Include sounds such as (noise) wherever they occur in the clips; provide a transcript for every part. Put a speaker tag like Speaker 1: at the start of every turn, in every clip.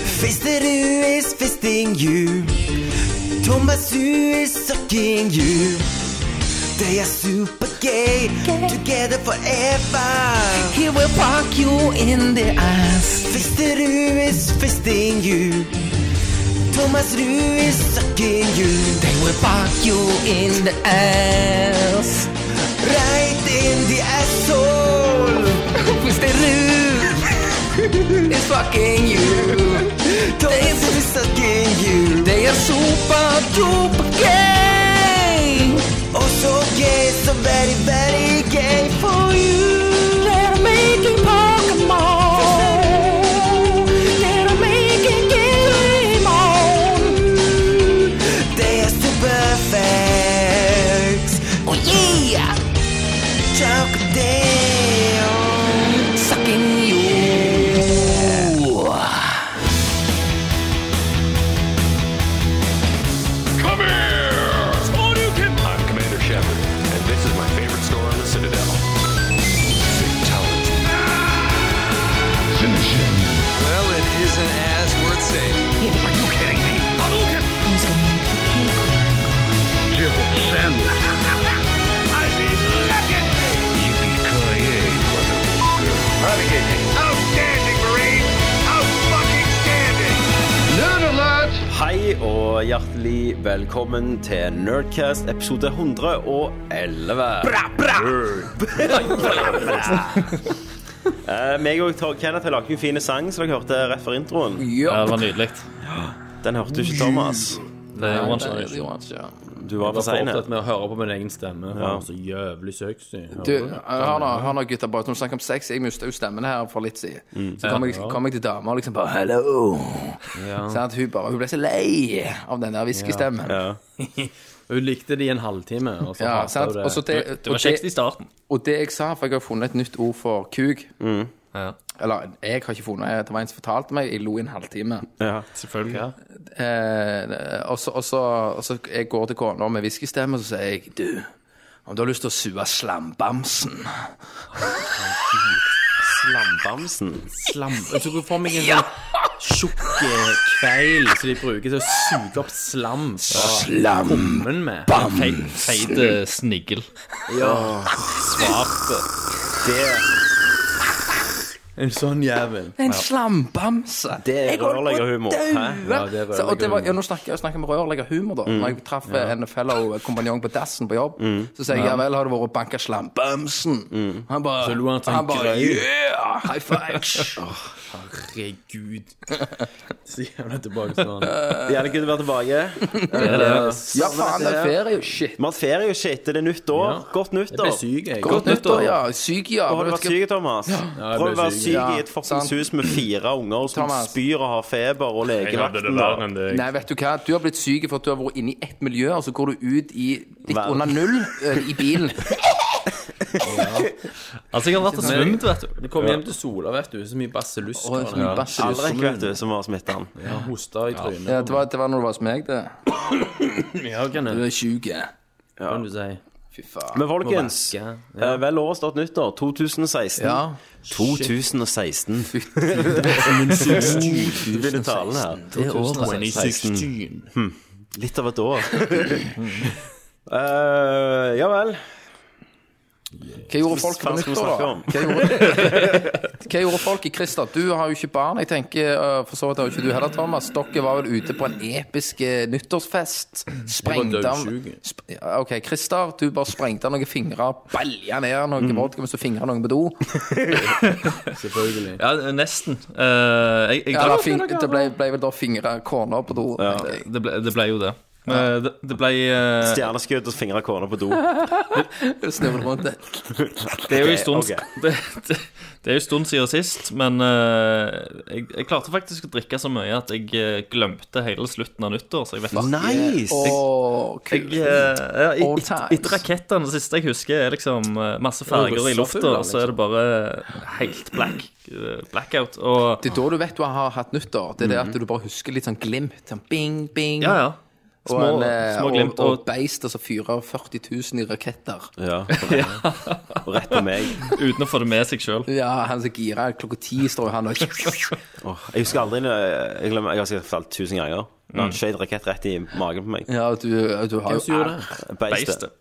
Speaker 1: Fisterud is fisting you. Thomas Who is sucking you. They are super gay, together forever.
Speaker 2: He will fuck you in the ass.
Speaker 1: Fisterud is fisting you. Thomas Ruud is sucking you.
Speaker 2: They will fuck you in the ass.
Speaker 1: Right in the asshole.
Speaker 2: Fisterud is fucking you.
Speaker 1: Thomas Ruud is sucking you.
Speaker 2: They are super duper gay.
Speaker 1: Oh so gay, so very, very gay for you.
Speaker 2: They're making Pokemon. They're making Digimon.
Speaker 1: They are super facts.
Speaker 2: Oh yeah,
Speaker 1: Chuck down.
Speaker 2: sucking you.
Speaker 3: Come here! I'm Commander Shepard, and this is my favorite store on the Citadel. Fatality.
Speaker 4: Well, it isn't as worth saying.
Speaker 3: Are you kidding me? Hadouken! I mean, look at me! Yippee-ki-yay, motherfucker. Outstanding, Marine! Out-fucking-standing!
Speaker 5: Hei og hjertelig velkommen til Nerdcast episode 111. Bra, bra! Eh, meg og Tor- Kenneth har laget en fin sang som dere hørte rett før introen.
Speaker 6: Ja, det var nydelig.
Speaker 5: Den hørte ikke Thomas.
Speaker 6: Det er one shot.
Speaker 5: Du var
Speaker 6: Jeg var
Speaker 5: for
Speaker 6: for
Speaker 5: sein.
Speaker 6: opptatt med å høre på min egen stemme. Han var så jævlig sexy.
Speaker 7: Du, hør nå, hør nå gutta boys, når du snakker om sex Jeg mistet jo stemmen her for litt siden Så kom jeg, kom jeg til dama og liksom bare Hello Sånn at hun bare, hun ble så lei Av den der viskestemmen Ja,
Speaker 5: Ja.
Speaker 6: Hun likte det i en halvtime. Og så hatet
Speaker 7: sant
Speaker 6: hun det.
Speaker 7: Og så det,
Speaker 8: Det var
Speaker 7: og
Speaker 8: kjekt
Speaker 7: det,
Speaker 8: i starten.
Speaker 7: og det jeg sa, for jeg har funnet et nytt ord for kuk
Speaker 5: Mm.
Speaker 8: Ja.
Speaker 7: Eller, jeg har ikke funnet Det var en som fortalte meg, jeg lo i en halvtime
Speaker 5: Ja.
Speaker 8: Selvfølgelig.
Speaker 7: eh, og, så, og, så, og så jeg går til kona med viskestemme Og så sier jeg, du Om du har lyst til å sue slambamsen
Speaker 5: Slambamsen.
Speaker 6: Slam. Jeg tok for meg en sånn tjukk eh, kveil som de bruker til å suge opp slam fra kummen med.
Speaker 8: Feit, feit eh, snigel.
Speaker 6: En sånn jævel.
Speaker 7: En slambamse.
Speaker 5: Det er
Speaker 7: Jeg holdt på å
Speaker 5: rørleggerhumor.
Speaker 7: daue.
Speaker 5: Hæ?
Speaker 6: Ja, det er
Speaker 7: Så- og det var-
Speaker 6: rørleggerhumor.
Speaker 7: ja, Nå snakker jeg snakker jeg om rørleggerhumor,
Speaker 5: Mm.
Speaker 7: da. Når jeg traff en fellow kompanjong på dassen på jobb, så sier jeg ja vel, har du vært og banka slambamsen?
Speaker 5: Mm.
Speaker 7: Han bare,
Speaker 6: Så lo han til en
Speaker 7: bare
Speaker 6: grøy.
Speaker 7: yeah, high five.
Speaker 6: Herregud. Så jævla tilbake sånn.
Speaker 5: Gjerne kunne vært tilbake.
Speaker 7: ja, faen, det er ferie. Shit.
Speaker 5: Vi har hatt ferie og shit. Det er nytt år.
Speaker 6: Ja.
Speaker 5: Godt
Speaker 6: Jeg ble
Speaker 5: nyttår.
Speaker 6: syk, jeg.
Speaker 7: Godt nyttår, ja. Syk, ja.
Speaker 5: Har du
Speaker 7: Vet
Speaker 5: vært
Speaker 7: du
Speaker 5: syk, Thomas?
Speaker 6: jeg
Speaker 5: Prøv å
Speaker 6: ble
Speaker 5: være
Speaker 6: syk.
Speaker 5: syk i et
Speaker 7: Ja,
Speaker 5: fuckings
Speaker 7: sant.
Speaker 5: hus med fire unger som
Speaker 7: Thomas.
Speaker 5: spyr og har feber og legevakten. da.
Speaker 6: enn
Speaker 7: hva? Nei, vet du hva? Du har blitt syk for at du har vært inne i ett miljø, og så går du ut i litt
Speaker 5: Vel.
Speaker 7: under null eh,
Speaker 5: (laughs)
Speaker 7: i bilen.
Speaker 8: Altså, jeg har vært og svømt, vet du.
Speaker 6: Du kom hjem til Sola, vet du. Så mye basillusk.
Speaker 7: Og så mye
Speaker 6: Ja.
Speaker 7: basillusk.
Speaker 5: Alrik, vet du, som var smitta.
Speaker 6: Ja, hosta i trynet.
Speaker 7: Ja, det, var, det var når du var hos meg, det.
Speaker 6: Ja, kan
Speaker 7: Du
Speaker 6: jeg-
Speaker 7: er syk. ja.
Speaker 6: kan du si.
Speaker 7: Fy faen.
Speaker 5: Men folkens,
Speaker 6: Ja.
Speaker 5: eh, vel overstått nyttår. 2016.
Speaker 7: Ja.
Speaker 5: 2016. (laughs) Du begynner talen her.
Speaker 7: (laughs) Det er året.
Speaker 5: 2016. Hm. Litt av et år. (laughs) Eh, ja vel.
Speaker 7: Hva gjorde folk på
Speaker 5: Hva skal vi
Speaker 7: nyttår,
Speaker 5: snakke
Speaker 7: da?
Speaker 5: om?
Speaker 7: Hva gjorde, hva gjorde (laughs) folk i Christer? Du har jo ikke barn. jeg tenker, øh, For så vidt har jo ikke du heller, Thomas. Dere var vel ute på en episk øh, nyttårsfest. Sprengte av
Speaker 6: dødssyk.
Speaker 7: sp ja, OK, Christer, du bare sprengte av noen fingre, balja ned noen
Speaker 8: Mm.
Speaker 7: vodka mens du fingra noen på
Speaker 8: (laughs)
Speaker 7: do.
Speaker 6: Selvfølgelig.
Speaker 8: Ja, nesten. Eh, jeg, jeg,
Speaker 7: Eller fing det ble, ble vel da fingra kona på do. tenker jeg.
Speaker 8: det, ble, det ble jo det. Eh, det, det ble eh,
Speaker 5: Stjerneskudd og fingre kona på do.
Speaker 7: Snøvlet rundt det.
Speaker 8: (laughs) Det er jo en stund,
Speaker 5: Ok,
Speaker 8: (laughs) det, det, det er jo en stund siden sist, men eh, jeg, jeg klarte faktisk å drikke så mye at jeg eh, glemte hele slutten av nyttår. Så jeg vet ikke.
Speaker 5: Nice!
Speaker 7: Åh,
Speaker 8: (laughs) Jeg,
Speaker 7: kult.
Speaker 8: eh, ja,
Speaker 7: All
Speaker 8: et-
Speaker 7: times.
Speaker 8: Etter rakettene, det siste jeg husker, er liksom eh, masse farger i lufta, og
Speaker 6: liksom.
Speaker 8: så er det bare helt black, eh, blackout. Og
Speaker 7: Det er da du vet du har hatt nyttår. Det er det at du bare husker litt sånn glimt. Sånn bing, bing.
Speaker 8: ja, ja.
Speaker 7: Og,
Speaker 8: Små-
Speaker 7: en, eh,
Speaker 8: små glimt,
Speaker 7: og,
Speaker 8: og-
Speaker 7: og beister som fyrer 40 000 i raketter.
Speaker 5: Ja. Og rett på meg.
Speaker 8: Uten å få det med seg
Speaker 7: (laughs)
Speaker 8: sjøl.
Speaker 7: Ja, han som girer klokka ti, står jo
Speaker 8: (laughs)
Speaker 7: han og
Speaker 5: Åh, jeg husker aldri når- Jeg, glemmer, jeg har sikkert fortalt tusen ganger. Når
Speaker 8: Mm.
Speaker 5: han skjøt rakett rett i magen på meg.
Speaker 7: Ja, du, du har
Speaker 6: Hvem som
Speaker 7: jo
Speaker 6: gjorde det?
Speaker 5: Beistet.
Speaker 8: Beistet.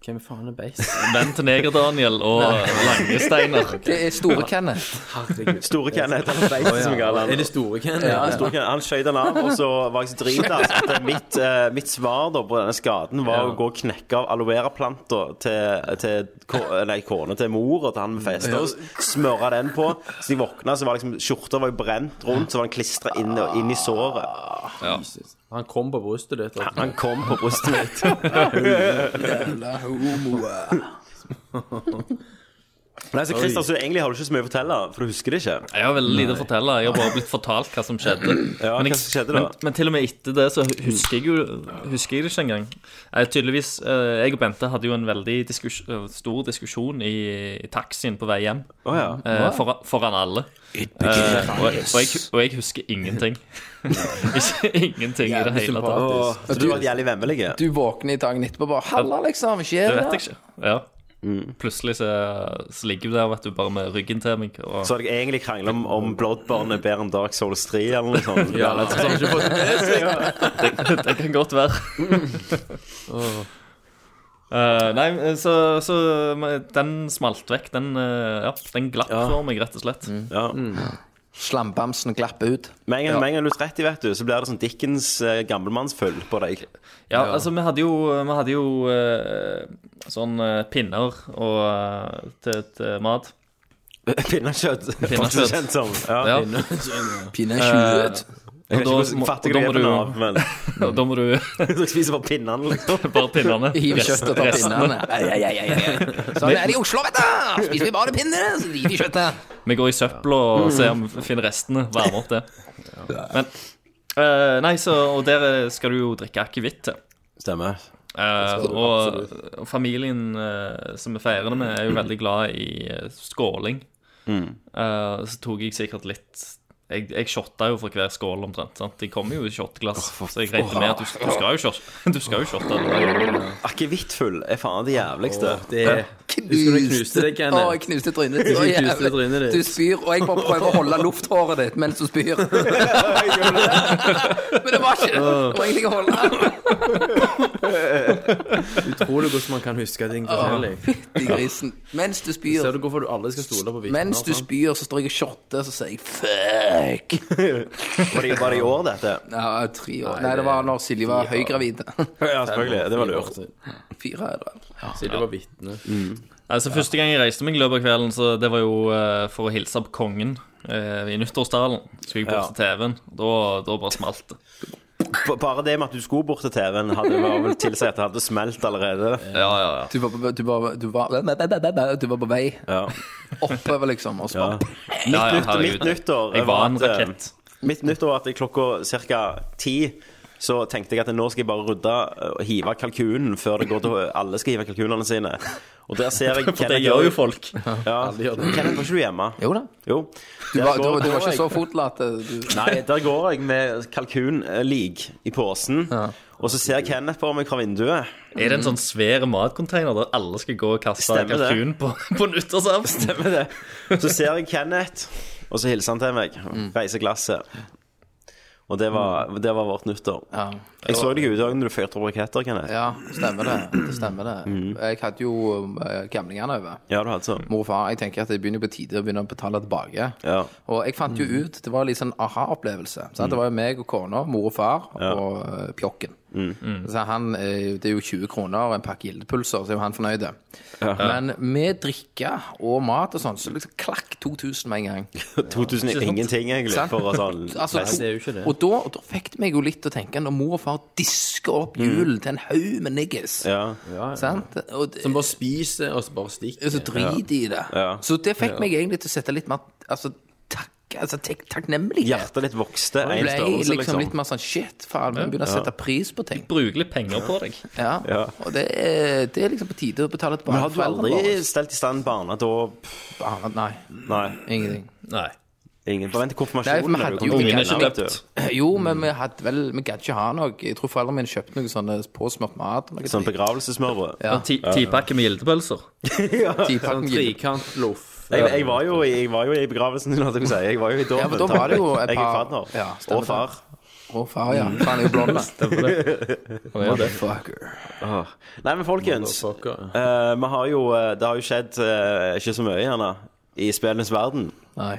Speaker 6: Hvem faen er beist?
Speaker 8: (laughs) Venn til Neger-Daniel og Langesteiner.
Speaker 7: Det er store Kenneth.
Speaker 6: Herregud.
Speaker 5: Store Ken heter han. Beistet som jeg kaller han.
Speaker 6: Er det store Ken?
Speaker 5: Store Ken, han skjøt han av, og så var jeg så drita. at det- Mitt, eh, mitt svar da på denne skaden var å gå og knekke av aloe vera-planta til, til ko- nei, kona til mor og til han vi festa hos. Smøre den på. Så de våkna, så var liksom skjorta var jo brent rundt, så var den klistra inn, og- inn i såret.
Speaker 6: (laughs) Jesus. Han kom på brystet ditt. og-
Speaker 5: Han kom på brystet mitt.
Speaker 7: Jævla homoer.
Speaker 5: Nei, så Christer, så egentlig har du ikke så mye å fortelle, for du husker det ikke.
Speaker 8: Jeg har veldig lite å fortelle. Jeg har bare blitt fortalt hva som skjedde.
Speaker 5: Ja,
Speaker 8: men,
Speaker 5: hva som skjedde da?
Speaker 8: men, men til og med etter det så husker jeg, jo, husker jeg det ikke engang. Jeg, tydeligvis, eh, jeg og Bente hadde jo en veldig diskus eh, stor diskusjon i, i taxien på vei hjem.
Speaker 5: Å ja.
Speaker 8: eh, foran, foran alle. Eh, og, og, jeg, og jeg husker ingenting. (laughs) ikke ingenting i det hele tatt.
Speaker 5: Åh, så du var jævlig vemmelig?
Speaker 7: Du våkner i dagen etterpå bare 'Halla, liksom.
Speaker 8: Det
Speaker 7: Skjer
Speaker 8: vet jeg ikke. Ja. Plutselig så, så ligger du der vet du, bare med ryggen til meg. Og,
Speaker 5: Så hadde jeg egentlig krangla om, om Bloodborne er bedre enn Dark Souls 3 eller noe sånt.
Speaker 6: Ja, så har han ikke fått
Speaker 8: det, det kan godt være. Eh, nei, så, så den smalt vekk. Den, eh, ja, Mm. den glapp for meg, rett og slett.
Speaker 5: Ja.
Speaker 7: Slambamsen glapper ut.
Speaker 5: Med en gang- med en gang du er 30, vet du, så blir det sånn Dickens eh, gammelmannsføl på deg.
Speaker 8: Ja, altså, vi hadde jo, vi hadde jo eh, sånn eh, pinner og, eh, til, til mat.
Speaker 5: Pinnekjøtt.
Speaker 8: Pinnekjøtt.
Speaker 5: Pinnekjøtt. Kjent som. Ja.
Speaker 8: Ja, Eh,
Speaker 7: Pinne skjulet.
Speaker 5: Jeg vet
Speaker 8: Og da
Speaker 5: ikke hvordan
Speaker 8: må-
Speaker 5: fattig
Speaker 8: og da
Speaker 5: du er
Speaker 8: må
Speaker 5: på
Speaker 8: du-
Speaker 5: Nav, men (laughs)
Speaker 8: og da må du (laughs)
Speaker 5: dere spiser bare pinnene, liksom.
Speaker 8: bare pinnene.
Speaker 7: Hiver
Speaker 8: Rest-
Speaker 7: kjøttet og tar
Speaker 8: restene.
Speaker 7: pinnene. Ei, ei, ei, ei, ei. Sånn er det i Oslo, vet du! Spiser vi bare pinner, så driter vi i kjøttet.
Speaker 8: Vi går i søpla og ser om vi finner restene. Varme opp det. Men, eh, nei, så, og der skal du jo drikke akevitt til.
Speaker 5: Stemmer.
Speaker 8: Eh, og og familien eh, som vi feirer det med, er jo veldig glad i eh, skåling.
Speaker 7: Mm.
Speaker 8: Eh, så tok jeg sikkert litt Jeg, jeg shotta jo for hver skål, omtrent. Sant? De kommer jo i shotglass, så jeg regnet med at du, du skal jo shotte. (laughs) Du skal jo shotte.
Speaker 5: Akevittfull er faen det jævligste.
Speaker 6: det. Husker du jeg knuste deg, Ken?
Speaker 7: Å, jeg knuste trynet ditt. Å,
Speaker 6: Jeg knuste
Speaker 7: jævlig.
Speaker 6: trynet ditt.
Speaker 7: Du spyr, og jeg bare prøver å holde lufthåret ditt mens du (laughs) spyr. Men det var ikke det. Det var egentlig ikke å holde.
Speaker 6: Utrolig hvordan man kan huske ting forskjellig.
Speaker 7: Fytti grisen. Mens du sånn.
Speaker 6: Ser
Speaker 7: spyr,
Speaker 6: du hvorfor du aldri skal stole på vitner?
Speaker 7: mens du
Speaker 6: sant?
Speaker 7: spyr, så står jeg og shotter, så sier jeg fuck.
Speaker 5: Var det, var det i år, dette?
Speaker 7: Ja, jeg er tre år. Nei, det var når Silje var høygravid.
Speaker 5: Ja, selvfølgelig. Det var lurt.
Speaker 7: Fire er det vel.
Speaker 6: Siden du var vitne.
Speaker 5: Mm.
Speaker 8: Altså, første gang jeg reiste meg i løpet av kvelden, så det var jo eh, for å hilse på kongen eh, i nyttårstalen. Så skulle jeg bort til TV-en. Da, da bare smalt det.
Speaker 5: B- Bare det med at du skulle bort til TV-en, hadde var vel tilsi at det hadde smelt allerede.
Speaker 8: Ja, ja, ja.
Speaker 7: Du var på, du var, du var, du var på vei
Speaker 5: Ja.
Speaker 7: oppover, liksom, og så bare
Speaker 8: ja, ja
Speaker 5: Nytt,
Speaker 8: herregud.
Speaker 5: mitt nyttår
Speaker 8: Jeg var en
Speaker 5: at, eh,
Speaker 8: rakett.
Speaker 5: Mitt nyttår var at klokka ca. ti så tenkte jeg at nå skal jeg bare rydde eh, og hive kalkunen før det går til alle skal hive kalkunene sine. Og der
Speaker 8: (laughs)
Speaker 5: ser jeg
Speaker 8: For det gjør jo folk.
Speaker 5: Ja.
Speaker 6: gjør det.
Speaker 5: Kenneth, var ikke du hjemme?
Speaker 7: Jo da.
Speaker 5: Jo.
Speaker 7: Du
Speaker 5: Der
Speaker 7: var,
Speaker 5: går-
Speaker 7: du, du var ikke
Speaker 5: jeg-
Speaker 7: så fotlatt. Du...
Speaker 5: Nei, der går jeg med kalkunlig i posen, og så ser Kenneth på meg fra vinduet.
Speaker 8: Er det en sånn svær matcontainer der alle skal gå og kaste
Speaker 5: Stemmer det.
Speaker 8: kalkun på, (laughs) på nyttårsaften?
Speaker 5: Stemmer (laughs) det? Så ser jeg Kenneth, og så hilser han til meg.
Speaker 7: Mm.
Speaker 5: Reiser glasset. Og det var, det var vårt nyttår.
Speaker 7: Ja.
Speaker 5: Jeg så deg ute òg når du fyrte opp raketter, Kenneth.
Speaker 7: ja, stemmer det. Det stemmer det.
Speaker 8: Mm.
Speaker 7: Jeg hadde jo eh, gamlingene over.
Speaker 5: Ja, du hadde sånn.
Speaker 7: Mor og far, jeg tenker at det begynner på tide å begynne å betale tilbake.
Speaker 5: Ja. Mm.
Speaker 7: Og jeg fant jo ut, det var litt sånn aha-opplevelse. sant? Det var jo meg og kona, mor og far og eh, pjokken.
Speaker 5: Mm.
Speaker 6: Mm.
Speaker 7: Så han, eh, det er jo 20 kroner og en pakke gildepulser, så er jo han fornøyd. Men med drikke og mat og sånn, så liksom klakk 2000 med en gang.
Speaker 5: 2000 er ingenting, egentlig,
Speaker 7: Sant?
Speaker 5: for å sånn
Speaker 7: (laughs) Altså,
Speaker 5: Nei,
Speaker 6: det er jo ikke det.
Speaker 7: Og da, og da fikk det meg jo litt å tenke når mor og far disker opp julen til en haug med niggas.
Speaker 5: Mm. Ja.
Speaker 7: Sant? Og det,
Speaker 6: Som bare spiser og så bare stikker.
Speaker 7: så driter de i det.
Speaker 5: Ja.
Speaker 7: Så det fikk meg egentlig til å sette litt mer altså, takk, altså, tek- takknemlighet.
Speaker 5: Hjertet ditt vokste
Speaker 7: Jeg
Speaker 5: én
Speaker 7: ble
Speaker 5: størrelse,
Speaker 7: liksom
Speaker 5: liksom.
Speaker 7: litt mer sånn shit, faen, vi begynner å sette pris på ting.
Speaker 8: Bruker litt penger på deg.
Speaker 7: Ja.
Speaker 5: Ja.
Speaker 7: Og det er, det er liksom på tide å betale
Speaker 5: Men
Speaker 7: tilbake
Speaker 5: hadde du aldri stelt i stand barnedåp?
Speaker 7: Barna- Ah, Nei,
Speaker 5: Nei.
Speaker 7: ingenting. (clears throat)
Speaker 8: Nei.
Speaker 5: Ingen forventer
Speaker 7: Nei, for
Speaker 5: konfirmasjon.
Speaker 7: vi hadde jo-
Speaker 8: Ungen er
Speaker 7: Nei,
Speaker 8: ikke
Speaker 7: vet
Speaker 8: døpt.
Speaker 7: Jo, men vi hadde vel Vi gadd ikke ha noe. Jeg tror foreldrene mine kjøpte noe sånne påsmurt mat. Noe
Speaker 5: Sånn begravelsesmørbrød.
Speaker 7: Ja.
Speaker 8: Ti- Tipakke med
Speaker 5: (laughs)
Speaker 8: gildepølser.
Speaker 7: Tipakten
Speaker 5: Sånn
Speaker 7: gild.
Speaker 6: Trikantloff.
Speaker 5: Jeg, jeg, var jo, i- jeg var jo i begravelsen din, holdt jeg på å si. Jeg var jo i dåpen.
Speaker 7: Ja, for da var det jo et
Speaker 5: Jeg er
Speaker 7: par-
Speaker 5: fadder.
Speaker 7: Ja, stemmer
Speaker 5: og far.
Speaker 7: Å, far,
Speaker 6: Mm.
Speaker 7: ja. Faen, jeg er jo
Speaker 6: (laughs)
Speaker 7: blond. da.
Speaker 8: Han er jo det.
Speaker 7: Fucker.
Speaker 5: Åh. Nei, men folkens. eh, vi har jo eh, Det har jo skjedd eh, ikke så mye, gjerne, i spillenes verden.
Speaker 7: Nei.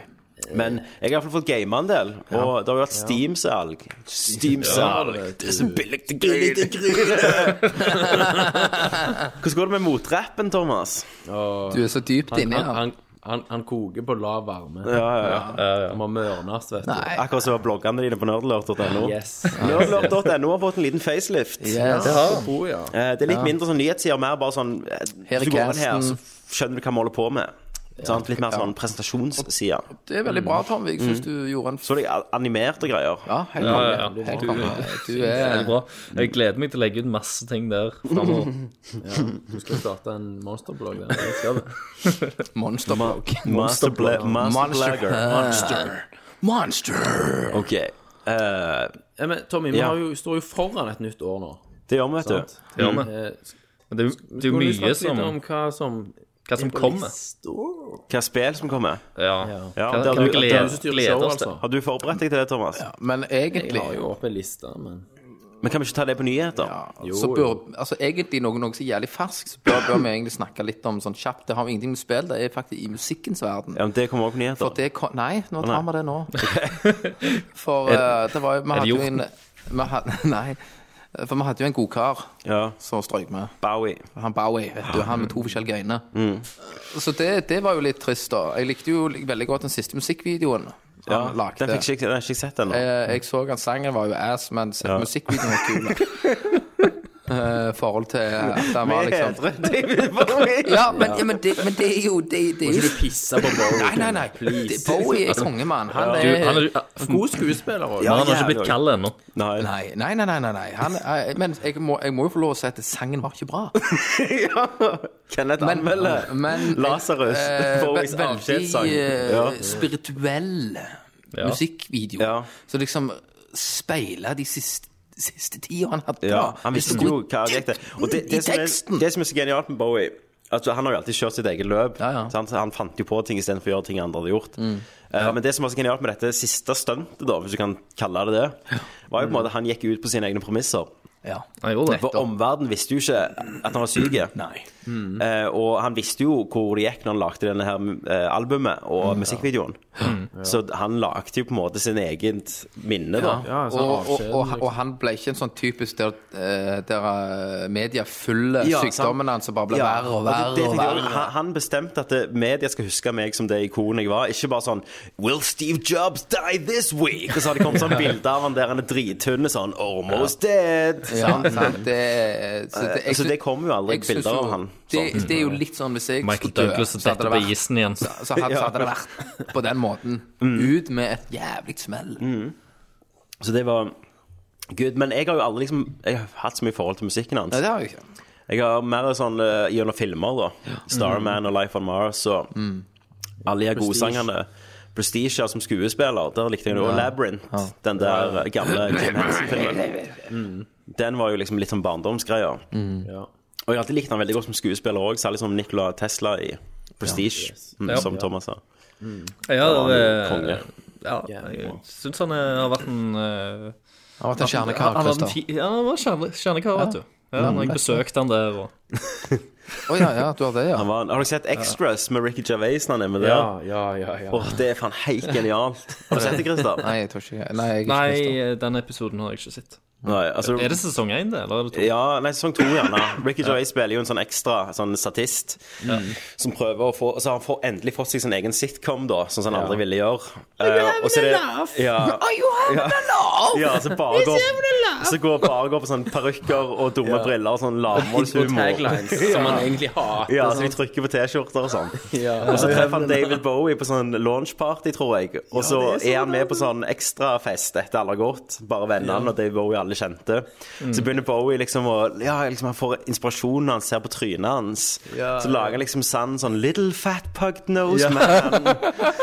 Speaker 5: Men jeg har i hvert fall fått game en del, og det har jo vært Steam-salg. Steam-salg. det er så billig til gryne. (laughs) Hvordan går det med motrappen, Thomas?
Speaker 7: Du er så dypt inni
Speaker 6: Han,
Speaker 7: her.
Speaker 6: han, han, han koker på lav varme.
Speaker 5: Ja, ja, ja.
Speaker 6: Han må mørnes, vet du.
Speaker 7: Nei.
Speaker 5: Akkurat som bloggene dine på nerdlurt.no.
Speaker 6: Yes.
Speaker 5: Nerdlurt.no har fått en liten facelift.
Speaker 7: Yes.
Speaker 6: Oh, ja.
Speaker 5: Eh, Det er litt mindre sånn nyhetssider, mer bare sånn eh,
Speaker 7: Her er
Speaker 5: Hvis du går inn her,
Speaker 7: casten.
Speaker 5: så skjønner du hva vi holder på med. Sant? Litt mer sånn presentasjonsside.
Speaker 7: Det er veldig bra, Tom. Jeg
Speaker 6: Mm.
Speaker 7: syns du gjorde en
Speaker 5: Så er det a- animerte greier.
Speaker 7: Ja, helt
Speaker 8: Ja,
Speaker 7: konge.
Speaker 8: ja, ja.
Speaker 7: Helt
Speaker 8: Du-
Speaker 7: konge.
Speaker 8: (laughs)
Speaker 7: Du
Speaker 8: Det er
Speaker 7: er
Speaker 8: bra. Jeg gleder meg til å legge ut masse ting der fremover.
Speaker 6: Du skal starte en monsterblogg der. Det skal du.
Speaker 7: monsterblogg.
Speaker 5: Master, bla master blagger.
Speaker 7: Monster. Monster.
Speaker 5: OK. Eh,
Speaker 6: (laughs) Ja, men Tommy, vi
Speaker 5: Ja.
Speaker 6: har jo, står jo foran et nytt år nå.
Speaker 5: det gjør vi, vet du.
Speaker 8: Det gjør vi.
Speaker 6: Eh,
Speaker 8: Men Det er jo- det er jo
Speaker 6: Skulle du
Speaker 8: mye
Speaker 6: snakke litt om
Speaker 8: som,
Speaker 6: hva som
Speaker 8: hva som kommer.
Speaker 5: Hva spill som kommer?
Speaker 8: Ja.
Speaker 5: Ja,
Speaker 8: Hva,
Speaker 5: det har
Speaker 8: hva vi
Speaker 5: du- det har du
Speaker 8: gleder,
Speaker 6: styrt
Speaker 8: gleder
Speaker 6: showet,
Speaker 8: oss til.
Speaker 6: altså.
Speaker 5: Har du forberedt deg til det, Thomas?
Speaker 7: Men
Speaker 6: Jeg har
Speaker 7: egentlig
Speaker 6: jo opp en liste, men
Speaker 5: Men kan vi ikke ta det på nyheter?
Speaker 7: så bør, altså egentlig noe, noe så jævlig ferskt, så bør, bør vi egentlig snakke litt om sånn kjapt. Det har jo ingenting med spill, det er faktisk i musikkens verden.
Speaker 5: Ja, men Det kommer også på nyheter.
Speaker 7: For det kom, Nei, nå tar
Speaker 5: nei.
Speaker 7: vi det nå. For eh, det var jo Vi hadde jo en
Speaker 8: hjorten?
Speaker 7: vi hadde, (laughs) Nei. For vi hadde jo en godkar
Speaker 5: Ja.
Speaker 7: som strøk med.
Speaker 5: Bowie.
Speaker 7: Han Bowie, vet du, han med to forskjellige øyne. Så det, det var jo litt trist, da. Jeg likte jo veldig godt den siste musikkvideoen som
Speaker 5: Ja,
Speaker 7: han lagde.
Speaker 5: den fikk ikke, den har ikke jeg sett ennå.
Speaker 7: Eh, jeg så at sangen var jo ass, men se- musikkvideoen var
Speaker 5: (laughs)
Speaker 7: kul. da. Eh, I forhold til at han
Speaker 5: (laughs)
Speaker 7: var liksom Ja, men, ja, men, det, men det er jo det, det er jo
Speaker 6: Pisse på Bowie.
Speaker 7: Nei, nei, nei. Det- Bowie er kongemann. Han
Speaker 8: Du,
Speaker 7: er
Speaker 8: han er,
Speaker 6: God skuespiller òg.
Speaker 8: men han har ikke blitt kald ennå.
Speaker 5: Nei.
Speaker 7: Nei, nei, nei. nei, nei, nei. Han, eh, men jeg må, jeg må jo få lov å si at sangen var ikke bra. Eh,
Speaker 5: ja. Kenneth
Speaker 7: Men,
Speaker 5: anmelder
Speaker 7: men
Speaker 5: Lasarus. (laughs)
Speaker 7: eh,
Speaker 5: Bowies
Speaker 7: ve-
Speaker 5: avskjedssang.
Speaker 7: Veldig eh,
Speaker 5: Ja.
Speaker 7: spirituell musikkvideo.
Speaker 5: Ja.
Speaker 7: Som liksom speiler de siste, siste tida han hadde.
Speaker 5: Ja,
Speaker 7: da.
Speaker 5: han
Speaker 7: Hvis
Speaker 5: visste
Speaker 7: du
Speaker 5: jo
Speaker 7: går
Speaker 5: hva gikk det. Og det, det,
Speaker 7: i
Speaker 5: som er,
Speaker 7: teksten.
Speaker 5: det som er så genialt med Bowie at Han har jo alltid kjørt sitt eget løp.
Speaker 7: Ja, ja.
Speaker 5: Sant? Han fant jo på ting istedenfor å gjøre ting andre hadde gjort. Eh, Men det som var så genialt med dette siste stuntet, da, hvis du kan kalle det det, var jo på en måte at han gikk ut på sine egne premisser.
Speaker 7: Ja.
Speaker 8: Han gjorde det.
Speaker 5: For omverdenen visste jo ikke at han var syk.
Speaker 7: Nei.
Speaker 5: Eh, og han visste jo hvor det gikk når han lagde denne her eh, albumet og
Speaker 7: Mm.
Speaker 5: musikkvideoen. Mm. Så han lagde jo på en måte sin eget minne, da.
Speaker 6: Ja, sånn
Speaker 7: og, og,
Speaker 6: avskjeden,
Speaker 7: og, han- og han ble ikke en sånn typisk der, eh, der eh, media følger
Speaker 5: Ja, sant.
Speaker 7: sykdommen hans og bare blir
Speaker 5: Ja,
Speaker 7: verre og
Speaker 5: det-
Speaker 7: verre
Speaker 5: det
Speaker 7: og
Speaker 5: tenkte jeg også.
Speaker 7: verre.
Speaker 5: Han, han bestemte at det- media skal huske meg som det ikonet jeg var. Ikke bare sånn Will Steve Jobs die this week? Og så har det kommet
Speaker 7: (laughs)
Speaker 5: sånn bilde av han der han er drithunne sånn Almost dead.
Speaker 7: Ja, sant, det, er- så det,
Speaker 5: Altså, det kommer jo aldri
Speaker 7: jeg synes
Speaker 5: bilder
Speaker 7: jo-
Speaker 5: av han,
Speaker 7: Det,
Speaker 5: sånn.
Speaker 7: det er jo litt sånn hvis jeg
Speaker 8: Michael
Speaker 7: skulle dø,
Speaker 8: Douglas
Speaker 7: så hadde
Speaker 8: detter
Speaker 7: det
Speaker 8: på
Speaker 7: vært-
Speaker 8: isen igjen.
Speaker 7: Så hadde, så hadde det vært på den måten. Ut med et jævlig smell.
Speaker 5: Mm. Så det var Gud, men jeg har jo aldri liksom Jeg har hatt så mye forhold til musikken hans.
Speaker 7: Nei, det har jeg ikke.
Speaker 5: Jeg har mer sånn eh, gjennom filmer, da. Starman og Life on Mars og alle de her godsangene. Prestige som skuespiller, der likte jeg det. Og Labyrinth, den der eh, gamle Jim Henson-filmen. Den var jo liksom litt sånn barndomsgreia.
Speaker 6: Ja.
Speaker 5: Og jeg har alltid likt han veldig godt som skuespiller òg, særlig som Nicola Tesla i Prestige, mm,
Speaker 8: Ja.
Speaker 5: som Thomas sa.
Speaker 8: Ja,
Speaker 5: Han er
Speaker 8: det,
Speaker 5: konge.
Speaker 8: ja, jeg syns han er, har vært en eh,
Speaker 7: Han var en
Speaker 8: Han,
Speaker 7: kjernekar,
Speaker 8: han, var en
Speaker 7: Christer.
Speaker 8: fi- ja, han var kjerne- kjernekar, vet du. Ja, når jeg besøkte han der og
Speaker 7: Å (laughs) ja, ja, du har det, ja.
Speaker 5: Han var, har dere sett Extras med Ricky Gervais når han er med der?
Speaker 6: Ja, ja, ja. ja.
Speaker 5: Åh, det er faen helt genialt. Har du sett det, Christer?
Speaker 7: Nei, jeg tror ikke Nei, jeg er ikke Christer.
Speaker 8: Nei, den episoden har jeg ikke sett.
Speaker 5: Nei, altså,
Speaker 8: Er det sesong én, det? Eller er det to?
Speaker 5: Ja, nei, sesong to gjerne. Ricky Gervais spiller jo en sånn ekstra sånn statist som prøver å få Så han får endelig fått seg sin egen sitcom, da, sånn som han aldri ville gjøre. Eh, og så er det- Ja, ja, så bare går Så går bare går på sånne parykker og dumme briller og sånn
Speaker 6: Og
Speaker 5: lavmålshumor.
Speaker 6: taglines som man egentlig hater.
Speaker 5: Ja, så de trykker på T-skjorter og sånn.
Speaker 6: Ja.
Speaker 5: Og så treffer han David Bowie på sånn launchparty, tror jeg. Og så er han med på sånn ekstrafest etter alle har gått. Bare vennene og David Bowie alle kjente. Så begynner Bowie liksom å Ja, liksom han får inspirasjon når han ser på trynet hans. Så lager han liksom sann sånn Little fat pug nose man.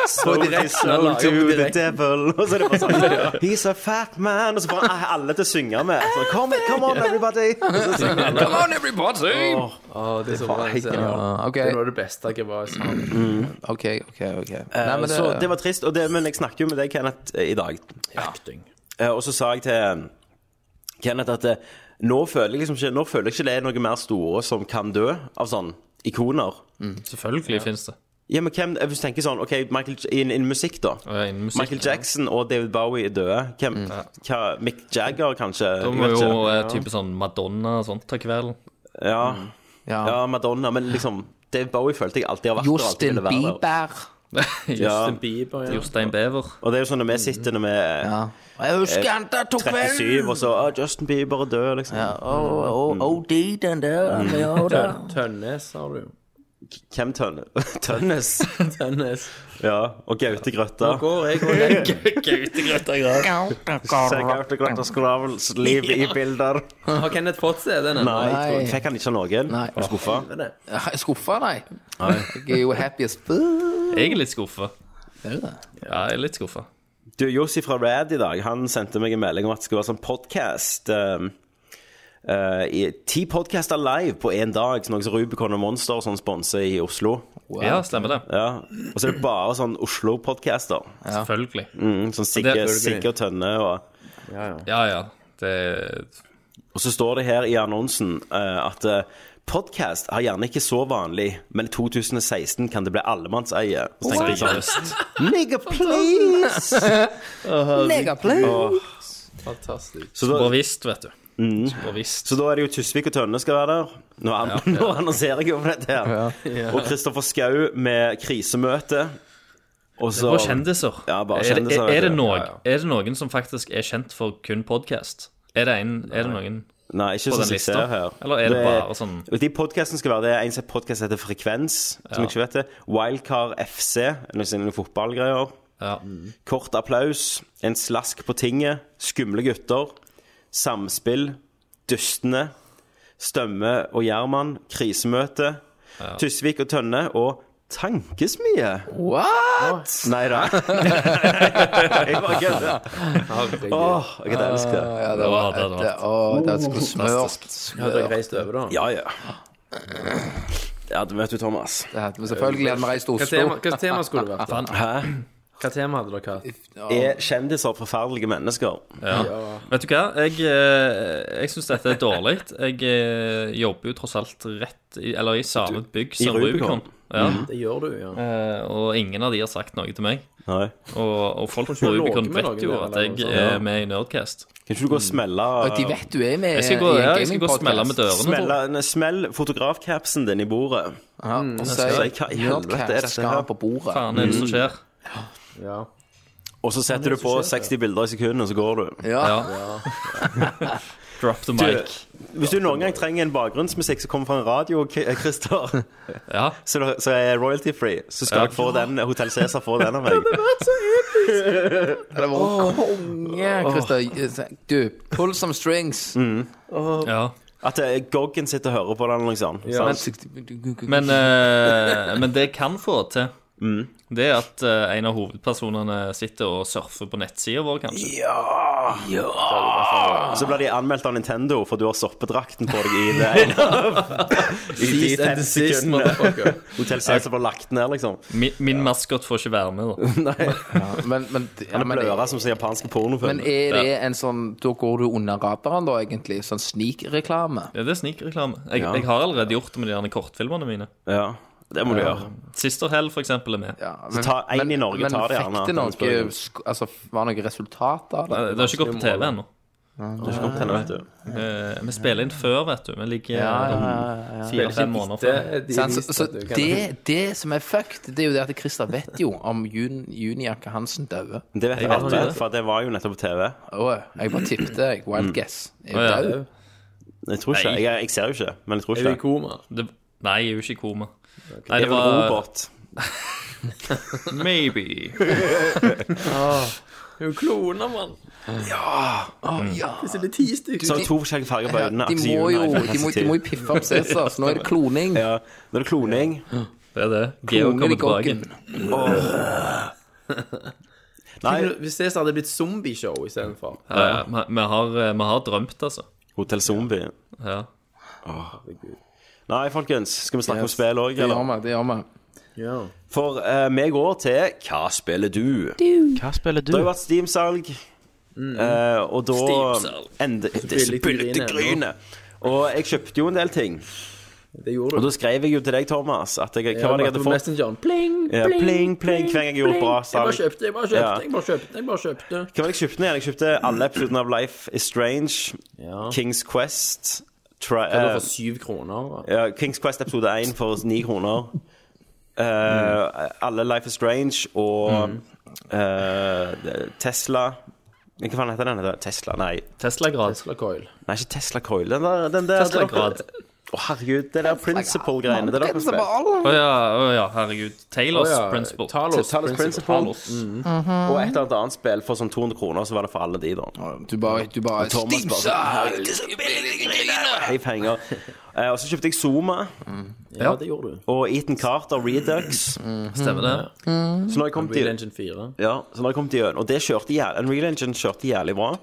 Speaker 5: Sold his soul
Speaker 6: lager
Speaker 5: to
Speaker 6: han
Speaker 5: the
Speaker 6: direkte.
Speaker 5: devil. Og så er det bare sånn He's a fat man. Og så får han alle til å synge med. Sånn, come, come on, everybody. Og så synger alle.
Speaker 2: Come on, everybody!
Speaker 5: Åh,
Speaker 6: Å, det er så bra.
Speaker 5: helt
Speaker 6: Det
Speaker 5: genialt.
Speaker 7: Ah, OK,
Speaker 6: er noe av det beste jeg var sammen
Speaker 7: OK. ok, ok Nei, men
Speaker 5: Så det var trist, og det, men jeg snakker jo med deg, Kenneth, eh, i dag.
Speaker 6: Acting.
Speaker 5: Eh, Og så sa jeg til Kenneth at eh, nå føler jeg liksom ikke Nå føler jeg ikke det er noe mer store som kan dø av sånn ikoner.
Speaker 8: Selvfølgelig finnes det.
Speaker 5: Ja, men hvem, Hvis du tenker sånn OK, Michael, J- innen innen musikk, da.
Speaker 8: Og innen musikk- Mm.
Speaker 5: Michael Jackson og David Bowie er døde. Hvem, hva, Mick Jagger, kanskje?
Speaker 8: Da må
Speaker 5: Jeg vet
Speaker 8: jo
Speaker 5: ikke.
Speaker 8: eh, type sånn Madonna og sånt ta (laughs) kvelden.
Speaker 5: ja,
Speaker 7: ja.
Speaker 5: ja, Madonna. Men liksom David Bowie følte jeg alltid har vært der, alltid
Speaker 7: Justin
Speaker 5: ville være der.
Speaker 7: Bieber.
Speaker 5: Ja.
Speaker 6: Justin Bieber, ja.
Speaker 8: Jostein Bever.
Speaker 5: Og det er jo sånn når vi sitter når vi er
Speaker 7: Ja. Jeg husker han der
Speaker 5: Eh,
Speaker 7: tok
Speaker 5: 37, og så ah, Justin Bieber er død, liksom.
Speaker 7: OD, den der.
Speaker 6: Tøn- Tønnes, sa
Speaker 8: (laughs)
Speaker 6: du.
Speaker 5: Hvem tønne? (laughs) Tønnes?
Speaker 6: Tønnes.
Speaker 5: Ja, og Gaute Grøtta.
Speaker 6: Går jeg og jeg.
Speaker 8: (laughs)
Speaker 5: Gaute Grøtta Skravels liv i bilder.
Speaker 6: Har Kenneth fått CD-en ennå?
Speaker 5: Nei,
Speaker 7: Nei.
Speaker 5: fikk han ikke av noen?
Speaker 7: Nei.
Speaker 5: Er du skuffa?
Speaker 7: Skuffa, nei. Jeg er jo happy as b...
Speaker 8: Jeg er litt skuffa.
Speaker 7: Er du det?
Speaker 8: Ja, jeg er litt skuffa.
Speaker 5: Du, Jossi fra Rad i dag, han sendte meg en melding om at det skulle være sånn podkast. ti podcaster live på én dag, så noe som Rubicon og Monster og sånn sponser i Oslo.
Speaker 8: Ja, stemmer det.
Speaker 5: Ja. Og så er det bare sånn Oslo-podcaster.
Speaker 8: Selvfølgelig.
Speaker 5: Mm, sånn Sigge,
Speaker 8: Det-
Speaker 5: Sigge og Tønne og
Speaker 8: Ja, ja. Det
Speaker 5: Og så står det her i annonsen eh, at eh, podcast er gjerne ikke så vanlig, men i 2016 kan det bli allemannseie. Så tenker jeg sånn, Nigga, please!
Speaker 6: Fantastisk.
Speaker 5: Så da,
Speaker 8: Bare visst, vet du. Bare visst.
Speaker 5: Mm. så da er det jo Tusvik og Tønne skal være der. Nå, an (laughs) nå annonserer jeg jo for dette her. Og Kristoffer Skau med krisemøte. Og så
Speaker 8: Bare kjendiser.
Speaker 5: Ja, bare
Speaker 8: er, det,
Speaker 5: kjendiser,
Speaker 8: er, er, det
Speaker 5: vet du.
Speaker 8: noe,
Speaker 5: Ja, ja.
Speaker 8: er det noen som faktisk er kjent for kun podkast? Er, det en- er det noen
Speaker 5: Nei, ikke
Speaker 8: på
Speaker 5: sånn
Speaker 8: den
Speaker 5: som jeg ser
Speaker 8: lista?
Speaker 5: her.
Speaker 8: Eller er det bare sånn
Speaker 5: Og De podkastene skal være det. En podkast heter Frekvens, som jeg ikke vet det. Wildcard FC, noe sånn fotballgreier.
Speaker 8: Ja.
Speaker 6: Mm.
Speaker 5: Kort applaus, en slask på tinget, skumle gutter, samspill, dustene, Stømme og Gjerman, krisemøte, Tysvik og Tønne og Tankesmie.
Speaker 7: What?!
Speaker 5: Nei da. (laughs) jeg bare kødder. Åh, jeg kan elske det.
Speaker 7: Ja, det var et Å, det skulle smørt.
Speaker 6: Hadde jeg
Speaker 7: smørt.
Speaker 6: reist over, da?
Speaker 5: Ja, ja. Ja, du vet du, Thomas.
Speaker 7: Det hadde vi selvfølgelig hadde vi reist til
Speaker 6: Hva tema,
Speaker 7: Oslo.
Speaker 6: hva tema skulle det vært? da?
Speaker 5: Hæ?
Speaker 6: Hva tema hadde dere hatt?
Speaker 5: Er kjendiser forferdelige mennesker?
Speaker 8: Vet du hva, jeg, eh, jeg syns dette er dårlig. Jeg eh, jobber jo tross alt rett i, Eller i samme bygg som
Speaker 5: Rubicon.
Speaker 8: Rubicon. Ja.
Speaker 6: Mm. Det gjør du, ja.
Speaker 8: Eh, Og ingen av de har sagt noe til meg.
Speaker 5: Nei.
Speaker 8: Og, og folk
Speaker 6: du
Speaker 8: på Rubicon
Speaker 6: låge med
Speaker 8: vet jo
Speaker 6: noen,
Speaker 8: at
Speaker 6: eller
Speaker 8: jeg
Speaker 6: noe sånt?
Speaker 8: er med i Nerdcast.
Speaker 5: Kan ikke du gå og smelle
Speaker 7: De vet du er med
Speaker 8: Jeg skal gå,
Speaker 7: Eh, i
Speaker 8: ja,
Speaker 7: en
Speaker 8: jeg skal gå og smelle med
Speaker 7: gamingpodkast.
Speaker 8: dørene. tror jeg.
Speaker 5: Smell, nei, smell fotografcapsen din i bordet.
Speaker 7: Ja,
Speaker 8: Mm.
Speaker 7: og så
Speaker 5: jeg si, hva i helvete er dette
Speaker 7: Nerdcast skal
Speaker 5: her?
Speaker 7: på bordet.
Speaker 8: Faen, er det
Speaker 6: Mm.
Speaker 8: som skjer?
Speaker 6: ja.
Speaker 5: Og så setter du på 60 bilder i sekundet, og så går du.
Speaker 7: Ja.
Speaker 8: Ja. Drop the mic.
Speaker 5: Hvis du noen gang trenger en bakgrunnsmusikk som kommer fra en radio, K- eh, Christer, (laughs)
Speaker 8: Ja.
Speaker 5: så da- så er royalty free, så skal
Speaker 8: Ja.
Speaker 5: jeg få den Hotell Cæsar får den av meg.
Speaker 7: Det var konge, Christer. Du, pull some strings.
Speaker 8: ja.
Speaker 5: At eh, Goggen sitter og hører på den, eller noe sånt. sant?
Speaker 8: Men, eh, men det jeg kan få til, det er at eh, en av hovedpersonene sitter og surfer på nettsida vår, kanskje.
Speaker 5: Så
Speaker 7: Ah.
Speaker 5: blir de anmeldt av Nintendo, for du har soppedrakten på deg
Speaker 7: (laughs)
Speaker 5: i det ene av- (laughs) I de
Speaker 6: Sist
Speaker 5: fem
Speaker 6: and sist, motherfucker.
Speaker 5: sekundene. Hotell Cæsar blir lagt ned, liksom.
Speaker 8: Min, min maskot får ikke være med, da.
Speaker 5: Nei.
Speaker 7: Men, men, ja,
Speaker 5: Han
Speaker 7: men,
Speaker 5: er bløra som sånn japanske
Speaker 7: men
Speaker 5: pornofilmer.
Speaker 7: er det en sånn Da går du under radaren, da, egentlig? Sånn snikreklame?
Speaker 8: Ja, det er snikreklame. Jeg, jeg har allerede gjort det med de derne kortfilmene mine.
Speaker 5: Ja, det må du gjøre.
Speaker 8: Sister Hell, for eksempel, er med.
Speaker 7: Ja,
Speaker 5: Så ta en i Norge,
Speaker 7: men
Speaker 5: ta det
Speaker 7: fikk
Speaker 5: gjerne,
Speaker 7: det
Speaker 5: Hans
Speaker 7: noe
Speaker 5: Børge.
Speaker 7: sk- Altså, var det noe resultat av det?
Speaker 8: Det har ikke gått på TV ennå.
Speaker 5: Det har ikke kommet ennå, vet du.
Speaker 8: Eh, vi spiller inn før, vet du. Vi ligger
Speaker 9: Spiller
Speaker 8: fire-fem måneder før.
Speaker 9: etter de
Speaker 7: Sant? Så,
Speaker 9: visste
Speaker 7: så
Speaker 9: at du kan-
Speaker 7: det, det som er fucked, det er jo det at Christer vet jo om jun, Juniakke Hansen døde.
Speaker 5: Det vet jeg
Speaker 8: vet
Speaker 5: alle,
Speaker 8: det.
Speaker 5: for det var jo nettopp på TV.
Speaker 7: Åh, jeg bare tippte, jeg.
Speaker 5: Mm.
Speaker 7: Wild guess. Jeg
Speaker 8: Å, ja.
Speaker 7: er død.
Speaker 5: Jeg tror ikke,
Speaker 8: Nei.
Speaker 5: jeg, jeg ser jo ikke, men jeg tror
Speaker 9: Er du i
Speaker 5: ikke.
Speaker 9: koma?
Speaker 8: Det, nei, jeg er jo ikke i koma. Nei, det
Speaker 5: Det er vel
Speaker 8: var
Speaker 5: Robert.
Speaker 8: (laughs) Maybe.
Speaker 9: Du Ah, kloner, mann. Ja. Hvis det er ti stykker
Speaker 5: Så har du to forskjellige farger på øynene.
Speaker 7: De må jo de må, de må jo piffe opp Cæsar, så nå er det kloning.
Speaker 5: ja, Nå er det kloning.
Speaker 8: Det er det. Geo
Speaker 7: Kloning
Speaker 8: kommer
Speaker 7: i
Speaker 8: tilbake.
Speaker 7: gokken.
Speaker 5: Nei,
Speaker 9: Hvis det hadde blitt zombieshow istedenfor.
Speaker 8: Ja, ja. Vi, vi, har, vi har drømt, altså.
Speaker 5: Hotell Zombie.
Speaker 8: Ja.
Speaker 5: Nei, folkens, skal vi snakke om
Speaker 7: Yes.
Speaker 5: spill òg,
Speaker 7: Det gjør
Speaker 5: eller?
Speaker 7: vi. det gjør vi.
Speaker 5: For eh, vi går til Hva spiller du?
Speaker 6: Hva spiller du?
Speaker 5: Det har jo vært Steam-salg,
Speaker 9: Mm.
Speaker 5: eh, og da
Speaker 8: Steam-salg.
Speaker 5: Ende- Det
Speaker 9: billig
Speaker 5: spilte
Speaker 9: gryn
Speaker 5: grynet. Og jeg kjøpte jo en del ting.
Speaker 9: Det gjorde
Speaker 5: Og
Speaker 9: du.
Speaker 5: da skrev jeg jo til deg, Thomas, at jeg, hva var det jeg hadde
Speaker 9: på
Speaker 5: fått?
Speaker 9: Messengeren. Pling,
Speaker 5: Ja,
Speaker 9: pling,
Speaker 5: pling, pling, hver gang jeg gjorde bra
Speaker 9: Jeg
Speaker 5: salg.
Speaker 9: bare kjøpte, jeg bare
Speaker 5: Ja.
Speaker 9: kjøpte, jeg bare kjøpte. jeg bare kjøpte.
Speaker 5: Hva var det jeg kjøpte nå igjen? Jeg kjøpte alle episodene av Life is Strange, Kings Quest tri,
Speaker 9: Det
Speaker 5: eh,
Speaker 9: var syv kroner. da.
Speaker 5: ja, Kings Quest episode 1 for 9 kroner. Eh, Alle Life is Strange og
Speaker 9: Mm.
Speaker 5: eh, Tesla Hva faen heter den? heter? Tesla? Nei.
Speaker 8: Tesla-grad.
Speaker 9: Tesla Coil.
Speaker 5: Nei, ikke Tesla Coil. Den der, den der det var-
Speaker 8: Tesla-grad.
Speaker 5: Å, herregud. Det der Principle-greiene. Det der
Speaker 7: Christer Ball.
Speaker 8: Å ja, å ja, herregud. Taylors
Speaker 9: Å ja,
Speaker 8: principle.
Speaker 9: Talos
Speaker 5: Talos Principle.
Speaker 8: Talos.
Speaker 5: Og et eller annet annet spill for sånn 200 kroner, så var det for alle de, da.
Speaker 7: Du bare, du bare
Speaker 5: Thomas bare sånn,
Speaker 7: Stimsal!
Speaker 5: Hei, penger. Eh, og så kjøpte jeg Zoma
Speaker 9: Ja, det gjorde du.
Speaker 5: og Eaton Carter Redux.
Speaker 8: Mm. Stemmer det?
Speaker 9: Mm.
Speaker 5: Så nå har jeg kommet
Speaker 9: Real
Speaker 5: i-
Speaker 9: Engine 4.
Speaker 5: ja, så nå har jeg kommet igjen. Og det kjørte jævlig Unreal Engine kjørte jævlig bra.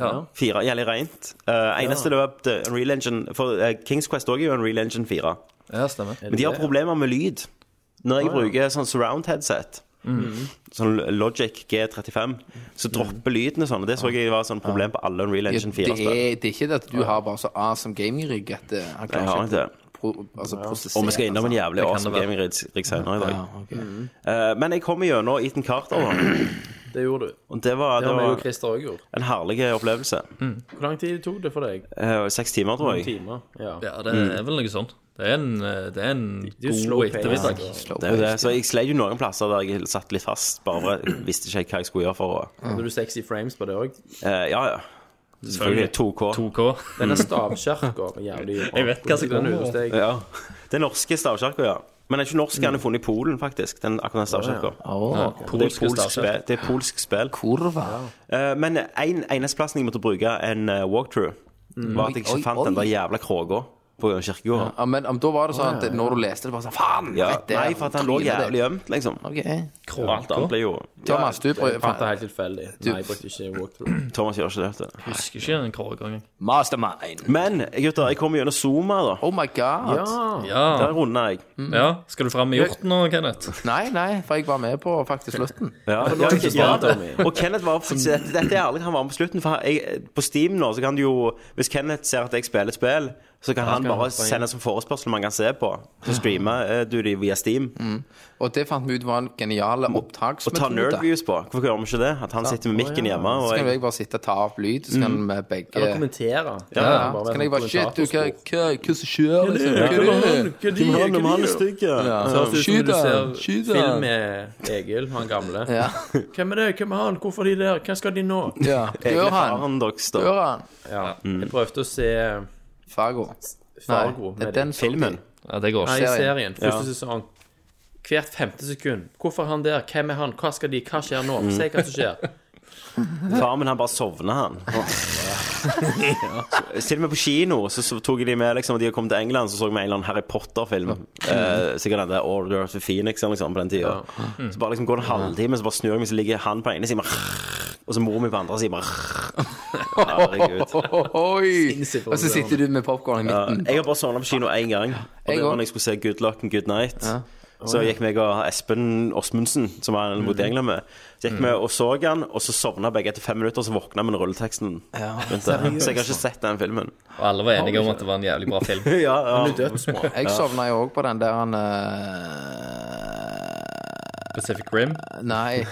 Speaker 8: Ja.
Speaker 5: Fire, jævlig rent. Eh, eneste løp til Unreal Engine For eh, Kings Quest også er jo Unreal Engine 4.
Speaker 8: ja, stemmer.
Speaker 5: Men de har problemer med lyd når jeg bruker sånn surround headset.
Speaker 7: Mm.
Speaker 5: Sånn Logic G35. Så dropper lyden og sånn. Og det så jeg var sånn problem på alle Unreal
Speaker 7: Det
Speaker 5: Engine 4-spill.
Speaker 7: er, det er ikke det at du har bare så awesome gaming-rygg at eh, han
Speaker 5: Jeg har
Speaker 7: klarer
Speaker 5: ikke
Speaker 7: ikke
Speaker 5: det.
Speaker 7: å pro- altså, prosessere
Speaker 5: Og vi skal innom en jævlig
Speaker 8: kan
Speaker 5: awesome
Speaker 8: det være.
Speaker 5: gaming-rigg senere i dag.
Speaker 7: Ja, ok.
Speaker 5: Eh, men jeg kom gjennom Eaton Carter, da.
Speaker 9: Mm. (clears throat) Det gjorde du.
Speaker 5: Og det var,
Speaker 9: Det
Speaker 5: det
Speaker 9: har vi og
Speaker 5: var
Speaker 9: Christer også gjort.
Speaker 5: en herlig opplevelse.
Speaker 8: Mm.
Speaker 9: Hvor lang tid tok det for deg?
Speaker 5: Eh, seks timer, tror
Speaker 9: En
Speaker 5: jeg.
Speaker 9: time? Ja.
Speaker 8: Ja, det er
Speaker 9: Mm.
Speaker 8: vel noe sånt. Det er en, eh, det er en
Speaker 9: er jo slow
Speaker 8: god altså. ettermiddag.
Speaker 9: pace.
Speaker 7: Slow
Speaker 5: Det er jo det.
Speaker 7: pace.
Speaker 5: Så jeg slet jo noen plasser der jeg satt litt fast. Bare for jeg visste ikke helt hva jeg skulle gjøre for å
Speaker 9: Hadde du 60 frames på det òg?
Speaker 5: Eh, Ja, ja. Selvfølgelig. 2K.
Speaker 8: 2K.
Speaker 9: Denne stavkjerka var jævlig bra.
Speaker 8: Jeg vet hva som
Speaker 9: Den
Speaker 8: kommer.
Speaker 9: ute hos deg.
Speaker 5: Ja. Den norske stavkirka, ja. Men den er ikke norsk,
Speaker 9: Mm.
Speaker 5: den er funnet i Polen, faktisk. Den, akkurat den stavkirka.
Speaker 7: Åh,
Speaker 5: Det er
Speaker 8: Polske
Speaker 5: polsk
Speaker 8: stavkirker.
Speaker 5: spill. Det er polsk spill.
Speaker 7: kurva.
Speaker 5: Eh, men en, eneste plassen jeg måtte bruke en eh, walkthrough, var at jeg
Speaker 7: Mm. Oi, oi,
Speaker 5: ikke fant
Speaker 7: oi.
Speaker 5: den der jævla kråka på kirkegården.
Speaker 7: Ja, men om, da var det sånn at når du leste det, bare sånn Faen!
Speaker 5: Ja.
Speaker 7: rett der,
Speaker 5: Nei, for at den lå
Speaker 7: trynet der.
Speaker 5: jævlig gjemt, liksom.
Speaker 7: Ok.
Speaker 5: Og alt annet ble jo
Speaker 7: Thomas, du prøver
Speaker 9: Fant det helt tilfeldig. Nei, jeg brukte ikke walkthrough.
Speaker 5: Thomas gjør ikke det. vet du.
Speaker 8: Husker ikke en krog engang.
Speaker 7: Mastermind.
Speaker 5: Men gutter, jeg kommer gjennom Zoma, da.
Speaker 7: Oh my god.
Speaker 8: Ja.
Speaker 5: Der runder jeg.
Speaker 8: ja. Skal du fram med hjorten nå, Kenneth?
Speaker 7: Nei, nei, for jeg var med på faktisk slutten.
Speaker 5: Ja, ja,
Speaker 9: er det
Speaker 5: ja,
Speaker 9: ikke sant, Tommy.
Speaker 5: og Kenneth var på, dette, dette er ærlig, han var med på slutten. For jeg, på Steam nå så kan du jo Hvis Kenneth ser at jeg spiller et spill, så kan han bare sende som forespørsel man kan se på. Så streamer eh, du de via Steam.
Speaker 7: Mm. Og det fant vi ut var en genial
Speaker 5: Og ta
Speaker 7: opptaksmetode.
Speaker 5: Nerdviews på. Hvorfor gjør vi ikke det? At han sitter med mikken hjemme.
Speaker 7: Så
Speaker 5: Og
Speaker 7: kan jo
Speaker 5: jeg, Mm.
Speaker 7: jeg bare sitte og ta av lyd, så kan vi begge
Speaker 9: Bare kommentere.
Speaker 7: ja,
Speaker 9: Bare være
Speaker 7: Så kan jeg
Speaker 9: sånn
Speaker 7: bare Shit, du, hva, hva,
Speaker 9: kommentatorspor.
Speaker 7: hva som skjer, liksom? Hva er det?
Speaker 5: han, om han er stygg, ja.
Speaker 9: Det høres ut som
Speaker 7: Skyt
Speaker 9: du
Speaker 7: han,
Speaker 9: ser
Speaker 7: skyt
Speaker 9: Film
Speaker 7: han.
Speaker 9: med Egil, han gamle.
Speaker 7: Ja.
Speaker 9: Hvem er det? Hvem er han? Hvorfor er de der? Hva skal de nå?
Speaker 7: ja.
Speaker 5: Egne
Speaker 7: Dør han?
Speaker 5: faren deres, da.
Speaker 7: Dør han?
Speaker 9: Ja. Jeg prøvde å se
Speaker 7: Fargo.
Speaker 9: Fargo
Speaker 7: Nei,
Speaker 9: med
Speaker 7: den
Speaker 9: de.
Speaker 7: filmen.
Speaker 8: Ja, det går
Speaker 9: Nei,
Speaker 8: ikke.
Speaker 9: serien. Første
Speaker 5: Ja.
Speaker 9: sesong. Hvert femte sekund. Hvorfor er han der? Hvem er han? Hva skal de? Hva skjer nå? Si hva som skjer.
Speaker 5: Faren min, han bare sovner, han. Ja. Til og med på kino så, så tok de med liksom, De hadde kommet til England, så så vi en eller annen Harry Potter-film. Eh, sikkert den der Order of the Phoenix eller noe sånt på den tida. Så bare liksom går det en halvtime, så bare snur jeg meg, så ligger han på ene siden bare, og så mor mi på andre siden bare Herregud.
Speaker 7: (laughs) Oi! Og så sitter du med popkorn i
Speaker 5: Ja,
Speaker 7: midten.
Speaker 5: jeg har bare sovna på kino én gang. Og
Speaker 7: Jeg
Speaker 5: det var
Speaker 7: også.
Speaker 5: når jeg skulle se Good Luck and Good Night. Så gikk meg og Espen Osmundsen, som var en
Speaker 7: Mhm.
Speaker 5: mot England med, så gikk vi og så han, og så sovna begge etter fem minutter, og så våkna vi med rulleteksten. rundt der. så jeg har ikke sett den filmen.
Speaker 8: Og alle var enige om at det var en jævlig bra film.
Speaker 5: Ja, ja.
Speaker 7: Jeg sovna jo òg på den der han eh,
Speaker 8: Pacific Rim.
Speaker 7: Nei.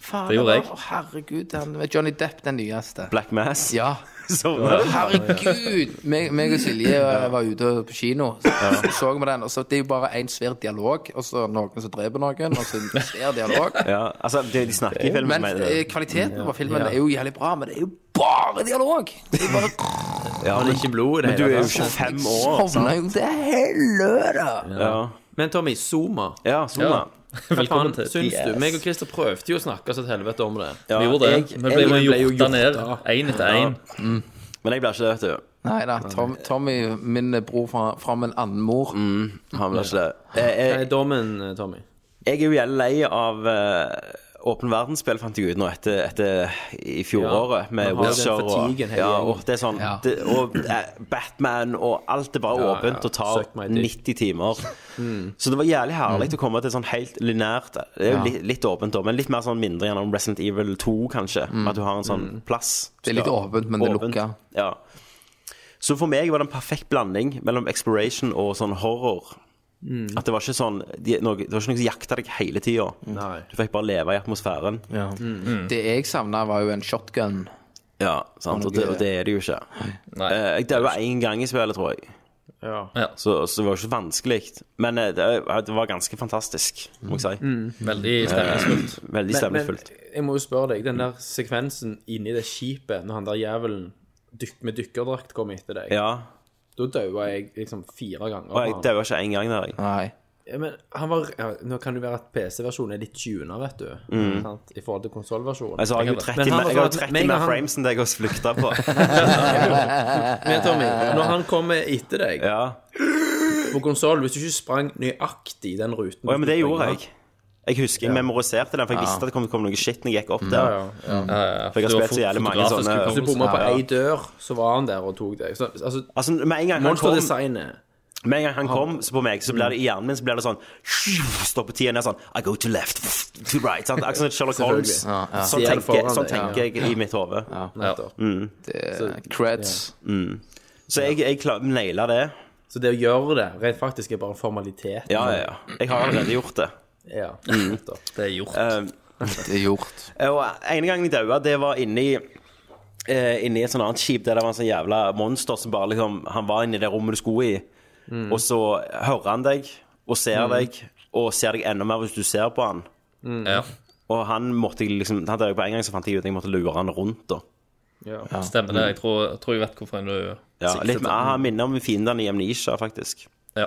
Speaker 7: Faen,
Speaker 5: (laughs)
Speaker 8: Det gjorde jeg.
Speaker 7: var- Å, herregud, den, Johnny Depp, den nyeste.
Speaker 5: (laughs) Black Mass.
Speaker 7: Ja.
Speaker 5: sovna.
Speaker 7: Herregud! Meg, meg og Silje eh, var ute på kino, så så vi den. Og så, det er jo bare én svær dialog, og så noen som dreper noen, og så en svær dialog.
Speaker 5: Ja, altså, det, de snakker i filmen.
Speaker 7: Men
Speaker 5: mener
Speaker 7: eh,
Speaker 5: jeg.
Speaker 7: kvaliteten på filmen er jo jævlig bra, men det er jo bare dialog! Det er bare
Speaker 5: Ja,
Speaker 6: Men
Speaker 5: men,
Speaker 6: ikke blod i det
Speaker 5: du er
Speaker 6: hele
Speaker 5: jo
Speaker 6: tatt.
Speaker 5: 25 år.
Speaker 7: Sovna jo til helvete!
Speaker 5: Ja,
Speaker 9: Men Tommy, Zuma.
Speaker 5: ja sånn, da.
Speaker 9: Hva
Speaker 8: Velkommen
Speaker 9: faen
Speaker 8: til
Speaker 9: syns
Speaker 8: Yes.
Speaker 9: du? Meg og Christer prøvde jo å snakke oss et helvete om det.
Speaker 5: Ja,
Speaker 8: Vi gjorde det.
Speaker 5: jeg-
Speaker 8: Vi ble
Speaker 9: jeg
Speaker 8: jo
Speaker 9: ble jo
Speaker 8: hjorta ned,
Speaker 9: hjorta.
Speaker 8: én etter én.
Speaker 5: Men jeg blir ikke det, vet du.
Speaker 7: Nei da. Tom, Tommy, min bror fra, fra min annen mor.
Speaker 5: Han blir ikke det. Jeg,
Speaker 9: Hva
Speaker 5: jeg,
Speaker 9: er dommen, eh, Tommy?
Speaker 5: jeg er jo jævlig lei av eh, Åpen verdensspill fant jeg ut nå etter, etter i fjoråret, med
Speaker 9: man har den
Speaker 5: Witcher og,
Speaker 9: fatigen hele
Speaker 5: ja,
Speaker 9: gjengen.
Speaker 5: og det er sånn
Speaker 7: Ja.
Speaker 5: det, Og eh, Batman og alt er bare
Speaker 9: Ja,
Speaker 5: åpent
Speaker 9: ja.
Speaker 5: og tar
Speaker 9: Suck my dick.
Speaker 5: 90 timer. Så det var jævlig
Speaker 7: Mm.
Speaker 5: herlig å komme til sånn helt linært Det er jo litt, litt åpent da, men litt mer sånn mindre gjennom Resident Evil 2, kanskje. At du har en sånn plass.
Speaker 7: Mm. Det er litt åpent, men det
Speaker 5: Åpent.
Speaker 7: lukker.
Speaker 5: Ja. Så for meg var det en perfekt blanding mellom exploration og sånn horror.
Speaker 7: Mm.
Speaker 5: At det var ikke sånn de, noe, Det var ikke noe som jakta deg hele tida.
Speaker 9: Nei.
Speaker 5: Du fikk bare leve i atmosfæren. Ja,
Speaker 7: Det jeg savna, var jo en shotgun.
Speaker 5: sant? Og, det, og det er det jo ikke.
Speaker 8: Nei.
Speaker 5: Eh, Jeg daua én gang i spillet, tror jeg.
Speaker 9: Ja.
Speaker 5: Så, så det var jo ikke vanskelig. Men eh, det, det var ganske fantastisk, må jeg
Speaker 7: Mm.
Speaker 5: si.
Speaker 8: Veldig stemningsfullt.
Speaker 5: Veldig
Speaker 9: Men
Speaker 5: stemningsfullt.
Speaker 9: jeg må jo spørre deg, den der sekvensen inni det skipet, når han der jævelen dyk, med dykkerdrakt kom etter deg,
Speaker 5: Ja.
Speaker 9: da daua jeg liksom fire ganger.
Speaker 5: Og jeg
Speaker 9: av han.
Speaker 5: daua ikke én gang der, jeg.
Speaker 7: Nei.
Speaker 9: Ja, men han var, ja, nå kan det være at PC-versjonen er litt tuna, vet du, sant? i forhold til konsolversjonen.
Speaker 5: Mm. Altså, jeg har jo
Speaker 8: Men
Speaker 5: 30
Speaker 9: han
Speaker 5: mer- jeg
Speaker 9: var
Speaker 5: har
Speaker 9: sånn
Speaker 5: jo
Speaker 9: at
Speaker 5: 30
Speaker 9: meg og
Speaker 5: mer
Speaker 9: han-
Speaker 5: frames enn deg har flykta
Speaker 9: (laughs)
Speaker 5: på.
Speaker 9: Men Tommy, når han kommer etter deg
Speaker 5: Ja.
Speaker 9: på konsolen, hvis du ikke sprang nøyaktig den ruten
Speaker 5: Å ja, men det gjorde jeg. Jeg husker jeg memoriserte den, for jeg visste at det kom, kom noe shit når jeg gikk opp
Speaker 9: Mm.
Speaker 5: der. Mm. For jeg har spilt så jævlig mange sånne-
Speaker 9: Hvis du bomma på ei dør, så var han der og tok deg. Så, altså,
Speaker 5: Altså, med en gang han kom,
Speaker 9: monsterdesignet
Speaker 5: med en gang han kom så på meg, så blir det i hjernen min så blir det sånn Stopper tida ned sånn I go to left, to right. Sant? Akkurat som Sherlock Holmes. Sånn
Speaker 9: Ser det
Speaker 5: tenker,
Speaker 9: foran
Speaker 5: sånn
Speaker 9: deg, ja.
Speaker 5: tenker jeg i mitt hode.
Speaker 9: nettopp.
Speaker 7: Det er Eh, creds.
Speaker 5: Så jeg, jeg klar- naila det.
Speaker 9: Så det å gjøre det rent faktisk er bare en formalitet.
Speaker 5: Ja, ja, ja. Jeg har allerede gjort det.
Speaker 9: Ja,
Speaker 5: Mm.
Speaker 9: nettopp.
Speaker 8: Det er gjort.
Speaker 5: Um,
Speaker 7: Det er gjort.
Speaker 5: Eh, og ene gangen jeg daua, det var inni eh, Inni et sånt annet skip der det var en sånn jævla monster som bare liksom Han var inni det rommet du skulle i,
Speaker 9: Mm.
Speaker 5: og så hører han deg og ser deg, og ser deg enda mer hvis du ser på han.
Speaker 8: Ja,
Speaker 5: Og han måtte jeg liksom Han døde på en gang, så fant jeg ut at jeg måtte lure han rundt, da.
Speaker 8: stemmer det. Jeg tror, jeg tror jeg vet hvorfor du
Speaker 5: Ja,
Speaker 8: sikter
Speaker 5: litt
Speaker 8: til.
Speaker 5: mer, Han minner om fiendene i Amnesia, faktisk.
Speaker 8: Ja.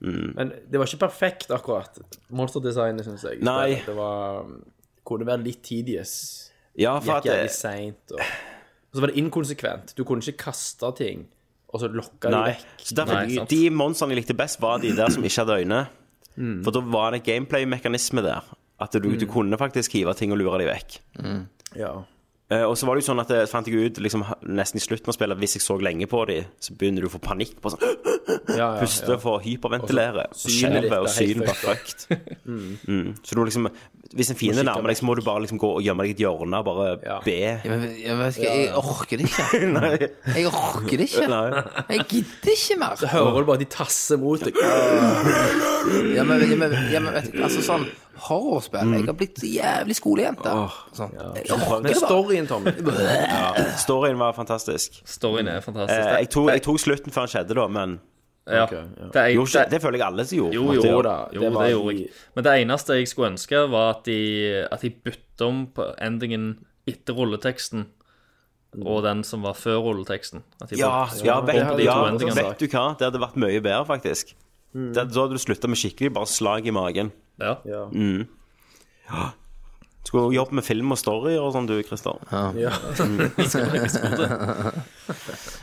Speaker 9: Men det var ikke perfekt, akkurat. Monsterdesignet, syns jeg.
Speaker 5: Nei.
Speaker 9: Det var um, Kunne være litt tedious.
Speaker 5: Ja, for at
Speaker 9: Gikk jævlig
Speaker 5: det,
Speaker 9: seint. Og... og så var det inkonsekvent. Du kunne ikke kaste ting, og så lokke de
Speaker 5: Nei.
Speaker 9: vekk.
Speaker 5: Så derfor,
Speaker 8: Nei, sant.
Speaker 5: De monstrene jeg likte best, var de der som ikke hadde øyne.
Speaker 9: Mm.
Speaker 5: For da var det en gameplay-mekanisme der. At du, du kunne faktisk hive ting og lure dem vekk.
Speaker 9: Ja.
Speaker 5: Eh, og så var det jo sånn at jeg fant jeg ut liksom, nesten i slutten av spillet at hvis jeg så lenge på dem, så begynner du å få panikk på sånn (gasps)
Speaker 9: Ja, ja,
Speaker 5: Puste
Speaker 9: ja.
Speaker 5: for å hyperventilere.
Speaker 9: Og så synet ditt
Speaker 5: Skjelve og
Speaker 9: er helt
Speaker 5: synet bare fucked.
Speaker 9: (laughs)
Speaker 5: Mm. Så du liksom Hvis en fiende nærmer deg, så må du bare liksom gå og gjemme deg i et hjørne og bare
Speaker 9: Ja.
Speaker 5: be.
Speaker 7: Jeg, vet- jeg, vet ikke, jeg orker det ikke. Jeg orker det ikke.
Speaker 5: Nei.
Speaker 9: (laughs)
Speaker 7: Jeg gidder ikke mer.
Speaker 9: Hører du bare de tasser mot deg?
Speaker 7: Ja, men, ja, men, ja, men vet du, altså sånn horrorspill Jeg har blitt så jævlig skolejente. Sånn. Jeg orker det
Speaker 9: Men
Speaker 7: bare.
Speaker 9: storyen, Tommy
Speaker 5: Storyen var fantastisk.
Speaker 8: Storyen er fantastisk.
Speaker 5: Eh, jeg,
Speaker 8: Det-
Speaker 5: tok, jeg tok slutten før den skjedde, da, men
Speaker 8: ja.
Speaker 9: Ok, ja.
Speaker 8: Det, er-
Speaker 5: gjorde ikke,
Speaker 8: det,
Speaker 5: det føler jeg alle som gjorde.
Speaker 8: jo,
Speaker 5: at
Speaker 8: jo,
Speaker 5: de
Speaker 8: jo, det,
Speaker 5: gjorde.
Speaker 9: da, det var
Speaker 8: gjorde
Speaker 9: i-
Speaker 8: jeg. Men det eneste jeg skulle ønske, var at de, at de bytte om på endingen etter rulleteksten og den som var før rulleteksten. At de
Speaker 5: Ja,
Speaker 8: bare-
Speaker 5: ja,
Speaker 8: bompe
Speaker 5: vet,
Speaker 8: de
Speaker 5: ja
Speaker 8: to endingene.
Speaker 5: vet du hva? Det hadde vært mye bedre, faktisk.
Speaker 9: Mm.
Speaker 5: Det, da hadde du slutta med skikkelig bare slag i magen.
Speaker 8: Ja.
Speaker 5: Skulle jo jobbe med film og story og sånn, du, Christer. Mm.
Speaker 9: (laughs)
Speaker 5: (laughs)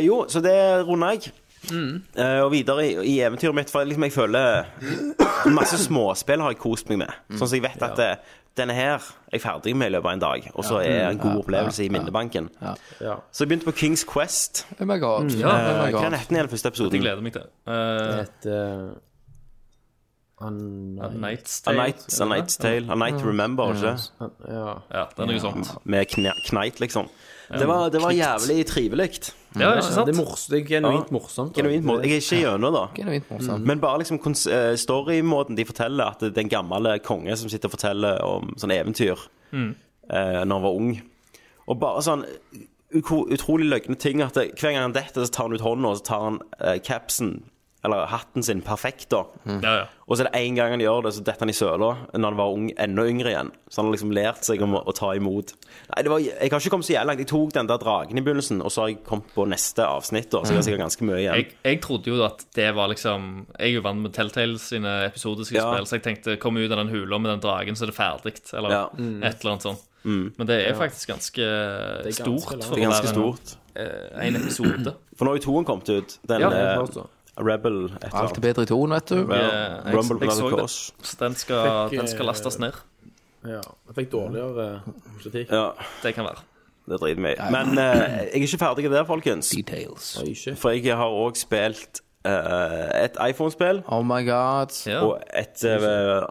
Speaker 5: Eh, jo, så det runder jeg.
Speaker 9: Mm.
Speaker 5: Eh, og videre i, i eventyret mitt, for liksom jeg føler Masse småspill har jeg kost meg med. Sånn som jeg vet at eh, denne her er jeg ferdig med i løpet av en dag, og så er det en god opplevelse i minnebanken.
Speaker 9: Mm. Ja.
Speaker 5: Så jeg begynte på Kings Quest.
Speaker 7: Oh my god.
Speaker 5: Eh,
Speaker 7: Oh
Speaker 5: Hva
Speaker 7: my god.
Speaker 5: er netten igjen første
Speaker 8: Jeg
Speaker 5: episoden?
Speaker 8: gleder meg til det.
Speaker 9: Et eh, han-
Speaker 8: Uh, Night's
Speaker 5: A
Speaker 8: Tale.
Speaker 5: Night's, a Night's Tale. A Night Remember, ikke?
Speaker 9: Mm. Ja.
Speaker 8: Ja, det er noe sånt.
Speaker 5: Med kne- kneit, liksom. Det var, det var jævlig trivelig.
Speaker 8: Ja, ikke sant?
Speaker 9: Det er, mors det er genuint morsomt. da.
Speaker 5: Genuint morsomt. Jeg er ikke gjennom, da.
Speaker 7: Genuint morsomt.
Speaker 5: Men bare liksom kons- eh, storymåten de forteller at det er en gammel konge som sitter og eh, forteller om sånne eventyr eh, når han var ung. Og bare sånn uko- utrolig løgne ting at det, hver gang han detter, så tar han ut hånda, og så tar han eh, capsen, eller hatten sin, perfekt, da.
Speaker 8: Ja, ja.
Speaker 5: Og så er det en gang han gjør det, så detter han i søla når han var ung, enda yngre igjen. Så han har liksom lært seg om å, å ta imot. Nei, det var, Jeg har ikke kommet så jævlig langt. Jeg tok den der dragen i begynnelsen, og så har jeg kommet på neste avsnitt, da, så jeg har sikkert ganske mye igjen.
Speaker 8: Jeg, jeg trodde jo at det var liksom Jeg er jo vant med Telltale sine episodiske
Speaker 5: Ja.
Speaker 8: spill, så jeg tenkte kom ut av den hula med den dragen, så er det ferdig, eller
Speaker 5: Ja.
Speaker 7: Mm.
Speaker 8: et eller annet sånt. Men det er faktisk ganske, stort
Speaker 9: langt.
Speaker 8: for
Speaker 5: Det
Speaker 8: å
Speaker 5: er
Speaker 8: være
Speaker 5: ganske
Speaker 8: en,
Speaker 5: stort.
Speaker 8: eh, en episode.
Speaker 5: For nå er jo toen kommet ut. Den
Speaker 8: Ja, det
Speaker 5: eh,
Speaker 8: er
Speaker 5: Rebel et eller
Speaker 7: Alt
Speaker 5: annet.
Speaker 7: er bedre i toen, vet du.
Speaker 5: Ja,
Speaker 8: Jeg- jeg-
Speaker 5: Rumble
Speaker 8: jeg
Speaker 5: Blood
Speaker 8: så det.
Speaker 5: Cross.
Speaker 8: Så den skal,
Speaker 9: Fikk,
Speaker 8: den skal
Speaker 9: eh,
Speaker 8: lastes ned.
Speaker 9: Ja. Jeg fikk dårligere eh, kritikk.
Speaker 5: Ja,
Speaker 8: Det kan være.
Speaker 5: det driter vi i. Men eh, jeg er ikke ferdig der, folkens.
Speaker 7: Details.
Speaker 9: Oi, shit.
Speaker 5: For jeg har òg spilt eh, et iPhone-spill
Speaker 7: Oh my god.
Speaker 8: Ja.
Speaker 5: og et eh,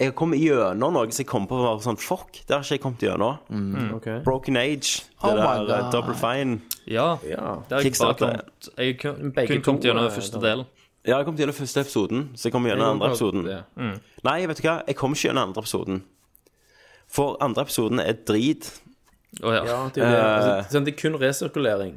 Speaker 5: Jeg har kommet gjennom noe som jeg kom på var sånn Fuck, det har ikke jeg kommet gjennom.
Speaker 9: Ok.
Speaker 5: Broken Age. Det
Speaker 7: Mm. Oh my
Speaker 5: der eh,
Speaker 7: God.
Speaker 5: Double Fine.
Speaker 8: Ja, det
Speaker 9: Ja.
Speaker 8: har jeg bare
Speaker 5: Kickstarter.
Speaker 8: kommet Jeg har kun,
Speaker 9: begge
Speaker 8: kun
Speaker 9: to,
Speaker 8: kommet gjennom
Speaker 9: eh,
Speaker 8: første
Speaker 9: da.
Speaker 8: delen.
Speaker 5: Ja, jeg kom gjennom første episoden, så jeg kom gjennom andre episoden.
Speaker 9: Ja.
Speaker 5: Nei, vet du hva, jeg kom ikke gjennom andre episoden. For andre episoden er drit.
Speaker 8: Å ja.
Speaker 9: Ja, det, er jo det.
Speaker 5: Eh.
Speaker 9: Altså, sånn, det er kun resirkulering.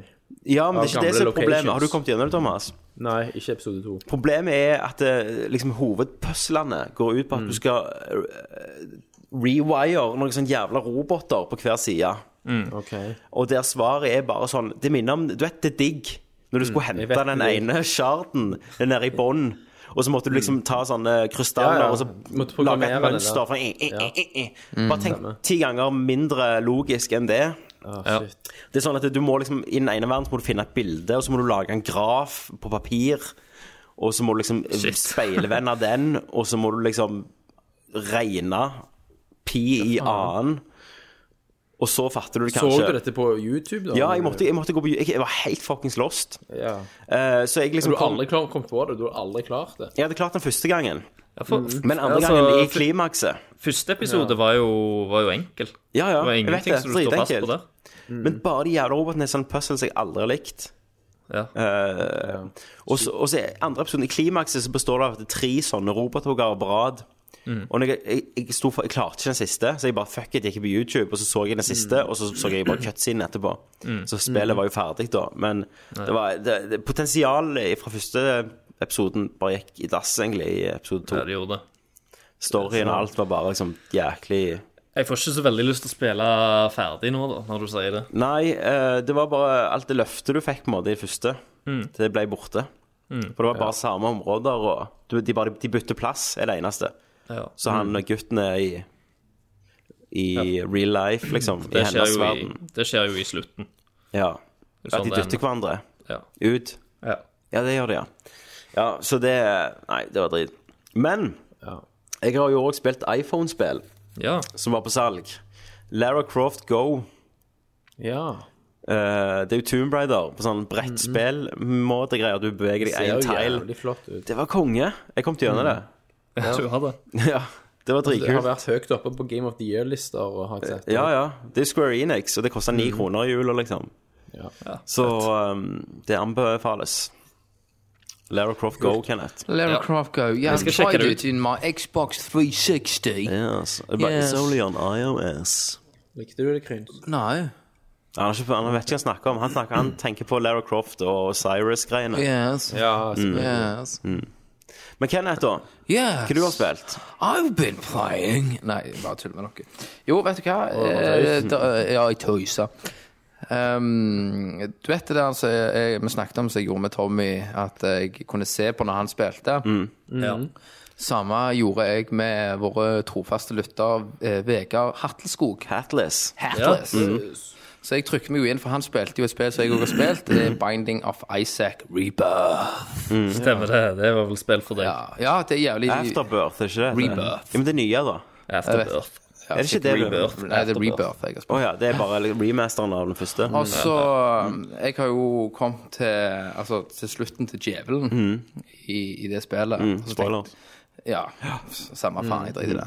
Speaker 5: Ja, men
Speaker 9: Av
Speaker 5: det er ikke det som er
Speaker 9: gamle
Speaker 5: problemet. Har du
Speaker 9: locations.
Speaker 5: kommet gjennom det, Thomas?
Speaker 9: Nei, ikke episode to.
Speaker 5: Problemet er at eh, liksom, hovedpuslene går ut på at
Speaker 9: Mm.
Speaker 5: du skal eh, rewire noen sånne jævla roboter på hver side. Mm.
Speaker 9: Ok.
Speaker 5: Og der svaret er bare sånn Det minner om Du vet, det er digg når du skulle
Speaker 9: Mm, jeg
Speaker 5: hente
Speaker 9: vet
Speaker 5: den
Speaker 9: det.
Speaker 5: ene sharden den nede i bånn. Og så måtte du liksom ta sånne krystaller
Speaker 9: Mm. Ja, ja.
Speaker 5: og så lage
Speaker 9: Måtte programmere
Speaker 5: et
Speaker 9: det Mm.
Speaker 5: mønster.
Speaker 9: der.
Speaker 5: For, eh, eh, eh, eh. Bare tenk ti ganger mindre logisk enn det.
Speaker 9: Ah,
Speaker 8: Ja.
Speaker 9: shit.
Speaker 5: Det er sånn at du må liksom I den ene verden så må du finne et bilde, og så må du lage en graf på papir. Og så må du liksom
Speaker 8: Shit. (laughs)
Speaker 5: speilvende den, og så må du liksom regne pi i annen. Og så fatter du det
Speaker 9: Så
Speaker 5: kanskje.
Speaker 9: du dette på YouTube, da?
Speaker 5: Ja, jeg måtte, jeg måtte gå på jeg, jeg var helt fuckings lost.
Speaker 9: Ja.
Speaker 5: Eh, så jeg liksom
Speaker 9: Du har
Speaker 5: kom,
Speaker 9: aldri klar, kommet på det? Du har aldri klart det?
Speaker 5: Jeg hadde klart den første gangen,
Speaker 8: Ja, for,
Speaker 5: men andre
Speaker 8: altså,
Speaker 5: gangen i
Speaker 8: f-
Speaker 5: klimakset.
Speaker 8: Første episode var, jo, var jo enkel.
Speaker 5: Ja,
Speaker 8: Det
Speaker 5: ja,
Speaker 8: var
Speaker 5: jeg vet
Speaker 8: ingenting
Speaker 5: det.
Speaker 8: som du står fast
Speaker 5: Dritenkelt.
Speaker 8: på der.
Speaker 5: Men bare de jævla robotene er sånn puzzles jeg aldri har likt.
Speaker 8: Ja.
Speaker 5: Eh, og så og så er andre episoden i klimakset så består det av at det er tre sånne robothoggere på rad.
Speaker 8: Mm.
Speaker 5: Og når jeg, jeg, jeg, sto for, jeg klarte ikke den siste, så jeg bare fuck it, gikk på YouTube, og så så jeg den siste,
Speaker 8: Mm.
Speaker 5: og så så jeg bare cutscene etterpå. Så spillet var jo ferdig da. Men det var det, det, potensialet fra første episoden bare gikk i dass, egentlig, i episode
Speaker 8: ja,
Speaker 5: to.
Speaker 8: det gjorde det.
Speaker 5: Storyen og alt var bare liksom jæklig
Speaker 8: Jeg får ikke så veldig lyst til å spille ferdig nå, da, når du sier det.
Speaker 5: Nei, eh, det var bare alt det løftet du fikk på en måte i første.
Speaker 8: Mm.
Speaker 5: Det ble borte. For det var bare samme områder, og du, de, bare, de bytter plass, er det eneste.
Speaker 8: Ja. Mm.
Speaker 5: Så han gutten er i i real life, liksom. I
Speaker 8: Det, skjer
Speaker 5: hennes
Speaker 8: jo i,
Speaker 5: verden.
Speaker 8: det skjer jo i slutten.
Speaker 5: Ja.
Speaker 8: sånn
Speaker 5: At de
Speaker 8: det
Speaker 5: dytter
Speaker 8: ender.
Speaker 5: hverandre
Speaker 8: Ja.
Speaker 5: ut.
Speaker 8: Ja.
Speaker 5: Ja, det gjør de, ja. ja. Så det Nei, det var drit. Men
Speaker 9: Ja.
Speaker 5: jeg har jo òg spilt iPhone-spill
Speaker 8: ja.
Speaker 5: som var på salg. Lara Croft Go.
Speaker 9: ja.
Speaker 5: Eh, det er jo Tomb Raider på sånn brettspill-måtegreier. Du beveger deg én
Speaker 9: Mhm. Ser jo
Speaker 5: tegl.
Speaker 9: jævlig flott ut.
Speaker 5: Det var konge. Jeg kom til gjennom det.
Speaker 8: Du har det.
Speaker 5: (laughs) Ja, det var
Speaker 9: Mhm. Altså, Det har
Speaker 5: dritkult.
Speaker 9: vært høyt oppe på Game of the Year-lister. og har jeg sett.
Speaker 5: Ja, ja. Det er Square Enix, og det koster ni
Speaker 9: Mhm.
Speaker 5: kroner i jula, liksom.
Speaker 9: Ja.
Speaker 5: Så um, det anbefales. Lara Croft Go, Kenneth.
Speaker 7: Lara
Speaker 8: Ja.
Speaker 7: Croft Go.
Speaker 8: Jeg
Speaker 7: Yeah, I
Speaker 8: skal sjekke
Speaker 7: tried
Speaker 8: det
Speaker 7: it in my Xbox 360.
Speaker 5: Yes. But
Speaker 7: Yes.
Speaker 5: It's only on iOS.
Speaker 9: Likte du det, Kryns?
Speaker 7: Nei.
Speaker 5: Han, har ikke, han vet ikke hva han snakker om. Han, snakker, han tenker på Lara Croft og Cyrus-greiene.
Speaker 7: Yes.
Speaker 9: Mm. Ja,
Speaker 7: Yes.
Speaker 5: Men Kenneth, da?
Speaker 7: Yes.
Speaker 5: Hva du har spilt?
Speaker 7: I've been playing Nei, jeg bare tuller med noe. Jo, vet du hva? Eh, da, ja, jeg tøyser. Um, du vet det der altså, jeg, vi snakket om som jeg gjorde med Tommy, at jeg kunne se på når han spilte.
Speaker 5: Mm.
Speaker 7: Mm.
Speaker 8: Ja.
Speaker 7: Samme gjorde jeg med våre trofaste lytter eh, Vegard Hatleskog.
Speaker 5: Atlas.
Speaker 7: Hatless.
Speaker 5: Mm.
Speaker 7: Så jeg trykket meg jo inn, for han spilte jo et spill som jeg også har spilt. Det er
Speaker 5: Mm.
Speaker 7: Binding of Isaac Rebirth.
Speaker 8: Stemmer det. Det var vel spill for deg.
Speaker 7: Mm. Ja, ja det er jævlig
Speaker 5: Afterbirth, er ikke det?
Speaker 7: Rebirth.
Speaker 5: Ja, men det nye, da?
Speaker 8: Afterbirth.
Speaker 7: Ja,
Speaker 5: Er det ikke det?
Speaker 8: Rebirth.
Speaker 7: Nei, det er Rebirth jeg har spilt.
Speaker 5: Å ja, det er bare remasteren av den første? Mm.
Speaker 7: Og så um, Jeg har jo kommet til Altså til slutten til djevelen i, i det spillet. Og så
Speaker 5: Mm. Spoiler. Mm.
Speaker 7: Ja, samme faen, jeg driter i det.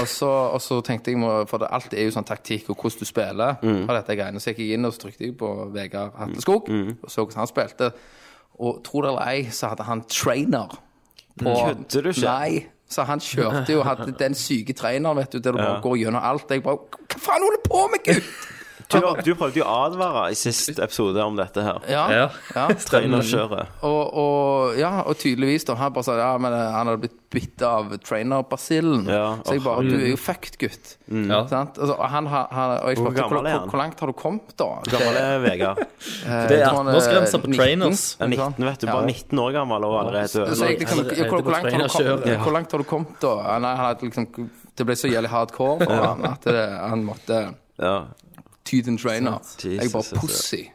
Speaker 7: Og så, og så tenkte jeg, må- for det, alt er jo sånn taktikk og hvordan du spiller.
Speaker 5: Mm.
Speaker 7: Og dette greiene, Så gikk jeg inn og så trykte jeg på Vegard Hatteskog
Speaker 5: Mm.
Speaker 7: og så hvordan han spilte. Og tro det eller ei, så hadde han trainer. På,
Speaker 5: Kødder du ikke?
Speaker 7: Nei. Så han kjørte jo, hadde den syke traineren, vet du, der du bare går gjennom alt. Jeg bare Hva faen holder du på med, gutt?
Speaker 5: Du, du prøvde jo å advare i sist episode om dette her.
Speaker 7: Ja,
Speaker 8: Ja. (laughs)
Speaker 7: ja.
Speaker 5: Trainerkjøret.
Speaker 7: Og, og, ja, og tydeligvis da, han bare sa ja, men eh, han hadde blitt bitt av trainer-basillen.
Speaker 5: Ja,
Speaker 7: så
Speaker 5: åh,
Speaker 7: jeg
Speaker 5: mm.
Speaker 7: bare, du er jo fucked, gutt.
Speaker 8: Ja.
Speaker 7: Sant? Altså, og han, har- han, og jeg
Speaker 5: Hvor
Speaker 7: spurte, hvor,
Speaker 5: gammel er han?
Speaker 7: hvor, hvor langt har du kommet da? Eh,
Speaker 5: Gammel er Vegard.
Speaker 8: Det er
Speaker 7: Jeg tror han er
Speaker 8: 18-årsgrense på
Speaker 7: 19,
Speaker 8: trainers.
Speaker 5: Han er 19, vet du. Bare 19 år gammel og allerede
Speaker 7: Så jeg,
Speaker 5: død.
Speaker 7: liksom, ja, hvor, hvor, langt har du kommet, hvor langt har du kommet da? Ja, Nei, han hadde liksom, det ble så jævlig hardcore for han at det, han måtte
Speaker 5: Ja.
Speaker 7: ty til en trainer.
Speaker 5: Jesus,
Speaker 7: Jeg
Speaker 5: altså.
Speaker 7: bare pussy.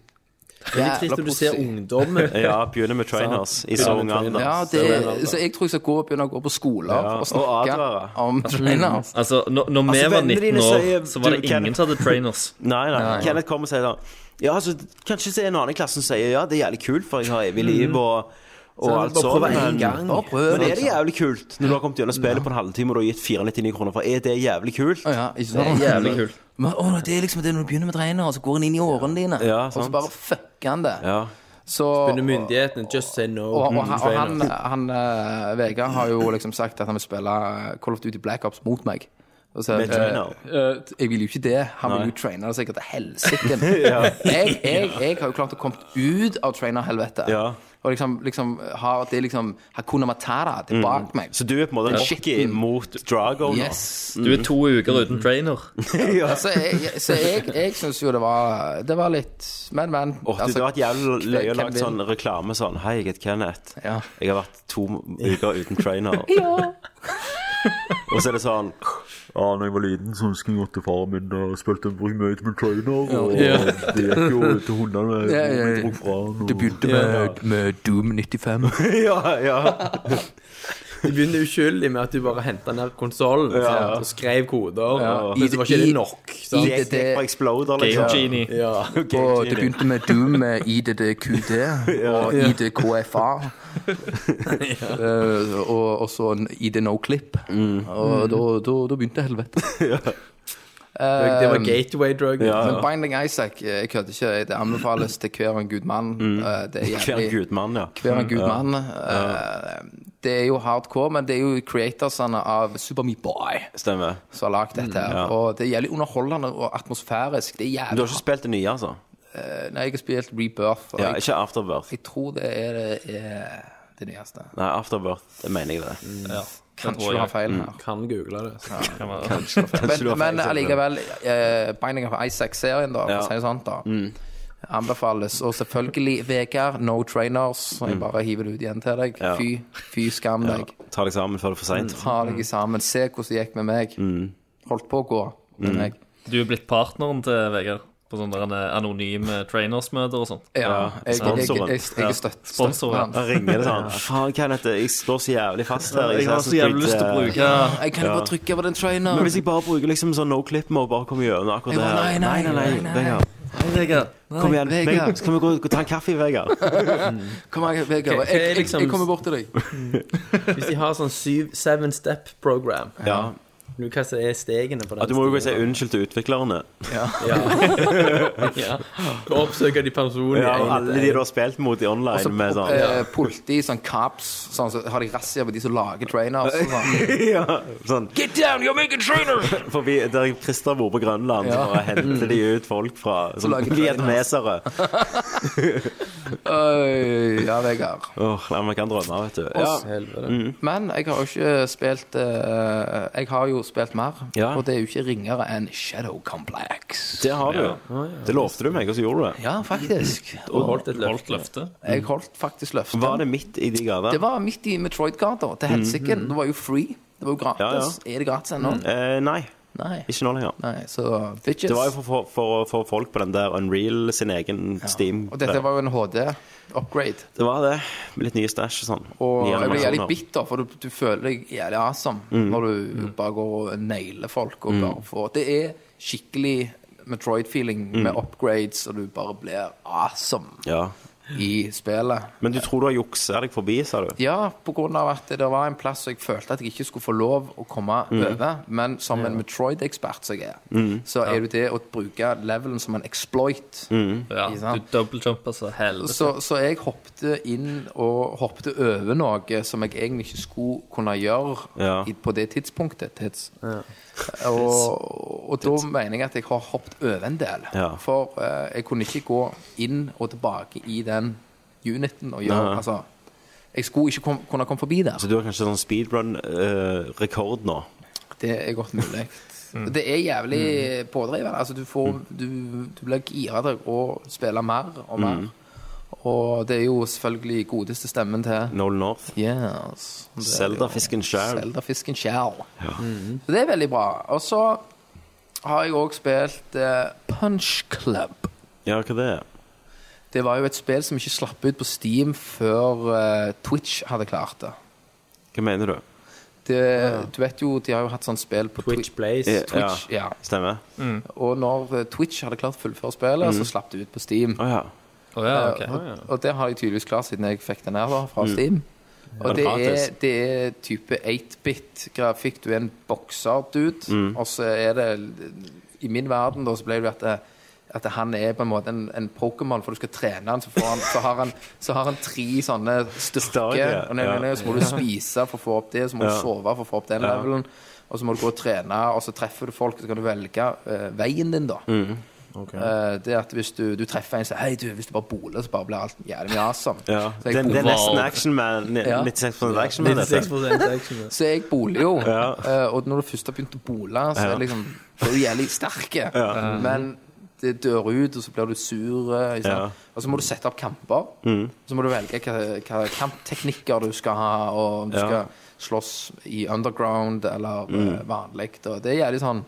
Speaker 9: Det er litt trist når du ser ungdommen.
Speaker 5: ja, begynner med trainers i så altså. ung alder.
Speaker 7: Ja, det, så jeg tror jeg skal gå og begynne å gå på skoler
Speaker 5: og
Speaker 7: og snakke
Speaker 5: advare. (laughs)
Speaker 7: om trainers.
Speaker 8: Altså, når, når vi
Speaker 5: Altså,
Speaker 8: var
Speaker 5: vennene
Speaker 8: 19
Speaker 5: dine sier,
Speaker 8: år, så var
Speaker 5: du,
Speaker 8: det
Speaker 5: Kenneth-
Speaker 8: ingen som hadde
Speaker 7: (laughs)
Speaker 8: trainers.
Speaker 5: Nei, nei. Kenneth kommer og sier sånn Ja, altså, kanskje det er en annen i klassen som sier ja, det er jævlig kult, for jeg har evig liv og, og alt
Speaker 9: bare
Speaker 5: sånt.
Speaker 9: prøve en
Speaker 5: Men,
Speaker 9: gang.
Speaker 7: Bare prøv,
Speaker 5: men er det
Speaker 7: liksom.
Speaker 5: jævlig kult når du har kommet gjennom spillet på en halvtime og du har gitt 499 kroner for? Er det jævlig kult?
Speaker 7: Ja, ikke sant?
Speaker 8: Jævlig kult.
Speaker 7: Men, å, det er liksom det når du begynner med trainer, og så går han inn i årene dine,
Speaker 5: Ja,
Speaker 7: og så
Speaker 5: sant.
Speaker 7: bare fucker han det.
Speaker 5: Ja.
Speaker 7: Så,
Speaker 9: Under myndighetene, just say no.
Speaker 7: og, og, og, han- og
Speaker 9: Trainer.
Speaker 7: han, han eh, Vegard har jo liksom sagt at han vil spille eh, Call of Duty Black Ops mot meg. Og så,
Speaker 5: Med
Speaker 7: eh,
Speaker 5: trainer.
Speaker 7: eh, jeg vil jo ikke det. Han vil jo traine seg til
Speaker 5: (laughs)
Speaker 7: helsike. jeg, jeg, jeg har jo klart å komme ut av trainer-helvete.
Speaker 5: Ja.
Speaker 7: Og liksom, liksom har det er liksom Hakuna Matara det er bak meg.
Speaker 5: Så du er på en måte en
Speaker 7: Shit.
Speaker 5: Rocky mot Drago nå?
Speaker 7: Yes.
Speaker 8: Du er to uker
Speaker 7: Mm.
Speaker 8: uten trainer.
Speaker 5: (laughs) Ja.
Speaker 7: Så jeg, så jeg, jeg syns jo det var Det var litt Men, men. Altså,
Speaker 5: Åh, det hadde vært jævlig løye å
Speaker 7: hvem
Speaker 5: lage
Speaker 7: vil?
Speaker 5: sånn reklame sånn Hei, jeg heter Kenneth.
Speaker 7: Ja.
Speaker 5: Jeg har vært to uker uten trainer. Og så er det sånn (laughs)
Speaker 10: Ja, når jeg var liten, så husker jeg at faren min uh, spilte mye med trainer, og det gikk jo til hundene med
Speaker 7: Ja, ja, ja.
Speaker 10: og fra
Speaker 5: eh,
Speaker 10: han, og-
Speaker 7: Det begynte med, med Doom 95.
Speaker 5: Ja, ja.
Speaker 9: Du begynner uskyldig med at du bare henta ned konsollen og skrev koder. Men så var
Speaker 7: I-
Speaker 9: ikke det nok. sant?
Speaker 7: i-
Speaker 5: Det er bare exploder,
Speaker 8: Game
Speaker 5: liksom.
Speaker 8: Genie.
Speaker 9: Ja.
Speaker 5: (laughs)
Speaker 7: Og det begynte med Doom med (laughs) IDDQD og (laughs) IDKFA. Eh, og, og så en ID No Clip. Og da, da, da begynte helvete.
Speaker 9: Eh, Det var gateway drug.
Speaker 7: Men (laughs) Binding Isaac, eh, jeg kødder ikke, det anbefales til hver en gud mann. Eh, Det er
Speaker 5: Hver
Speaker 7: jævlig
Speaker 5: gudmann, ja.
Speaker 7: hver en gud mann. Eh, Det er jo hardcore, men det er jo creatorsene av Super Meat Boy
Speaker 5: Stemmer.
Speaker 7: som har lagd dette. her Og det gjelder underholdende og atmosfærisk. Det er
Speaker 5: Men du
Speaker 7: jævlig Eh,
Speaker 5: har ikke spilt det nye, altså?
Speaker 7: Nei, jeg har spilt Rebirth. Og
Speaker 5: Ja,
Speaker 7: jeg,
Speaker 5: ikke Afterbirth.
Speaker 7: jeg tror det er det, er det nyeste.
Speaker 5: Nei, Afterbirth det mener jeg det.
Speaker 8: Ja, det
Speaker 7: Kanskje
Speaker 8: tror
Speaker 7: du har
Speaker 8: jeg.
Speaker 7: feil her.
Speaker 9: Kan google det. så.
Speaker 8: Kan være-
Speaker 5: (laughs) Kanskje mm. du har
Speaker 7: Men, men
Speaker 5: feil,
Speaker 7: allikevel, eh, Binding of Isaac-serien, da, for
Speaker 5: Ja. Mm.
Speaker 7: å si det sånn, da. Anbefales. Og selvfølgelig, Vegard, no trainers. Så jeg bare hiver det ut igjen til deg.
Speaker 5: Mm. Ja.
Speaker 7: Fy, fy skam deg.
Speaker 5: Ta deg sammen før det er for seint.
Speaker 7: Ta deg sammen. Se hvordan det gikk med meg.
Speaker 5: Mm.
Speaker 7: Holdt på å gå med meg.
Speaker 8: Du er blitt partneren til Vegard på sånne der
Speaker 7: (laughs)
Speaker 8: anonyme trainers-møter og sånt.
Speaker 7: Ja, jeg, jeg, jeg, jeg, jeg er støtt,
Speaker 8: Sponsoren.
Speaker 7: støtten
Speaker 5: Da
Speaker 7: hans.
Speaker 5: ringer det sånn Faen, Kenneth, jeg står så jævlig fast her.
Speaker 8: Jeg har så jævlig lyst til å bruke
Speaker 7: Jeg kan jo bare trykke på den
Speaker 5: Men
Speaker 7: traineren.
Speaker 5: hvis jeg bare bruker liksom sånn no clip med å bare komme gjennom akkurat det
Speaker 7: Ja,
Speaker 5: her
Speaker 7: nei, nei, nei, nei.
Speaker 5: Vegard.
Speaker 8: Vegard.
Speaker 5: Kom igjen,
Speaker 7: Vegard.
Speaker 5: Vegard. Skal vi gå gå og ta en kaffe, Vegard?
Speaker 7: (laughs) Kom her, Vegard. Jeg,
Speaker 9: Hva- hva er
Speaker 7: jeg,
Speaker 9: liksom-
Speaker 7: jeg kommer bort til deg.
Speaker 9: Hvis de har sånn syv, seven step program
Speaker 5: Ja.
Speaker 9: Nå, Hva som er stegene på den?
Speaker 5: Ja, du må jo
Speaker 9: stigen?
Speaker 5: si unnskyld til utviklerne.
Speaker 9: Ja. Og oppsøke de personlige
Speaker 5: Ja,
Speaker 9: enhetene.
Speaker 5: alle de du har spilt mot i online med sånn
Speaker 7: Eh, politi, sånn cops, sånn, så har de razzia på de som lager trainers. og Sånn.
Speaker 5: (laughs) ja, sånn. (laughs) Get
Speaker 7: (laughs)
Speaker 5: down, you're making trainers! Forbi der Christer bor på Grønland, så bare henter de ut folk fra Som
Speaker 7: lager
Speaker 5: vietnesere.
Speaker 7: Øy, ja, Vegard.
Speaker 5: Åh, nei, man kan drømme, vet du. Ja.
Speaker 9: Helvete.
Speaker 7: Men jeg har jo ikke spilt eh, Jeg har jo spilt mer,
Speaker 5: Ja.
Speaker 7: og det er jo ikke ringere enn Shadow Complex.
Speaker 5: Det har du. Det lovte du meg, og så gjorde du det.
Speaker 7: Ja,
Speaker 5: (clears throat)
Speaker 7: faktisk.
Speaker 9: Og holdt et løft.
Speaker 8: Holdt løftet.
Speaker 7: Jeg holdt faktisk løftet.
Speaker 5: Var det midt i de gater?
Speaker 7: Det var midt i Metroid-gata, til helsike.
Speaker 5: Mhm.
Speaker 7: Det var jo free. Det var jo gratis. Er det gratis ennå?
Speaker 5: Eh, nei,
Speaker 7: Nei.
Speaker 5: ikke nå lenger.
Speaker 7: Nei. Så bitches.
Speaker 5: Det var jo for- for- for å få folk på den der Unreal sin egen Steam.
Speaker 7: Og dette var jo en HD-upgrade.
Speaker 5: Det var det. Med litt nye stæsj og sånn.
Speaker 7: Og
Speaker 5: Nye
Speaker 7: jeg blir jævlig
Speaker 5: animasjoner.
Speaker 7: bitter, for du, du føler deg jævlig awesome når du bare går og nailer folk. Og bare får Det er skikkelig Metroid-feeling med upgrades, og du bare blir awesome.
Speaker 5: Ja.
Speaker 7: i spillet.
Speaker 5: Men du tror du har juksa deg forbi, sa du?
Speaker 7: Ja, på grunn av at det var en plass jeg følte at jeg ikke skulle få lov å komme over. Men som en Metroid-ekspert som jeg er, så er det det å bruke levelen som en exploit.
Speaker 8: Ja,
Speaker 7: Ikke sant?
Speaker 8: du dobbeltjumper så helvete.
Speaker 7: Så, så jeg hoppte inn og hoppte over noe som jeg egentlig ikke skulle kunne gjøre
Speaker 5: Ja.
Speaker 7: i, på det tidspunktet. Tids. Og, og da mener jeg at jeg har hoppet over en del.
Speaker 5: Ja.
Speaker 7: For eh, jeg kunne ikke gå inn og tilbake i den uniten og gjøre
Speaker 5: Nei.
Speaker 7: Altså, jeg skulle ikke kom, kunne komme forbi der.
Speaker 5: Så du har kanskje sånn speedrun-rekord nå?
Speaker 7: Det er godt
Speaker 5: (laughs)
Speaker 7: mulig.
Speaker 5: Mm.
Speaker 7: Det er jævlig pådrivende. Altså, du, får, du, du blir gira til å spille mer og
Speaker 5: Mm.
Speaker 7: mer. Og det er jo selvfølgelig godeste stemmen til
Speaker 5: Noel North?
Speaker 7: Yes. Det er
Speaker 5: Zelda-fisken
Speaker 7: jo-
Speaker 5: sjæl.
Speaker 7: Zelda-fisken sjæl. Så det er veldig bra. Og så har jeg òg spilt eh, Punch Club.
Speaker 5: Ja, hva det er?
Speaker 7: Det var jo et spill som ikke slapp ut på Steam før eh, Twitch hadde klart det.
Speaker 5: Hva mener du?
Speaker 7: det Du vet jo, de har jo hatt sånn spill på
Speaker 9: Twitch
Speaker 7: Twi-
Speaker 9: Plays.
Speaker 5: Ja,
Speaker 7: Twitch, ja.
Speaker 5: Stemmer?
Speaker 7: Og når eh, Twitch hadde klart å fullføre spillet, så slapp det ut på Steam.
Speaker 5: Å ja.
Speaker 8: Å, ja, ok.
Speaker 7: Eh, og, og det har jeg tydeligvis klart siden jeg fikk den her da, fra Steam. Og det er,
Speaker 5: Mm. gratis.
Speaker 7: det er type 8-bit-grafikk. Du er en bokser-dude,
Speaker 5: Mm.
Speaker 7: og så er det I min verden da, så ble det at, det- at han er på en måte en, en Pokémon, for du skal trene han, så, får han, så, har, han, så har han tre sånne styrker.
Speaker 5: Stadier,
Speaker 7: og nei, nei, nei, så må du spise for å få opp det, så må du
Speaker 5: Ja.
Speaker 7: sove for å få opp den levelen, og så må du gå og trene, og så treffer du folk, så kan du velge eh, veien din,
Speaker 5: Mm.
Speaker 7: da. Eh, det at hvis du, du treffer en som sier Hei, du, hvis du bare boler, så bare blir alt jævlig mye awesome.
Speaker 5: ja.
Speaker 7: Så,
Speaker 5: Det, det
Speaker 7: jeg
Speaker 5: er
Speaker 7: boler,
Speaker 5: nesten Action Man. ni-
Speaker 7: Ja.
Speaker 5: 96 Action Man. dette.
Speaker 9: 96% action.
Speaker 7: så jeg boler jo.
Speaker 5: Ja.
Speaker 7: Eh, og når du først har begynt å bole, så er, det liksom, så er du jævlig sterk. Eh, Men det dør ut, og så blir du sur. eh, ikke sant?
Speaker 5: Ja. Mm.
Speaker 7: Og så må du sette opp kamper. Så må du velge hva, hva kampteknikker du skal ha, og om du
Speaker 5: Ja.
Speaker 7: skal slåss i underground eller eh,
Speaker 5: Mm.
Speaker 7: vanlig. Og det er jævlig sånn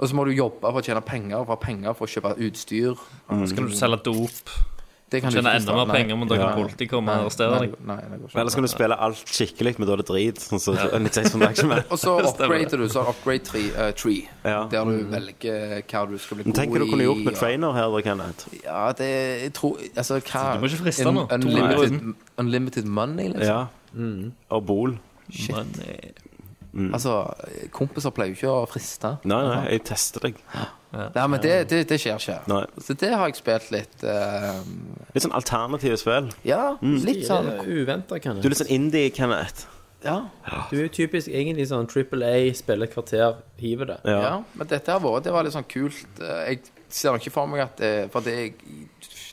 Speaker 7: Og så må du jobbe for å tjene penger, for å ha penger for å kjøpe utstyr.
Speaker 5: Mm.
Speaker 8: Så kan du selge dop,
Speaker 7: Det kan du
Speaker 8: tjene
Speaker 7: ikke
Speaker 8: enda
Speaker 7: starte-
Speaker 8: mer
Speaker 7: nei.
Speaker 8: penger, men da kan politiet komme og arrestere
Speaker 7: Nei,
Speaker 8: deg.
Speaker 7: nei, det går ikke.
Speaker 5: Ellers kan du spille alt skikkelig, men da er det drit. Sånn som 96 Action Man.
Speaker 7: Og så upgrader du, så upgrade tree, eh, tree
Speaker 5: Ja.
Speaker 7: der du velger eh, hva du skal bli
Speaker 5: Men
Speaker 7: god i.
Speaker 5: tenk hva du kunne gjort med
Speaker 7: og-
Speaker 5: trainer her, da, Kenneth.
Speaker 7: Ja, det jeg tror Altså, hva
Speaker 8: Du må ikke friste nå. To
Speaker 7: Unlimited, unlimited money, liksom.
Speaker 5: Ja. Og Bol.
Speaker 8: Men, eh,
Speaker 7: Altså, kompiser pleier jo ikke å friste.
Speaker 5: Nei, nei, jeg tester deg.
Speaker 7: Nei, men det, det, det skjer ikke.
Speaker 5: Nei.
Speaker 7: Så det har jeg spilt litt eh,
Speaker 5: Litt sånn alternative spill.
Speaker 7: Ja, litt sånn
Speaker 9: Uventa, kan
Speaker 5: Du
Speaker 9: jeg.
Speaker 5: er litt sånn indie, Kenneth.
Speaker 7: Ja.
Speaker 9: Du er jo typisk egentlig sånn Triple A, spiller et kvarter, hiver det.
Speaker 5: Ja.
Speaker 7: Ja, men dette har vært Det var litt sånn kult. Eh, Jeg ser nok ikke for meg at eh, For det,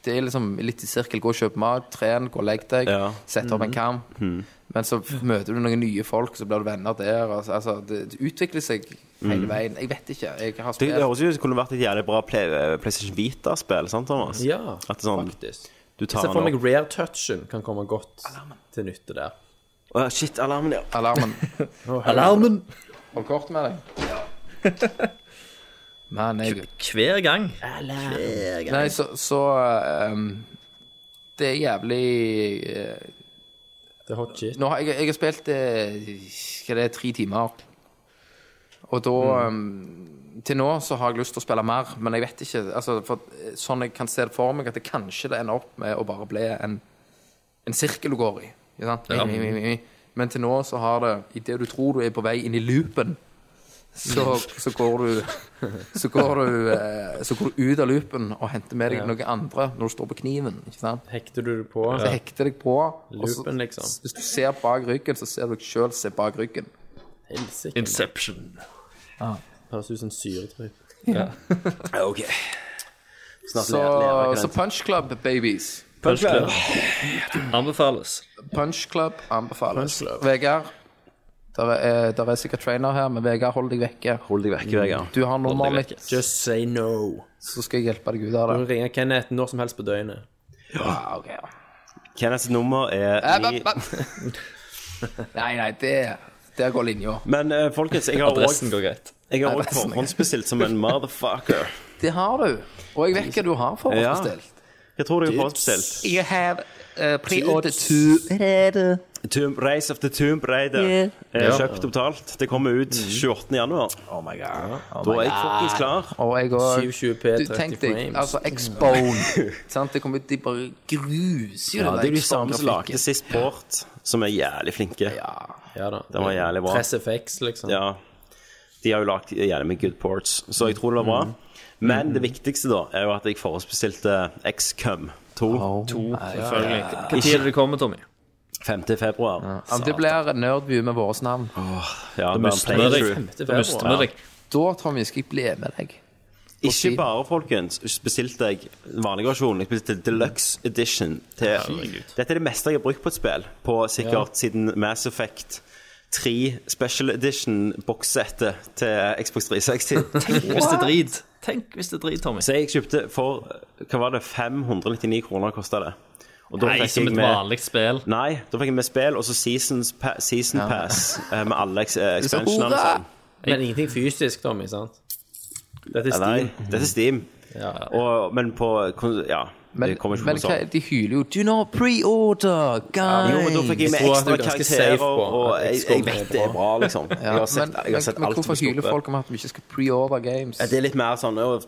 Speaker 7: det er liksom litt i sirkel. Gå og kjøp mat, tren, gå og legg deg.
Speaker 5: Ja. Mm.
Speaker 7: Sett opp en kamp. Men så møter du noen nye folk, så blir du venner der. Altså, altså, det, det utvikler seg hele veien. Jeg vet ikke. Jeg har
Speaker 5: Mm. Det, det
Speaker 7: spilt
Speaker 5: høres ut som det kunne vært et jævlig bra Play, eh, PlayStation Vita-spill, sant, Thomas?
Speaker 9: Ja,
Speaker 5: At det er sånn,
Speaker 9: faktisk.
Speaker 5: du
Speaker 9: Jeg
Speaker 5: tar
Speaker 9: ser for
Speaker 5: den
Speaker 9: meg
Speaker 5: opp.
Speaker 9: rare touchen kan komme godt til nytte der.
Speaker 5: Å, shit, alarmen, ja.
Speaker 7: alarmen.
Speaker 8: Alarmen!
Speaker 7: Hold kort med deg. (laughs) Men jeg
Speaker 8: Hver gang.
Speaker 7: Nei, så, så ehm, Det er jævlig eh,
Speaker 9: Det er hot shit.
Speaker 7: Nå har jeg, jeg har spilt eh, hva det er, tre timer. Og da eh, Til nå så har jeg lyst til å spille mer, men jeg vet ikke. Altså, for, eh, sånn jeg kan se det for meg, at det kanskje det ender opp med å bare bli en, en sirkel du går i. ikke sant? Mi, mi, mi, mi. Men til nå så har det Idet du tror du er på vei inn i loopen, så, så går du Så går du, eh, så går du ut av loopen og henter med deg noen andre når du står på kniven. ikke sant?
Speaker 9: Hekter du det på?
Speaker 7: Så hekter deg på. og så-
Speaker 9: Loopen, liksom.
Speaker 7: Hvis du ser bak ryggen, så ser du deg sjøl se bak ryggen.
Speaker 9: Helsike.
Speaker 8: Inception.
Speaker 9: Høres ut som syretripp.
Speaker 5: Ok. Snart
Speaker 7: Så,
Speaker 5: ler- ler jeg,
Speaker 7: så
Speaker 5: Kenneth.
Speaker 7: Punch Club, babies.
Speaker 8: Punch Club. Anbefales.
Speaker 7: Punch Club anbefales. Vegard, der er, eh, der er sikkert trainer her, men Vegard, hold deg vekke.
Speaker 5: Hold deg vekk, Vegard.
Speaker 7: Du har nummeret mitt,
Speaker 9: Just say no.
Speaker 7: så skal jeg hjelpe deg ut av
Speaker 9: Du
Speaker 7: det.
Speaker 9: kan ringe Kenneth når som helst på døgnet.
Speaker 7: Ja, ok, ja.
Speaker 5: Kenneths nummer
Speaker 7: Eh,
Speaker 5: er
Speaker 7: ba-
Speaker 5: ni-
Speaker 7: ba-
Speaker 5: (laughs)
Speaker 7: Nei, nei, det Der går linja.
Speaker 5: Men eh, folkens, jeg har
Speaker 8: Adressen
Speaker 5: også
Speaker 8: går greit.
Speaker 5: jeg har også
Speaker 7: Adressen.
Speaker 5: forhåndsbestilt som en motherfucker.
Speaker 7: Det har du. Og jeg vet hva du har forhåndsbestilt.
Speaker 5: Jeg tror jeg har forhåndsbestilt.
Speaker 2: You have uh,
Speaker 7: Pre-order to
Speaker 5: Tomb, Race of the Tomb Raider er kjøpt og betalt. Det kommer ut 28. januar.
Speaker 7: Oh my god. Oh
Speaker 5: Da
Speaker 7: my
Speaker 5: er jeg
Speaker 7: god.
Speaker 5: fuckings klar.
Speaker 7: Og jeg òg.
Speaker 9: 720p,
Speaker 7: Du
Speaker 9: 30
Speaker 7: tenk deg,
Speaker 9: frames.
Speaker 7: altså X-Bone. (laughs) sant? Det kommer ut, de bare gruser jo
Speaker 5: Ja,
Speaker 7: den
Speaker 5: det er de samme som
Speaker 7: X-Bone-grafikken.
Speaker 5: lagde sist Port, som er jævlig flinke.
Speaker 9: Ja da.
Speaker 5: Den var jævlig bra.
Speaker 9: Press FX, liksom.
Speaker 5: Ja. De har jo lagd jævlig mye good ports, så jeg tror det var bra. Men det viktigste da er jo at jeg forhåndsbestilte XCOM 2.
Speaker 8: To, selvfølgelig. Hva tid er det det kommer, Tommy?
Speaker 5: 5. februar.
Speaker 7: Ja, men det blir nerdview med vårt navn.
Speaker 5: Ja, det blir en
Speaker 8: vi deg.
Speaker 5: playthrough.
Speaker 8: Da mister vi deg.
Speaker 7: Da, Tommy, skal jeg bli med deg.
Speaker 5: Ikke bare, folkens, bestilte jeg den vanlige versjonen. Jeg bestilte Deluxe Edition. Til, dette er det meste jeg har brukt på et spill, på sikkert siden Mass Effect 3 Special Edition-bokssettet til Xbox (laughs) 360.
Speaker 8: Tenk hvis det er drit. Tenk hvis det er drit, Tommy.
Speaker 5: Så jeg kjøpte for hva var det, 599 kroner kosta det. Og da
Speaker 8: Nei,
Speaker 5: fikk
Speaker 8: som
Speaker 5: jeg
Speaker 8: et
Speaker 5: med-
Speaker 8: vanlig spill.
Speaker 5: Nei, da fikk jeg med spill og så Seasons pa Season Pass eh, med alle eks- eh, expansionene.
Speaker 7: hurra!
Speaker 5: sånn.
Speaker 9: Men ingenting fysisk, Tommy, sant? Dette er
Speaker 5: Ja, Nei,
Speaker 9: Steam.
Speaker 5: dette er Steam. Og, men på kon- Ja,
Speaker 7: Men,
Speaker 5: det kommer ikke på
Speaker 7: men hva,
Speaker 5: konsoll.
Speaker 7: de hyler jo 'Do not pre-order, guys'.
Speaker 5: Jo, men da fikk jeg med
Speaker 9: Jeg tror at du
Speaker 5: ekstra
Speaker 9: er ganske safe
Speaker 5: karakterer,
Speaker 9: på
Speaker 5: og, og
Speaker 9: at
Speaker 5: jeg,
Speaker 9: XCOM
Speaker 5: jeg vet det er bra, liksom. Jeg har sett,
Speaker 7: men,
Speaker 5: jeg har sett
Speaker 7: men, men
Speaker 5: alt som
Speaker 7: hvorfor
Speaker 5: er
Speaker 7: hyler
Speaker 5: skuffet.
Speaker 7: folk om at vi ikke skal pre-order games?
Speaker 5: Ja, Det er litt mer sånn «Å,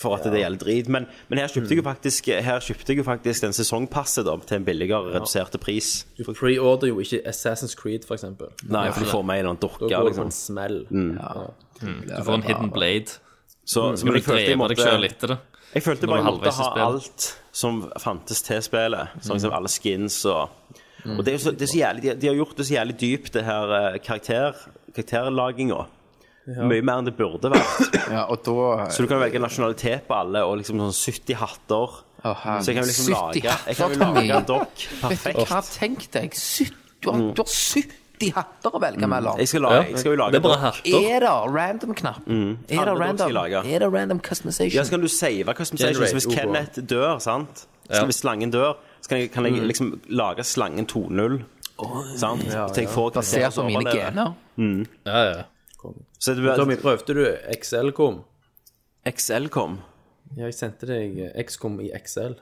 Speaker 5: for at det gjelder drit. Men, men her kjøpte jeg
Speaker 7: Mm.
Speaker 5: jo faktisk Her kjøpte jeg jo faktisk den sesongpasset da, til en billigere, reduserte pris.
Speaker 9: Du preorder jo ikke Assassin's Creed, for eksempel.
Speaker 5: Nei, for du får med en eller annen
Speaker 9: Da
Speaker 5: dukke.
Speaker 9: går det på
Speaker 5: Liksom.
Speaker 9: en smell.
Speaker 8: Du får en hidden blade. Når
Speaker 5: Så, så men
Speaker 8: Mm. du
Speaker 5: jeg følte jeg
Speaker 8: dreper deg
Speaker 5: måtte
Speaker 8: selv etter det.
Speaker 5: Jeg følte
Speaker 8: når
Speaker 5: bare
Speaker 8: du
Speaker 5: jeg måtte
Speaker 8: halvveis i
Speaker 5: ha
Speaker 8: spillet.
Speaker 5: alt som fantes til spillet. Sånn
Speaker 7: Mm.
Speaker 5: som alle skins og Og det er jo så, det er så jævlig, de, de har gjort det så jævlig dypt, det her eh, karakter, karakterlaginga. Mye mer enn det burde vært.
Speaker 7: (clears throat) Ja, og da
Speaker 5: Så du kan velge nasjonalitet på alle, og liksom sånn 70 hatter.
Speaker 7: Å, herregud.
Speaker 5: så jeg kan jo liksom
Speaker 7: 70
Speaker 5: lage Jeg kan jo
Speaker 7: hatter, Tommy.
Speaker 5: lage en dokk.
Speaker 7: Vet du
Speaker 5: Perfekt.
Speaker 7: hva, tenk deg. 70, du, har, du har 70 hatter å velge mellom.
Speaker 5: Jeg skal, lage, jeg skal jo lage
Speaker 8: Det er
Speaker 5: en
Speaker 8: bare
Speaker 5: dokk.
Speaker 8: hatter.
Speaker 7: Er det random-knapp?
Speaker 9: Mm.
Speaker 7: Er det
Speaker 5: Alle dere skal
Speaker 7: random,
Speaker 5: lage.
Speaker 7: er det random customization?
Speaker 5: Ja, så kan du save customization. Så hvis
Speaker 9: Generate, ok.
Speaker 5: Kenneth dør, sant Så Hvis slangen dør, så kan jeg, kan
Speaker 9: Mm.
Speaker 5: jeg liksom lage slangen 2.0. sant? Til jeg får karakterer
Speaker 7: Basert på
Speaker 5: som
Speaker 7: mine
Speaker 5: overlever.
Speaker 7: gener.
Speaker 8: Ja, ja.
Speaker 5: Så det
Speaker 9: Tommy,
Speaker 5: blir
Speaker 9: prøvde du XL-kom?
Speaker 5: XL kom.
Speaker 9: Ja, jeg sendte deg XCOM i XL.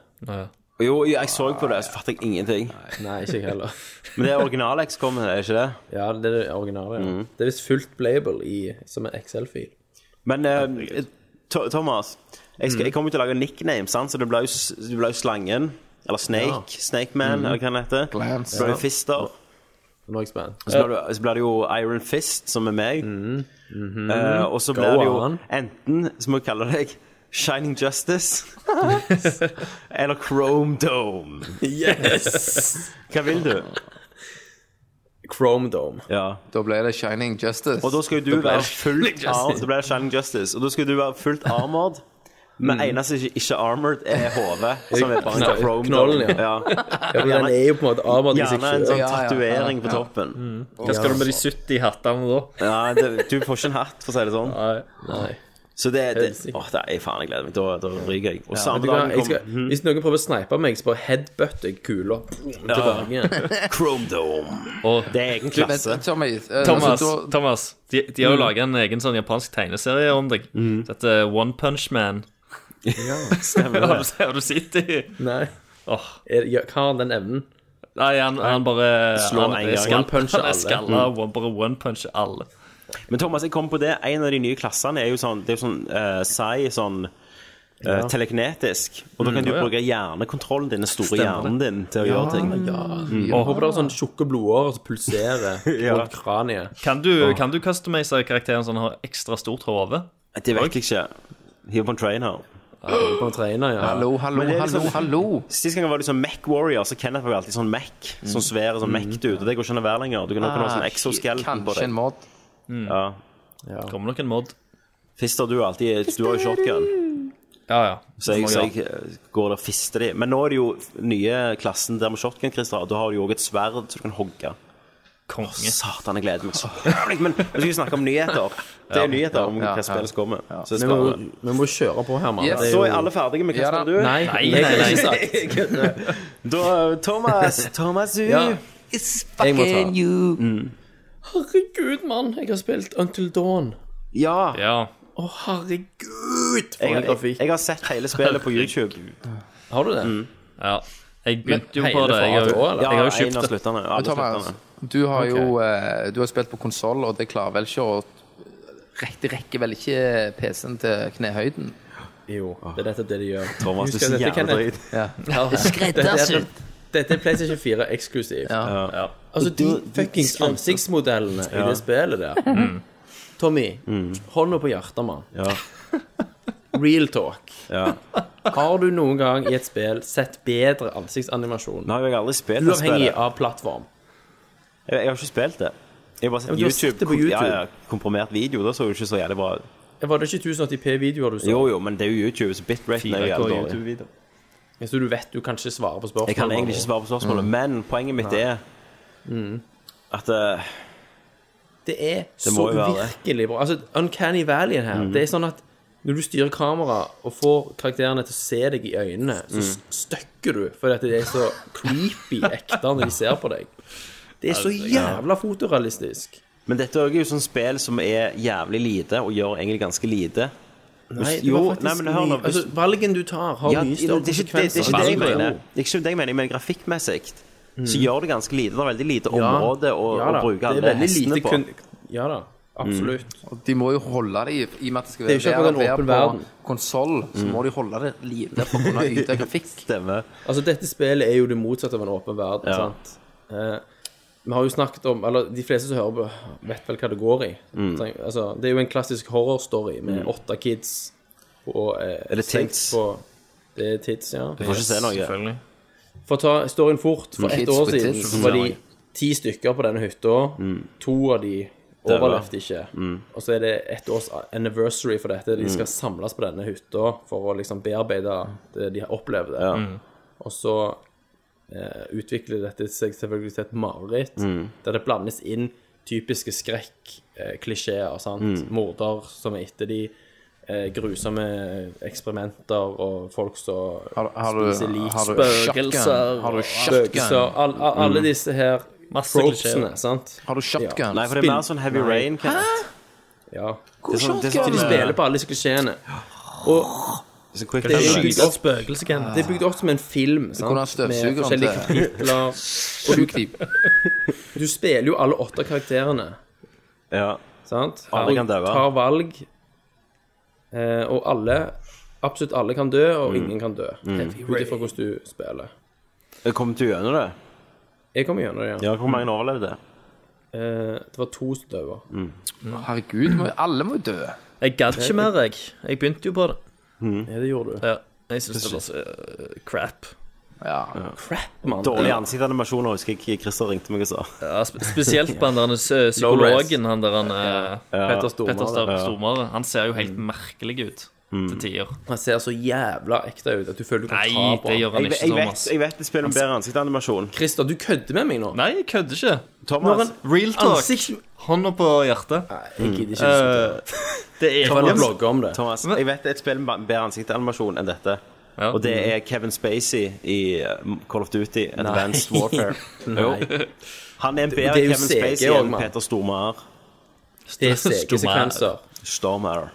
Speaker 5: Jo, jeg så på det, så fatter jeg ingenting.
Speaker 9: Nei, ikke jeg (laughs) heller.
Speaker 5: Men det er original XCOM, er det ikke det?
Speaker 9: Ja, det er det originale. Ja. Det er visst fullt playable i, som en XL-fil.
Speaker 5: Men eh, To- Thomas, jeg,
Speaker 9: Mm.
Speaker 5: skal, jeg kommer jo til å lage nickname, sant? så det blir jo s- det blir jo Slangen. Eller Snake.
Speaker 9: Mm.
Speaker 5: Snakeman, eller hva den heter.
Speaker 7: Glance.
Speaker 5: Så blir det Fister.
Speaker 9: Nå er jeg spent.
Speaker 5: Så blir det- Så blir det jo Iron Fist, som er meg. Eh, og så blir det jo
Speaker 9: on.
Speaker 5: enten, så må jeg kalle deg Shining (laughs) Justice. eller Chrome Dome.
Speaker 9: Yes!
Speaker 5: Hva vil du?
Speaker 9: Eh, Chrome Dome.
Speaker 5: Ja.
Speaker 7: Da ble det Shining Justice.
Speaker 5: Og da skal jo du være fullt arm- Da blir det Shining Justice. Og da skal du være fullt armored. Men eneste ikke, ikke armored er hodet, som er bare en
Speaker 9: Kno-
Speaker 5: chrome
Speaker 9: knollen,
Speaker 5: dome. ja.
Speaker 9: Ja, men den er jo på en måte avmatt i seg
Speaker 5: Gjerne en
Speaker 9: selv.
Speaker 5: sånn
Speaker 7: Ja, ja,
Speaker 5: tatovering
Speaker 7: ja,
Speaker 5: på
Speaker 7: ja.
Speaker 5: toppen.
Speaker 8: Hva skal du med de 70 hattene da?
Speaker 5: Ja, det, du får ikke en hatt, for å si det sånn.
Speaker 8: Nei.
Speaker 9: Nei.
Speaker 5: Så det, det Åh, det er faen, jeg gleder meg. Da, da ryker jeg. Og samme
Speaker 9: Vet du hva,
Speaker 5: dag
Speaker 9: jeg skal,
Speaker 5: kom
Speaker 9: hvis noen prøver å snipe meg, så bare headbutt jeg kula tilbake igjen.
Speaker 5: (laughs) Chrome Dome.
Speaker 8: Og
Speaker 5: Det er egen
Speaker 7: Men
Speaker 5: klasse.
Speaker 7: Tommy, eh,
Speaker 8: Thomas,
Speaker 7: altså, da,
Speaker 8: Thomas de, de
Speaker 5: Mm.
Speaker 8: har jo laga en egen sånn japansk tegneserie om deg. Dette One Punch Man. (laughs)
Speaker 5: Stemmer det.
Speaker 8: Har du sett det?
Speaker 9: Nei.
Speaker 8: Åh.
Speaker 9: Er, ja, hva har den evnen?
Speaker 8: Nei, han, han bare
Speaker 5: Slår
Speaker 8: han,
Speaker 5: en
Speaker 8: er
Speaker 5: gang.
Speaker 8: skall-
Speaker 5: One Mm.
Speaker 9: puncher
Speaker 8: Han er
Speaker 9: alle.
Speaker 8: skalla og bare one puncher alle.
Speaker 5: Men Thomas, jeg kom på det. En av de nye klassene er jo sånn Det er jo sånn uh, sei, sånn eh, telekinetisk. Og da kan du
Speaker 8: ja.
Speaker 5: bruke hjernekontrollen din, den store hjernen din, til å gjøre ting.
Speaker 9: Jeg håper det er sånn tjukke blodårer som pulserer rundt kraniet.
Speaker 8: Kan du, kan du customise karakteren sånn at han har ekstra stort hode?
Speaker 5: Det vet jeg ikke. Hiv på en train her.
Speaker 9: På en trener, ja.
Speaker 7: hallo, hallo,
Speaker 5: Men det er
Speaker 7: hallo,
Speaker 5: liksom-
Speaker 7: hallo.
Speaker 5: Sist gang var det sånn Mac Warrior, så Kenneth var jo alltid sånn Mac. Sånn svære sånn Mac-dude. Og det går ikke an å være lenger. Du kan ha sånn
Speaker 7: Ah,
Speaker 5: exoskeleton på
Speaker 7: Kanskje en
Speaker 5: deg.
Speaker 7: mod.
Speaker 5: Ja.
Speaker 8: Kommer nok en mod.
Speaker 5: Fister, du er alltid Du har jo shotgun.
Speaker 8: Ja, ja.
Speaker 5: Så jeg, så jeg eh, går og fister de. Men nå er det jo nye klassen der med shotgun, Christer. Da har du jo òg et sverd så du kan hogge.
Speaker 8: Konge.
Speaker 5: Satan, jeg gleder meg så jævlig. Men vi skal jo snakke om nyheter. Det er nyheter om hva spillet som kommer. Så det er
Speaker 9: Vi må,
Speaker 5: spennende.
Speaker 9: vi må kjøre på her, mann.
Speaker 7: Yes.
Speaker 9: Det er
Speaker 5: Så
Speaker 9: jo-
Speaker 5: er alle ferdige med hva
Speaker 7: Ja, da.
Speaker 5: spiller du? (laughs)
Speaker 8: Nei,
Speaker 9: Nei, jeg har
Speaker 8: nei,
Speaker 9: ikke
Speaker 8: nei.
Speaker 9: sagt.
Speaker 5: Da, Thomas. Thomas U.
Speaker 9: Ja.
Speaker 2: It's
Speaker 9: Jeg må ta. Mm.
Speaker 2: fucking you.
Speaker 9: Herregud, mann. Jeg har spilt Until Dawn.
Speaker 5: Ja.
Speaker 8: Ja.
Speaker 9: Å, herregud, for
Speaker 5: Jeg,
Speaker 9: en
Speaker 5: jeg,
Speaker 9: grafikk.
Speaker 5: jeg har sett hele spillet på YouTube.
Speaker 9: Mm. Har du det?
Speaker 8: ja. Jeg begynte jo
Speaker 9: hele
Speaker 8: på det. Jeg har
Speaker 9: faget
Speaker 8: jo-
Speaker 9: også, eller?
Speaker 8: jeg har jo
Speaker 5: en av
Speaker 8: kjøpt det.
Speaker 5: sluttene. Alle
Speaker 7: Men Thomas,
Speaker 5: sluttene.
Speaker 7: Altså, du har jo eh, du har spilt på konsoll, og det klarer vel ikke å rett- Det rekker vel ikke PC-en til knehøyden?
Speaker 9: Jo, det er dette det de gjør.
Speaker 5: Thomas, du
Speaker 9: Husker
Speaker 5: er så jævla
Speaker 9: dette, Kenneth?
Speaker 5: drøyt.
Speaker 9: Dette, er- dette er PlayStation 4 eksklusivt.
Speaker 7: Ja.
Speaker 9: Altså, de fuckings ansiktsmodellene i det spillet der. Tommy, hånda på hjertet, mann.
Speaker 5: Ja.
Speaker 9: Real talk.
Speaker 5: Ja.
Speaker 9: Har du noen gang i et spill sett bedre ansiktsanimasjon?
Speaker 5: Nå har jeg aldri spilt det
Speaker 9: Uavhengig
Speaker 5: spillet.
Speaker 9: av plattform.
Speaker 5: Jeg, jeg har ikke spilt det. Jeg har bare
Speaker 9: Ja,
Speaker 5: sett
Speaker 9: men du har sett det på
Speaker 5: YouTube. Ja,
Speaker 9: YouTube.
Speaker 5: ja, komprimert video. Da så jo ikke så jævlig bra ut.
Speaker 9: Var det ikke 1080p-videoer du så?
Speaker 5: Jo, jo, men det er jo YouTube, så bitraten er jo jævlig dårlig.
Speaker 9: Så du vet du kan ikke svare på spørsmål?
Speaker 5: Jeg kan egentlig ikke svare på spørsmålet, men poenget mitt er at eh,
Speaker 9: Det er så
Speaker 5: må jo være det. Mhm.
Speaker 9: virkelig bra. Altså, Uncanny Valley her, det er sånn at når du styrer kameraet og får karakterene til å se deg i øynene, så
Speaker 5: Mhm.
Speaker 9: s- støkker du fordi at det er så creepy ekte når de ser på deg. Det er så jævla fotorealistisk.
Speaker 5: Men dette er jo sånn spill som er jævlig lite, og gjør egentlig ganske lite.
Speaker 9: Nei,
Speaker 5: Hvis-
Speaker 9: det
Speaker 5: jo,
Speaker 9: var faktisk
Speaker 5: nei, men hør nå,
Speaker 9: mye-
Speaker 5: hvis-
Speaker 9: altså, Valgen du tar, har
Speaker 5: Ja,
Speaker 9: mye
Speaker 5: det,
Speaker 9: større
Speaker 5: er ikke, det, det, er
Speaker 9: konsekvenser.
Speaker 5: ikke det
Speaker 8: Valg,
Speaker 5: jeg
Speaker 8: ja.
Speaker 5: mener. Det er ikke det jeg mener, men grafikkmessig
Speaker 9: Mm.
Speaker 5: så gjør det ganske lite. Det er veldig lite
Speaker 9: Ja.
Speaker 5: område å,
Speaker 9: Ja da,
Speaker 5: å bruke
Speaker 9: det er
Speaker 5: alle
Speaker 9: veldig
Speaker 5: hestene
Speaker 9: lite
Speaker 5: på. Mm.
Speaker 9: kun- Ja da, absolutt.
Speaker 7: Og de må jo holde det i, i og med at det skal
Speaker 9: Det er jo ikke akkurat en åpen verden. Mm.
Speaker 7: på konsoll, så må de holde det livlig for å kunne yte
Speaker 9: (laughs)
Speaker 7: grafikk.
Speaker 5: Stemmer.
Speaker 9: Altså, dette spillet er jo det motsatte av en åpen verden,
Speaker 5: Ja.
Speaker 9: sant? Eh, vi har jo snakket om Eller de fleste som hører på, vet vel hva det går i.
Speaker 5: Mm.
Speaker 9: Treng- Altså, det er jo en klassisk horrorstory med åtte kids og eh,
Speaker 5: Eller
Speaker 9: seks
Speaker 5: tits.
Speaker 9: På, det er tits, ja.
Speaker 5: Du får ikke se noe.
Speaker 8: Selvfølgelig.
Speaker 9: For å ta storyen fort, for ett
Speaker 7: Kids
Speaker 9: år
Speaker 7: with
Speaker 9: siden
Speaker 7: tits.
Speaker 9: så var de ti stykker på denne hytta.
Speaker 5: Mm.
Speaker 9: To av de
Speaker 5: var-
Speaker 9: overlevde ikke.
Speaker 5: Mm.
Speaker 9: Og så er det ett års anniversary for dette. De skal samles på denne hytta for å liksom bearbeide det de har opplevd. Og så eh, utvikler dette seg selvfølgelig til et mareritt,
Speaker 5: Mm.
Speaker 9: der det blandes inn typiske eh, skrekk-klisjeer. sant?
Speaker 5: Mm.
Speaker 9: Morder som er etter de. eh, Grusomme eksperimenter og folk som
Speaker 7: Har, har du,
Speaker 9: spiser lik.
Speaker 7: har du
Speaker 8: Spøkelser
Speaker 7: shotgun? Har du
Speaker 8: og-
Speaker 7: shotgun?
Speaker 9: Spøkelser. All, all,
Speaker 5: Mm.
Speaker 9: alle disse her
Speaker 8: Masse
Speaker 9: tropesene,
Speaker 8: klisjeer.
Speaker 9: sant?
Speaker 7: Har du shotgun?
Speaker 5: Nei, for det er mer sånn heavy rain. Kan
Speaker 9: Ja.
Speaker 5: det er sånn, det er
Speaker 9: Så
Speaker 5: sånn,
Speaker 9: de
Speaker 5: eh,
Speaker 9: spiller på alle disse klisjeene. Og
Speaker 5: det er sånn quick
Speaker 9: det er
Speaker 5: action.
Speaker 9: bygd
Speaker 8: Skyte
Speaker 9: opp,
Speaker 8: et spøkelse, Kenneth.
Speaker 9: det er bygd opp som en film, sant?
Speaker 7: kunne ha støvsugeren
Speaker 9: Med forskjellige
Speaker 7: til-
Speaker 9: kapitler.
Speaker 7: Sju knip.
Speaker 9: Du spiller jo alle åtte karakterene,
Speaker 5: Ja.
Speaker 9: sant?
Speaker 5: Alle kan dø,
Speaker 9: Og
Speaker 5: va?
Speaker 9: tar valg. Eh, og alle, absolutt alle kan dø, og ingen kan dø. Ut ifra hvordan du spiller.
Speaker 5: Jeg kom til gjennom det.
Speaker 9: Jeg kom gjennom det, ja.
Speaker 5: Ja, hvor mange overlevde?
Speaker 9: Eh, det var to som døde.
Speaker 7: Herregud, må, alle må jo dø.
Speaker 8: Jeg gadd ikke mer, jeg. Jeg begynte jo på det.
Speaker 9: Ja, det gjorde du.
Speaker 8: Ja. Jeg syns det var så øh, crap.
Speaker 7: Ja.
Speaker 9: Crap, mann.
Speaker 5: Dårlige ansiktanimasjoner, husker jeg Christer ringte meg og sa.
Speaker 8: Ja, spe- spesielt på han der øh, psykologen, han der han, øh,
Speaker 9: Petter
Speaker 8: Petter
Speaker 9: Stormare.
Speaker 8: Star- Stormare. Han ser jo helt merkelig ut til tider.
Speaker 9: Han ser så jævla ekte ut at du føler du kan
Speaker 8: Nei,
Speaker 9: ta på
Speaker 8: det
Speaker 9: ham.
Speaker 8: gjør han
Speaker 5: Jeg,
Speaker 8: ikke,
Speaker 5: jeg,
Speaker 8: Thomas.
Speaker 5: vet, jeg vet det spiller om bedre ansiktanimasjon.
Speaker 9: Christer, du kødder med meg nå.
Speaker 8: Nei, jeg kødder ikke.
Speaker 5: Thomas,
Speaker 9: Når
Speaker 8: Real talk.
Speaker 9: Ansikt-
Speaker 8: Hånda på hjertet.
Speaker 9: Nei, jeg gidder ikke
Speaker 8: Eh, det er
Speaker 9: Kan man blogge om det?
Speaker 5: Thomas jeg vet det er et spill med bedre ansiktanimasjon enn dette.
Speaker 8: Ja.
Speaker 5: Og
Speaker 9: Mm.
Speaker 5: det er Kevin Spacey i eh, Call of Duty Advanced
Speaker 9: (laughs)
Speaker 5: Warfare. Jo. Han er en bedre
Speaker 9: det er jo
Speaker 5: Kevin
Speaker 9: CG
Speaker 5: Spacey
Speaker 9: også,
Speaker 5: enn
Speaker 9: mann.
Speaker 5: Peter Stormare.
Speaker 9: Det er CG-sekvenser.
Speaker 5: Stormare.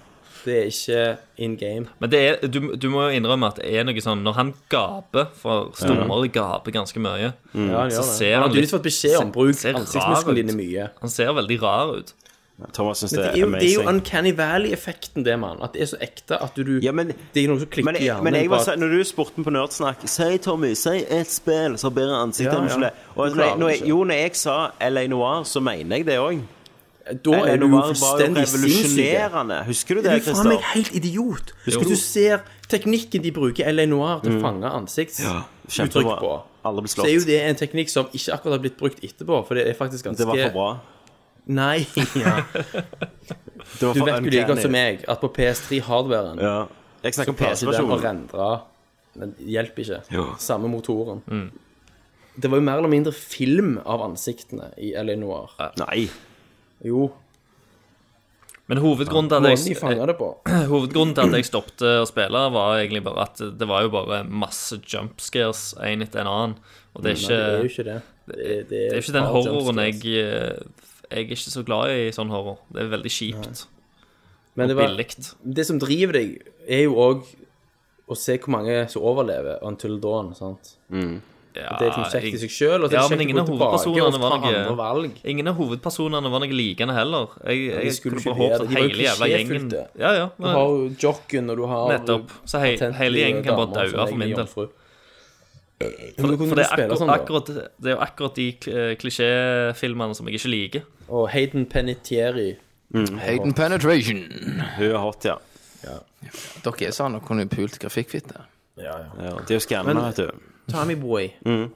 Speaker 9: Det er ikke in game.
Speaker 8: Men det er, du, du må jo innrømme at det er noe sånn Når han gaper, for Stormare gaper ganske mye,
Speaker 9: Ja,
Speaker 8: så
Speaker 9: han gjør det.
Speaker 8: ser han
Speaker 9: Han har tydeligvis
Speaker 8: litt
Speaker 9: fått beskjed om
Speaker 8: ser-
Speaker 9: bruk
Speaker 8: ser rar
Speaker 9: ansiktsmusklene
Speaker 8: ut.
Speaker 9: dine mye.
Speaker 8: Han ser veldig rar ut.
Speaker 5: Thomas syns
Speaker 9: Men
Speaker 5: det
Speaker 9: det, er
Speaker 5: er
Speaker 9: jo, det er jo
Speaker 5: amazing.
Speaker 9: Uncanny Valley-effekten, det, mann. At det er så ekte at du
Speaker 5: Ja, men-
Speaker 9: Det er noe som klikker
Speaker 5: Men,
Speaker 9: i hjernen.
Speaker 5: men jeg var, sånn-
Speaker 9: på
Speaker 5: så-
Speaker 9: at-
Speaker 5: når du spurte meg på Nerdsnakk Si, Tommy, si et spill som har bedre ansiktanimasjon.
Speaker 9: Ja, ja.
Speaker 5: Og når jeg,
Speaker 9: Du klarer
Speaker 5: når
Speaker 9: det
Speaker 5: jeg,
Speaker 9: ikke.
Speaker 5: jo, når jeg sa LA Noir, så mener jeg det òg.
Speaker 9: da
Speaker 5: LA
Speaker 9: er du jo
Speaker 5: Noir var jo
Speaker 9: fullstendig sinnssyk.
Speaker 5: revolusjonerende. Husker du
Speaker 9: Du
Speaker 5: det,
Speaker 9: er faen meg
Speaker 5: Christer?
Speaker 9: helt idiot.
Speaker 5: Husker
Speaker 9: Hvis
Speaker 5: du-
Speaker 9: du ser teknikken de bruker i LA Noir
Speaker 5: Mm.
Speaker 9: til å fange ansiktsuttrykk
Speaker 5: Kjempebra.
Speaker 9: på,
Speaker 5: Alle ble
Speaker 9: så er jo
Speaker 5: slått.
Speaker 9: det en teknikk som ikke akkurat har blitt brukt etterpå, for det er faktisk ganske
Speaker 5: Det var for bra. (laughs)
Speaker 9: Nei. Ja.
Speaker 5: Det var
Speaker 9: Du
Speaker 5: for
Speaker 9: vet jo like godt
Speaker 5: uncanny.
Speaker 9: som meg at på PS3-hardwaren
Speaker 5: Ja. Jeg snakker om
Speaker 9: klarer ikke den å
Speaker 5: PC-versjonen.
Speaker 9: rendre Den hjelper ikke.
Speaker 5: Ja.
Speaker 9: Samme motoren.
Speaker 8: Mm.
Speaker 9: Det var jo mer eller mindre film av ansiktene i LA Noir.
Speaker 5: Nei.
Speaker 9: Jo,
Speaker 8: Men hovedgrunnen til at
Speaker 9: måten de
Speaker 8: jeg,
Speaker 9: fanga det på.
Speaker 8: (clears throat) Hovedgrunnen til at jeg stoppet å spille, var egentlig bare at det var jo bare masse jump scares en etter en annen. Og det er
Speaker 9: Mm, Nei, det er jo
Speaker 8: ikke,
Speaker 9: ikke det. Det er, det
Speaker 8: det
Speaker 9: er
Speaker 8: er ikke den
Speaker 9: bare
Speaker 8: horroren jeg eh,
Speaker 9: jumpscares.
Speaker 8: Jeg er ikke så glad i sånn horror. Det er veldig kjipt.
Speaker 9: Men det, var,
Speaker 8: Billig.
Speaker 9: det som driver deg, er jo òg å se hvor mange som overlever until dawn. sant?
Speaker 8: Ja,
Speaker 9: Det er liksom kjekt i seg sjøl, og så
Speaker 8: Ja,
Speaker 9: er det
Speaker 8: men
Speaker 9: kjekt
Speaker 8: ingen
Speaker 9: å
Speaker 8: av
Speaker 9: gå tilbake og
Speaker 8: hovedpersonene
Speaker 9: ta
Speaker 8: var noe-
Speaker 9: andre valg.
Speaker 8: Ingen av hovedpersonene var noe likende heller. Jeg, jeg
Speaker 9: skulle
Speaker 8: skulle
Speaker 9: ikke
Speaker 8: bare
Speaker 9: være
Speaker 8: håpet
Speaker 9: det.
Speaker 8: at
Speaker 9: De var jo
Speaker 8: hele jævla gjengen
Speaker 9: klisjéfylte.
Speaker 8: Ja, ja,
Speaker 9: Du
Speaker 8: men,
Speaker 9: har jo jocken, og du har
Speaker 8: Nettopp. Så hei-
Speaker 9: patentlige
Speaker 8: hele gjengen kan bare
Speaker 9: damer
Speaker 8: daue
Speaker 9: som er
Speaker 8: for min del.
Speaker 9: jomfru.
Speaker 8: for,
Speaker 9: Men du kunne
Speaker 8: for det,
Speaker 9: jo
Speaker 8: er
Speaker 9: spille
Speaker 8: akkurat,
Speaker 9: sånn, da.
Speaker 8: akkurat, det er jo akkurat de kl- eh, klisjéfilmene som jeg ikke liker.
Speaker 9: Og Hayden Penitieri. Mm.
Speaker 7: Hayden Penetration.
Speaker 5: Hun er hot, ja.
Speaker 7: Dere er sånn og kunne pult grafikkfitte.
Speaker 9: Ja, Mm. ja.
Speaker 5: ja de er jo skanna, vet du.
Speaker 9: Tommy Boy. Jeg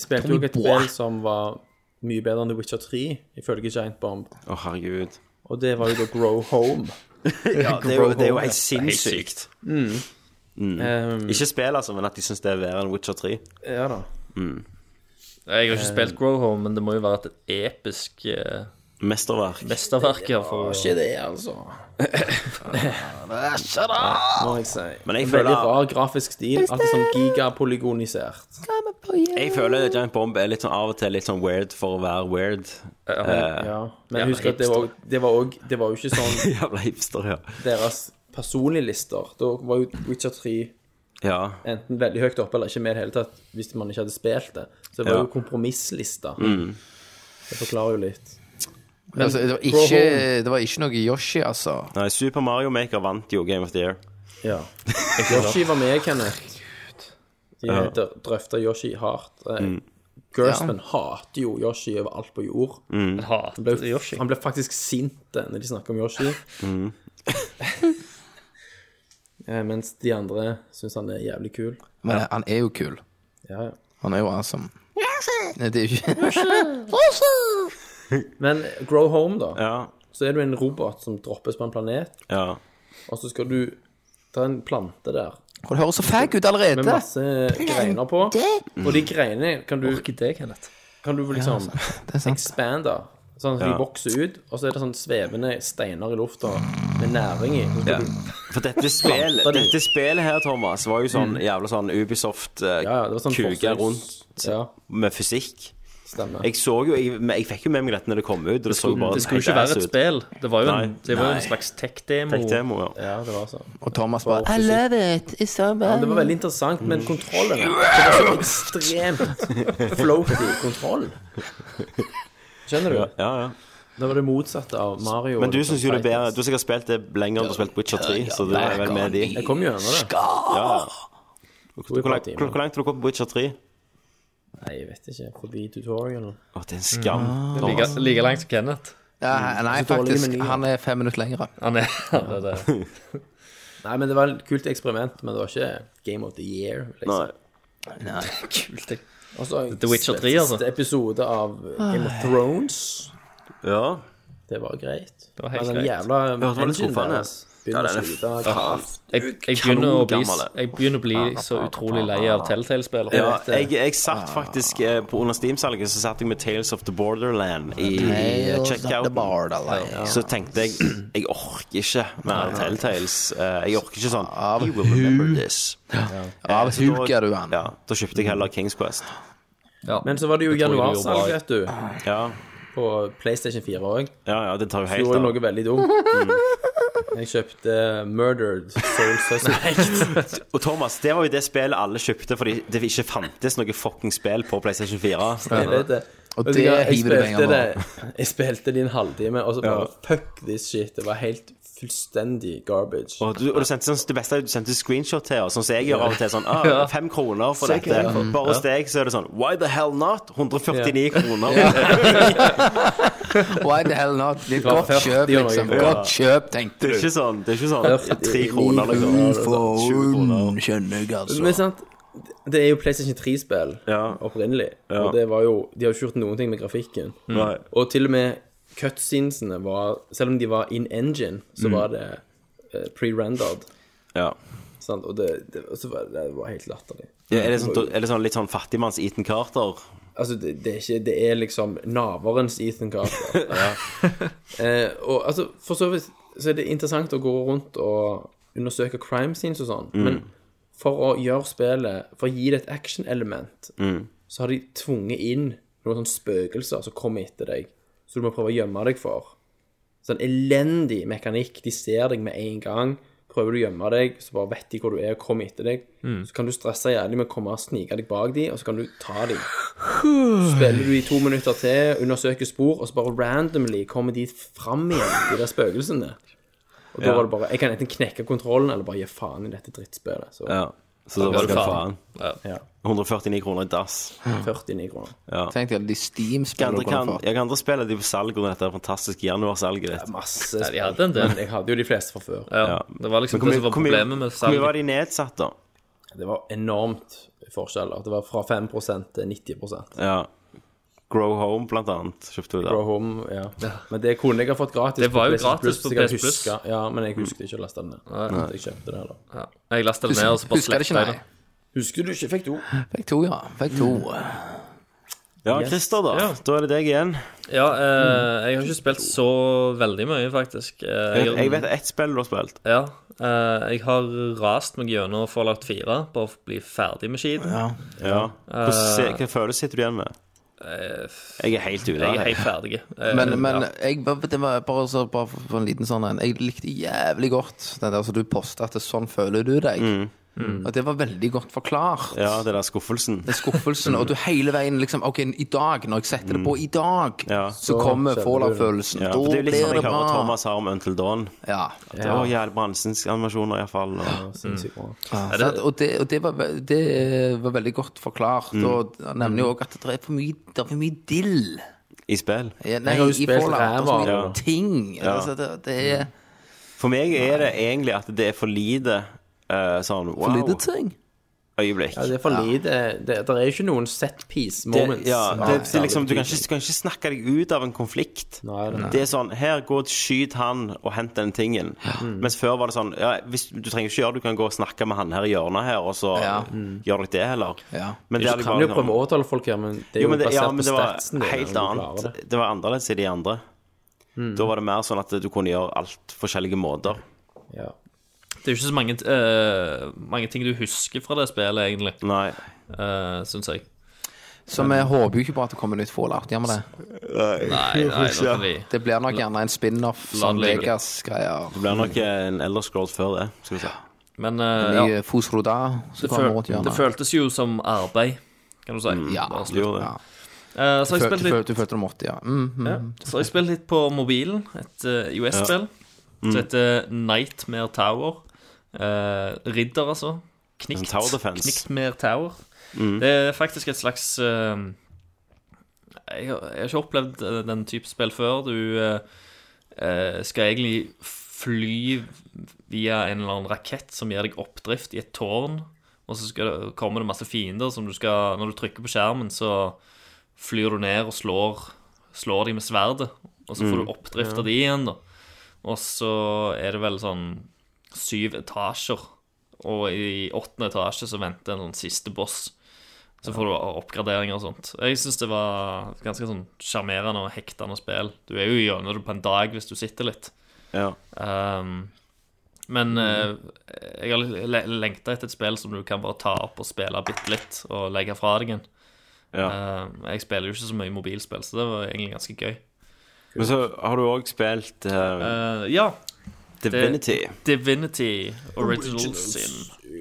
Speaker 9: spilte jo et spill som var mye bedre enn The Witcher 3, ifølge Giant Bomb.
Speaker 5: Å, herregud.
Speaker 9: Og det var jo da Grow Home.
Speaker 5: (laughs) Ja, det er jo, det er jo
Speaker 9: Home, ja.
Speaker 5: helt sinnssykt.
Speaker 8: Mm.
Speaker 9: Um,
Speaker 5: Ikke spill, altså, men at de syns det er verre enn Witcher 3.
Speaker 9: ja da.
Speaker 8: Jeg har ikke
Speaker 9: Eh.
Speaker 8: spilt Grow Home, men det må jo være et episk eh,
Speaker 5: Mesterverk.
Speaker 8: mesterverk her. For,
Speaker 9: Ikke det, (laughs) altså. Må jeg si.
Speaker 5: Men jeg
Speaker 9: En
Speaker 5: føler-
Speaker 9: Veldig rar grafisk stil. Alt er sånn gigapolygonisert.
Speaker 5: Jeg føler Giant Bomb er litt sånn av og til litt sånn weird for å være weird. Eh,
Speaker 9: Ja. Men husk at det var, det, var også, det var jo ikke sånn
Speaker 5: (laughs) Jævla hipster, ja.
Speaker 9: deres personlige lister. Da var jo Witcher 3
Speaker 5: Ja,
Speaker 9: enten veldig høyt oppe eller ikke med i det hele tatt, hvis man ikke hadde spilt det. Så det
Speaker 5: Ja.
Speaker 9: var jo kompromisslista. Det forklarer jo litt.
Speaker 7: Men, altså, det, var
Speaker 9: Grow
Speaker 7: ikke, det var ikke noe Yoshi, altså.
Speaker 5: Nei, Super Mario Maker vant jo Game of the Year.
Speaker 9: Ja. (laughs) Yoshi var med, Kenneth. De ja. drøfta Yoshi hardt. Eh, Gerstmann hater jo Yoshi over alt på jord.
Speaker 8: Jeg hater
Speaker 9: ble,
Speaker 8: Yoshi.
Speaker 9: Han ble faktisk sint eh, når de snakker om (laughs) Yoshi. Mm. eh, mens de andre syns han er jævlig kul.
Speaker 7: Men han er jo kul.
Speaker 9: Ja, ja.
Speaker 7: Han er jo awesome. Nei, det er jo ikke (laughs)
Speaker 9: Men Grow Home, da.
Speaker 5: Ja,
Speaker 9: Så er du en robot som droppes på en planet,
Speaker 5: ja.
Speaker 9: og så skal du Det er en plante der
Speaker 7: Og Det høres så fag ut
Speaker 9: med
Speaker 7: allerede.
Speaker 9: masse greiner på. Og de greinene kan du Kan du
Speaker 5: altså, (laughs)
Speaker 9: liksom
Speaker 7: Det er sant.
Speaker 9: expande. Sånn at de
Speaker 5: Ja.
Speaker 9: vokser ut, og så er det sånn svevende steiner i lufta med næring i. Så skal
Speaker 5: Ja.
Speaker 9: du
Speaker 5: For (laughs) dette, spil,
Speaker 9: Planta de.
Speaker 5: dette spillet her, Thomas, var jo sånn jævla sånn Ubisoft-kuker
Speaker 9: Ja, ja, det var sånn forsøks-
Speaker 5: rundt
Speaker 9: Ja,
Speaker 5: med fysikk.
Speaker 9: stemmer.
Speaker 5: Jeg så jo, jeg, men jeg fikk jo med meg dette når det kom ut. og Det, så jo bare
Speaker 8: Det skulle jo ikke
Speaker 5: helt ass
Speaker 8: være et
Speaker 5: ut.
Speaker 8: spill. Det var jo en,
Speaker 5: Nei.
Speaker 8: det var jo
Speaker 5: Nei.
Speaker 8: en slags tech-demo.
Speaker 5: Tech-demo, ja.
Speaker 9: Ja, det var sånn.
Speaker 7: Og Thomas bare I
Speaker 9: fysikk.
Speaker 7: love it. It's so
Speaker 9: Ja,
Speaker 7: bad.
Speaker 9: det var veldig interessant, men kontrollen Det var så ekstremt floaty kontroll. Skjønner du?
Speaker 5: Ja, ja.
Speaker 9: Det var det motsatte av Mario.
Speaker 5: Men du
Speaker 9: liksom,
Speaker 5: syns jo det er bedre.
Speaker 9: Titans.
Speaker 5: Du har sikkert spilt det lenger enn du har spilt Witcher 3, så du er vel med i de.
Speaker 9: Jeg kom gjennom det.
Speaker 5: Ja.
Speaker 9: To
Speaker 5: Hvor langt, hvor langt har du kommet på Witcher 3?
Speaker 9: Nei, jeg vet ikke. Forbi tutorialen.
Speaker 5: Å, det er en skam.
Speaker 8: Like,
Speaker 5: Thomas.
Speaker 8: like langt som Kenneth.
Speaker 7: Ja, nei,
Speaker 9: Så dårlige
Speaker 7: faktisk.
Speaker 9: menyer.
Speaker 7: Han er fem minutter lengre.
Speaker 8: Han er, (laughs) han er det.
Speaker 9: Nei, men det var et kult eksperiment, men det var ikke Game of the Year. Liksom.
Speaker 5: Nei.
Speaker 9: Og så har jeg
Speaker 8: The Witcher
Speaker 9: sett
Speaker 8: 3, altså.
Speaker 9: Siste episode av Game of Thrones.
Speaker 5: Ja.
Speaker 9: Det var greit. Det
Speaker 8: var helt
Speaker 9: men den
Speaker 8: greit.
Speaker 9: jævla
Speaker 5: det var litt
Speaker 9: engine
Speaker 5: skuffende.
Speaker 9: deres begynner å
Speaker 5: den er
Speaker 9: slite kraft.
Speaker 8: Jeg, jeg, begynner å bli,
Speaker 5: Kanongammel.
Speaker 8: jeg begynner å bli så utrolig lei av Telltale-spillere.
Speaker 5: ja jeg, jeg
Speaker 7: Ah.
Speaker 5: satt faktisk eh, på under Steam-salget Så satt jeg med Tales of the Borderland i, i eh,
Speaker 7: The
Speaker 5: checkouten.
Speaker 7: bar, da, like.
Speaker 5: Så tenkte jeg (clears throat) Jeg orker ikke mer Telltales. Eh, Jeg orker ikke sånn
Speaker 7: Av
Speaker 5: You will remember this.
Speaker 7: Av
Speaker 5: Så da-
Speaker 7: huker du han.
Speaker 5: Ja, da kjøpte jeg heller Kings Quest.
Speaker 9: Men så var det jo
Speaker 8: tror jeg det
Speaker 9: januarsalg, vet du,
Speaker 5: Ja,
Speaker 9: på PlayStation 4 òg.
Speaker 5: ja, ja det tar jo
Speaker 9: Gjorde
Speaker 5: helt av.
Speaker 9: noe veldig dumt. Jeg kjøpte eh, Murdered Soul Suspect.
Speaker 5: Og Thomas, det var jo det spillet alle kjøpte fordi det ikke fantes noe fuckings spill på PlayStation 4.
Speaker 9: Jeg vet det.
Speaker 7: Og
Speaker 9: Vet
Speaker 7: det
Speaker 9: du hva, jeg
Speaker 7: hiver du
Speaker 9: spilte
Speaker 7: penger
Speaker 9: det (laughs)
Speaker 7: på.
Speaker 9: Jeg spilte det i en halvtime, og så bare
Speaker 5: Ja.
Speaker 9: fuck this shit. Det var helt fullstendig garbage.
Speaker 5: Og du, og du sendte sånn, det beste er at du sendte screenshot til oss, sånn som jeg gjør av og til. Sånn, ah, Fem kroner for dette. Bare hos deg så er det sånn Why the hell not? 149 kroner.
Speaker 7: Why the hell not? Det er et
Speaker 9: var
Speaker 7: godt
Speaker 9: 40
Speaker 7: kjøp,
Speaker 9: og noe.
Speaker 7: liksom.
Speaker 9: Ja.
Speaker 7: Godt kjøp, tenkte
Speaker 5: Det er
Speaker 7: du.
Speaker 5: ikke sånn Det er ikke sånn tre kroner, liksom.
Speaker 7: Ni
Speaker 5: Det er sånn 20 kroner.
Speaker 7: skjønner jeg, altså.
Speaker 9: Men sant, det er jo PlayStation 3-spill
Speaker 5: Ja.
Speaker 9: opprinnelig.
Speaker 5: Ja.
Speaker 9: Og det var jo De har jo ikke gjort noen ting med grafikken.
Speaker 5: Nei.
Speaker 9: Og til og med cutscenesene var Selv om de var in engine, så
Speaker 5: Mm.
Speaker 9: var det eh, pre-rendered.
Speaker 5: Ja.
Speaker 9: Sant? Og det, det, og så var, det var helt latterlig.
Speaker 5: Ja, er, det sånn, er det sånn litt sånn fattigmanns Eaton Carter?
Speaker 9: Altså, det, det, er ikke, det er liksom naverens Ethan Carter. eh, og altså, for så vidt så er det interessant å gå rundt og undersøke crime scenes og sånn, men for å gjøre spillet, for å gi det et action-element, så har de tvunget inn noen sånne spøkelser som kommer etter deg, så du må prøve å gjemme deg for. Sånn elendig mekanikk. De ser deg med en gang, Prøver du å gjemme deg, så bare vet de hvor du er, og kommer etter deg. Så kan du stresse jævlig med å komme og snike deg bak de, og så kan du ta de. Så spiller du i to minutter til, undersøker spor, og så bare randomly kommer de fram igjen, de der spøkelsene. Og da var det bare Jeg kan enten knekke kontrollen, eller bare gi faen i dette drittspillet. Så
Speaker 5: Ja. Så da var det faen.
Speaker 9: Ja.
Speaker 5: 149 kroner i dass.
Speaker 9: 49 kroner.
Speaker 7: Tenk deg alle de
Speaker 5: Hva
Speaker 7: Steam-spillene
Speaker 5: andre
Speaker 7: du kunne
Speaker 5: kan,
Speaker 7: fått.
Speaker 5: ja, hva andre spill er de på salg under dette fantastiske januarsalget ditt?
Speaker 9: Masse
Speaker 8: Nei, de hadde en del.
Speaker 9: Men jeg hadde jo de fleste fra før.
Speaker 8: Ja,
Speaker 5: Ja.
Speaker 8: Det var liksom
Speaker 5: Hvor
Speaker 8: det
Speaker 5: mye
Speaker 8: som var
Speaker 5: hvor mye-
Speaker 8: problemet med
Speaker 5: hvor mye
Speaker 8: salget.
Speaker 5: var de nedsatt, da?
Speaker 9: Det var enormt forskjeller. Det var fra 5 til 90
Speaker 5: Ja. Grow Home, blant annet, kjøpte du der.
Speaker 9: Pro Home, ja. Men det kunne jeg ha fått gratis.
Speaker 8: Det var jo
Speaker 9: på PlayStation
Speaker 8: gratis på
Speaker 9: så jeg
Speaker 8: PS+.
Speaker 9: husker- Ja, men jeg husket ikke å laste den ned. Så Jeg kjøpte det heller.
Speaker 8: Ja. Jeg lasta det ned, og så bare
Speaker 7: Husker det ikke,
Speaker 8: sletta jeg det.
Speaker 7: nei.
Speaker 9: Husker du ikke? Fikk du?
Speaker 8: Mm.
Speaker 7: Fikk to, ja. Fikk to.
Speaker 5: Ja, Christer, da.
Speaker 8: Ja.
Speaker 5: Da er det deg igjen.
Speaker 8: Ja, eh, jeg har ikke spilt så veldig mye, faktisk. Eh,
Speaker 5: Jeg, jeg vet ett spill du har spilt.
Speaker 8: Ja, eh, jeg har rast meg gjennom Fallout 4 bare for å bli ferdig med skiten.
Speaker 5: Ja. Hvordan,
Speaker 8: Eh.
Speaker 5: se, hva følelse sitter du igjen med? Jeg er helt ute.
Speaker 8: Jeg er
Speaker 5: her, jeg.
Speaker 8: helt ferdig. Eh,
Speaker 7: Men, men
Speaker 8: ja.
Speaker 7: jeg, bare- det var bare, så, bare for for en liten sånn en Jeg likte jævlig godt den der som du posta at det, 'sånn føler du deg'. Og det var veldig godt forklart.
Speaker 5: Mm. Ja, det der skuffelsen.
Speaker 7: Den skuffelsen, og du hele veien liksom OK, i dag, når jeg setter det på i dag,
Speaker 5: Mm. Ja.
Speaker 7: så kommer Fallout-følelsen.
Speaker 5: Ja,
Speaker 7: da
Speaker 5: for det er jo
Speaker 7: blir
Speaker 5: litt sånn
Speaker 7: det
Speaker 5: jeg hører
Speaker 7: bra.
Speaker 5: Thomas har om Until Dawn.
Speaker 7: Ja.
Speaker 5: Det var jævlig bransens animasjoner, iallfall. Og...
Speaker 9: Sinnssykt bra.
Speaker 7: Ja, sant? og det, og det, var, ve- det var veldig godt forklart.
Speaker 5: Mm.
Speaker 7: Og han nevner jo òg at det er for mye, det er for mye dill.
Speaker 5: I spill.
Speaker 7: Ja, Nei,
Speaker 9: Jeg har jo
Speaker 7: i
Speaker 9: spilt
Speaker 7: Fallout. Det er så
Speaker 9: ræva.
Speaker 7: mye
Speaker 5: Ja.
Speaker 7: ting. Altså, det, det er
Speaker 5: For meg er det egentlig at det er for lite eh, sånn wow,
Speaker 7: for lite ting.
Speaker 5: øyeblikk.
Speaker 9: Ja, det er for lite Det, det er jo ikke noen set piece
Speaker 5: Det,
Speaker 9: moments.
Speaker 5: ja, det,
Speaker 9: Nei,
Speaker 5: det er liksom, du, kan ikke, du kan ikke snakke deg ut av en konflikt.
Speaker 9: Nei, det-
Speaker 5: Det er sånn Her, gå og skyt han og hent den tingen.
Speaker 9: Mm.
Speaker 5: Mens før var det sånn ja, hvis, Du trenger ikke gjøre det, du kan gå og snakke med han her i hjørnet her, og så
Speaker 7: Ja.
Speaker 5: gjør dere det heller.
Speaker 7: Ja.
Speaker 5: Men det er
Speaker 9: Mm. Du kan
Speaker 5: bare
Speaker 9: jo prøve å
Speaker 5: sånn-
Speaker 9: overtale folk her, men det
Speaker 5: Jo,
Speaker 9: er jo,
Speaker 5: men det,
Speaker 9: basert
Speaker 5: ja, men
Speaker 9: på
Speaker 5: det var
Speaker 9: statsen din.
Speaker 5: helt
Speaker 9: om du klarer
Speaker 5: annet.
Speaker 9: det. Mm.
Speaker 5: Det var annerledes i de andre. Da var det mer sånn at du kunne gjøre alt forskjellige måter.
Speaker 9: Ja.
Speaker 8: Det er jo ikke så mange, eh, mange ting du husker fra det spillet, egentlig,
Speaker 5: Nei.
Speaker 8: uh, syns jeg.
Speaker 7: Så vi håper jo ikke på at det kommer nytt Fallout. Gjør vi det?
Speaker 8: Nei, nei, nå kan vi
Speaker 7: Det blir nok gjerne en spin-off,
Speaker 8: La
Speaker 7: sånn
Speaker 8: det ligge.
Speaker 7: Vegas-greier.
Speaker 5: Det blir
Speaker 9: Mm.
Speaker 5: nok en Elder Scrolls før det. Skal vi se.
Speaker 8: Men eh,
Speaker 7: I
Speaker 8: ja,
Speaker 7: eh, Fosroda, som
Speaker 8: det,
Speaker 7: kommer
Speaker 8: føl
Speaker 7: rundt
Speaker 8: det
Speaker 7: hjørnet.
Speaker 8: føltes jo som arbeid, kan du si.
Speaker 7: Ja.
Speaker 8: Bare
Speaker 5: Du
Speaker 8: slutt.
Speaker 5: gjorde det.
Speaker 7: Ja.
Speaker 8: Eh, så har
Speaker 7: Du
Speaker 8: jeg
Speaker 7: føl-
Speaker 8: spilt
Speaker 7: du
Speaker 8: litt
Speaker 7: føl- du følte det måtte, ja. Mm, mm.
Speaker 8: Ja. Så har jeg spilt litt på mobilen, et US-spill,
Speaker 5: Mm.
Speaker 8: som heter Nightmare Tower. Eh, ridder, altså. Knikt,
Speaker 5: En tower defense.
Speaker 8: Kniktmare Tower. Det er faktisk et slags eh, jeg, har, jeg har ikke opplevd eh, den type spill før. Du eh, eh, skal egentlig fly via en eller annen rakett som gir deg oppdrift i et tårn. Og så skal, det- kommer det masse fiender som du skal Når du trykker på skjermen, så flyr du ned og slår, slår dem med sverdet. Og så får du oppdrift av de igjen, da. Og så er det vel sånn syv etasjer. Og i åttende etasje så venter en sånn siste boss. Så får du oppgraderinger og sånt. Jeg syns det var et ganske sånn sjarmerende og hektende spill. Du er jo gjennom det på en dag hvis du sitter litt.
Speaker 5: Ja.
Speaker 8: Um, men eh, jeg har le- le- lengta etter et spill som du kan bare ta opp og spille bitte litt, og legge fra deg igjen.
Speaker 5: Ja.
Speaker 8: Um, jeg spiller jo ikke så mye mobilspill, så det var egentlig ganske gøy.
Speaker 5: Men så har du òg spilt eh,
Speaker 8: Eh, ja,
Speaker 5: Divinity.
Speaker 8: Divinity Original Sin.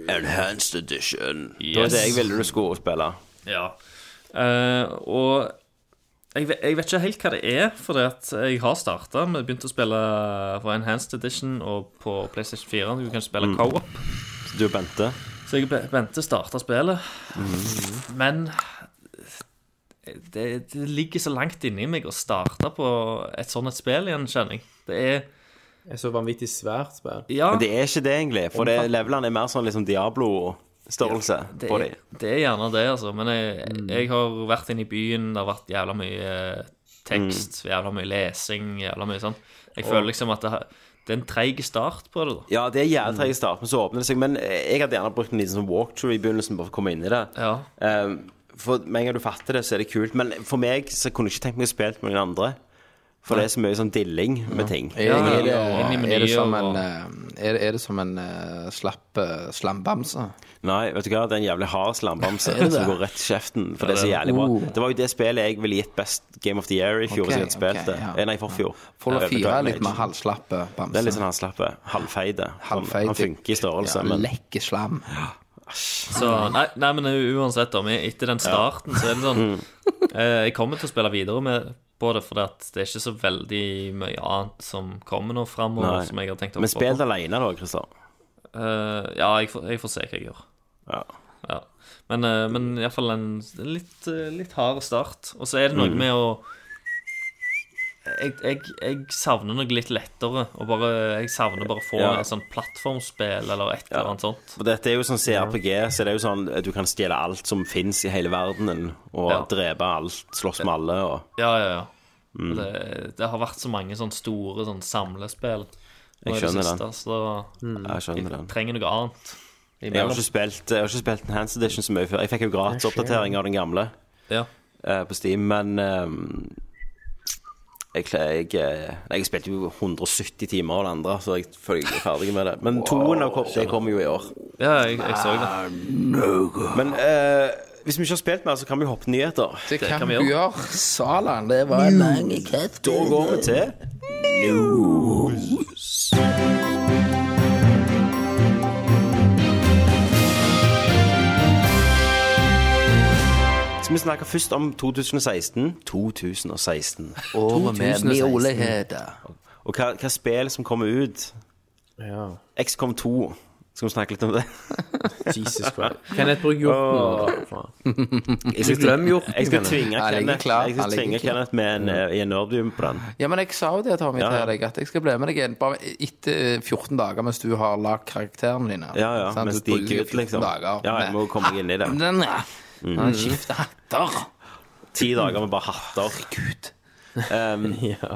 Speaker 5: Enhanced Edition. Det
Speaker 8: Yes.
Speaker 5: var det jeg ville du skulle spille.
Speaker 8: Ja. Eh, og jeg, ve- jeg vet ikke helt hva det er, for jeg har starta. Vi begynte å spille på Enhanced Edition og på PlayStation 4. Du kan spille co-op.
Speaker 5: Du og Bente.
Speaker 8: Så jeg og Bente starta spillet. Men eh, det, det ligger så langt inni meg å starte på et sånt et spill igjen, kjenner jeg. Det er
Speaker 9: Det er så vanvittig svært
Speaker 5: (laughs)
Speaker 9: spill.
Speaker 8: Ja,
Speaker 5: Men det er ikke det, egentlig. For det, levelene er mer sånn liksom Diablo-størrelse
Speaker 8: det
Speaker 5: på
Speaker 8: er,
Speaker 5: dem.
Speaker 8: det er gjerne det, altså. Men jeg,
Speaker 5: Mm.
Speaker 8: jeg har vært inne i byen, det har vært jævla mye eh, tekst, jævla mye lesing, jævla mye sånn. Jeg føler liksom at det, har- det er en treig start på det, da.
Speaker 5: Ja, det er jævlig tregt i starten, så åpner det seg. Men eh, jeg hadde gjerne brukt en liten sånn walkthrough i begynnelsen bare for å komme inn i det.
Speaker 8: Ja.
Speaker 5: Ehm, for med en gang du fatter det, så er det kult. Men for meg så kunne jeg ikke tenkt meg å spille med noen andre. For det er så mye sånn dilling med ting.
Speaker 7: Er,
Speaker 8: ja, ja. Inn i
Speaker 7: er, det, er det
Speaker 8: menyer
Speaker 7: som
Speaker 8: og-
Speaker 7: en eh, er, er det som en eh, slapp eh, slambamse?
Speaker 5: Nei, vet du hva, det er en jævlig hard
Speaker 7: (laughs)
Speaker 5: slambamse som går rett i kjeften. For det er så jævlig bra.
Speaker 7: Oh.
Speaker 5: Det var jo det spillet jeg ville gitt best Game of the Year i fjor,
Speaker 7: Ok,
Speaker 5: hvis jeg hadde spilt
Speaker 7: ok,
Speaker 5: det.
Speaker 7: ja.
Speaker 5: Eh, Nei, i forfjor.
Speaker 7: Follow
Speaker 5: Eh,
Speaker 7: 4 er
Speaker 5: Dragon
Speaker 7: litt
Speaker 5: Age.
Speaker 7: mer halvslappe bamse.
Speaker 5: Det er litt sånn han slapper. Halvfeide. Han,
Speaker 7: Halvfeit.
Speaker 5: han funker i størrelse,
Speaker 7: ja,
Speaker 5: men
Speaker 7: Lekker slam.
Speaker 8: Så, nei, nei, men uansett, da, men etter den starten, så er det sånn
Speaker 5: Mm.
Speaker 8: eh, Jeg kommer til å spille videre med, på det, for det er ikke så veldig mye annet som kommer nå
Speaker 5: Nei.
Speaker 8: framover, som jeg har tenkt å
Speaker 5: Men
Speaker 8: hoppe
Speaker 5: spill
Speaker 8: på.
Speaker 5: det alene, da, Christer.
Speaker 8: Eh, ja, jeg får, jeg får se hva jeg gjør.
Speaker 5: Ja.
Speaker 8: Ja. Men, eh, men iallfall en litt, eh, litt hard start. Og så er det
Speaker 5: Mm.
Speaker 8: noe med å jeg, jeg, jeg savner noe litt lettere. Og bare, jeg savner bare å få
Speaker 5: Ja.
Speaker 8: et sånt plattformspill eller et eller annet sånt.
Speaker 5: For dette er jo sånn CRPG, så det er jo sånn at du kan stjele alt som fins i hele verdenen, og
Speaker 8: Ja.
Speaker 5: drepe alt, slåss med alle og
Speaker 8: Ja, ja, ja.
Speaker 5: Mm.
Speaker 8: Det, det har vært så mange sånne store sånn samlespill. nå
Speaker 5: Jeg
Speaker 8: i det
Speaker 5: skjønner
Speaker 8: siste,
Speaker 5: den.
Speaker 8: Så
Speaker 5: Jeg skjønner den.
Speaker 8: jeg trenger noe annet.
Speaker 5: Jeg har ikke spilt, jeg har ikke spilt Enhanced Edition så mye før. Jeg fikk jo gratis oppdatering av den gamle
Speaker 8: Ja.
Speaker 5: eh, på Steam, men eh, jeg, kle- jeg, eh, nei, jeg spilte jo 170 timer av det andre, så jeg føler jeg er ferdig med det. Men toen av kom- det kommer jo i år.
Speaker 8: ja, jeg, jeg så det.
Speaker 5: Men eh, hvis vi ikke har spilt mer, så kan vi hoppe til nyheter.
Speaker 7: Det kan
Speaker 8: kan vi
Speaker 7: du gjøre. Salan, det var en lang kjeft.
Speaker 5: Da går vi til News. Skal vi snakke først om 2016? 2016.
Speaker 7: Året med mioligheter.
Speaker 5: Og hva, hva spill som kommer ut.
Speaker 9: Ja.
Speaker 5: XCOM 2. Skal vi snakke litt om det?
Speaker 9: Jesus Christ.
Speaker 6: Kenneth bruker hjorten.
Speaker 5: Jeg skal,
Speaker 6: Glem hjorten.
Speaker 5: jeg skal tvinge
Speaker 7: Han ligger
Speaker 5: Kenneth,
Speaker 7: klar,
Speaker 5: jeg skal
Speaker 7: han ligger
Speaker 5: tvinge
Speaker 7: klar.
Speaker 5: Kenneth med en, eh, i en nerdroom på den.
Speaker 7: Ja, men jeg sa jo det, Tommy,
Speaker 5: Ja, ja.
Speaker 7: til deg, at jeg skal bli med deg igjen bare etter 14 dager mens du har lagd karakterene dine.
Speaker 5: Ja, ja.
Speaker 7: Sant?
Speaker 5: Mens de
Speaker 7: Du bruker
Speaker 5: gikk ut,
Speaker 7: 14
Speaker 5: liksom.
Speaker 7: Dager.
Speaker 5: Ja, jeg må komme meg inn i det. Mm.
Speaker 7: Den er Han skifter hatter.
Speaker 5: Ti dager med bare hatter. Gud.
Speaker 8: (laughs)
Speaker 5: Um,
Speaker 9: Ja.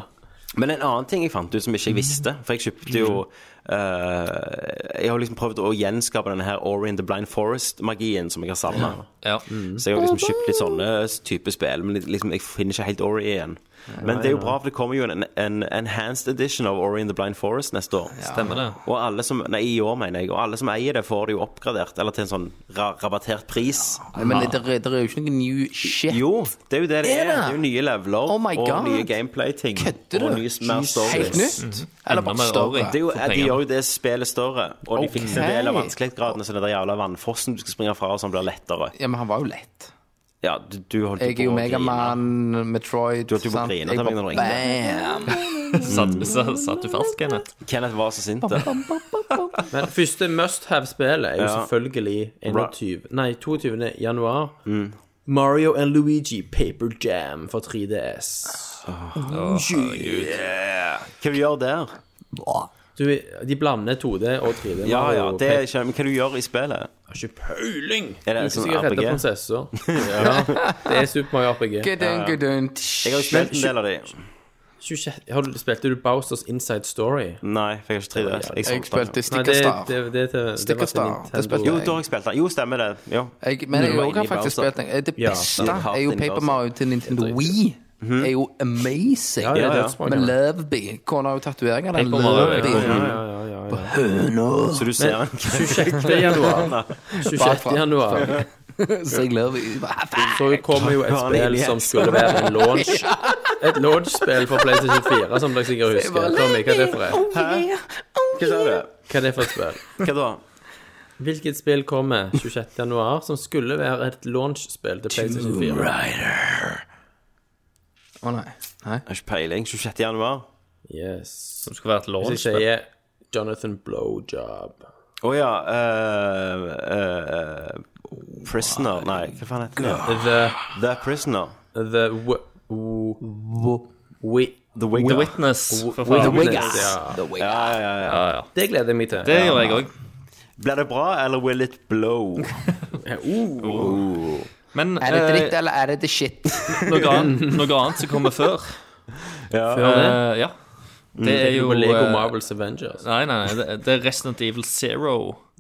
Speaker 5: Men en annen ting jeg fant ut som ikke
Speaker 8: Mhm.
Speaker 5: jeg visste For jeg kjøpte jo eh, Jeg har liksom prøvd å gjenskape denne her Ori and the Blind Forest-magien som jeg har savna.
Speaker 8: Ja.
Speaker 5: Så jeg har liksom kjøpt litt sånne type spill, men liksom, jeg finner ikke helt Ori igjen. Men det er jo bra, for det kommer jo en, en enhanced edition av Ori and the Blind Forest neste år.
Speaker 8: Stemmer det.
Speaker 5: Og alle som, nei, i år mener jeg, og alle som eier det, får det jo oppgradert, eller til en sånn ra rabattert pris.
Speaker 7: Men det, det er jo ikke noe new shit.
Speaker 5: Jo, det er jo det det
Speaker 7: Er
Speaker 5: er.
Speaker 7: det?
Speaker 5: Det er jo nye leveler
Speaker 7: Oh my
Speaker 5: og
Speaker 7: God.
Speaker 5: nye gameplay-ting.
Speaker 7: Kødder
Speaker 5: og
Speaker 7: du?
Speaker 5: nye, mer stories.
Speaker 7: Helt nytt?
Speaker 5: Mm.
Speaker 7: Eller bare
Speaker 8: Enda mer
Speaker 7: større?
Speaker 8: Ori.
Speaker 5: Det er jo,
Speaker 8: For
Speaker 5: de
Speaker 8: pengene.
Speaker 5: gjør jo det spillet større, og de
Speaker 7: Ok.
Speaker 5: fikser en del av vanskelighetsgradene, så den der jævla vannfossen du skal springe fra, og sånn blir lettere.
Speaker 7: Ja, men han var jo lett.
Speaker 5: Ja, du, du holdt jo
Speaker 7: Jeg er jo
Speaker 5: på å grine.
Speaker 7: Megaman, Metroid
Speaker 5: Du holdt jo på å
Speaker 7: sant?
Speaker 5: grine
Speaker 7: Jeg
Speaker 5: til meg
Speaker 7: bare-
Speaker 5: når du ringte.
Speaker 7: Bam!
Speaker 8: Satt, så- satt du fast, Kenneth?
Speaker 5: Kenneth var så sint. da.
Speaker 9: Men første must have-spillet er jo
Speaker 5: Ja.
Speaker 9: selvfølgelig 21. Nei, 22. januar.
Speaker 5: Mm.
Speaker 9: Mario and Luigi Paper Jam for 3DS.
Speaker 5: Hva vi gjør der?
Speaker 9: Du, de blander 2D og 3D.
Speaker 5: Ja,
Speaker 9: Mario
Speaker 5: ja,
Speaker 9: og
Speaker 5: det er ikke Men hva du gjør i spillet?
Speaker 9: Har ikke pøling!
Speaker 5: Er det
Speaker 9: Ikke
Speaker 5: sånn
Speaker 9: så jeg redder
Speaker 5: RPG? (laughs)
Speaker 9: prinsesser. Ja, det er Super Mario RPG.
Speaker 7: Gudun, gudun.
Speaker 5: Jeg har jo spilt en del av de.
Speaker 9: 26. Har du, spilte du Bowsters Inside Story?
Speaker 5: Nei, for jeg har ikke 3DS. Jeg
Speaker 7: Jeg
Speaker 5: solgte den.
Speaker 7: spilte
Speaker 9: Nei, det, det,
Speaker 7: Stickerstar.
Speaker 9: det, det, det, det var til
Speaker 7: Stickerstar, det
Speaker 9: Nintendo.
Speaker 7: spilte
Speaker 5: Jo, da har jeg spilt den. Jo, stemmer det. Jo. altså.
Speaker 7: Jeg, men jeg
Speaker 5: var inne
Speaker 7: har
Speaker 5: i
Speaker 7: også faktisk
Speaker 5: Bowser.
Speaker 7: spilt den. Det
Speaker 9: Ja.
Speaker 7: beste
Speaker 5: Du har
Speaker 7: er
Speaker 5: hatt
Speaker 7: jo
Speaker 8: altså.
Speaker 5: den i
Speaker 7: Paper
Speaker 5: Bowser.
Speaker 7: Mario til Nintendo Wii.
Speaker 8: Mhm.
Speaker 7: er jo amazing.
Speaker 9: Ja, ja,
Speaker 5: ja.
Speaker 9: dødsbra,
Speaker 7: Men
Speaker 9: ja.
Speaker 7: Loveby Kona har jo tatovering av den.
Speaker 8: Paper Mario,
Speaker 7: Loveby.
Speaker 8: ja,
Speaker 9: Ja, ja, ja, ja.
Speaker 5: Så du ser den.
Speaker 9: 26. januar. 26. januar.
Speaker 7: Så jeg Loveby. Hva faen?
Speaker 9: Så kommer jo et spill som skulle være
Speaker 7: (laughs)
Speaker 9: en launch. Et launch-spill for PlayStation 4, som dere sikkert husker. Tommy, hva er det for et?
Speaker 5: (laughs) Hva sa du?
Speaker 9: Hva er det for et spill?
Speaker 5: Hva da?
Speaker 9: Hvilket spill kommer 26. januar som skulle være et launch-spill til PlayStation 4?
Speaker 7: Å nei. nei.
Speaker 5: Jeg har ikke peiling. 26. januar?
Speaker 9: Yes.
Speaker 8: Som skulle vært et launch.
Speaker 9: Hvis jeg sier Jonathan Blowjob
Speaker 5: Å ja. eh, eh, prisoner Nei, hva faen heter den?
Speaker 9: The
Speaker 5: The Prisoner.
Speaker 9: The w w we
Speaker 5: The Wigger.
Speaker 8: The Witness. For
Speaker 9: The
Speaker 8: faen.
Speaker 9: Wiggers. Ja.
Speaker 5: Ja, ja, ja,
Speaker 8: Ah,
Speaker 5: ja.
Speaker 8: Ja, ja.
Speaker 9: Det gleder jeg meg til.
Speaker 8: Det gjør jeg òg.
Speaker 5: Blir det bra, eller will it blow?
Speaker 9: Uh.
Speaker 5: Oh.
Speaker 8: Men
Speaker 7: Er det
Speaker 8: eh,
Speaker 7: dritt, eller er det the shit?
Speaker 8: noe
Speaker 9: (laughs)
Speaker 8: annet, noe annet som kommer før.
Speaker 9: Før det.
Speaker 8: Eh, ja. Det er jo
Speaker 9: På Lego
Speaker 8: eh,
Speaker 9: Marvels Avengers.
Speaker 8: Nei, nei, nei, det, det er Resident Evil Zero.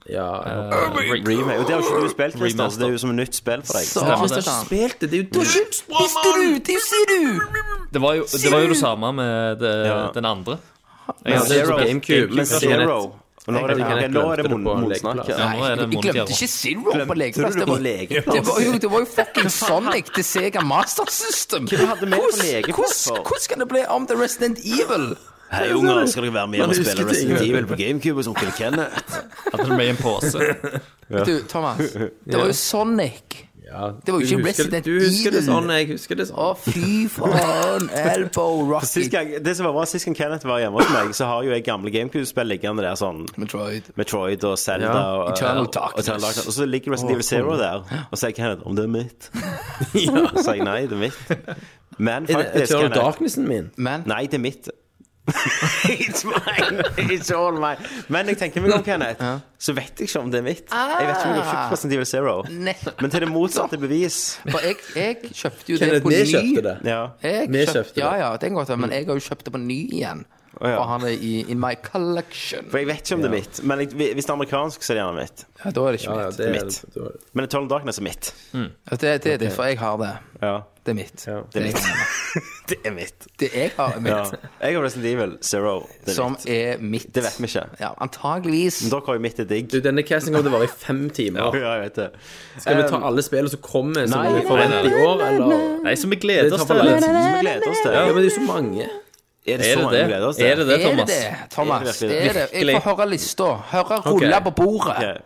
Speaker 9: Ja, jeg håper
Speaker 8: eh, re-
Speaker 5: Remake. Og det har jo ikke du spilt, Christer, så
Speaker 8: Remaster.
Speaker 5: det er jo som et nytt spill for deg.
Speaker 7: Satan.
Speaker 9: spilt det. Det er jo dritbra!
Speaker 7: Visste du? Det ser du!
Speaker 8: Det var jo det, var jo det samme med det,
Speaker 5: Ja.
Speaker 8: den andre.
Speaker 9: Ja,
Speaker 8: Jeg,
Speaker 9: det er
Speaker 8: har ikke spilt-
Speaker 9: på GameCube.
Speaker 5: Men
Speaker 9: men
Speaker 5: Zero Men nå er det,
Speaker 9: tenker
Speaker 5: ok,
Speaker 9: jeg
Speaker 5: nå er det
Speaker 9: glemte det
Speaker 5: mon-
Speaker 9: på
Speaker 5: motsnakk.
Speaker 9: lekeplass.
Speaker 8: Ja,
Speaker 7: Nei,
Speaker 8: nå er det altså.
Speaker 7: jeg
Speaker 8: Monica
Speaker 7: glemte ikke Zero på
Speaker 5: Trodde
Speaker 7: legeplass.
Speaker 5: du
Speaker 7: Det
Speaker 5: på
Speaker 7: var,
Speaker 5: legeplass?
Speaker 7: det var jo det var jo fucking Sonic til Sega Master System.
Speaker 5: Hva hadde vi på
Speaker 7: Hvordan-
Speaker 5: legeplass for?
Speaker 7: hvordan- Hvordan kan det bli om The Resident Evil?
Speaker 5: Hei, unger, skal dere være med
Speaker 9: Man
Speaker 5: og
Speaker 9: husker
Speaker 5: spille
Speaker 9: ting,
Speaker 5: Resident
Speaker 9: vet du.
Speaker 5: Evil på GameCube hos onkel Kenneth?
Speaker 8: At det ble en
Speaker 9: (laughs)
Speaker 8: pose.
Speaker 7: Du, Thomas, det var jo Sonic.
Speaker 9: Ja,
Speaker 7: Det var jo
Speaker 9: du
Speaker 7: ikke
Speaker 9: husker-
Speaker 7: Resident
Speaker 9: Du husker det
Speaker 7: Evil.
Speaker 9: sånn, jeg husker det sånn.
Speaker 7: Å, fy
Speaker 5: (laughs)
Speaker 7: faen. Elbow
Speaker 5: Sist
Speaker 7: Rocket
Speaker 5: gang, det som var bra, sist gang Kenneth var hjemme hos meg, så har jo jeg gamle GameCube-spill liggende der sånn
Speaker 7: Metroid.
Speaker 5: Metroid og Zelda
Speaker 9: Ja,
Speaker 5: og, og,
Speaker 7: Eternal
Speaker 5: og, Eternal
Speaker 7: Darkness.
Speaker 5: Darkness. og så ligger Resident Evil Zero der, og så sier Kenneth om det er mitt. ja. Så sier jeg nei, det er mitt. Men
Speaker 9: Er det
Speaker 5: faktisk,
Speaker 9: Eternal
Speaker 5: Kenneth
Speaker 9: Darknessen min?
Speaker 7: Men
Speaker 5: Nei, det er mitt. (laughs) It's mine, it's all mine. Men jeg tenker meg om, Kenneth, så vet jeg ikke om det er mitt. Jeg vet ikke om jeg har kjøpt Resident Evil Zero.
Speaker 7: Nettopp.
Speaker 5: Men til det motsatte bevis.
Speaker 7: For jeg, jeg kjøpte jo det
Speaker 9: Kenneth,
Speaker 7: på
Speaker 9: vi
Speaker 7: ny.
Speaker 9: kjøpte det.
Speaker 5: Ja.
Speaker 7: Jeg
Speaker 9: Vi
Speaker 7: kjøpt-
Speaker 9: kjøpte det.
Speaker 7: Ja, ja, det kan godt være, men jeg har jo kjøpt det på ny igjen.
Speaker 5: Mm. Å, ja.
Speaker 7: Og han er i in my collection.
Speaker 5: For jeg vet ikke om det er mitt. Men jeg, hvis det er amerikansk, så er det gjerne mitt.
Speaker 7: Ja, da er det ikke
Speaker 9: Ja, ja,
Speaker 7: mitt.
Speaker 9: det er
Speaker 5: Mitt.
Speaker 9: du har det.
Speaker 5: Men Eternal Darkness er mitt.
Speaker 7: Det, det, er derfor jeg har det.
Speaker 5: Ja.
Speaker 7: Det er mitt.
Speaker 5: Det er
Speaker 7: jeg-
Speaker 5: (laughs) Det er mitt.
Speaker 7: Det jeg har,
Speaker 5: Ja.
Speaker 7: er mitt.
Speaker 5: Jeg har Resident Evil Zero. Det er
Speaker 7: Som
Speaker 5: mitt.
Speaker 7: er mitt.
Speaker 5: Det vet vi ikke.
Speaker 7: Ja, antageligvis.
Speaker 5: Men dere har jo mitt er digg.
Speaker 9: Du, denne casten kommer til å vare i fem timer.
Speaker 5: Ja, jeg vet det.
Speaker 9: Skal vi ta alle spillene som kommer som
Speaker 5: Nei,
Speaker 9: vi forventer i år, eller?
Speaker 8: Um, Nei, så vi
Speaker 9: Det
Speaker 8: gleder
Speaker 9: tar
Speaker 8: oss
Speaker 9: for
Speaker 8: til
Speaker 9: lang
Speaker 8: det.
Speaker 9: tid.
Speaker 5: Som vi gleder oss til.
Speaker 9: Ja, men det er jo så mange.
Speaker 5: Er det
Speaker 8: Er
Speaker 5: så
Speaker 8: det
Speaker 5: mange
Speaker 8: det?
Speaker 5: vi gleder oss til?
Speaker 8: Er det det,
Speaker 7: er det
Speaker 8: Thomas?
Speaker 7: det, Thomas?
Speaker 5: Er det
Speaker 7: Er
Speaker 5: virkelig det?
Speaker 7: det? Jeg får høre lista. Høre rulle på bordet.
Speaker 5: Ok.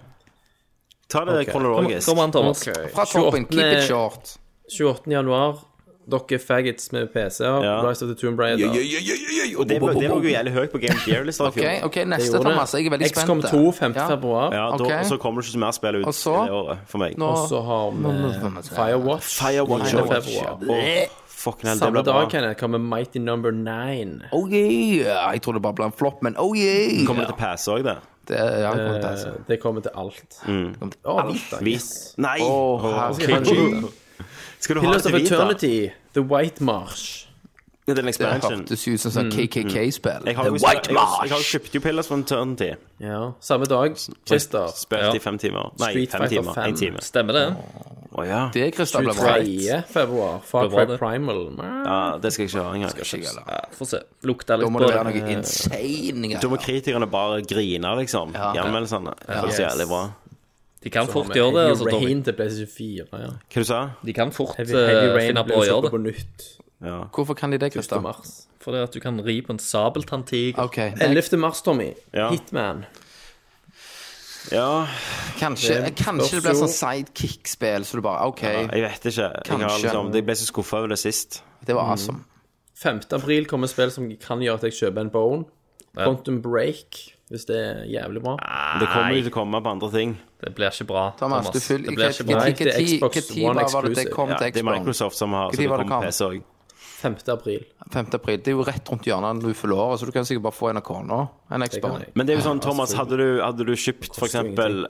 Speaker 5: Ta det
Speaker 8: Kom,
Speaker 5: kronologisk.
Speaker 8: kom an, Thomas.
Speaker 7: Fra toppen. Keep it
Speaker 9: 28.
Speaker 7: short.
Speaker 9: 28. januar. Dere faggots med PC-er.
Speaker 5: Ja.
Speaker 9: Rise of the Tomb Raider.
Speaker 5: Og det var det var jo jævlig høyt på Game Gear-lista i
Speaker 7: OK,
Speaker 5: fjor.
Speaker 7: ok, neste,
Speaker 9: gjorde det.
Speaker 7: Thomas. Jeg er veldig spent.
Speaker 9: XCOM 2 5.
Speaker 7: Ja.
Speaker 9: februar.
Speaker 5: Ja, da,
Speaker 7: Ok.
Speaker 5: Så kommer det ikke så mer spill ut
Speaker 7: Og så?
Speaker 5: i det året for meg.
Speaker 7: Nå
Speaker 9: Og så har vi Firewatch.
Speaker 5: Firewatch.
Speaker 9: 9. februar.
Speaker 5: Åh, fucking hell, det
Speaker 9: Samme
Speaker 5: blir bra.
Speaker 9: dag kan jeg komme Mighty Number 9.
Speaker 7: Oh yeah! Jeg trodde det bare ble en flopp, men oh yeah!
Speaker 5: Kommer det til pass òg, det?
Speaker 7: Det, ja, det kommer til å passe.
Speaker 9: Eh, Det kommer til alt.
Speaker 8: Mm.
Speaker 7: kommer til
Speaker 9: Å, Vita,
Speaker 5: Vis. Nei!
Speaker 7: Åh,
Speaker 5: Åh,
Speaker 7: herregud.
Speaker 5: skal jeg ha en Vita? Skal du ha
Speaker 9: Pillars
Speaker 5: en
Speaker 9: of
Speaker 5: Vita?
Speaker 9: Eternity. The White Marsh.
Speaker 5: Det er en
Speaker 7: Det
Speaker 5: expansion.
Speaker 7: hørtes ut som sånn KKK-spill.
Speaker 5: Jeg har jo
Speaker 7: The
Speaker 5: jeg,
Speaker 7: White
Speaker 5: jeg, jeg har jo
Speaker 7: Marsh!
Speaker 5: kjøpt jo Pillars for Eternity.
Speaker 9: Ja. Samme dag. Christer.
Speaker 5: Spilt i fem timer. Nei,
Speaker 9: Street
Speaker 5: fem
Speaker 9: Fighter
Speaker 5: timer.
Speaker 9: fem.
Speaker 5: En time.
Speaker 8: Stemmer det?
Speaker 5: Å ja.
Speaker 7: Det, Kristian, ble bra.
Speaker 9: 3. februar. Far
Speaker 8: Det var
Speaker 9: Cry
Speaker 8: det.
Speaker 9: Primal.
Speaker 5: ja. Det skal jeg ikke ha engang.
Speaker 7: Ikke, eller?
Speaker 8: Ja, Få se. Lukta
Speaker 7: Da
Speaker 8: litt
Speaker 7: må
Speaker 8: på
Speaker 7: det være
Speaker 8: det.
Speaker 7: noe insane
Speaker 5: Da må
Speaker 7: greier.
Speaker 5: kritikerne bare grine, liksom. I anmeldelsene. Det er så jævlig bra.
Speaker 8: De kan fort gjøre det. altså, Tommy.
Speaker 9: Rain til PlayStation 4. Ja.
Speaker 5: Hva du sa du?
Speaker 8: De kan fort
Speaker 9: Heavy, Heavy
Speaker 8: eh,
Speaker 9: Rain
Speaker 8: finne
Speaker 9: blir
Speaker 8: på å gjøre
Speaker 9: satt
Speaker 8: det.
Speaker 9: på nytt.
Speaker 5: Ja.
Speaker 7: Hvorfor kan de det,
Speaker 9: 1.
Speaker 7: Kristian?
Speaker 9: mars.
Speaker 8: Fordi at du kan ri på en sabeltanntiger.
Speaker 7: OK, nei,
Speaker 9: 11. mars, Tommy.
Speaker 5: Ja.
Speaker 9: Hitman.
Speaker 5: ja.
Speaker 7: kanskje,
Speaker 9: Det er-
Speaker 7: kanskje det blir sånn sidekick-spill, så du bare OK,
Speaker 5: Jeg vet ikke. Jeg, har
Speaker 7: Kanskje.
Speaker 5: liksom, jeg ble så skuffa over det sist.
Speaker 7: det var awesome.
Speaker 9: 5. april kommer spill som kan gjøre at jeg kjøper en bone. Quantum Break, hvis det er jævlig bra.
Speaker 5: Det kommer jo til å komme på andre ting.
Speaker 8: Det blir ikke bra,
Speaker 7: Thomas,
Speaker 8: Thomas.
Speaker 7: du fyller
Speaker 8: Det blir ikke
Speaker 9: Nei,
Speaker 8: bra.
Speaker 9: det er Xbox One
Speaker 7: Når var det det
Speaker 9: exclusive.
Speaker 7: kom
Speaker 5: Ja,
Speaker 7: til
Speaker 5: det er
Speaker 7: Xbox?
Speaker 5: Microsoft som har
Speaker 7: Hvor
Speaker 5: som
Speaker 7: tid var
Speaker 5: det
Speaker 7: det
Speaker 5: kommer
Speaker 7: kom?
Speaker 5: PC òg.
Speaker 9: 5. april.
Speaker 7: 5. april. Det er jo rett rundt hjørnet når du fyller året, så du kan sikkert bare få en av kona. En Xbox.
Speaker 5: Men det er jo sånn, Thomas, hadde du, hadde du kjøpt for eksempel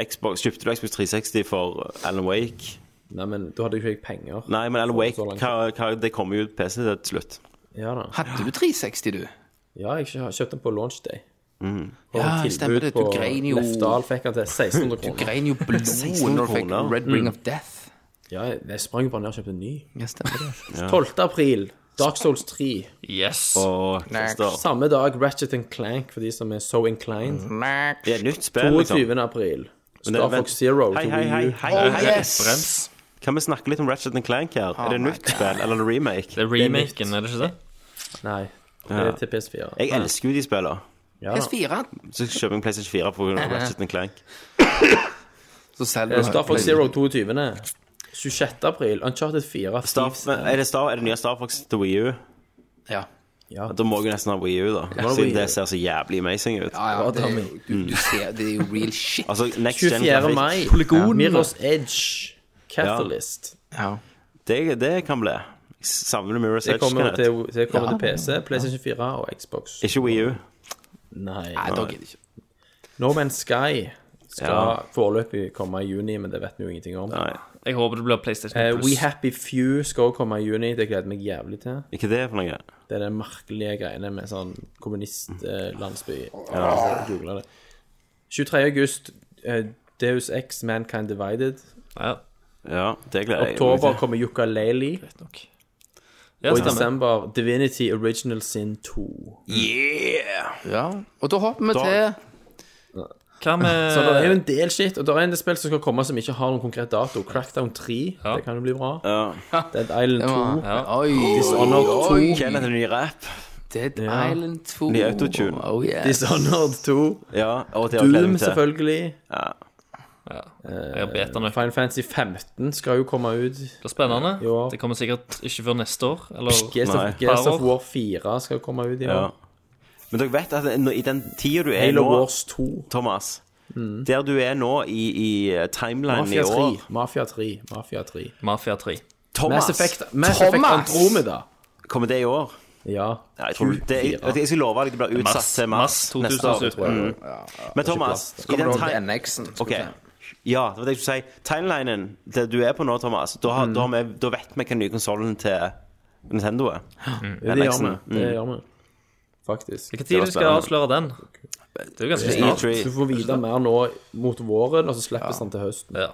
Speaker 5: Xbox, Kjøpte du Xbox 360 for Alan Wake?
Speaker 9: Nei, men da hadde jo ikke jeg penger.
Speaker 5: Nei, men Alan Wake
Speaker 9: Så langt.
Speaker 5: hva, hva, Det kommer jo ut PC til slutt.
Speaker 9: Ja da.
Speaker 7: Hadde du 360, du?
Speaker 9: Ja, jeg kjø- kjøpte den på launch day.
Speaker 5: Mm.
Speaker 9: Og
Speaker 7: Ja,
Speaker 9: tilbud
Speaker 7: stemmer det. Du
Speaker 9: på
Speaker 7: grein jo-
Speaker 9: Lefdal fikk han til 1600 kroner.
Speaker 7: Grein jo blod når du fikk
Speaker 5: kroner.
Speaker 7: Red Ring of Death.
Speaker 9: Ja, jeg sprang bare ned og kjøpte en ny.
Speaker 7: Ja, stemmer det.
Speaker 5: (laughs)
Speaker 9: 12. april. Dark Souls 3.
Speaker 8: Yes.
Speaker 5: Og Christer,
Speaker 9: Samme dag Ratchet and Clank for de som er so inclined.
Speaker 5: Det er et nytt spill, Mm, liksom.
Speaker 9: 22. april.
Speaker 5: Men det-
Speaker 9: Star
Speaker 5: vent.
Speaker 9: Fox Zero
Speaker 5: Hei,
Speaker 9: til
Speaker 5: hei, hei,
Speaker 9: Wii U.
Speaker 5: hei,
Speaker 7: Oh,
Speaker 8: Eh,
Speaker 5: hei.
Speaker 7: yes!
Speaker 5: Kan vi snakke litt om Ratchet Clank her? er det nytt spill, eller er det remake?
Speaker 8: Det er remaken, er det ikke det?
Speaker 9: Nei, det er til PS4.
Speaker 5: Jeg elsker jo de spillene.
Speaker 9: Ja, da.
Speaker 7: PS4.
Speaker 5: Så kjøper jeg en PlayStation 4 på grunn av Ratchet Clank.
Speaker 7: Så selger
Speaker 9: Eh,
Speaker 7: du
Speaker 9: Star Fox Zero 22. 26. april. Uncharted 4.
Speaker 5: Star,
Speaker 9: Thieves-
Speaker 5: men er, det Star, er det nye Star Fox til Wii U?
Speaker 7: Ja.
Speaker 9: Ja.
Speaker 5: Da må jeg jo nesten ha Wii U, da. Siden det ser så jævlig amazing ut.
Speaker 7: Ja, ja, det er jo, du, du ser, det er jo real shit.
Speaker 5: Altså, next gen
Speaker 9: 24.
Speaker 5: grafikk,
Speaker 9: mai.
Speaker 7: Polygonene.
Speaker 9: Mirrors Edge. Catalyst.
Speaker 7: Ja.
Speaker 5: det, det kan bli. Jeg Savner du Mirror's
Speaker 9: Det
Speaker 5: Edge?
Speaker 9: kommer,
Speaker 5: Kenneth?
Speaker 9: til, det kommer til PC, PlayStation 4 og Xbox.
Speaker 5: Ikke Wii U.
Speaker 9: Nei.
Speaker 7: Nei, da gidder jeg ikke.
Speaker 9: No Man's Sky skal
Speaker 5: Ja.
Speaker 9: foreløpig komme i juni, men det vet vi jo ingenting om.
Speaker 5: Nei.
Speaker 8: Jeg håper det blir PlayStation
Speaker 9: Eh, We
Speaker 8: Plus.
Speaker 9: Happy Few skal også komme i juni. Det gleder jeg meg jævlig til.
Speaker 5: Ikke det for noe?
Speaker 9: Det er den merkelige greiene med sånn kommunistlandsby. Google det. 23. august, eh, Deus Ex Mankind Divided.
Speaker 8: Ja,
Speaker 5: Ja, det gleder jeg
Speaker 9: Oktober kommer Yuka Laylee.
Speaker 8: ja
Speaker 9: Og i
Speaker 8: stemmer.
Speaker 9: desember Divinity Original Sin 2.
Speaker 7: Ja. Og da hopper vi til
Speaker 8: Hva med
Speaker 9: (laughs) Så det er jo en del shit, og det er en del spill som skal komme som ikke har noen konkret dato. Crackdown 3,
Speaker 8: Ja.
Speaker 9: det kan jo bli bra.
Speaker 5: Ja.
Speaker 9: Dead Island 2.
Speaker 8: Ja.
Speaker 7: Oi,
Speaker 9: Dishonored
Speaker 7: oi,
Speaker 9: 2.
Speaker 7: oi.
Speaker 5: Kenneth er ny rap.
Speaker 7: Dead
Speaker 9: Ja.
Speaker 7: Island 2.
Speaker 5: Ny autotune.
Speaker 7: Oh, yeah.
Speaker 9: Dishonored 2.
Speaker 5: Ja, og det har jeg gledet
Speaker 9: Doom,
Speaker 5: meg til.
Speaker 9: selvfølgelig.
Speaker 8: Jeg har beta nå.
Speaker 9: Final Fantasy 15 skal jo komme ut.
Speaker 8: Det er spennende.
Speaker 9: Ja.
Speaker 8: Det kommer sikkert ikke før neste år. Eller
Speaker 9: Gears
Speaker 5: Nei.
Speaker 9: of, Gears of
Speaker 8: Power.
Speaker 9: War 4 skal komme ut i
Speaker 5: Ja.
Speaker 9: år.
Speaker 5: Men dere vet at nå- i den tida du er
Speaker 9: Halo
Speaker 5: nå,
Speaker 9: Wars 2.
Speaker 5: Thomas Der du er nå i, i timelinen i
Speaker 9: Mafia 3.
Speaker 5: år
Speaker 9: Mafia 3. Mafia 3.
Speaker 8: Mafia 3.
Speaker 5: Thomas,
Speaker 9: Mass Effect, Mass Effect
Speaker 7: Thomas!
Speaker 9: Andromeda.
Speaker 5: kommer det i år?
Speaker 9: Ja.
Speaker 5: Nei, jeg, tror, det, jeg, vet du, jeg skal love deg det blir utsatt
Speaker 8: Mars,
Speaker 5: til mars,
Speaker 8: mars
Speaker 5: neste år.
Speaker 8: 2017.
Speaker 9: Mm.
Speaker 5: Men Thomas, i
Speaker 7: Kommer
Speaker 5: den
Speaker 7: du over til
Speaker 5: time...
Speaker 7: NX-en? skal
Speaker 5: Ok,
Speaker 7: vi se.
Speaker 5: ja, det var det jeg skulle si. Timelinen det du er på nå, Thomas, da, har, da, har vi, da vet vi hvilken ny konsollen til Nintendo er.
Speaker 8: Mm.
Speaker 5: Mm.
Speaker 9: Ja, det gjør vi. Det gjør vi. Faktisk.
Speaker 8: Hvilken tid
Speaker 5: var
Speaker 8: du skal
Speaker 5: spennende.
Speaker 8: avsløre den? Det er jo ganske snart.
Speaker 5: E3.
Speaker 9: Du får vite mer nå mot våren, og så slippes den til høsten.
Speaker 8: Ja.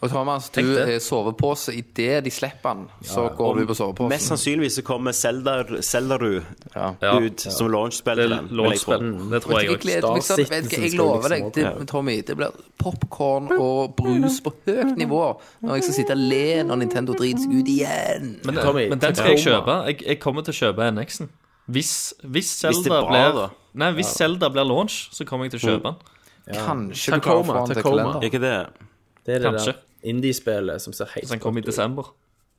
Speaker 7: Og Thomas, du
Speaker 8: Tenk det.
Speaker 7: er sovepose. Idet de slipper den, så går du på soveposen.
Speaker 5: Mest sannsynligvis så kommer Zelda- Zeldaru
Speaker 8: Ja.
Speaker 5: ut som launchspill
Speaker 8: Det
Speaker 5: til
Speaker 8: er
Speaker 5: den. vil jeg tro.
Speaker 8: lånspill. Det tror jeg
Speaker 7: Jeg
Speaker 8: òg.
Speaker 7: gleder meg sånn.
Speaker 9: Star
Speaker 7: Vet du hva,
Speaker 9: Citizen
Speaker 7: jeg
Speaker 9: skal
Speaker 7: lover deg,
Speaker 9: liksom
Speaker 7: det, Tommy, det blir popkorn og brus på høyt nivå når jeg skal sitte og le når Nintendo driter seg ut igjen.
Speaker 8: Men,
Speaker 9: Tommy,
Speaker 8: men den skal jeg
Speaker 9: Tacoma.
Speaker 8: kjøpe. Jeg, jeg kommer til å kjøpe NX-en. Hvis, hvis
Speaker 5: Hvis det
Speaker 8: Zelda
Speaker 5: er bra,
Speaker 8: blir
Speaker 5: da.
Speaker 8: Nei, hvis Zelda blir launch, så kommer jeg til å kjøpe den.
Speaker 7: Kanskje du klarer å
Speaker 9: Tacoma,
Speaker 7: få den til
Speaker 9: Tacoma.
Speaker 7: kalender.
Speaker 5: Er ikke det
Speaker 9: Det er det
Speaker 8: Kanskje.
Speaker 9: der indie-spillet som ser helt
Speaker 8: Så den kommer i
Speaker 9: rått ut.
Speaker 8: desember.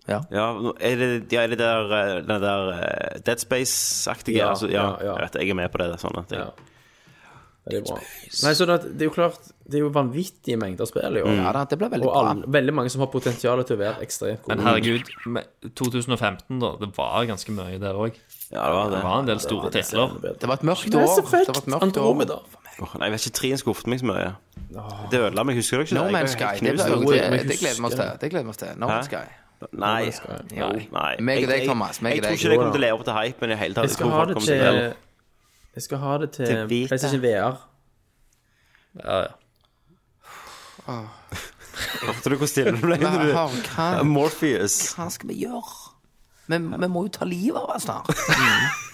Speaker 5: Ja, nå- er det, ja, er det der, eh, den der eh, Dead Space-aktige?
Speaker 9: Ja,
Speaker 5: altså, ja,
Speaker 9: ja, ja.
Speaker 5: Jeg vet jeg er med på det. det er sånne ting.
Speaker 9: Ja. Det er bra. Nei, så det, det er jo klart Det er jo vanvittige mengder spill i år.
Speaker 7: Ja, da, det blir veldig
Speaker 9: Og
Speaker 7: bra.
Speaker 9: alle, veldig mange som har potensial til å være ekstremt
Speaker 8: Men
Speaker 9: gode.
Speaker 8: herregud, med 2015, da. Det var ganske mye der òg.
Speaker 5: Ja, det var
Speaker 8: Det
Speaker 5: det.
Speaker 8: var en del store titler.
Speaker 7: Det var et mørkt år.
Speaker 9: Mass
Speaker 7: Det
Speaker 9: Effect,
Speaker 7: var et mørkt år.
Speaker 9: Andromeda.
Speaker 5: Åh, nei, jeg vet ikke, Trien skuffet meg så mye. Det ødela meg, husker du ikke?
Speaker 7: No
Speaker 5: det? Jeg
Speaker 7: Man's
Speaker 5: var helt
Speaker 7: Sky. Det,
Speaker 5: knust.
Speaker 7: blir jo-
Speaker 9: Jo,
Speaker 7: det, Eh,
Speaker 9: jeg
Speaker 7: det gleder vi oss til. Det gleder vi oss til. No Man's
Speaker 5: Hæ?
Speaker 7: Sky.
Speaker 5: Nei.
Speaker 7: Jo.
Speaker 5: nei.
Speaker 7: Meg og
Speaker 5: Jeg-
Speaker 7: deg,
Speaker 5: jeg-
Speaker 7: Thomas, meg og
Speaker 5: Jeg tror
Speaker 7: deg.
Speaker 5: ikke det kommer til å leve opp til hypen i det hele tatt.
Speaker 9: Jeg
Speaker 5: Jeg
Speaker 9: skal
Speaker 5: tror
Speaker 9: ha
Speaker 5: folk
Speaker 9: det
Speaker 5: kommer
Speaker 9: til
Speaker 5: til å
Speaker 9: Jeg skal ha det til
Speaker 5: Til Vita.
Speaker 9: PlayStation VR.
Speaker 8: Ja, ja.
Speaker 5: Hørte du hvor stille du ble?
Speaker 7: Hva,
Speaker 5: når du-
Speaker 7: hva,
Speaker 5: Morpheus.
Speaker 7: hva skal vi gjøre? Vi, vi må jo ta livet av oss snart.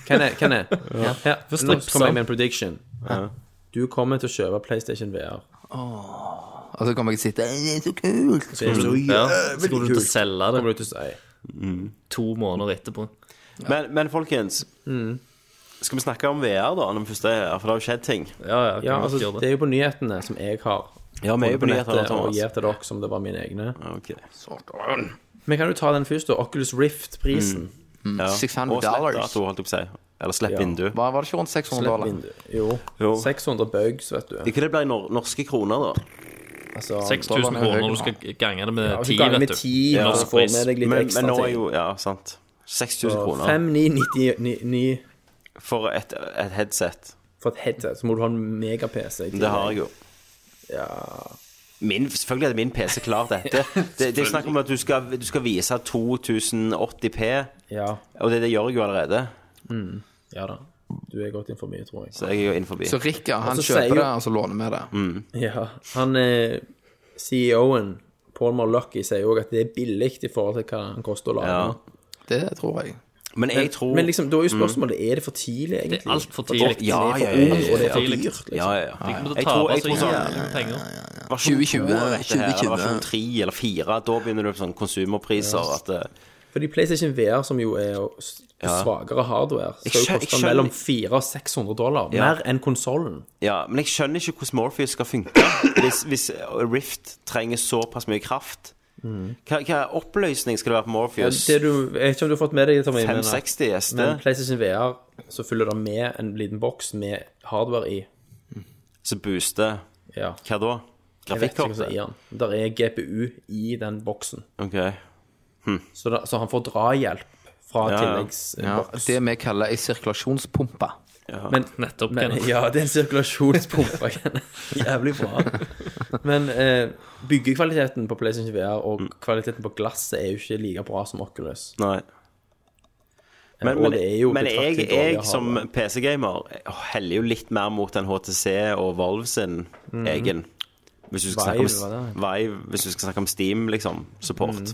Speaker 9: Kan jeg? Kan jeg? (laughs) Ja. Her, Nå
Speaker 8: strips,
Speaker 9: kommer jeg med en prediction. Du kommer til å kjøpe PlayStation VR.
Speaker 7: Og så kommer jeg til å sitte Det er så kult.
Speaker 9: Det er så
Speaker 8: ja. Så kommer du til å selge det
Speaker 9: kommer du til å si.
Speaker 8: to måneder etterpå.
Speaker 5: Men, men folkens,
Speaker 9: Mm.
Speaker 5: skal vi snakke om VR da, når vi først er her? For det har jo skjedd ting.
Speaker 8: Ja, ja, kan
Speaker 9: Ja,
Speaker 8: godt
Speaker 9: altså,
Speaker 8: gjøre
Speaker 9: det er jo på nyhetene som jeg har.
Speaker 5: Ja, vi er jo på
Speaker 9: nettet
Speaker 5: nyhetene,
Speaker 9: og
Speaker 5: Thomas.
Speaker 9: gir til dere som det var mine egne.
Speaker 5: Ok.
Speaker 9: Vi kan jo ta den først, da. Oculus Rift-prisen.
Speaker 5: Ja.
Speaker 7: 600
Speaker 5: Og slipp
Speaker 7: dollars.
Speaker 5: dato, holdt jeg på å si. Eller slipp
Speaker 9: Ja.
Speaker 5: vindu.
Speaker 7: Hva var det ikke rundt 600
Speaker 9: Slipp
Speaker 7: dollar?
Speaker 9: vindu. Jo.
Speaker 5: Jo.
Speaker 9: 600 bugs, vet du.
Speaker 5: Ikke det ble nor norske kroner, da?
Speaker 9: Altså,
Speaker 8: 6000
Speaker 7: Dollaren er
Speaker 8: kroner
Speaker 7: høy
Speaker 8: når du
Speaker 7: nå.
Speaker 8: skal gange det med
Speaker 9: ja, hvis
Speaker 8: ti,
Speaker 9: du ganger
Speaker 8: vet
Speaker 9: med
Speaker 8: du.
Speaker 9: 10,
Speaker 8: Ja.
Speaker 9: så får du med deg litt
Speaker 5: Men,
Speaker 9: ekstra
Speaker 5: men nå er
Speaker 9: ting.
Speaker 5: jo Ja, sant. 6000 kroner
Speaker 9: 5999
Speaker 5: for et, et headset.
Speaker 9: for et headset, så må du ha en mega-PC. i
Speaker 5: Det
Speaker 9: tillegg.
Speaker 5: har jeg jo.
Speaker 9: Ja.
Speaker 5: Min, selvfølgelig hadde min PC klart dette. Det, det er snakk om at du skal, du skal vise 2080P,
Speaker 9: Ja.
Speaker 5: og det, det gjør jeg jo allerede.
Speaker 9: ja da. Du er godt innenfor mye, tror jeg.
Speaker 5: Så jeg er jo innenfor.
Speaker 7: Så Rikka, han
Speaker 9: Og så sier
Speaker 7: kjøper
Speaker 9: jo-
Speaker 7: det,
Speaker 9: Mm.
Speaker 7: og så låner vi det.
Speaker 9: Ja. Han eh, CEO-en, Paul Marlucky, sier jo at det er billig i forhold til hva han koster å lage.
Speaker 5: Ja.
Speaker 7: Det tror jeg.
Speaker 5: Men jeg tror Mm.
Speaker 9: Men liksom, da er jo spørsmålet er det for tidlig, egentlig.
Speaker 8: Det er alt for tidlig.
Speaker 5: Ja, ja,
Speaker 9: Ja,
Speaker 5: ja,
Speaker 9: ja, Og det er
Speaker 5: ja,
Speaker 9: for
Speaker 5: ja.
Speaker 9: dyrt, liksom.
Speaker 5: Ja, ja, ja.
Speaker 8: Jeg kommer til
Speaker 5: Jeg
Speaker 8: å tape
Speaker 5: tror- jeg
Speaker 8: så
Speaker 5: tror sånn-
Speaker 8: jævlig med penger.
Speaker 5: Versjon
Speaker 7: 2020,
Speaker 5: to av dette her,
Speaker 7: 2020.
Speaker 5: Versjon 3 eller 4, da begynner du på sånne konsumerpriser. At, eh,
Speaker 9: Fordi PlayStation VR, som jo er jo s- svakere hardware, skal
Speaker 5: skjø-
Speaker 9: jo
Speaker 5: jeg
Speaker 9: koste
Speaker 5: skjønner-
Speaker 9: mellom 400 og 600 dollar. Mer enn konsollen.
Speaker 5: ja, men jeg skjønner ikke hvordan Morpheus skal funke hvis, hvis Rift trenger såpass mye kraft. Hva, hva oppløsning skal det være på Morpheus?
Speaker 9: Det du, jeg vet ikke om du har fått med deg det, Tommy, men- eh,
Speaker 5: 560 SD?
Speaker 9: men PlayStation VR, så fyller det med en liten boks med hardware i.
Speaker 5: Så booster
Speaker 9: Ja.
Speaker 5: Hva da?
Speaker 9: Jeg vet ikke hva som er i
Speaker 5: Grafikkortet?
Speaker 9: den. Der er GPU i den boksen.
Speaker 5: Ok.
Speaker 9: Så, da, så han får drahjelp
Speaker 5: Ja,
Speaker 9: fra
Speaker 5: ja.
Speaker 7: Ja,
Speaker 9: tilleggsboks.
Speaker 7: det vi kaller ei sirkulasjonspumpe.
Speaker 9: Men
Speaker 8: Nettopp,
Speaker 9: Men,
Speaker 8: Kenneth.
Speaker 9: ja, det er en sirkulasjonspumpe. Kenneth. Jævlig bra. Men eh, byggekvaliteten på PlayStation VR og kvaliteten på glasset er jo ikke like bra som Oculus.
Speaker 5: Nei. Men,
Speaker 9: og
Speaker 5: men,
Speaker 9: det er jo
Speaker 5: men jeg,
Speaker 9: betraktelig dårligere
Speaker 5: jeg som PC-gamer heller jo litt mer mot den HTC og Valve sin egen. Hvis du, skal
Speaker 9: Mhm. Vive,
Speaker 5: snakke
Speaker 9: var
Speaker 5: om, Vive, hvis du skal snakke om Steam, liksom, support,
Speaker 9: Mhm.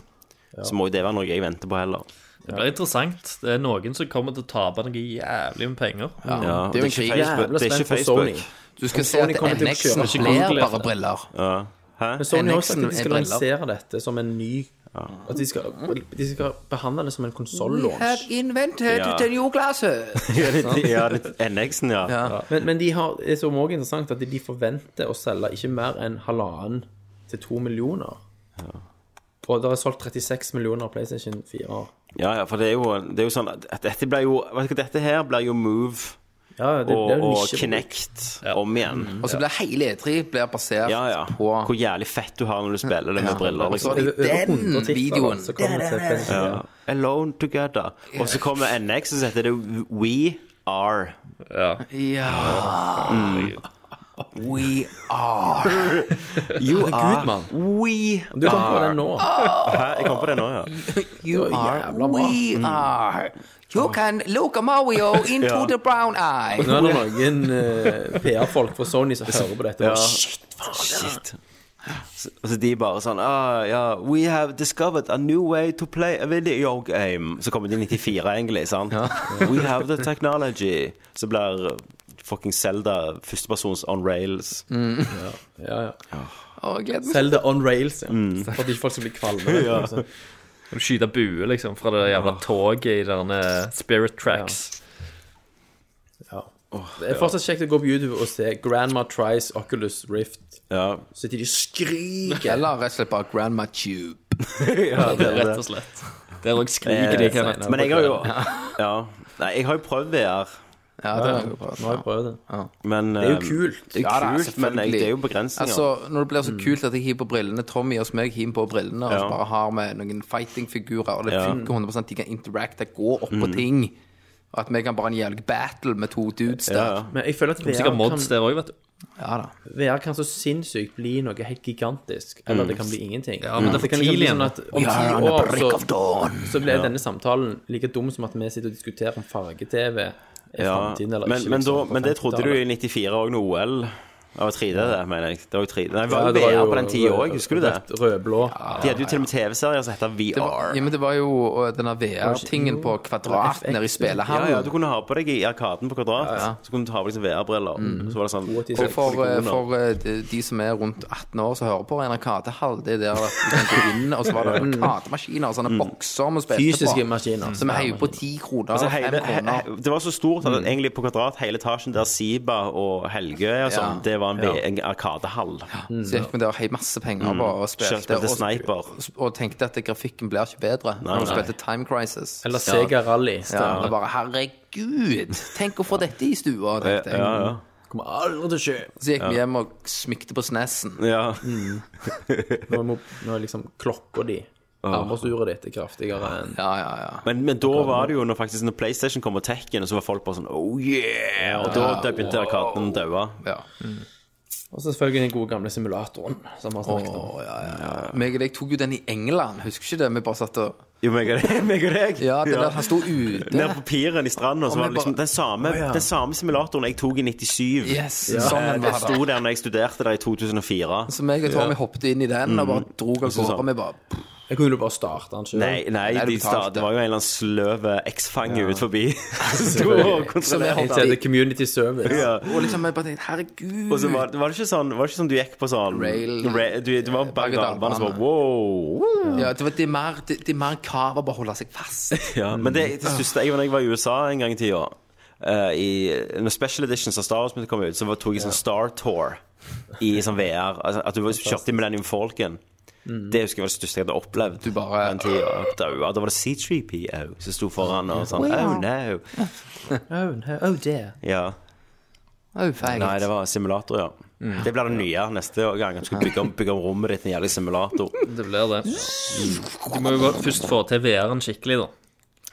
Speaker 5: så må jo det være noe jeg venter på heller.
Speaker 8: Det blir interessant. Det er noen som kommer til å tape noe jævlig med penger.
Speaker 5: Ja,
Speaker 7: det er jo en krig.
Speaker 5: Facebook,
Speaker 9: Jævla
Speaker 5: det er
Speaker 9: spent
Speaker 5: ikke
Speaker 9: på Sony.
Speaker 5: Facebook.
Speaker 7: Du skal se at
Speaker 9: Sony kommer til å
Speaker 7: NX-en
Speaker 9: kjøpe
Speaker 7: blir
Speaker 8: Google
Speaker 7: bare briller.
Speaker 9: Men Sony har også sagt
Speaker 7: NX-en
Speaker 9: at de
Speaker 7: er
Speaker 9: skal
Speaker 7: briller.
Speaker 9: lansere dette som en ny At de skal, de skal behandle det som en konsoll-launch.
Speaker 7: invented
Speaker 5: Ja.
Speaker 7: new glasses.
Speaker 5: Ja, det- ja, det- NX-en, ja.
Speaker 9: Men, men de har, det som også er interessant, at de forventer å selge ikke mer enn halvannen til to millioner. Og det er solgt 36 millioner PlayStation 4.
Speaker 5: Ja, ja, for det er jo, det er jo sånn at Dette blir jo Vet du hva, dette her blir jo Move
Speaker 9: Ja, det, det er
Speaker 5: og,
Speaker 9: jo
Speaker 5: og
Speaker 9: nisje- Mm.
Speaker 5: Kinect om igjen.
Speaker 7: (laughs) Og så blir hele E3 blir basert
Speaker 5: Ja, ja.
Speaker 7: på
Speaker 5: Hvor jævlig fett du har når du spiller det med briller,
Speaker 7: Og
Speaker 5: liksom.
Speaker 7: så er det
Speaker 9: Over
Speaker 7: den
Speaker 9: 100 titler,
Speaker 7: videoen.
Speaker 9: Så kommer det til PlayStation 4.
Speaker 5: Ja. Alone together. Og så kommer NX, og så heter det We Are.
Speaker 7: Ja.
Speaker 9: Mm.
Speaker 7: We
Speaker 9: (laughs)
Speaker 7: are
Speaker 5: You are
Speaker 6: mann.
Speaker 9: Mm.
Speaker 5: We
Speaker 9: Du kom på den nå.
Speaker 7: Ah,
Speaker 5: Hæ? Jeg kom på det nå,
Speaker 9: (laughs)
Speaker 5: ja.
Speaker 7: You are We are You can look a Mario
Speaker 9: (laughs)
Speaker 7: into
Speaker 5: Ja.
Speaker 7: the brown eye.
Speaker 9: Nå er det noen eh, PR-folk fra Sony som hører på dette. og bare,
Speaker 5: Shit, faen, shit. Så- Og så de bare sånn ah, ja, We have discovered a new way to play a video game. Så kommer de 94, egentlig. sant? We have the technology. Så blir fucking Zelda førstepersons on rails.
Speaker 9: Ja, ja.
Speaker 7: Å, jeg gleder meg.
Speaker 9: Selg det on rails, ja.
Speaker 5: Mm.
Speaker 9: For at ikke folk skal bli
Speaker 5: (laughs)
Speaker 9: kvalme. liksom.
Speaker 8: Kan du skyte bue, liksom, fra det jævla toget i denne Spirit Tracks.
Speaker 9: Det er fortsatt kjekt å gå på YouTube og se Grandma tries Oculus Rift.
Speaker 5: Ja,
Speaker 9: Så sitter de og skriker.
Speaker 7: Eller rett og slett bare Grandma Tube.
Speaker 8: Det er rett og slett. Der òg skriker de.
Speaker 5: Eh,
Speaker 8: Kenneth.
Speaker 5: Men jeg har jo Ja. Nei, jeg har jo prøvd VR.
Speaker 7: Ja, det er jo bra.
Speaker 9: Nå har jeg prøvd det.
Speaker 5: Men eh,
Speaker 9: Det er jo kult.
Speaker 5: Det er
Speaker 7: Ja, da,
Speaker 5: kult, men jeg,
Speaker 7: selvfølgelig.
Speaker 5: det er jo begrensninger.
Speaker 7: Altså, Når det blir så kult at jeg hiver på brillene Tommy og meg hiver på brillene, og
Speaker 5: Ja.
Speaker 7: så bare har vi noen fighting-figurer, og det
Speaker 5: Ja. Mm.
Speaker 7: funker 100 De kan interacte, gå opp på ting. Og at vi kan bare ha en jævlig battle med to dudes
Speaker 5: ja,
Speaker 7: der.
Speaker 5: ja.
Speaker 9: Men jeg føler at VR
Speaker 8: Sikkert
Speaker 9: kan,
Speaker 8: mods der òg, vet du.
Speaker 7: Ja da.
Speaker 9: VR kan så sinnssykt bli noe helt gigantisk. Eller det kan bli ingenting.
Speaker 8: Ja, men det er for
Speaker 9: kan liksom bli
Speaker 8: tidlig
Speaker 9: sånn at om ti år så, så blir denne samtalen like dum som at vi sitter og diskuterer om farge-TV er
Speaker 5: Ja,
Speaker 9: fremtiden eller
Speaker 5: men,
Speaker 9: ikke.
Speaker 5: men,
Speaker 9: liksom,
Speaker 5: da,
Speaker 9: på
Speaker 5: men det trodde du jo i
Speaker 9: 50-tallet.
Speaker 5: 94 òg, når OL Det var 3D, det, mener jeg. Det var jo 3D. Nei, det var
Speaker 9: Ja,
Speaker 5: jo
Speaker 9: det var
Speaker 5: VR
Speaker 9: jo
Speaker 5: på den tida òg, husker du det?
Speaker 9: rød- Rød-blå.
Speaker 5: De hadde jo til og med TV-serier som het
Speaker 7: Det var,
Speaker 5: VR.
Speaker 7: ja, men det var jo og denne VR-tingen på kvadrat nede i
Speaker 5: Ja,
Speaker 7: spillehallen.
Speaker 5: ja, du kunne ha på deg i Arkaden på Kvadrat. Så kunne du ta på deg sånne VR-briller.
Speaker 9: Mm.
Speaker 5: Så var det sånn
Speaker 7: Og for, eh, for eh, de de som er rundt 18 år som hører på, en arkadehall, det er der at du kan gå inn, og
Speaker 5: (laughs)
Speaker 7: så var det arkademaskiner og
Speaker 5: Mm.
Speaker 7: sånne bokser vi spilte
Speaker 9: Fysiske
Speaker 7: på.
Speaker 9: maskiner.
Speaker 7: Så vi heiv på ti kroner
Speaker 5: Altså,
Speaker 7: og fem
Speaker 5: hele, he,
Speaker 7: kroner.
Speaker 5: he- det var så stort
Speaker 9: Mm.
Speaker 5: at egentlig på Kvadrat, hele etasjen der Siba og Helgøy og sånn,
Speaker 7: Ja.
Speaker 5: det var en, V- en Arkadehall.
Speaker 7: Så gikk vi der og heiv masse penger på og spilte.
Speaker 5: Kjørte
Speaker 7: og-
Speaker 5: Mm. sniper.
Speaker 7: og tenkte at grafikken blir ikke bedre. Når
Speaker 5: nei.
Speaker 7: vi spilte Time Crisis.
Speaker 9: Eller Sega Rally.
Speaker 7: ja, og bare herregud, tenk å få dette i stua, tenkte jeg.
Speaker 9: Kommer aldri til å skje.
Speaker 7: Så gikk vi hjem og smykte på snesen.
Speaker 5: Ja.
Speaker 9: Nå er, mo- nå er liksom klokka di. Armbåndsuret ditt er kraftigere enn
Speaker 7: Ja, ja, ja.
Speaker 5: Men, men da var det jo når faktisk når PlayStation kom og Tekken, og så var folk bare sånn Oh yeah! Og da da begynte Arkaden å daue.
Speaker 7: ja.
Speaker 9: Og så selvfølgelig den gode gamle simulatoren. Som har snakket om.
Speaker 7: Å, ja, ja, ja. Meg og deg tok jo den i England, husker ikke det? Vi bare satt og
Speaker 5: Jo, meg og deg. (laughs) Meg og deg.
Speaker 7: Ja, det der, han sto ute.
Speaker 5: Nede på piren i stranda, så var det
Speaker 7: vi
Speaker 5: liksom
Speaker 7: bare-
Speaker 5: den samme, den samme simulatoren jeg tok i 97.
Speaker 7: Yes, sånn den
Speaker 5: Jeg
Speaker 7: var
Speaker 5: sto der når jeg studerte der i 2004.
Speaker 7: Så meg og Tommy hoppet inn i den og bare drog av
Speaker 5: så
Speaker 7: gårde.
Speaker 5: sånn-
Speaker 7: Mm. Og vi bare
Speaker 9: Jeg kunne jo bare starte den sjøl.
Speaker 5: Nei, nei
Speaker 7: Nei, du
Speaker 5: de sta,
Speaker 7: betalte.
Speaker 5: det var jo en eller annen sløv eksfange ut forbi. (laughs)
Speaker 7: (laughs)
Speaker 5: Som sto og
Speaker 7: Så vi
Speaker 5: kontrollerte.
Speaker 7: hoppet
Speaker 9: Til
Speaker 7: i
Speaker 9: The Community Service.
Speaker 5: Ja.
Speaker 7: Og liksom jeg bare tenkte Herregud.
Speaker 5: Og så var, var, det ikke sånn, var det ikke sånn du gikk på sånn
Speaker 7: Rail- eh,
Speaker 5: Ra- du, du var berg og dal-bane som var
Speaker 7: Berg- og dalbane.
Speaker 5: wow!
Speaker 7: ja, det, var, det, er mer, det, det er mer en krav å bare holde seg fast.
Speaker 5: Ja, men det, det største jeg, når jeg var i USA en gang i tida eh, i, Når Special Editions av Star Wars kom ut, så var- tok jeg sånn Star Tour i sånn VR. Altså, at du var- kjørte i Millennium Falcon. Det husker jeg var det største jeg hadde opplevd.
Speaker 7: Mm. Du bare-
Speaker 5: på den tiden, og daua. Da var det C3PO som sto foran og sånn Oh no.
Speaker 9: (laughs) Oh, no. oh dear.
Speaker 5: Ja.
Speaker 7: Au, feil.
Speaker 5: Nei, det var simulator, ja.
Speaker 7: Mm.
Speaker 5: Det blir det nye neste gang. Du skal bygge om, bygge om rommet ditt i en jævlig simulator.
Speaker 8: Det blir det. Du må jo godt først få til VR-en skikkelig, da.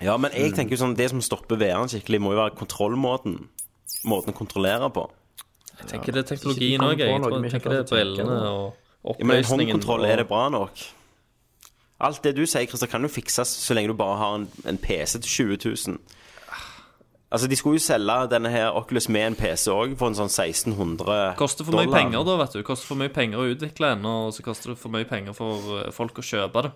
Speaker 5: Ja, men
Speaker 7: Mm.
Speaker 5: jeg tenker jo sånn Det som stopper VR-en skikkelig, må jo være kontrollmåten. Måten å kontrollere på.
Speaker 8: Jeg tenker det er teknologien òg. Jeg.
Speaker 9: Ikke kom på noe
Speaker 8: tror-
Speaker 9: vi
Speaker 8: Jeg
Speaker 9: ikke
Speaker 8: tenker det er
Speaker 9: klarte å tenke
Speaker 8: brillene og
Speaker 5: Ja, men en
Speaker 8: oppløsningen.
Speaker 5: håndkontroll,
Speaker 8: og-
Speaker 5: er det bra nok? Alt det du sier, Christer, kan jo fikses så lenge du bare har en, en PC til 20 000. Altså, de skulle jo selge denne her Oculus med en PC òg, for en sånn 1600 dollar.
Speaker 8: Koster for mye penger, da, vet du. Koster for mye penger å utvikle en, og så koster det for mye penger for eh, folk å kjøpe det.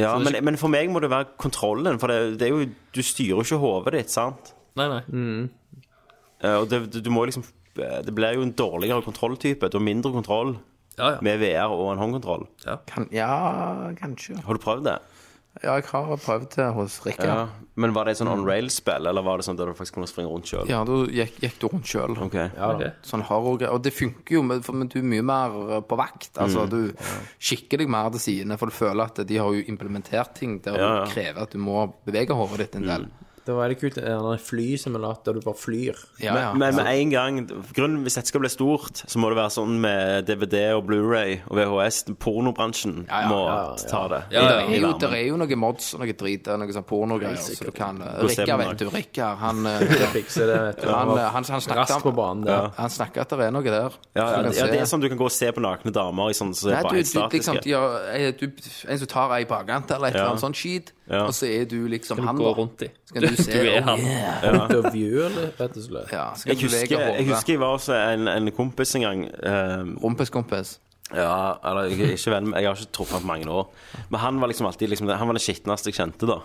Speaker 5: Ja, men, men for meg må det være kontrollen, for det, det er jo Du styrer jo ikke hodet ditt, sant?
Speaker 8: Mm. Nei, nei.
Speaker 5: Eh, Og det, du- du må liksom det blir jo en dårligere kontrolltype. Du har mindre kontroll
Speaker 8: Ja, ja.
Speaker 5: med VR og en håndkontroll.
Speaker 7: Kan, ja, kanskje.
Speaker 5: Har du prøvd det?
Speaker 7: Ja, jeg har prøvd det hos Rikard.
Speaker 5: Ja. Men var det et sånn on rail-spill, eller var det sånn der du faktisk kunne springe rundt sjøl?
Speaker 7: Ja, da gikk, gikk du rundt sjøl.
Speaker 5: Ok.
Speaker 7: Sånn horrorgreier. Og det funker jo, men, for, men du er mye mer på vakt. Altså, du kikker deg mer til sidene, for du føler at de har jo implementert ting der
Speaker 5: Ja, ja.
Speaker 7: du krever at du må bevege hodet ditt en del.
Speaker 9: Det var veldig kult. En flysimulator der du bare flyr.
Speaker 7: Ja, ja.
Speaker 5: Men med en gang grunnen, Hvis dette skal bli stort, så må det være sånn med DVD og Blu-ray og VHS. Pornobransjen
Speaker 7: Ja, ja,
Speaker 5: må
Speaker 7: ja,
Speaker 5: ta det.
Speaker 7: Det
Speaker 8: Ja,
Speaker 7: er, jo, det er jo noe mods og noe drit der, noe sånn pornogreier så du kan Rikard, vet du. Rikard,
Speaker 9: (laughs)
Speaker 7: han eh,
Speaker 9: Fikse det, vet du.
Speaker 7: Han, han, han snakket
Speaker 9: Raskt på banen der.
Speaker 7: Han snakker at det er noe der.
Speaker 5: Ja,
Speaker 7: Du
Speaker 5: ja,
Speaker 7: kan
Speaker 5: ja, det
Speaker 7: se.
Speaker 5: er sånn du kan gå og se på nakne damer i sånn som
Speaker 7: Nei,
Speaker 5: er
Speaker 7: du,
Speaker 5: bare helt
Speaker 7: du, liksom,
Speaker 5: statiske.
Speaker 7: de har- eh, du, en som tar ei bakhånd eller et eller annet sånt skit,
Speaker 5: Ja.
Speaker 7: og så er du liksom
Speaker 8: Du
Speaker 7: han.
Speaker 8: går
Speaker 7: da.
Speaker 8: rundt i.
Speaker 7: Så kan du se
Speaker 8: er
Speaker 7: oh,
Speaker 8: han.
Speaker 7: yeah.
Speaker 9: Point of view, eller? Rett og slett.
Speaker 7: ja, så kan
Speaker 5: Jeg
Speaker 7: du bevege
Speaker 5: husker, jeg
Speaker 7: hodet.
Speaker 5: husker jeg var hos en, en kompis en gang eh,
Speaker 7: Rumpeskompis.
Speaker 5: Ja, eller jeg, er ikke venn, med- jeg har ikke truffet ham på mange år. Men han var liksom alltid liksom, Han var den skitneste jeg kjente, da.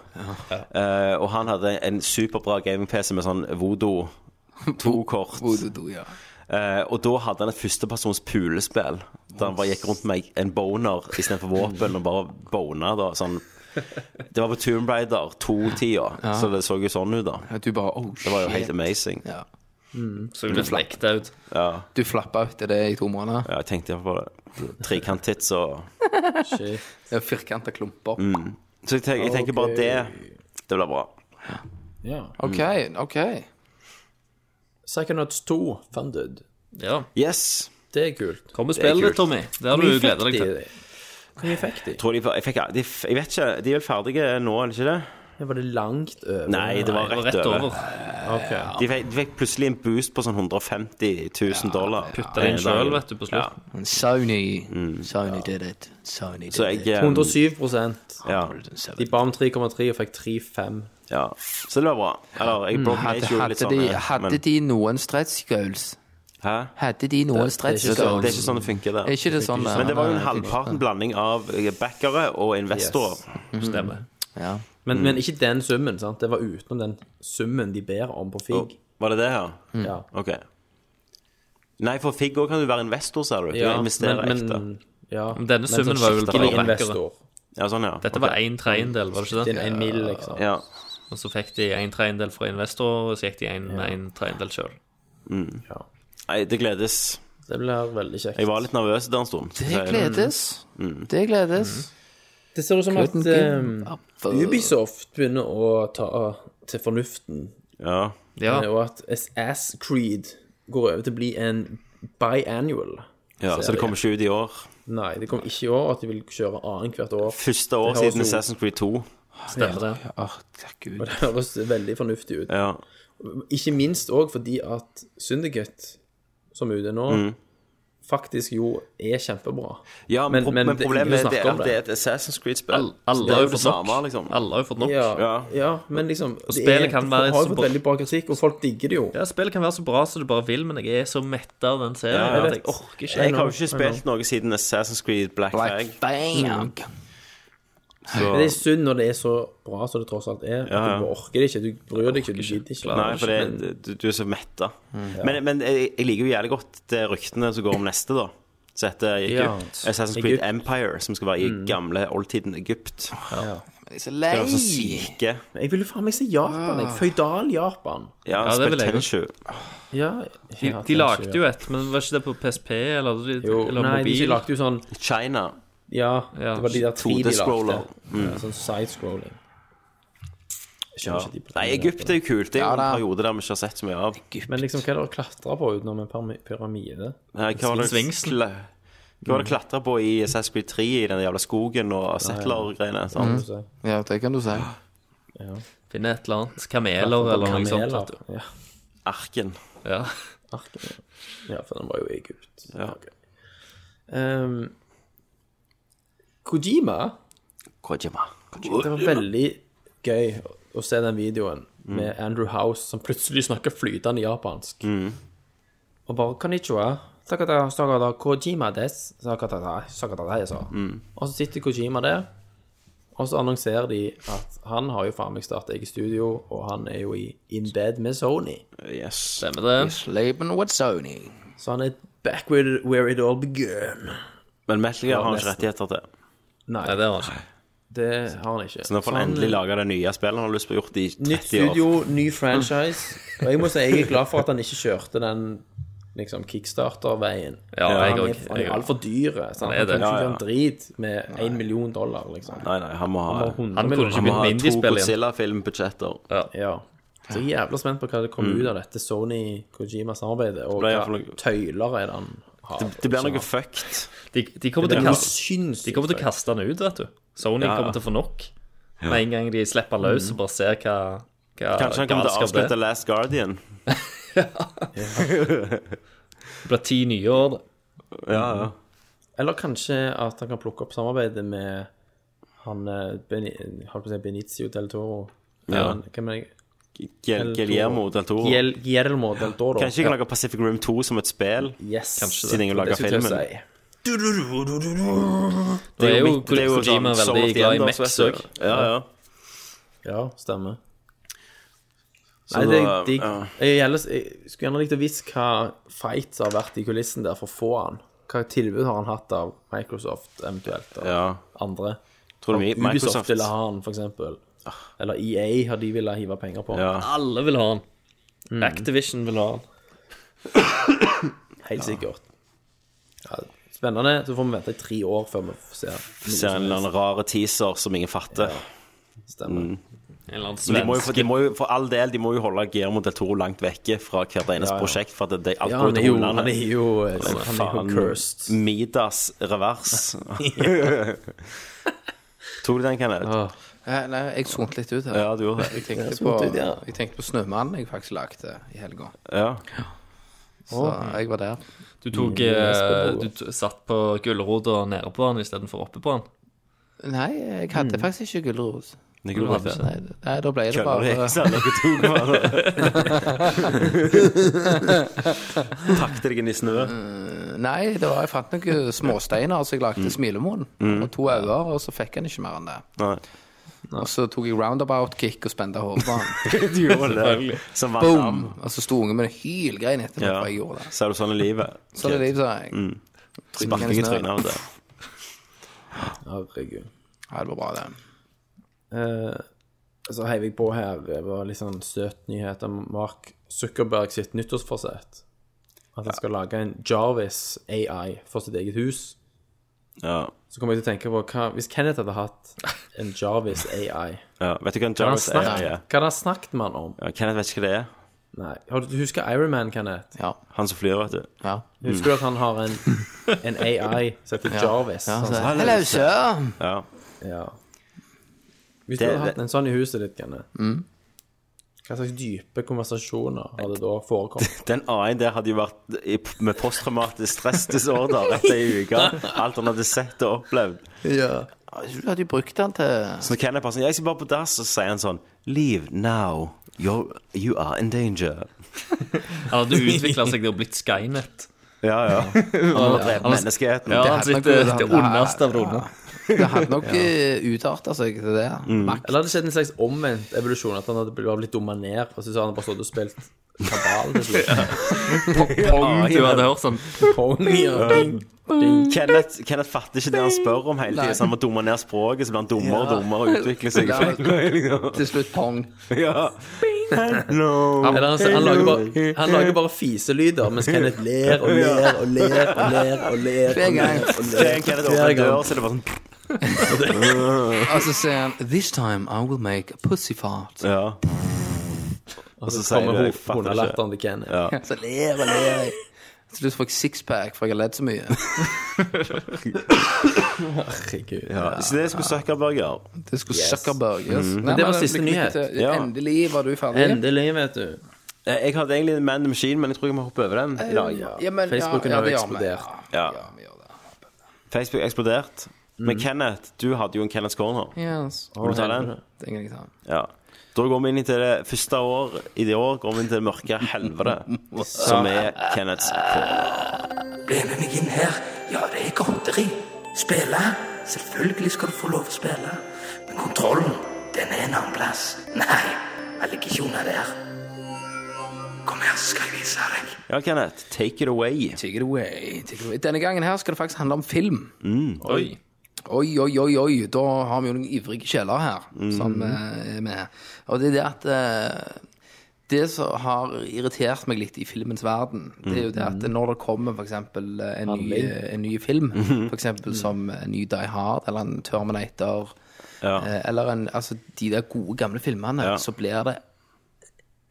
Speaker 5: Eh, og han hadde en superbra gaming-PC med sånn
Speaker 7: (laughs)
Speaker 5: Vodo 2-kort.
Speaker 7: Voodoo, ja.
Speaker 5: Eh, og da hadde han et førstepersons pulespill. Der han bare gikk rundt med en boner istedenfor våpen, og bare bona. da sånn. Det var på Tomb Raider 2-tida, så det så jo sånn ut, da.
Speaker 7: At Du bare oh, shit.
Speaker 5: Det var jo helt amazing.
Speaker 7: ja.
Speaker 8: Så du litt lekte ut.
Speaker 7: Du flappa etter det i to måneder.
Speaker 5: Ja, jeg tenkte iallfall på det. Trekanttits og
Speaker 7: Det er Firkanta klumper.
Speaker 5: Mm. Så jeg, tenker, jeg tenker bare det. Det blir bra.
Speaker 7: OK, OK.
Speaker 9: Psychonauts 2, funded.
Speaker 8: Ja.
Speaker 5: Yes.
Speaker 9: Det er kult.
Speaker 8: Kom og spill
Speaker 5: Det er
Speaker 8: det, Tommy. Det har du gleda deg til.
Speaker 9: Hvor mye fikk de?
Speaker 5: Tror de, jeg, fikk, de, jeg vet ikke, de er vel ferdige nå, er de ikke det?
Speaker 9: Var det langt over?
Speaker 5: Nei, det var
Speaker 8: Det var
Speaker 5: rett
Speaker 8: rett
Speaker 5: over.
Speaker 8: over.
Speaker 9: Ok.
Speaker 5: De fikk, de fikk plutselig en boost på sånn 150 000 dollar. Eh,
Speaker 8: Det er en sjøl, vet du, på slutten.
Speaker 2: Sony. Sony did it. Sony did
Speaker 5: Mm. Så jeg eh,
Speaker 9: 107
Speaker 5: ja,
Speaker 9: De ba om 3,3 og fikk 3,5.
Speaker 5: ja. Så det var bra. Eller, jeg broke meg
Speaker 7: Hadde,
Speaker 5: jo litt
Speaker 7: hadde,
Speaker 5: sånn
Speaker 7: de,
Speaker 5: eh,
Speaker 7: hadde
Speaker 5: men-
Speaker 7: de noen stretch goals?
Speaker 5: Hæ?
Speaker 7: Hadde de noen stretch
Speaker 5: Det er, sånn, det er
Speaker 7: goals?
Speaker 5: ikke sånn det funker
Speaker 7: Er
Speaker 5: der.
Speaker 7: ikke det sånn?
Speaker 5: Men det var jo en halvparten blanding av eh, backere og investorer.
Speaker 8: Stemmer.
Speaker 7: Ja.
Speaker 9: Men, men ikke den summen, sant? Det var utenom den summen de ber om på FIG.
Speaker 5: Var det det her?
Speaker 7: Mm.
Speaker 9: Ja.
Speaker 5: Ok. Nei, for Figg òg kan du være investor, ser du. Du
Speaker 9: Ja,
Speaker 5: investerer
Speaker 9: men-
Speaker 5: ekte.
Speaker 9: men- Ja.
Speaker 8: Men denne summen var vel
Speaker 9: skikkelig
Speaker 8: bare backere.
Speaker 9: investor.
Speaker 5: Ja, sånn, ja.
Speaker 8: Dette var en tredjedel, var det
Speaker 9: Det
Speaker 8: ikke
Speaker 9: er
Speaker 8: det?
Speaker 9: en mil, liksom.
Speaker 5: ja.
Speaker 8: Og så fikk de en tredjedel fra investor, og så gikk de en, en tredjedel sjøl.
Speaker 5: Nei, det gledes.
Speaker 9: Det blir veldig kjekt.
Speaker 5: Jeg var litt nervøs der en stund.
Speaker 7: Det gledes.
Speaker 5: mm.
Speaker 7: Det gledes.
Speaker 9: Det ser ut som at
Speaker 7: Gluten-
Speaker 9: eh, Ubisoft begynner å ta til fornuften,
Speaker 5: Ja.
Speaker 8: Ja.
Speaker 9: og at Ass Creed går over til å bli en biannual.
Speaker 5: Ja, så det kommer ikke ut i år.
Speaker 9: Nei, det kommer ikke i år at de vil kjøre annethvert år.
Speaker 5: Første år
Speaker 9: Det høres
Speaker 5: siden
Speaker 9: jo-
Speaker 5: Assassin's Creed 2.
Speaker 8: Stemmer det.
Speaker 7: Åh, takk Gud.
Speaker 9: (laughs) Det høres veldig fornuftig ut.
Speaker 5: Ja.
Speaker 9: Ikke minst òg fordi at Syndicate, som er ute nå, faktisk jo er kjempebra.
Speaker 5: Ja, men,
Speaker 9: Men-
Speaker 5: pro
Speaker 9: men
Speaker 5: men
Speaker 9: det-
Speaker 5: problemet
Speaker 9: vi
Speaker 5: er det
Speaker 9: snakker om
Speaker 5: at det
Speaker 9: det.
Speaker 5: er et Assassin's Creed-spill.
Speaker 8: Alle,
Speaker 5: Så det
Speaker 8: alle
Speaker 5: er
Speaker 8: har
Speaker 5: jo
Speaker 8: jo
Speaker 5: det
Speaker 8: fått
Speaker 5: samme,
Speaker 8: nok.
Speaker 5: liksom.
Speaker 8: Alle har jo fått nok.
Speaker 9: Ja,
Speaker 5: Ja.
Speaker 9: ja men liksom det
Speaker 8: spillet
Speaker 9: er-
Speaker 8: kan være
Speaker 9: Har
Speaker 8: så
Speaker 9: jo fått
Speaker 8: bra.
Speaker 9: veldig bra kritikk, og folk digger det jo.
Speaker 8: Ja, spillet kan være så bra som du bare vil, men jeg er så mett av den serien
Speaker 5: Ja, ja.
Speaker 8: at jeg orker ikke.
Speaker 5: Jeg har jo ikke spilt noe siden Assassin's Creed Black Flag. Mm.
Speaker 7: Like, bang!
Speaker 5: Så...
Speaker 9: Men det er synd når det er så bra som det tross alt er.
Speaker 5: Ja, ja.
Speaker 9: Du orker det ikke, du bryr deg ikke, du gidder ikke.
Speaker 5: Nei, for det, du, du er så metta.
Speaker 7: Mm.
Speaker 5: Men, men jeg, jeg liker jo jævlig godt det ryktene som går om neste, da. Så dette gikk
Speaker 9: Ja.
Speaker 5: ut. Assassin's Creed
Speaker 9: Egypt.
Speaker 5: Empire, som skal være i gamle oldtiden Egypt. Det
Speaker 7: Jeg er så lei.
Speaker 5: er så syke.
Speaker 9: Jeg vil jo faen meg si Japan,
Speaker 8: Ah.
Speaker 9: jeg. Føydal Japan.
Speaker 5: Ja,
Speaker 8: Ja, det vil jeg
Speaker 5: Spetenshu.
Speaker 9: Ja,
Speaker 8: De, de lagde jo et, men var ikke det på PSP eller, de,
Speaker 9: jo,
Speaker 8: eller
Speaker 9: Nei, de
Speaker 8: mobil?
Speaker 9: lagde jo sånn
Speaker 5: China.
Speaker 9: Ja,
Speaker 8: Ja,
Speaker 9: det var de der tre de lagde.
Speaker 5: 2D-scroller.
Speaker 9: Ja, sånn side-scrolling. Jeg skjønner
Speaker 5: Ja.
Speaker 9: ikke de
Speaker 5: Nei, Egypt er jo kult. Det er jo
Speaker 7: Ja,
Speaker 5: en
Speaker 7: da.
Speaker 5: periode der vi ikke har sett så mye av.
Speaker 9: Men liksom, hva er det å klatre på utenom en pyram- pyramide?
Speaker 8: Mm.
Speaker 5: Nei, hva var det
Speaker 8: Svingsel.
Speaker 5: kla- Hva var det klatra på i Assassin's Creed 3 i den jævla skogen og settler-greiene? sånn? sant?
Speaker 9: Så,
Speaker 7: Ja, det kan du si.
Speaker 8: Finne et eller annet. Kameler eller noe sånt.
Speaker 9: kameler.
Speaker 8: vet du.
Speaker 9: Ja,
Speaker 5: Arken.
Speaker 8: Ja.
Speaker 9: arken, ja. ja, for den var jo i Egypt.
Speaker 5: Ja.
Speaker 9: Ehm, Kojima
Speaker 5: Kojima.
Speaker 9: Det var veldig gøy å se den videoen med
Speaker 5: Mm.
Speaker 9: Andrew House som plutselig snakker flytende japansk. Og bare 'Konnichiwa'. Sakata,
Speaker 5: Mm.
Speaker 9: sakata, Kojima des. Sakata, sakata, sakata, sa. Og så sitter Kojima der Og så annonserer de at han har jo faen meg starta eget studio, og han er jo i In Bed med Sony.
Speaker 5: Yes.
Speaker 8: Stemmer det?
Speaker 7: Slaben with Sony.
Speaker 9: Så han er back with where it all began.
Speaker 5: Men Metal Gear har han ikke
Speaker 9: nesten.
Speaker 5: rettigheter til.
Speaker 9: Nei,
Speaker 8: Nei,
Speaker 9: det,
Speaker 8: det har han ikke.
Speaker 9: har han ikke.
Speaker 5: Så nå får han endelig lage det nye spillet han har lyst på å gjort i
Speaker 9: eh, Nytt
Speaker 5: 30 år.
Speaker 9: studio, ny franchise. Og jeg må si jeg er glad for at han ikke kjørte den liksom kickstarter-veien.
Speaker 8: Ja, jeg
Speaker 9: han er,
Speaker 8: også,
Speaker 9: han
Speaker 8: jeg
Speaker 9: er altfor dyr. eh, sant?
Speaker 8: Han er det.
Speaker 9: Han kan ikke
Speaker 5: Ja, ja.
Speaker 9: gjøre en drit med én million dollar, liksom.
Speaker 5: Nei, nei, han må ha,
Speaker 9: Og
Speaker 8: Han
Speaker 9: 100
Speaker 8: kunne
Speaker 9: millioner.
Speaker 8: ikke
Speaker 5: han må
Speaker 8: begynt
Speaker 5: ha
Speaker 8: med
Speaker 5: to
Speaker 8: indiespill igjen.
Speaker 5: Godzilla-filmbudsjetter.
Speaker 9: Ja. Så jeg er jævla spent på hva det kommer
Speaker 8: Mm.
Speaker 9: ut av dette Sony-Kojima-samarbeidet, og
Speaker 5: Det ble i hvert
Speaker 9: hva
Speaker 5: fall noe-
Speaker 9: tøyler er det han har.
Speaker 5: Det, det blir noe fucked.
Speaker 8: De, de kommer til å
Speaker 9: noe
Speaker 8: kaste
Speaker 9: sinnssykt.
Speaker 8: De kommer til å kaste den ut, vet du. Sony
Speaker 5: Ja. Mm.
Speaker 8: kommer til å få nok. Med en gang de slipper han løs og bare ser hva, hva
Speaker 5: Kanskje han kommer til å
Speaker 8: galskap det er.
Speaker 5: avslutte Last Guardian.
Speaker 8: Det blir ti nye år. da.
Speaker 5: Ja, ja.
Speaker 9: Eller kanskje at han kan plukke opp samarbeidet med han eh, Beni, holdt på å si Benicio del Toro.
Speaker 5: Ja.
Speaker 9: Men, Hvem er det?
Speaker 5: Gel- Guillermo del Toro.
Speaker 9: Giel- Guillermo del Toro.
Speaker 5: Kanskje jeg kan lage Pacific Room 2 som et spill?
Speaker 9: Yes.
Speaker 8: Kanskje
Speaker 5: Siden ingen lager
Speaker 9: Det skulle jeg
Speaker 5: filmen.
Speaker 9: si.
Speaker 8: Nå er jo
Speaker 5: mitt- det er jo
Speaker 8: Kojima
Speaker 5: sånn Soul of
Speaker 8: veldig
Speaker 5: the
Speaker 8: glad i
Speaker 5: Enders,
Speaker 8: Mex
Speaker 5: vet
Speaker 8: òg.
Speaker 5: du. Ja, ja.
Speaker 9: Ja, stemmer.
Speaker 5: Så
Speaker 9: Nei, det er
Speaker 5: da-
Speaker 9: digg.
Speaker 5: ja.
Speaker 9: Jeg, ellers- jeg skulle gjerne likt å visst hva fights har vært i kulissen der for å få han. Hva tilbud har han hatt av Microsoft eventuelt, og
Speaker 5: Ja.
Speaker 9: andre?
Speaker 5: Tror du mi-
Speaker 9: Ubisoft
Speaker 5: Microsoft Ah.
Speaker 9: ville ha han, for eksempel. Eller EA har de ville hive penger på.
Speaker 5: Ja.
Speaker 8: Alle vil ha han.
Speaker 5: Mm.
Speaker 8: Activision vil ha han.
Speaker 9: Helt sikkert. Ja, spennende. Så får vi vente i tre år før vi får se. noe
Speaker 5: Ser en
Speaker 9: som
Speaker 5: eller annen rare teaser som ingen fatter.
Speaker 9: stemmer.
Speaker 8: En eller annen
Speaker 5: Men de må, jo,
Speaker 8: svensk.
Speaker 5: for- de må jo for all del De må jo holde Guillermo del Toro langt vekke fra hvert eneste prosjekt. For at det, alt
Speaker 9: Ja,
Speaker 5: går
Speaker 9: han er
Speaker 5: til
Speaker 9: jo,
Speaker 5: hundene.
Speaker 9: han er jo, han er jo
Speaker 5: Faen,
Speaker 9: cursed.
Speaker 5: Midas
Speaker 9: (laughs)
Speaker 5: revers. Tok du den, Kenneth?
Speaker 9: Ah.
Speaker 7: Eh, nei, jeg zonte litt ut her.
Speaker 5: Ja, du gjorde
Speaker 7: Jeg
Speaker 5: det.
Speaker 7: tenkte, på,
Speaker 9: zonte ut, ja.
Speaker 7: jeg tenkte på Snømannen jeg faktisk lagde i helga.
Speaker 5: Ja.
Speaker 7: Så jeg var der.
Speaker 8: Du tok eh, Du t satt på gulrota nede på han istedenfor oppe på han.
Speaker 7: Nei, jeg hadde faktisk ikke gulrot.
Speaker 5: Det kunne vært det.
Speaker 7: Nei, nei, da ble det
Speaker 5: Kødder
Speaker 7: bare
Speaker 5: du? Selv dere tok
Speaker 9: (laughs)
Speaker 5: bare Takte deg inn i snø.
Speaker 7: Nei, det var, jeg fant noen småsteiner, så jeg
Speaker 5: Mm.
Speaker 7: lagde smilemunn. Og to øyne, og så fikk han ikke mer enn det.
Speaker 5: Nei.
Speaker 7: Og så tok jeg roundabout-kick og spente hodet på han.
Speaker 5: Du gjorde det. Som vant
Speaker 7: Boom!
Speaker 5: ham.
Speaker 7: Og så Altså, sto ungen min og hylgrein etterpå,
Speaker 5: Ja.
Speaker 7: for jeg gjorde det.
Speaker 5: Så er du sånn i livet.
Speaker 7: Så det er sånn, liv, sa jeg.
Speaker 5: Sparking i trynet av det.
Speaker 9: Herregud.
Speaker 7: Ja, det var bra, det.
Speaker 9: Eh, så heiv jeg på her det var litt sånn søt nyhet om Mark Zuckerberg sitt nyttårsforsett. At han skal lage en Jarvis AI for sitt eget hus.
Speaker 5: Ja.
Speaker 9: Så kommer jeg til å tenke på hva Hvis Kenneth hadde hatt en Jarvis AI
Speaker 5: Ja. Vet du hva en
Speaker 9: Hva hadde han
Speaker 5: Jarvis er?
Speaker 9: snakket-
Speaker 5: Ja.
Speaker 9: hva hadde han snakket med han om?
Speaker 5: Ja, Kenneth vet ikke hva det er.
Speaker 9: Nei. Har Du du husker Ironman, Kenneth?
Speaker 7: Ja.
Speaker 5: Han som flyr, vet du.
Speaker 7: ja.
Speaker 9: Husker du at han har en, en AI som heter Jarvis?
Speaker 7: Ja, så,
Speaker 9: sånn,
Speaker 7: Hello, sir!
Speaker 5: Ja.
Speaker 9: ja. Hvis du
Speaker 5: Det-
Speaker 9: hadde hatt en sånn i huset ditt, Kenneth, hva slags dype konversasjoner hadde da forekommet?
Speaker 5: Den A-en der hadde jo vært i, med posttraumatisk stressdisorder rett ei uke. Alt han hadde sett og opplevd.
Speaker 7: Jeg tror du hadde jo brukt den til
Speaker 5: Så når Kenneth bare sånn Jeg skal bare på dass, og så sier han sånn Leave now. You're, you are in danger.
Speaker 8: Han hadde utvikla seg til å blitt Skynet.
Speaker 5: Ja, ja. Han må drepe menneskeheten.
Speaker 8: Ja,
Speaker 7: Det
Speaker 8: han
Speaker 7: hadde nok
Speaker 8: sitter
Speaker 7: vært-
Speaker 8: det ondeste av det onde.
Speaker 7: Det hadde nok eh, utartet seg til det. Makt.
Speaker 9: Eller hadde det skjedd en slags omvendt evolusjon, at han hadde blitt- bare blitt dumma ned, og så hadde han bare stått og spilt kabal sånn til slutt?
Speaker 8: Om Du hadde hørt sånn
Speaker 9: Pong, ja. Ding, ding.
Speaker 5: Kenneth, Kenneth fatter ikke det han spør om hele tiden, så han må dumme ned språket, så blir han dummere og dummere og utvikler seg. (laughs)
Speaker 7: Til slutt pong.
Speaker 5: Ja. Hello.
Speaker 9: Eller han, han, lager bare, han lager bare fiselyder, mens Kenneth ler og ler og ler og ler. og ler
Speaker 7: Hver gang.
Speaker 9: og
Speaker 5: Det er
Speaker 9: ler.
Speaker 5: en Kenneth
Speaker 9: Hver
Speaker 5: åpner
Speaker 9: gang.
Speaker 5: dør, så er det bare sånn
Speaker 7: Og så sier han This time I will make a pussyfart.
Speaker 5: Ja. Og så sier du
Speaker 9: Kommer
Speaker 5: Jeg fatter ikke.
Speaker 9: hundelatteren til Kenneth.
Speaker 7: Så ler og ler jeg. Til slutt får jeg sixpack, for jeg har ledd så mye.
Speaker 9: Herregud.
Speaker 5: Ja. Så det skulle Zuckerberg gjøre.
Speaker 7: Det skulle Zuckerberg. Yes. Nei,
Speaker 9: det var
Speaker 7: men
Speaker 9: siste
Speaker 7: lykke
Speaker 9: nyhet.
Speaker 7: til.
Speaker 5: Ja.
Speaker 7: eh, Endelig var du ferdig.
Speaker 9: Endelig, vet du.
Speaker 5: Eh, Jeg hadde egentlig en Man in the Machine, men jeg tror jeg må hoppe over den i dag.
Speaker 7: Eh, Ja, men,
Speaker 9: Facebooken
Speaker 7: ja, ja,
Speaker 9: har
Speaker 7: det
Speaker 9: jo
Speaker 7: gjør vi.
Speaker 9: eksplodert.
Speaker 5: Ja.
Speaker 7: Ja, vi gjør det.
Speaker 5: Facebook eksplodert. Men Kenneth, du hadde jo en Kenneths corner.
Speaker 7: Yes.
Speaker 5: Vil du ta den?
Speaker 7: Det kan jeg ta.
Speaker 5: Ja. Da går vi inn til det første år i det år går vi inn til det mørke helvete, som er Kenneths corner.
Speaker 2: Bli med meg inn her. Ja, det er godteri. Spille. Selvfølgelig skal du få lov å spille.
Speaker 11: Kontrollen, den er en annen plass. Nei, han ligger ikke under der. Kom her, skal jeg vise deg.
Speaker 5: Ja, Kenneth, take it away.
Speaker 7: Take it away, take it away. Denne gangen her skal det faktisk handle om film.
Speaker 5: Mm.
Speaker 8: Oi.
Speaker 7: Oi, oi, oi, oi, da har vi jo noen ivrige sjeler her som
Speaker 5: Mm.
Speaker 7: eh, er med. Og det er det at eh, Det som har irritert meg litt i filmens verden, det er jo det
Speaker 5: Mm.
Speaker 7: at når det kommer f.eks. En, ny, eh, en ny film,
Speaker 5: (laughs) Mm.
Speaker 7: f.eks. som en ny Die Hard eller en Terminator,
Speaker 5: Ja.
Speaker 7: eh, eller en, altså, de der gode, gamle filmene,
Speaker 5: Ja.
Speaker 7: så blir det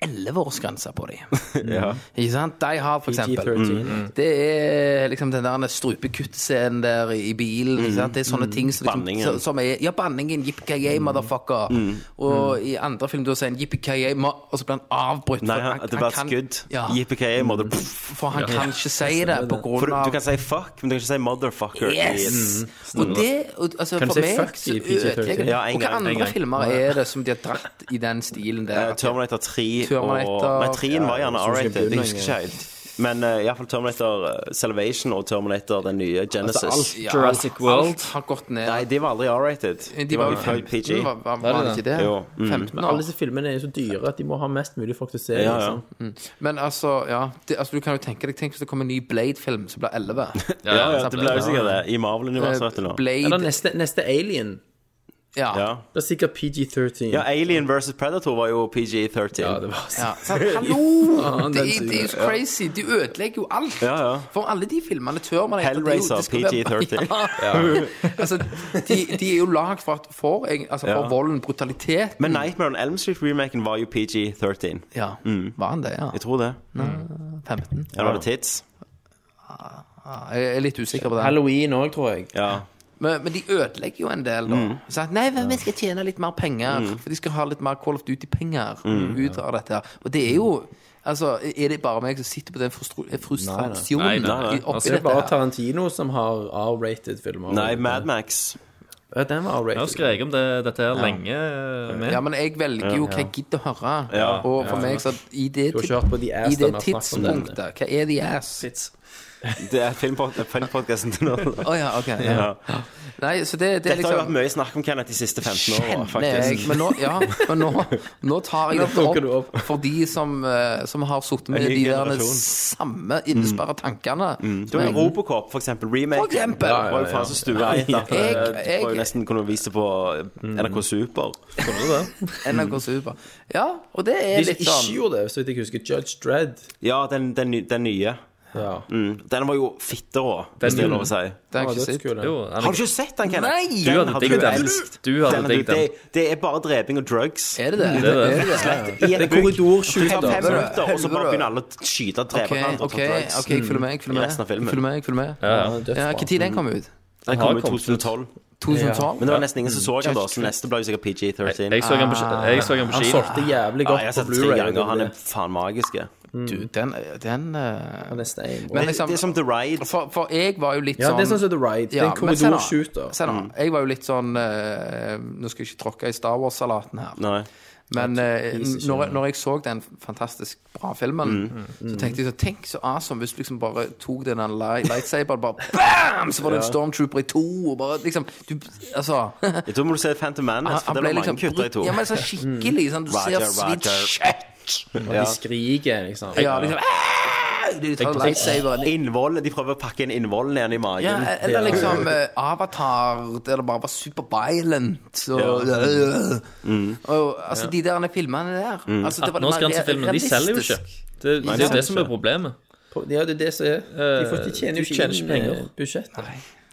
Speaker 7: elleveårsgrense på
Speaker 5: (laughs)
Speaker 7: dem.
Speaker 5: Ja.
Speaker 7: Ikke sant? Die Hard, for eksempel.
Speaker 5: Mm,
Speaker 7: Mm. Det er liksom den der strupekuttscenen der i bilen. Ikke sant? Det er sånne ting som,
Speaker 5: Mm. Banningen. Mm.
Speaker 7: liksom, som er Ja, banningen. Yippee-ki-yay, motherfucker. Og i andre film da sier han yippee-ki-yay, ma- og så blir han avbrutt.
Speaker 5: Nei,
Speaker 7: for
Speaker 5: han, det var et
Speaker 7: kan-
Speaker 5: skudd.
Speaker 7: Ja, Mm.
Speaker 5: Yippee-ki-yay, mother... Pff.
Speaker 7: for han kan ikke si det på
Speaker 5: For
Speaker 7: grunn
Speaker 5: du,
Speaker 7: av
Speaker 5: du kan si fuck, men du kan ikke si motherfucker. i-
Speaker 7: Yes! Mm. Og det og, altså,
Speaker 9: Kan du
Speaker 7: For
Speaker 9: si
Speaker 7: meg
Speaker 9: fuck
Speaker 7: så
Speaker 9: i PG-13?
Speaker 7: ødelegger det.
Speaker 5: Ja, en
Speaker 7: Og hva
Speaker 5: gang, en
Speaker 7: andre
Speaker 5: gang.
Speaker 7: filmer er det som de har dratt i den stilen
Speaker 5: Eh,
Speaker 7: der?
Speaker 5: Terminator 3
Speaker 7: Terminator-
Speaker 5: og Nei, 3 var gjerne
Speaker 9: Ja, jeg synes
Speaker 5: R-rated,
Speaker 9: ikke
Speaker 5: jeg husker ikke helt. Men uh, iallfall Terminator eh, Salvation og Terminator den nye
Speaker 9: Altså,
Speaker 5: Genesis.
Speaker 7: Ja,
Speaker 8: Jurassic World.
Speaker 7: Alt har gått ned.
Speaker 5: Nei, de var aldri R-rated.
Speaker 7: De
Speaker 5: De var jo PG.
Speaker 7: Var, var, var det ikke det?
Speaker 5: Jo, mm.
Speaker 7: 15
Speaker 9: Men
Speaker 7: år.
Speaker 9: alle disse filmene er jo så dyre at de må ha mest mulig folk til å se.
Speaker 5: Ja, ja.
Speaker 9: Liksom.
Speaker 7: Men altså, ja det, altså, Du kan jo tenke deg Tenk hvis det kommer en ny Blade-film som blir 11.
Speaker 5: (laughs) Ja, ja, det ble jo sikkert det. I Marvel-universet, vet du nå.
Speaker 7: Blade
Speaker 9: Eller neste, neste Alien.
Speaker 7: Ja.
Speaker 5: Ja.
Speaker 9: Det er sikkert PG-13.
Speaker 5: ja, Alien versus Predator var jo PG-13.
Speaker 9: Ja,
Speaker 5: Ja,
Speaker 9: det var
Speaker 5: (laughs)
Speaker 7: ja. Så, hallo!
Speaker 9: Faen,
Speaker 7: Det,
Speaker 9: den
Speaker 7: er- det er jo så
Speaker 9: suger.
Speaker 7: crazy. De ødelegger jo alt.
Speaker 5: ja.
Speaker 7: For alle de filmene tør man etter, det er jo-
Speaker 5: Hellraiser,
Speaker 7: det skal være-
Speaker 5: PG-13.
Speaker 7: (laughs) Ja. altså, de, de er jo lagd for, at- for, egen- altså, for
Speaker 5: Ja.
Speaker 7: volden, brutalitet
Speaker 5: Men Nightmare on Elm Street-remaken var jo PG-13.
Speaker 7: Ja, var han det? ja?
Speaker 5: Mm. Jeg tror det.
Speaker 7: 15?
Speaker 5: Eller var det Tits?
Speaker 7: Ja, jeg er litt usikker på det.
Speaker 9: Halloween òg, tror jeg.
Speaker 5: Ja.
Speaker 7: Men, men de ødelegger jo en del, da.
Speaker 5: Mm.
Speaker 7: Sånn, nei, men vi skal tjene litt mer penger. For de skal ha litt mer Call of Duty-penger
Speaker 5: Mm.
Speaker 7: ut av dette. her. Og det er jo Altså, er det bare meg som sitter på den frustru-
Speaker 8: Nei,
Speaker 7: frustrasjonen
Speaker 8: nei, nei.
Speaker 7: i- oppi
Speaker 8: Altså,
Speaker 9: Det er
Speaker 7: dette?
Speaker 9: bare
Speaker 7: her?
Speaker 9: Tarantino som har R-rated filmer.
Speaker 5: Nei, Mad Max.
Speaker 9: Ja, den var
Speaker 8: Jeg har
Speaker 9: R-rated.
Speaker 8: skreket om det, dette her lenge eh, med.
Speaker 7: Ja, men jeg velger jo hva jeg gidder å høre.
Speaker 5: Ja.
Speaker 7: Og for meg, så i det,
Speaker 9: Du har
Speaker 7: tid-
Speaker 9: kjørt på The Ass,
Speaker 7: i det
Speaker 9: da, vi har snakket om den.
Speaker 7: tidspunktet Hva er the ass? Å
Speaker 5: Det er filmpod- filmpodcasten til nå.
Speaker 7: ja, OK. Ja.
Speaker 5: Ja.
Speaker 7: Nei, så det, det er
Speaker 5: Dette har jo vært
Speaker 7: liksom
Speaker 5: mye snakk om Kenneth de siste 15 årene,
Speaker 7: Kjenner jeg,
Speaker 5: faktisk.
Speaker 7: men nå, ja, men nå, nå tar jeg
Speaker 9: plukker
Speaker 7: dette
Speaker 9: du
Speaker 7: opp for de som, eh, som har sittet med
Speaker 5: En ny
Speaker 7: de der
Speaker 5: generasjon.
Speaker 7: samme innesperra tankene.
Speaker 5: Det var jo Robocop, for eksempel. Remake.
Speaker 7: Mm. For eksempel.
Speaker 5: Det var jo faen så stue eit at eh,
Speaker 7: (laughs) Jeg-
Speaker 5: det var
Speaker 7: jeg-
Speaker 5: jo nesten kunne vise på eh, NRK
Speaker 8: Mm.
Speaker 5: Super.
Speaker 7: NRK Super. Ja, og det er
Speaker 9: De som
Speaker 7: litt
Speaker 9: ikke
Speaker 7: sånn
Speaker 9: gjorde det, så vidt jeg husker, Judge Dredd.
Speaker 5: Ja, den, den, ny- den nye.
Speaker 9: Ja.
Speaker 5: Mm. Den var jo fitterå, hvis det er lov å si.
Speaker 7: Det har jeg
Speaker 9: Ja,
Speaker 7: ikke sett.
Speaker 9: dødskul, den.
Speaker 8: Jo, han,
Speaker 5: Har du ikke sett den, Kenneth?
Speaker 7: Nei!
Speaker 5: Den
Speaker 8: du hadde
Speaker 5: hadde
Speaker 8: digget
Speaker 5: du
Speaker 8: den.
Speaker 5: elsket.
Speaker 8: Du hadde
Speaker 5: Den hadde-
Speaker 8: digget den.
Speaker 5: Det, det er bare dreping og drugs.
Speaker 7: Er det det?
Speaker 8: Det er altså. det.
Speaker 7: Er det det?
Speaker 5: I et bygg. Du tar fem
Speaker 7: Helvete.
Speaker 5: minutter, og så bare
Speaker 7: Helvete.
Speaker 5: begynner alle å skyte og drepe
Speaker 7: OK,
Speaker 5: hverandre og
Speaker 7: ok,
Speaker 5: ta drugs.
Speaker 7: ok, jeg følger med. Jeg følger
Speaker 5: I
Speaker 7: med.
Speaker 5: resten av filmen.
Speaker 7: Jeg følger med, jeg følger med. Ja,
Speaker 9: Ja, den er dødsbra.
Speaker 7: Hva tid den kom ut?
Speaker 5: Den kom i
Speaker 8: Har kommet ut.
Speaker 5: 2012.
Speaker 7: 2012?
Speaker 5: Men det var nesten ingen som så den da, så neste ble jo sikkert PG-13.
Speaker 8: jeg så han på,
Speaker 5: Ah.
Speaker 8: jeg så han på
Speaker 9: Han
Speaker 8: ski.
Speaker 9: solgte jævlig
Speaker 5: Ja,
Speaker 9: godt
Speaker 5: Ah, jeg har
Speaker 9: på
Speaker 5: sett den tre
Speaker 9: Blu-ray.
Speaker 5: ganger. Han er faen magisk.
Speaker 9: mm.
Speaker 7: Du, den, den eh,
Speaker 9: Han er stein.
Speaker 7: Men
Speaker 5: Det
Speaker 7: liksom
Speaker 5: er som The Ride.
Speaker 7: for, for jeg var jo litt
Speaker 9: Ja,
Speaker 7: sånn
Speaker 9: det er sånn som The Ride. Det er en
Speaker 7: men se nå,
Speaker 9: korridorshooter.
Speaker 7: Se nå. Jeg var jo litt sånn eh, Nå skal jeg ikke tråkke i Star Wars-salaten her.
Speaker 5: Nei.
Speaker 7: Men eh, når, jeg- når jeg så den fantastisk bra filmen,
Speaker 5: Mm.
Speaker 7: så tenkte jeg så Tenk så awesome hvis du liksom bare tok den
Speaker 5: (laughs)
Speaker 7: der li- lightsaberen, bare bam! Så var det en stormtrooper i to, og bare liksom du, Altså
Speaker 5: (laughs) Jeg tror må du se Phantom Menace, for det var mange kutter i to.
Speaker 7: brutt- liksom Ja, men så skikkelig sånn, Du
Speaker 5: Roger,
Speaker 7: ser svidd
Speaker 5: Roger.
Speaker 7: kjøtt!
Speaker 9: Og de skriker, liksom.
Speaker 7: Ja, liksom «Ah!» De tar lightsaberen
Speaker 5: Innvoll, De prøver å pakke inn innvollen igjen i magen.
Speaker 7: ja, eller liksom eh, Avatar, der det bare var super violent. Og,
Speaker 5: Mm.
Speaker 7: og, altså, de der filmene der altså, det var det mer
Speaker 8: 18-årsgrensefilmen, de selger jo ikke. Det, det er jo det som er problemet.
Speaker 9: Ja, det er det som er De, får, de tjener jo
Speaker 8: Du
Speaker 9: ikke
Speaker 8: tjener
Speaker 9: inn
Speaker 8: ikke penger.
Speaker 9: eh, budsjettet.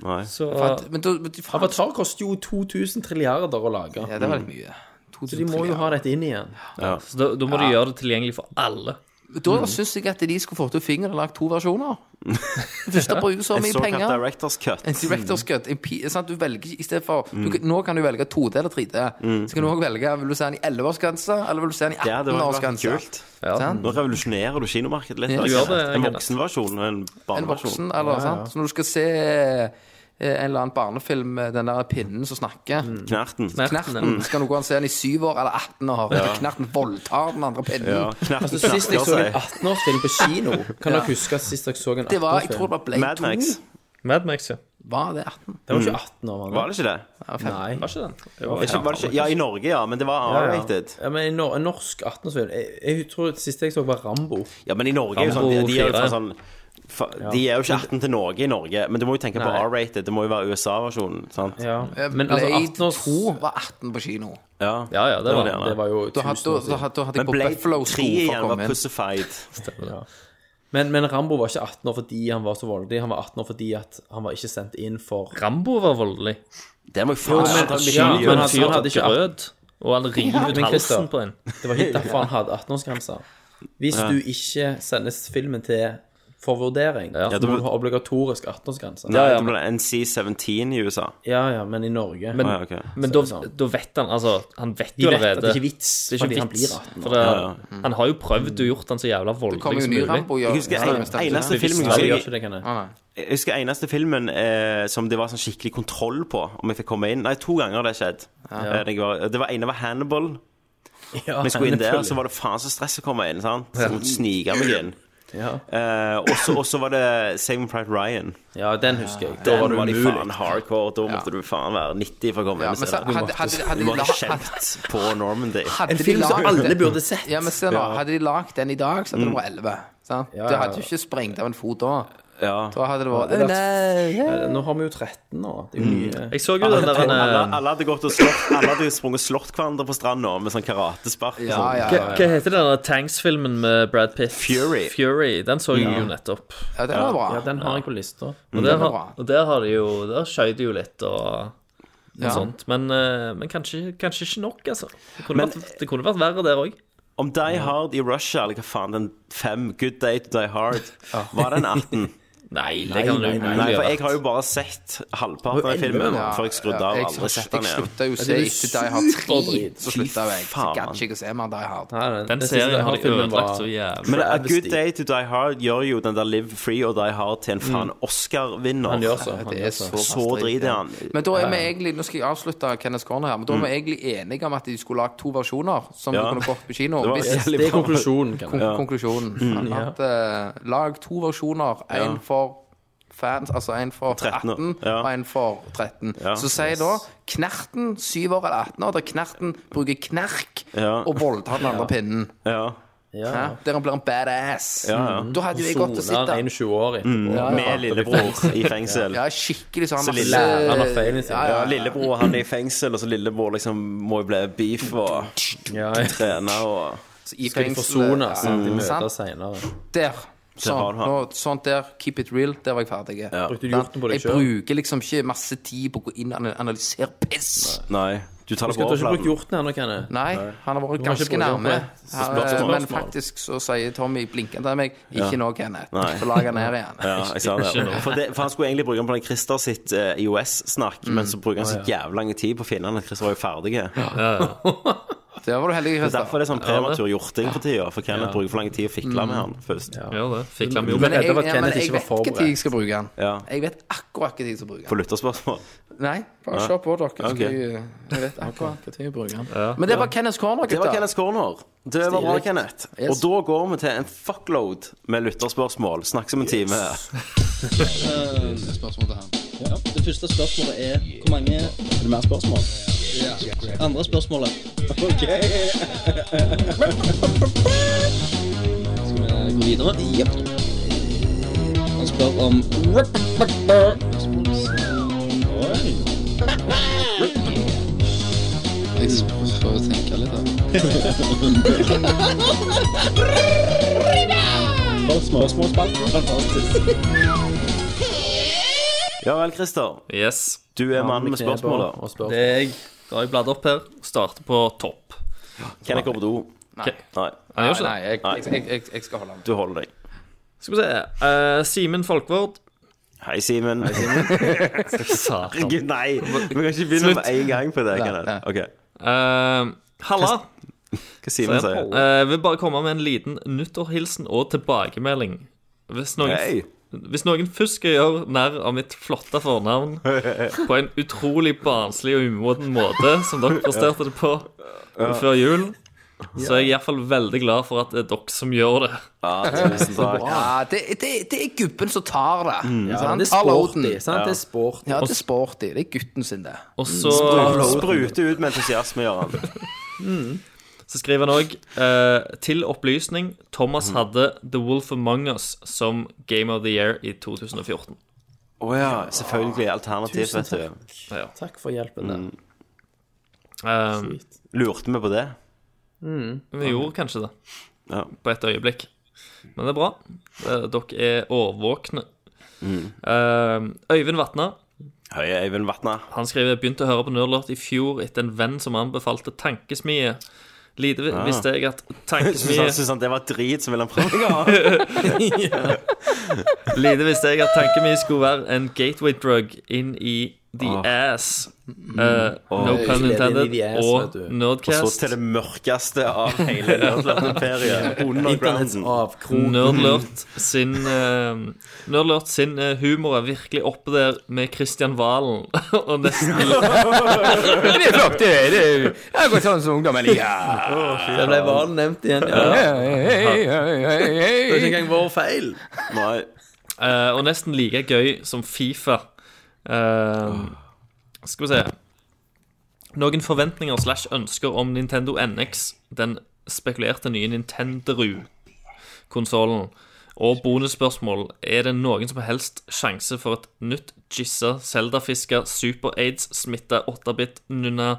Speaker 5: Nei.
Speaker 8: Så
Speaker 7: At- Men da men de- faen,
Speaker 9: Avatar koster jo 2000 trilliarder å lage.
Speaker 7: Ja, det var litt mye.
Speaker 9: Mm. Så de må jo ha dette inn igjen.
Speaker 8: så da, da må du gjøre det tilgjengelig for alle.
Speaker 7: Da
Speaker 9: Mm.
Speaker 7: syns jeg at de skulle fått ut fingeren og lagd to versjoner.
Speaker 9: (laughs)
Speaker 7: Først å bruke så
Speaker 5: En
Speaker 7: mye
Speaker 5: såkalt Mm.
Speaker 7: penger.
Speaker 5: Directors Cut.
Speaker 7: En director's cut. En pi, sant? Du velger ikke i stedet for
Speaker 5: Mm.
Speaker 7: du, kan- Nå kan du velge 2D eller 3D. Så kan du også velge Vil du se den i 11-årsgrense, eller vil du se den i
Speaker 5: Ja, det var vært
Speaker 7: 18-årsgrense?
Speaker 5: kult.
Speaker 7: Sant?
Speaker 5: Nå revolusjonerer du kinomarkedet litt.
Speaker 7: Ja,
Speaker 5: altså.
Speaker 7: du gjør
Speaker 8: det,
Speaker 5: en
Speaker 8: Kenneth.
Speaker 5: voksenversjon og en
Speaker 7: En
Speaker 5: barneversjon.
Speaker 7: voksen, eller sant? Så når du skal se eh, en eller annen barnefilm med den der pinnen som snakker
Speaker 9: Mm.
Speaker 5: Knerten.
Speaker 7: Knerten. Skal du gå og se den i 7 år eller 18 år? Knerten voldtar den andre pinnen.
Speaker 5: Ja, knerten
Speaker 9: Altså, Sist jeg
Speaker 5: knerter
Speaker 9: så en
Speaker 5: seg.
Speaker 9: 18-årsfilm på kino, kan dere huske sist dere så en
Speaker 7: Det var, jeg tror
Speaker 9: 18-årsfilm?
Speaker 7: det var Blade
Speaker 5: Mad
Speaker 7: 2.
Speaker 5: Max.
Speaker 8: Madmax, ja.
Speaker 7: Var det 18?
Speaker 9: Det var ikke 18 år,
Speaker 5: Var det ikke det?
Speaker 9: Nei.
Speaker 8: Var ikke den? Det
Speaker 5: Var ikke, var det ikke? Ja, i Norge, ja, men det var
Speaker 9: Ja, ja.
Speaker 5: R-rated.
Speaker 9: Ja, men i nor norsk 18-årsfilm jeg, jeg tror det siste jeg så, var Rambo.
Speaker 5: Ja, men i Norge er jo sånn, de, de er jo fra sånn fa-
Speaker 9: Ja.
Speaker 5: de er jo ikke 18 til Norge i Norge, men du må jo tenke på
Speaker 9: Nei.
Speaker 5: R-rated. Det må jo være USA-versjonen. sant?
Speaker 9: Ja.
Speaker 7: Men
Speaker 9: altså,
Speaker 7: Eh, Blade
Speaker 9: 18 års-
Speaker 7: 2 var 18 på kino.
Speaker 5: Ja,
Speaker 8: Ja, ja, det var det.
Speaker 5: gjerne.
Speaker 9: Det var jo
Speaker 7: Da hadde,
Speaker 9: 1000 år
Speaker 7: da
Speaker 9: siden.
Speaker 7: hadde, da hadde jeg
Speaker 5: Men
Speaker 7: på
Speaker 5: Blade 3
Speaker 7: Buffalo-sko for
Speaker 5: igjen
Speaker 7: å
Speaker 5: var
Speaker 7: komme inn.
Speaker 5: pussified.
Speaker 9: Men, men Rambo var ikke 18 år fordi han var så voldelig. Han var 18 år fordi at han var ikke sendt inn for
Speaker 8: Rambo var voldelig.
Speaker 5: Det må jeg faen meg ta
Speaker 9: ja,
Speaker 5: miljø-
Speaker 9: men
Speaker 8: Men
Speaker 9: han-
Speaker 8: han fyr
Speaker 9: han hadde
Speaker 8: tok
Speaker 9: ikke
Speaker 8: grød, og han river ut
Speaker 9: men Christer-
Speaker 8: halsen på en.
Speaker 9: Det var ikke derfor han hadde 18-årsgrense. Hvis du ikke sendes filmen til for vurdering,
Speaker 8: Ja.
Speaker 9: så må du ha obligatorisk 18-årsgrense.
Speaker 5: Nei,
Speaker 9: Ja.
Speaker 5: det ble NC-17 i USA.
Speaker 9: ja, men i Norge
Speaker 8: Men,
Speaker 5: Å, (laughs) ja, ok.
Speaker 8: men da, da vet han altså Han vet
Speaker 9: De
Speaker 8: jo
Speaker 9: vet at
Speaker 8: allerede.
Speaker 9: det ikke er vits
Speaker 8: Det er
Speaker 9: fordi
Speaker 8: ikke
Speaker 9: han blir
Speaker 8: vits. (laughs)
Speaker 9: 18
Speaker 8: For det,
Speaker 5: Mm.
Speaker 8: han har jo prøvd og gjort han så jævla
Speaker 7: Det kommer
Speaker 8: voldelig
Speaker 7: jo
Speaker 8: som
Speaker 7: ny
Speaker 8: mulig.
Speaker 7: Rambo. Ja.
Speaker 5: Jeg husker en,
Speaker 7: Ja,
Speaker 5: eneste
Speaker 9: Hvis
Speaker 5: filmen
Speaker 9: han
Speaker 5: jeg,
Speaker 9: gjør
Speaker 5: husker-
Speaker 9: ikke det, kan jeg.
Speaker 5: jeg husker eneste filmen eh, som det var sånn skikkelig kontroll på, om jeg fikk komme inn. Nei, to ganger har det skjedd. Eh, Det, var, det var ene var Hannibal.
Speaker 9: Ja,
Speaker 5: Når jeg skulle inn der,
Speaker 9: selvfølgelig.
Speaker 5: så var det faen så stress å komme inn. sant? Så jeg måtte snike meg inn.
Speaker 9: ja.
Speaker 5: Eh, og så- og så var det Saving Pride Ryan.
Speaker 9: ja, den husker jeg. Da
Speaker 5: Den
Speaker 9: var det
Speaker 5: var de
Speaker 9: umulig.
Speaker 5: faen hardcore. Da måtte du faen være 90 for å komme
Speaker 7: Ja,
Speaker 5: inn. og
Speaker 7: men
Speaker 5: se
Speaker 7: så,
Speaker 5: det.
Speaker 7: hadde, hadde, hadde,
Speaker 5: Du
Speaker 7: de
Speaker 5: må ha
Speaker 7: la-
Speaker 5: kjent på Normandy.
Speaker 7: hadde
Speaker 9: En
Speaker 7: de
Speaker 9: film som
Speaker 7: lagd
Speaker 9: alle
Speaker 7: den-
Speaker 9: burde sett.
Speaker 7: Ja, men se nå, hadde de lagd den i dag, så hadde det vært 11. Sant?
Speaker 9: ja,
Speaker 7: Det hadde jo
Speaker 9: ja.
Speaker 7: ikke sprengt av en fot da.
Speaker 5: Ja.
Speaker 7: Da hadde det
Speaker 9: Ja, det
Speaker 7: vært
Speaker 9: hadde
Speaker 7: Nei,
Speaker 9: Eh, Nå har vi jo 13 nå. Det er jo nye.
Speaker 8: Jeg så jo den der han,
Speaker 5: Alle,
Speaker 8: eh,
Speaker 5: alle hadde gått og slått Alle hadde sprunget og slått hverandre på stranda med sånn karatespark. og
Speaker 7: Ja,
Speaker 5: sånn.
Speaker 7: ja,
Speaker 8: Hva
Speaker 7: ja.
Speaker 8: eh, hva heter den der Tanks-filmen med Brad Pitt?
Speaker 5: Fury.
Speaker 8: Fury, Den så jeg jo nettopp.
Speaker 7: ja det var
Speaker 9: Ja,
Speaker 7: bra.
Speaker 9: den har jeg på lista.
Speaker 8: Og der,
Speaker 7: Den er bra.
Speaker 8: har- og der har de jo Der skjøt de jo litt og og
Speaker 7: Ja.
Speaker 8: sånt. Men, eh, men kanskje, kanskje ikke nok, altså. Det kunne, vært, det kunne vært verre der òg.
Speaker 5: Om Die Hard i Russia, eller hva faen, den fem Good Day to Die Hard, var den
Speaker 7: (laughs)
Speaker 5: 18?
Speaker 8: Nei, det kan du
Speaker 5: Nei, for jeg har jo bare sett halvparten av filmen
Speaker 7: Ja,
Speaker 5: før jeg skrudde
Speaker 7: ja,
Speaker 5: av
Speaker 7: jeg
Speaker 5: og aldri
Speaker 7: sett-
Speaker 5: sett den
Speaker 7: Jeg
Speaker 5: igjen.
Speaker 7: slutta jo å se
Speaker 9: det er
Speaker 7: etter Die Hard 3.
Speaker 9: superdrit.
Speaker 7: Så slutta jo jeg. Så
Speaker 5: faen,
Speaker 7: gadd ikke jeg å se mer Die Hard.
Speaker 9: Nei,
Speaker 8: Den
Speaker 9: jeg synes
Speaker 8: serien har de ødelagt
Speaker 9: filmen var-
Speaker 8: så jævlig.
Speaker 5: Men A
Speaker 9: travesty.
Speaker 5: Good Day to Die Hard gjør jo den der Live Free og Die Hard til en
Speaker 7: Mm.
Speaker 5: faen Oscar-vinner.
Speaker 9: Han gjør så. Han
Speaker 7: Det
Speaker 9: gjør
Speaker 7: er
Speaker 9: så.
Speaker 7: så fast
Speaker 5: Så
Speaker 7: dritt,
Speaker 5: driter
Speaker 7: ja.
Speaker 5: han.
Speaker 7: Men da er vi egentlig Nå skal jeg avslutte Kenneth Corner her, men da er vi egentlig enige om at de skulle lagd to versjoner som
Speaker 5: Ja.
Speaker 7: du kunne fått på kino.
Speaker 5: Det var
Speaker 7: Hvis,
Speaker 5: jævlig
Speaker 9: Det er
Speaker 5: bra.
Speaker 9: konklusjonen. Kan
Speaker 7: kon konklusjonen. At, eh, lag to versjoner. Én for fans, altså én for
Speaker 5: 13
Speaker 7: 18
Speaker 5: år. Ja.
Speaker 7: og én for 13.
Speaker 5: Ja.
Speaker 7: Så sier da Knerten 7 år eller 18 år, der Knerten bruker knerk
Speaker 5: Ja.
Speaker 7: og voldtar den andre pinnen.
Speaker 5: Ja.
Speaker 7: Hæ? Der han blir en badass. Da hadde jo jeg gått og
Speaker 9: Soner
Speaker 7: sittet
Speaker 9: 21 år etterpå.
Speaker 7: Mm. Ja, ja.
Speaker 5: Mm. Med lillebror i fengsel.
Speaker 7: Ja, skikkelig sånn
Speaker 5: Så lille-
Speaker 9: Lærer han av feilene sine.
Speaker 7: Ja,
Speaker 5: Ja, lillebror han er i fengsel, og så lillebror liksom må jo bli beef og
Speaker 9: Ja, Mm. ja.
Speaker 5: trene og
Speaker 7: i
Speaker 9: Skal de
Speaker 7: fengsel,
Speaker 9: forsone
Speaker 7: ja,
Speaker 9: seg? De
Speaker 7: sant?
Speaker 9: møtes senere.
Speaker 7: Der.
Speaker 5: har
Speaker 7: Sånn,
Speaker 5: du han.
Speaker 7: nå, sånt der. Keep it real. Der var jeg ferdig.
Speaker 9: Brukte du hjorten på deg
Speaker 7: Jeg
Speaker 9: sjøl?
Speaker 7: bruker liksom ikke masse tid på å gå inn og analysere piss.
Speaker 5: Nei. Du tar det
Speaker 9: Du
Speaker 5: på
Speaker 9: har ikke brukt
Speaker 5: overflaten.
Speaker 9: hjorten ennå, kan jeg?
Speaker 7: Nei, han har vært
Speaker 9: har ikke
Speaker 7: ganske
Speaker 9: brukt han
Speaker 7: nærme.
Speaker 9: på det. Så
Speaker 7: Her,
Speaker 5: spørsmål.
Speaker 7: men faktisk så sier Tommy blinkende til meg Ikke nå, Kenneth.
Speaker 5: Nei.
Speaker 7: Så lager han ned
Speaker 5: (laughs)
Speaker 7: igjen.
Speaker 5: Ja, jeg sa det. For, det, for han skulle egentlig bruke den på den Christer sitt eh, IOS-snakk, men så bruker han så jævlig lang tid på å finne den. Christer var jo ferdig.
Speaker 7: Der var du heldig, Christer.
Speaker 5: Derfor er det Mm. sånn prematur hjorting for tida, for Kenneth bruker for lang tid å fikle med han først.
Speaker 8: Gjør det. Fikk han jo
Speaker 7: Men jeg,
Speaker 9: redde for at
Speaker 7: ja, men
Speaker 9: Kenneth
Speaker 7: jeg
Speaker 9: ikke
Speaker 7: vet
Speaker 9: var
Speaker 7: ikke tid jeg skal bruke han.
Speaker 5: Ja.
Speaker 7: Jeg vet akkurat hva tid jeg skal bruke han.
Speaker 5: På lytterspørsmål.
Speaker 7: Nei, bare se på dere. så
Speaker 5: Ok.
Speaker 7: skal Jeg, jeg vet akkurat hva tid jeg bruker den. Men det var Kenneth Corner,
Speaker 5: Det var
Speaker 7: gutter.
Speaker 5: Kenneth Corner. Det var bra, Kenneth. Og da går vi til en fuckload med lytterspørsmål. Snakkes om en time.
Speaker 12: Det første spørsmålet er hvor mange Er det mer spørsmål? Ja. Andre spørsmålet. Ok. Skal vi gå videre? Jepp. Han spør om Oi. Jeg får jo tenke litt, da. Spørsmålsspalten. Fantastisk.
Speaker 5: Ja vel, Christer.
Speaker 8: Yes.
Speaker 5: Du er mannen med spørsmålet.
Speaker 9: Og spør.
Speaker 8: Det er jeg. Da har jeg bladd opp her. Starter på topp.
Speaker 5: Kenneth går på do.
Speaker 7: Nei.
Speaker 5: Nei,
Speaker 8: Han gjør ikke det.
Speaker 7: Nei, jeg, jeg, jeg, jeg skal holde han.
Speaker 5: du holder deg.
Speaker 8: Skal vi se. Eh, Simen Folkvord.
Speaker 5: Hei, Simen. (laughs)
Speaker 8: Satan.
Speaker 5: Gud, nei! Vi kan ikke begynne med en gang på det. Kenneth. Ok,
Speaker 8: Eh, Halla.
Speaker 5: Hva Simen sier
Speaker 8: Eh, vil bare komme med en liten nyttårhilsen og tilbakemelding. Hvis noen,
Speaker 5: Hei.
Speaker 8: hvis noen først skal gjøre narr av mitt flotte fornavn på en utrolig barnslig og umoden måte, som dere presterte det på før jul, Så jeg er iallfall veldig glad for at det er dere som gjør det. Mm.
Speaker 7: Ja, det, det, det er gubben som tar det.
Speaker 8: Ja,
Speaker 7: sant?
Speaker 8: men det er
Speaker 7: Tar
Speaker 8: sporty,
Speaker 7: loaden.
Speaker 8: sant? Det er
Speaker 9: sporty.
Speaker 7: Ja, det er sporty. Det er gutten sin, det.
Speaker 8: Og så
Speaker 5: Sprute ut med entusiasme, Gøran.
Speaker 8: Så skriver han òg Til opplysning, Thomas hadde The Wolf Among Us som Game of the Year i 2014.
Speaker 5: Å ja, selvfølgelig. Alternativ,
Speaker 8: Tusen
Speaker 5: vet du.
Speaker 8: Ja.
Speaker 9: Takk for hjelpen der.
Speaker 8: Um,
Speaker 5: Lurte vi på det?
Speaker 8: Vi gjorde kanskje det.
Speaker 5: Ja.
Speaker 8: På et øyeblikk. Men det er bra. Eh, Dere er årvåkne. Eh, Øyvind Vatna.
Speaker 5: Høye Øyvind Vatna.
Speaker 8: Han skriver begynte å høre på Nerdlort i fjor etter en venn som anbefalte Tankesmie. Lite vi-
Speaker 5: Ah.
Speaker 8: visste jeg at
Speaker 5: Syns han,
Speaker 7: (laughs) Sånn.
Speaker 8: Tankesmie
Speaker 5: syns han det var drit som ville han prøve å ha?
Speaker 8: Lite visste jeg at Tankesmie skulle være en gateway drug inn i the
Speaker 5: Ah.
Speaker 8: ass.
Speaker 7: Mm.
Speaker 8: Eh,
Speaker 5: Åh.
Speaker 8: no pun intended.
Speaker 5: Inn i the ass,
Speaker 8: og
Speaker 5: vet du.
Speaker 8: Nerdcast.
Speaker 5: Og så til det mørkeste av
Speaker 7: (laughs)
Speaker 5: hele Nerdlert-imperiet.
Speaker 8: Internetts
Speaker 5: Undergrounden.
Speaker 8: avkrok. Nerdlurt sin, eh, Nerdlurt sin eh, humor er virkelig oppe der med Kristian Valen (laughs) og
Speaker 7: (laughs)
Speaker 8: nesten
Speaker 7: Det er flott, det. det er jo- det er godt sånn som ungdommen (laughs) liker.
Speaker 9: Det ble Valen nevnt igjen. Ja. Det er ikke engang vår feil.
Speaker 5: Nei.
Speaker 8: Eh, og nesten like gøy som Fifa. Eh, skal vi se Noen forventninger slash ønsker om Nintendo NX, den spekulerte nye Nintenderu-konsollen, og bonusspørsmål Er det noen som helst sjanse for et nytt gissa Zelda-fiska super-aids-smitta 8-bit nunna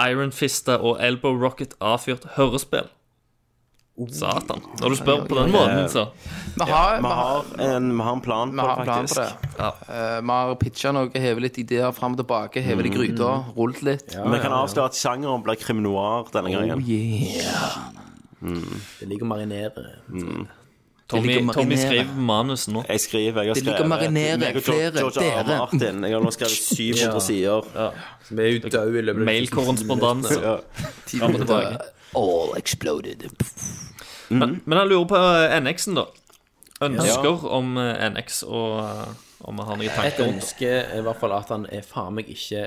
Speaker 8: Ironfista og Elbow Rocket avfyrt hørespill? Satan. Når du spør på den måten, så.
Speaker 7: Vi har,
Speaker 5: Vi har en, vi har en plan på
Speaker 7: Vi har en
Speaker 5: det,
Speaker 7: plan
Speaker 5: faktisk.
Speaker 7: på det. Eh, Vi har pitcha noe, hevet litt ideer fram og tilbake, hevet i
Speaker 8: Mm.
Speaker 7: gryta, rullet litt.
Speaker 5: Vi kan avsløre at sjangeren blir krim noir denne gangen.
Speaker 9: Det ligger å marinere.
Speaker 8: Tommy, Tommy skriver manus nå.
Speaker 5: Jeg skriver, jeg har
Speaker 8: Det ligger
Speaker 5: skrevet
Speaker 8: marinere,
Speaker 5: meg og Jo-
Speaker 8: flere,
Speaker 5: George R.
Speaker 8: dere.
Speaker 5: Martin. Jeg har nå
Speaker 9: (laughs)
Speaker 5: skrevet 700 sider.
Speaker 9: Vi er jo døde i løpet av
Speaker 8: Mailkorrespondanse.
Speaker 5: Ja.
Speaker 8: Fram og tilbake.
Speaker 7: All exploded.
Speaker 8: Men, men jeg lurer på eh, NX-en, da. Ønsker
Speaker 9: Ja.
Speaker 8: om eh, NX og eh, om vi har noen
Speaker 9: Et
Speaker 8: tanker om det.
Speaker 9: ønske er i hvert fall at han er faen meg ikke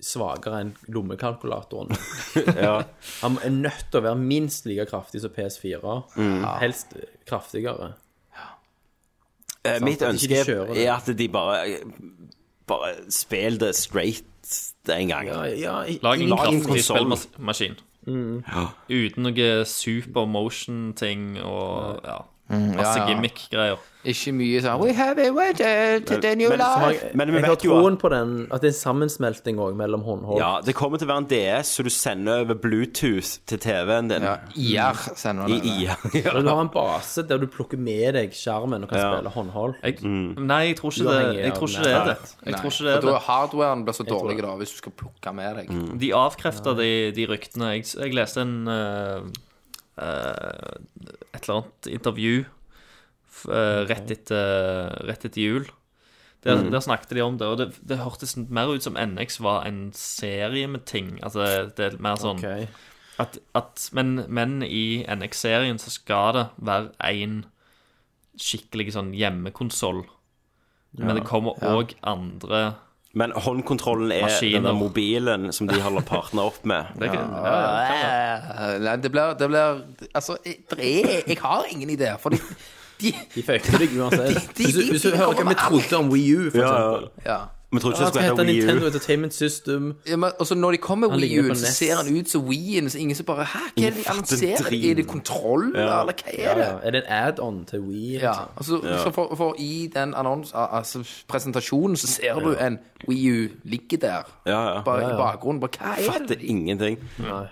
Speaker 9: svakere enn lommekalkulatoren. (laughs)
Speaker 5: Ja.
Speaker 9: Han er nødt til å være minst like kraftig som PS4. Helst kraftigere.
Speaker 5: Eh, Mitt
Speaker 9: At ikke
Speaker 5: ønske
Speaker 9: de kjører det.
Speaker 5: er at de bare Bare spill det straight en gang.
Speaker 9: ja, i-
Speaker 8: Lag en kraftig
Speaker 5: konsol.
Speaker 8: spillmaskin. Uten noe super motion-ting og ja,
Speaker 7: Mm,
Speaker 8: masse
Speaker 7: ja, ja.
Speaker 8: gimmick-greier.
Speaker 7: Ikke mye sånn We have a wedding to the new
Speaker 5: Men- men-
Speaker 7: life.
Speaker 5: men- vi
Speaker 9: Jeg har
Speaker 5: vet jo at-
Speaker 9: troen på den, at det er en sammensmelting òg mellom håndhold.
Speaker 5: Ja, det kommer til å være en DS som du sender over Bluetooth til TV-en din.
Speaker 7: IR
Speaker 5: I
Speaker 7: sender han det.
Speaker 5: IR.
Speaker 9: Men Du har en base der du plukker med deg skjermen og kan
Speaker 5: Ja.
Speaker 9: spille håndhold.
Speaker 8: Jeg, nei, jeg tror ikke det,
Speaker 9: Uavhengig
Speaker 8: jeg
Speaker 9: av
Speaker 8: tror ikke
Speaker 9: den
Speaker 8: det
Speaker 9: her.
Speaker 8: er det. Jeg tror ikke det
Speaker 7: Og
Speaker 8: er
Speaker 7: da
Speaker 8: det.
Speaker 7: er hardwaren blir så dårlig da, hvis du skal plukke med deg.
Speaker 8: De avkrefter de, de ryktene. Jeg, jeg leste en eh, eh, et eller annet intervju f- eh, rett, etter, rett etter jul. Der,
Speaker 5: Mm.
Speaker 8: der snakket de om det, og det, det hørtes mer ut som NX var en serie med ting. Altså, det er mer sånn
Speaker 9: Ok.
Speaker 8: at, at men, men i NX-serien så skal det være én skikkelig sånn hjemmekonsoll. Men det kommer òg andre
Speaker 5: (laughs) Men håndkontrollen er den
Speaker 8: Maskiner.
Speaker 5: der mobilen som de holder partner opp med.
Speaker 8: det er ikke, ja. Ja,
Speaker 7: Eh, Nei, det blir, det blir Altså, jeg, det er- jeg har ingen ideer, for de, de
Speaker 9: De føyker deg uansett.
Speaker 7: de-
Speaker 9: Hvis du, hvis du
Speaker 7: de
Speaker 9: hører hva
Speaker 7: kommer
Speaker 9: vi trodde om Wii U, for
Speaker 5: Ja,
Speaker 9: eksempel.
Speaker 5: ja.
Speaker 7: Ja.
Speaker 5: Vi tror ikke
Speaker 9: Ja,
Speaker 5: det
Speaker 9: skal
Speaker 5: skulle
Speaker 9: hete
Speaker 5: hete Wii
Speaker 9: Nintendo
Speaker 5: U.
Speaker 9: Entertainment System.
Speaker 7: Ja, men, altså, når de kommer med
Speaker 9: Han
Speaker 7: Wii
Speaker 9: ligger
Speaker 7: U,
Speaker 9: på E
Speaker 7: så
Speaker 9: NES.
Speaker 7: ser han ut som Wii-en, så ingen som bare Hæ, hva er det de annonserer?
Speaker 5: drit.
Speaker 7: Er det kontroll, eller hva
Speaker 9: Ja,
Speaker 7: er det?
Speaker 9: ja. Er det en add-on til Wii?
Speaker 7: Ja,
Speaker 9: liksom?
Speaker 7: altså, Så for, for i den annons, al- altså, presentasjonen så ser du en Wii U ligger der,
Speaker 5: Ja, ja.
Speaker 7: bare i bakgrunnen. Bare, hva er
Speaker 5: Fatter
Speaker 7: det?
Speaker 5: ingenting.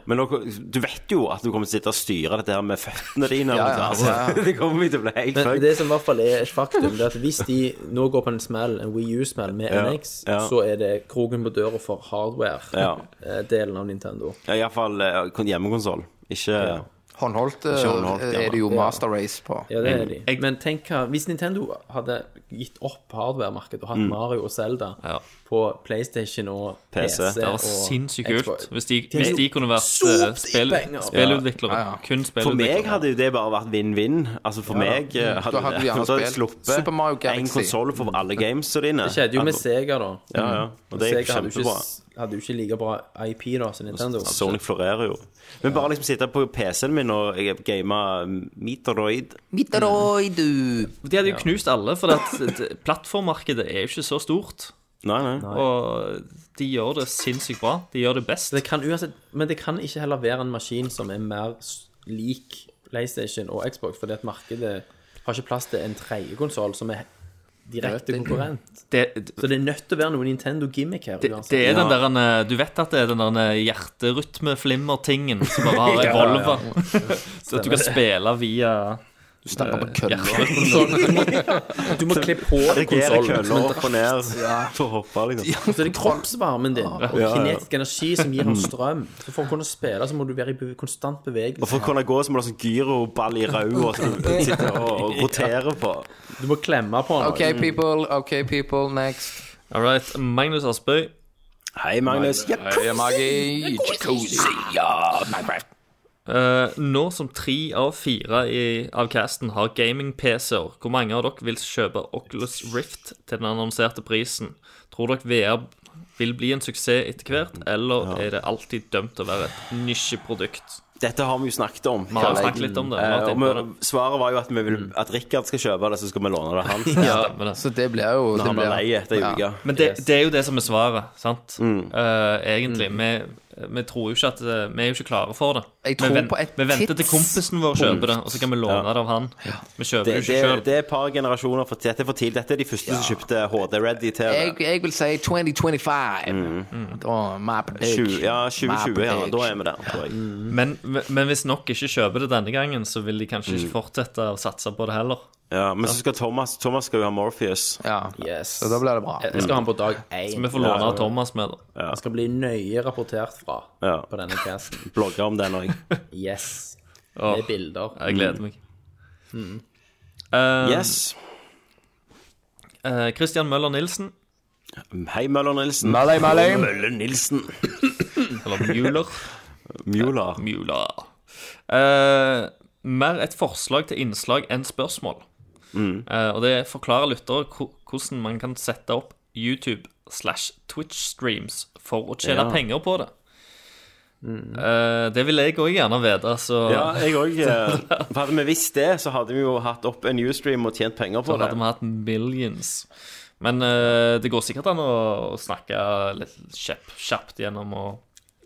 Speaker 5: Men dere, du vet jo at du kommer til å sitte og styre dette her med føttene
Speaker 9: (laughs)
Speaker 5: dine.
Speaker 7: Ja, ja,
Speaker 5: altså.
Speaker 7: ja,
Speaker 5: (laughs) det kommer vi til å bli helt
Speaker 9: Men
Speaker 5: fucked.
Speaker 9: det som i hvert fall er et faktum, det er at hvis de nå går på en smell, en Wii U-smell med
Speaker 5: Ja,
Speaker 9: NX,
Speaker 5: ja.
Speaker 9: så er det kroken på døra for (laughs) hardware-delen
Speaker 5: Ja.
Speaker 9: av Nintendo.
Speaker 5: Ja, Iallfall hjemmekonsoll. eh, Ikke
Speaker 7: Håndholdt, eh,
Speaker 9: Ikke håndholdt, ja.
Speaker 7: er det jo
Speaker 9: Ja.
Speaker 7: master race på.
Speaker 9: Ja, det er de. Men tenk hva Hvis Nintendo hadde gitt opp hardwaremarkedet og hatt
Speaker 7: Mm.
Speaker 9: Mario og Zelda på PlayStation og PC,
Speaker 8: Det var
Speaker 9: og
Speaker 8: sinnssykt
Speaker 9: Xbox.
Speaker 8: kult. Hvis de,
Speaker 9: er
Speaker 8: hvis
Speaker 9: jo
Speaker 8: de kunne vært eh,
Speaker 9: sopt i
Speaker 8: spill,
Speaker 9: penger.
Speaker 8: spillutviklere.
Speaker 9: Ja, ja.
Speaker 8: Kun
Speaker 5: For meg
Speaker 8: spillutviklere.
Speaker 5: hadde jo det bare vært vinn-vinn. Altså for
Speaker 9: Ja.
Speaker 5: meg eh,
Speaker 9: Mm.
Speaker 5: hadde,
Speaker 9: Da hadde du
Speaker 5: det
Speaker 9: gjerne
Speaker 5: så hadde jeg
Speaker 9: spilt Super Mario
Speaker 5: sluppet en
Speaker 9: Galaxy.
Speaker 5: konsoll for alle gamesa dine. Altså,
Speaker 9: Det skjedde jo med Sega, da.
Speaker 5: Ja, ja. Og det gikk
Speaker 9: Sega hadde jo
Speaker 5: kjempebra.
Speaker 9: ikke, hadde jo ikke like bra IP da som Nintendo.
Speaker 5: Sony florerer jo. Men bare liksom sitte på PC-en min og game Meteoroid
Speaker 7: Meteoroid, du.
Speaker 8: De hadde jo knust alle, for at d- plattformmarkedet er jo ikke så stort.
Speaker 5: Nei, nei.
Speaker 8: Og de gjør det sinnssykt bra. De gjør det best.
Speaker 9: Det kan uansett, men det kan ikke heller være en maskin som er mer s- lik PlayStation og Xbox, fordi at markedet har ikke plass til en tredje konsoll som er direkte
Speaker 8: Det-
Speaker 9: konkurrent.
Speaker 8: Det, det,
Speaker 9: Så det er nødt til å være noe Nintendo-gimmick her.
Speaker 8: det,
Speaker 9: uansett.
Speaker 8: det er den der eh, Du vet at det er den der eh, hjerterytmeflimmer-tingen som bare (laughs) har
Speaker 9: Ja, ja, ja.
Speaker 8: evolva. Så at du kan
Speaker 9: Stemmer.
Speaker 8: spille via Du
Speaker 7: snakker på kølla.
Speaker 9: Du må kle på
Speaker 5: Redigere
Speaker 9: deg konsollen.
Speaker 5: køller
Speaker 9: som en
Speaker 5: opp og
Speaker 9: drakt.
Speaker 5: ned for å hoppe, liksom.
Speaker 9: (laughs) Ja, Så det er kroppsvarmen din og
Speaker 5: Ja, ja.
Speaker 9: kinetisk energi som gir
Speaker 5: Mm.
Speaker 9: oss strøm. Så for å kunne spille, så må du være i be- konstant bevegelse.
Speaker 5: Og for å kunne gå så må du ha sånn gyroball i ræva
Speaker 7: (laughs)
Speaker 5: som du sitter og, og roterer på.
Speaker 9: Du må klemme på
Speaker 7: OK, people. OK, people. Next.
Speaker 8: All right. Magnus Aspøy.
Speaker 5: Hei, Magnus.
Speaker 7: Hei, Magi. Jacuzzi. Ja, Minecraft.
Speaker 8: Eh, nå som tre av fire i, av casten har gaming-PC-er, hvor mange av dere vil kjøpe Oculus Rift til den annonserte prisen? Tror dere VR vil bli en suksess etter hvert, eller er det alltid dømt til å være et nisjeprodukt?
Speaker 5: Dette har vi jo snakket om.
Speaker 8: Vi har snakket litt om det, Mm. vi har
Speaker 5: Eh,
Speaker 8: vært
Speaker 5: og
Speaker 8: inne
Speaker 5: vi, svaret var jo at, vi vil, at Rikard skal kjøpe det, så skal vi låne det av
Speaker 8: (laughs)
Speaker 5: han.
Speaker 7: Så det blir jo
Speaker 5: Når
Speaker 7: det
Speaker 5: han blir lei etter ei uke.
Speaker 7: Ja.
Speaker 8: altså. Men det, det er jo det som er svaret, sant?
Speaker 5: Mm.
Speaker 8: Eh, egentlig. Vi, vi tror jo ikke at eh, Vi er jo ikke klare for det.
Speaker 7: Jeg
Speaker 8: vi,
Speaker 7: tror
Speaker 8: vent-
Speaker 7: på et
Speaker 8: vi venter til
Speaker 7: tidspunkt.
Speaker 8: kompisen vår kjøper det, og så kan vi låne
Speaker 5: Ja.
Speaker 8: det av han. Vi kjøper det
Speaker 5: Det,
Speaker 8: jo
Speaker 5: det,
Speaker 8: ikke sjøl.
Speaker 5: det er et par generasjoner for Dette er for tidlig. Dette er de første som kjøpte HD-ready TV.
Speaker 7: Jeg, jeg vil si 2025. Mm. Da, my prediction.
Speaker 5: Mm. Tjue- ja, 2020, ja. Da
Speaker 7: My
Speaker 5: er
Speaker 7: prediction.
Speaker 5: vi der, tror jeg.
Speaker 8: Men, men hvis nok ikke kjøper det denne gangen, så vil de kanskje
Speaker 5: Mm.
Speaker 8: ikke fortsette å satse på det heller.
Speaker 5: Ja, men så skal Thomas Thomas skal jo ha Morpheus.
Speaker 9: Yes.
Speaker 7: Så da blir det bra.
Speaker 5: Eh.
Speaker 9: Jeg jeg skal ha den på dag én.
Speaker 8: Så vi får låne av Thomas med det.
Speaker 5: Ja.
Speaker 9: Jeg skal bli nøye rapportert fra
Speaker 5: Ja.
Speaker 9: på denne casten.
Speaker 5: Blogger om den òg.
Speaker 8: (laughs)
Speaker 9: Yes.
Speaker 8: Åh,
Speaker 9: Med bilder.
Speaker 8: Jeg gleder meg.
Speaker 9: Mm.
Speaker 8: Eh,
Speaker 5: Yes.
Speaker 8: eh, Christian Møller Nilsen.
Speaker 5: Hei, Møller Nilsen.
Speaker 7: Møller, Møller.
Speaker 5: Møller Nilsen.
Speaker 8: Eller (laughs) Mueller.
Speaker 5: Mjula.
Speaker 8: Mjula. Eh, mer et forslag til innslag enn spørsmål.
Speaker 5: Mm.
Speaker 8: Eh, og det forklarer lyttere ko- hvordan man kan sette opp YouTube slash Twitch-streams for å tjene
Speaker 5: Ja. Mm.
Speaker 8: penger på det. Eh, det vil jeg òg gjerne vite, så
Speaker 5: Ja, jeg òg. Hadde vi visst det, så hadde vi jo hatt opp en newsstream og tjent penger på
Speaker 8: Så
Speaker 5: det.
Speaker 8: hadde vi hatt millions. Men eh, det går sikkert an å, å snakke litt kjapp, kjapt gjennom og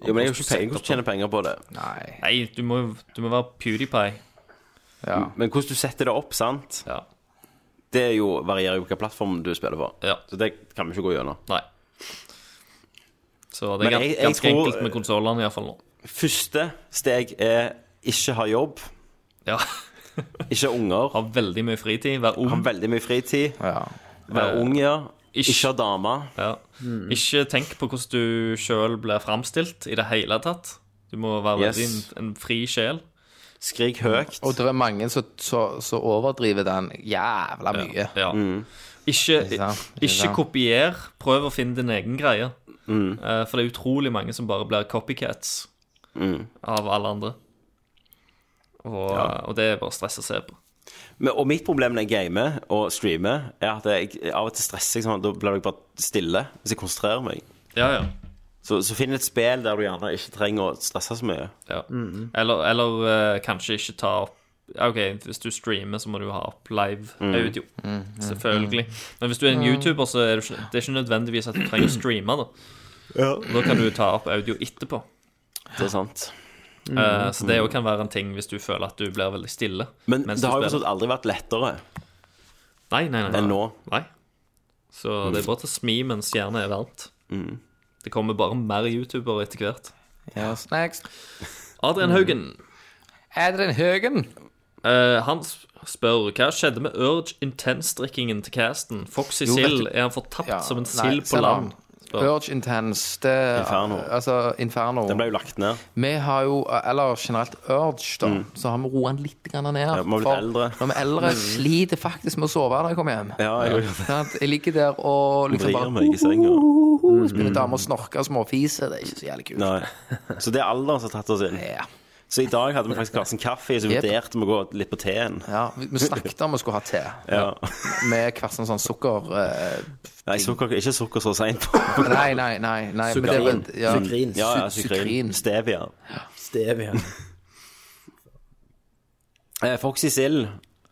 Speaker 8: og
Speaker 5: Jo, men jeg har jo
Speaker 8: hvordan du
Speaker 5: ikke penger,
Speaker 8: setter
Speaker 5: hvordan tjener penger på det.
Speaker 7: Nei.
Speaker 8: Nei, du må, du må være PewDiePie.
Speaker 5: Men hvordan du setter det opp, sant?
Speaker 8: Ja.
Speaker 5: Det er jo, varierer jo hvilken plattform du spiller på.
Speaker 8: Ja.
Speaker 5: Så det kan vi ikke gå gjennom.
Speaker 8: Nei. Så det er
Speaker 5: Men
Speaker 8: gans-
Speaker 5: jeg- jeg
Speaker 8: ganske
Speaker 5: tror-
Speaker 8: enkelt med konsollene iallfall nå.
Speaker 5: Første steg er ikke ha jobb.
Speaker 8: Ja.
Speaker 5: Ikke ha unger.
Speaker 8: Ha veldig mye fritid, være ung.
Speaker 5: Ha veldig mye fritid.
Speaker 7: Ja.
Speaker 5: Være ung, ja. Ikke Mm. ha dame.
Speaker 8: Ja. Ikke tenk på hvordan du sjøl blir framstilt i det hele tatt. Du må være
Speaker 5: Yes.
Speaker 8: veldig en, en fri sjel.
Speaker 5: Skrik høyt.
Speaker 7: Og det er mange som som- som overdriver den jævla mye.
Speaker 8: Ja.
Speaker 5: Mm.
Speaker 8: Ikke,
Speaker 7: sant? Ikke
Speaker 8: ikke
Speaker 7: sant?
Speaker 8: kopier. Prøv å finne din egen greie.
Speaker 5: Mm.
Speaker 8: Eh, For det er utrolig mange som bare blir copycats
Speaker 5: Mm.
Speaker 8: av alle andre. Og, og det er bare stress å se på.
Speaker 5: Men, og mitt problem når jeg gamer og streamer, er at jeg av og til stresser jeg sånn. Da blir jeg bare stille hvis jeg konsentrerer meg.
Speaker 8: Ja, ja.
Speaker 5: Så, så finn et spill der du gjerne ikke trenger å stresse så mye.
Speaker 8: ja.
Speaker 7: Mm.
Speaker 8: Eller, eller eh, kanskje ikke ta opp ja, OK, hvis du streamer, så må du ha opp live
Speaker 5: Mm.
Speaker 8: audio. Selvfølgelig.
Speaker 7: Mm.
Speaker 8: Men hvis du er en YouTuber, så er det ikke, det er ikke nødvendigvis at du trenger å streame. Da Da kan du ta opp audio etterpå.
Speaker 5: Det er sant.
Speaker 8: Eh, så det òg
Speaker 7: mm.
Speaker 8: kan være en ting hvis du føler at du blir veldig stille.
Speaker 5: Men
Speaker 8: mens
Speaker 5: det
Speaker 8: du
Speaker 5: har jo
Speaker 8: spiller.
Speaker 5: forstått aldri vært lettere
Speaker 8: Nei, nei, nei.
Speaker 5: enn nå.
Speaker 8: Nei. Så det er bare til å smi mens hjernen er varmt.
Speaker 5: Mm.
Speaker 8: Det kommer bare mer youtubere etter hvert.
Speaker 7: Yes, next.
Speaker 8: Adrian Haugen.
Speaker 7: Adrian Høgen.
Speaker 8: eh, han s- spør hva skjedde med Urge Intense-drikkingen til casten. Foxy
Speaker 7: Jo, vet
Speaker 8: Sild,
Speaker 7: du-
Speaker 8: er han fortapt som en
Speaker 7: Nei,
Speaker 8: sild på
Speaker 7: selv
Speaker 8: land?
Speaker 7: om- Urge Intense. Det,
Speaker 5: Inferno.
Speaker 7: Altså, Inferno.
Speaker 5: Den ble jo lagt ned.
Speaker 7: Vi har jo, eller generelt Urge, da,
Speaker 5: Mm.
Speaker 7: så har vi roet den litt grann ned.
Speaker 5: Ja, vi har blitt
Speaker 7: For
Speaker 5: eldre. Mm.
Speaker 7: Når vi er eldre, sliter faktisk med å sove når jeg kommer hjem.
Speaker 5: Ja, jeg gjør det.
Speaker 7: Sånn at jeg ligger der og liksom
Speaker 5: Vrir
Speaker 7: bare
Speaker 5: meg i senga.
Speaker 7: «Hohoho», Så begynner damer å snorke og småfise. Det er ikke så jævlig kult.
Speaker 5: Mm, Nei. Så det er alderen som har tatt oss inn. Så i dag hadde vi faktisk glass en kaffe, så
Speaker 7: Jep.
Speaker 5: vurderte vi å gå litt på teen.
Speaker 7: Ja, vi, vi snakket om vi skulle ha te.
Speaker 5: Ja.
Speaker 7: Med hver sin sånn sukker... eh,
Speaker 5: Nei, sukker, ikke sukker så seint på.
Speaker 7: nei, nei, nei. nei men det er vel- (laughs) ja.
Speaker 5: Sukrin. Ja, ja, sukrin. Stevia.
Speaker 9: (laughs) Stevia.
Speaker 5: Eh, Foxy Sill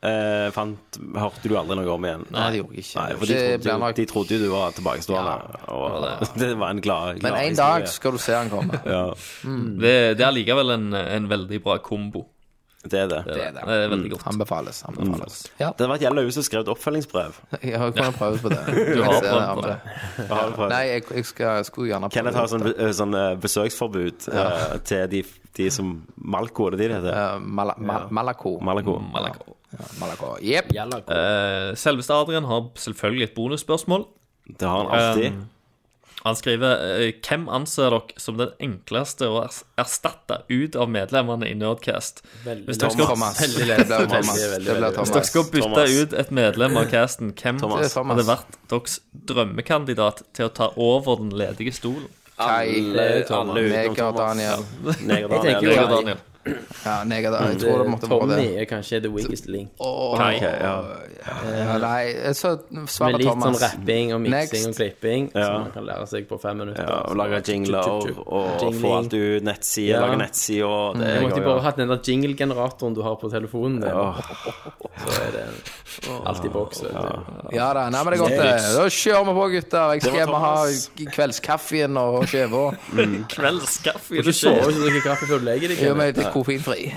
Speaker 5: eh, fant, hørte du aldri noe om igjen.
Speaker 7: Nei, det gjorde jeg ikke.
Speaker 5: Nei, for de
Speaker 7: Det ble
Speaker 5: trodde, jo,
Speaker 7: nok-
Speaker 5: de trodde jo du var tilbakestående. og (laughs) det var en glad, glad
Speaker 7: Men en dag skal du se han
Speaker 5: (laughs)
Speaker 7: komme.
Speaker 5: ja.
Speaker 8: Det, det er likevel en, en veldig bra kombo.
Speaker 5: Det er det.
Speaker 8: Det er, det. er
Speaker 5: Mm.
Speaker 8: veldig godt.
Speaker 7: Anbefales. anbefales.
Speaker 5: Det hadde vært jævla hun som skrev et
Speaker 7: (laughs)
Speaker 5: oppfølgingsbrev.
Speaker 7: Jeg har jo kunnet prøve på det.
Speaker 5: (laughs) Du har
Speaker 7: Jeg ser
Speaker 5: prøvd på
Speaker 7: om
Speaker 5: det. Du har prøvd.
Speaker 7: Nei, jeg, jeg, skal, jeg skulle gjerne prøve
Speaker 5: Kenneth har sånn, eh, sånn eh, besøksforbud eh,
Speaker 7: Ja.
Speaker 5: (laughs) til de, de som Malko, er det de det heter?
Speaker 7: eh, Mala, ma, Malako.
Speaker 5: Malako.
Speaker 8: Malako.
Speaker 7: Ja, Malako. Jep.
Speaker 8: Eh, selveste Adrian har selvfølgelig et bonusspørsmål.
Speaker 5: Det har han alltid.
Speaker 8: Um, han skriver eh, Hvem anser dere som den enkleste å ers- erstatte ut av medlemmene i Nerdcast?
Speaker 9: Veldig
Speaker 8: Hvis dere
Speaker 9: Thomas.
Speaker 8: skal,
Speaker 9: Thomas.
Speaker 8: Veldig
Speaker 9: Det blir Thomas. Veldig, veldig, veldig.
Speaker 8: Hvis dere skal bytte
Speaker 9: Thomas.
Speaker 8: ut et medlem av casten, hvem
Speaker 9: Thomas. Det er Thomas.
Speaker 8: hadde vært deres drømmekandidat til å ta over den ledige stolen?
Speaker 7: Kai, Neger, Daniel.
Speaker 8: Neger
Speaker 5: (laughs)
Speaker 9: (laughs)
Speaker 8: Daniel.
Speaker 7: Ja, Neger, Daniel.
Speaker 5: Mm,
Speaker 7: jeg tror det måtte være det.
Speaker 9: Tommy er kanskje the weakest link.
Speaker 7: Åh,
Speaker 9: Kai.
Speaker 7: ja, nei, så
Speaker 9: Med
Speaker 7: svarer
Speaker 9: litt
Speaker 7: Thomas.
Speaker 9: sånn rapping og miksing og
Speaker 7: Next.
Speaker 9: klipping, som man kan lære seg på fem minutter.
Speaker 5: Ja, og lage jingler og, og
Speaker 9: Jingling.
Speaker 5: få alt ut, nettside,
Speaker 9: Ja.
Speaker 5: lage nettside og
Speaker 7: Mm.
Speaker 5: det
Speaker 9: Jeg måtte
Speaker 5: går jo.
Speaker 9: bare hatt den der jingle-generatoren du har på telefonen din. Så er det alt i boks, vet du.
Speaker 7: Ja da, nei, men det er godt. det. Da kjører vi på, gutter. Jeg
Speaker 9: Det
Speaker 7: skal
Speaker 9: var
Speaker 7: hjem og ha
Speaker 9: Thomas.
Speaker 7: kveldskaffen og skjeva.
Speaker 9: Mm.
Speaker 8: Kveldskaffe.
Speaker 9: Du sover ikke og drikker kaffe før du legger deg.
Speaker 7: Gjør meg
Speaker 9: Kenneth.
Speaker 7: litt koffeinfri.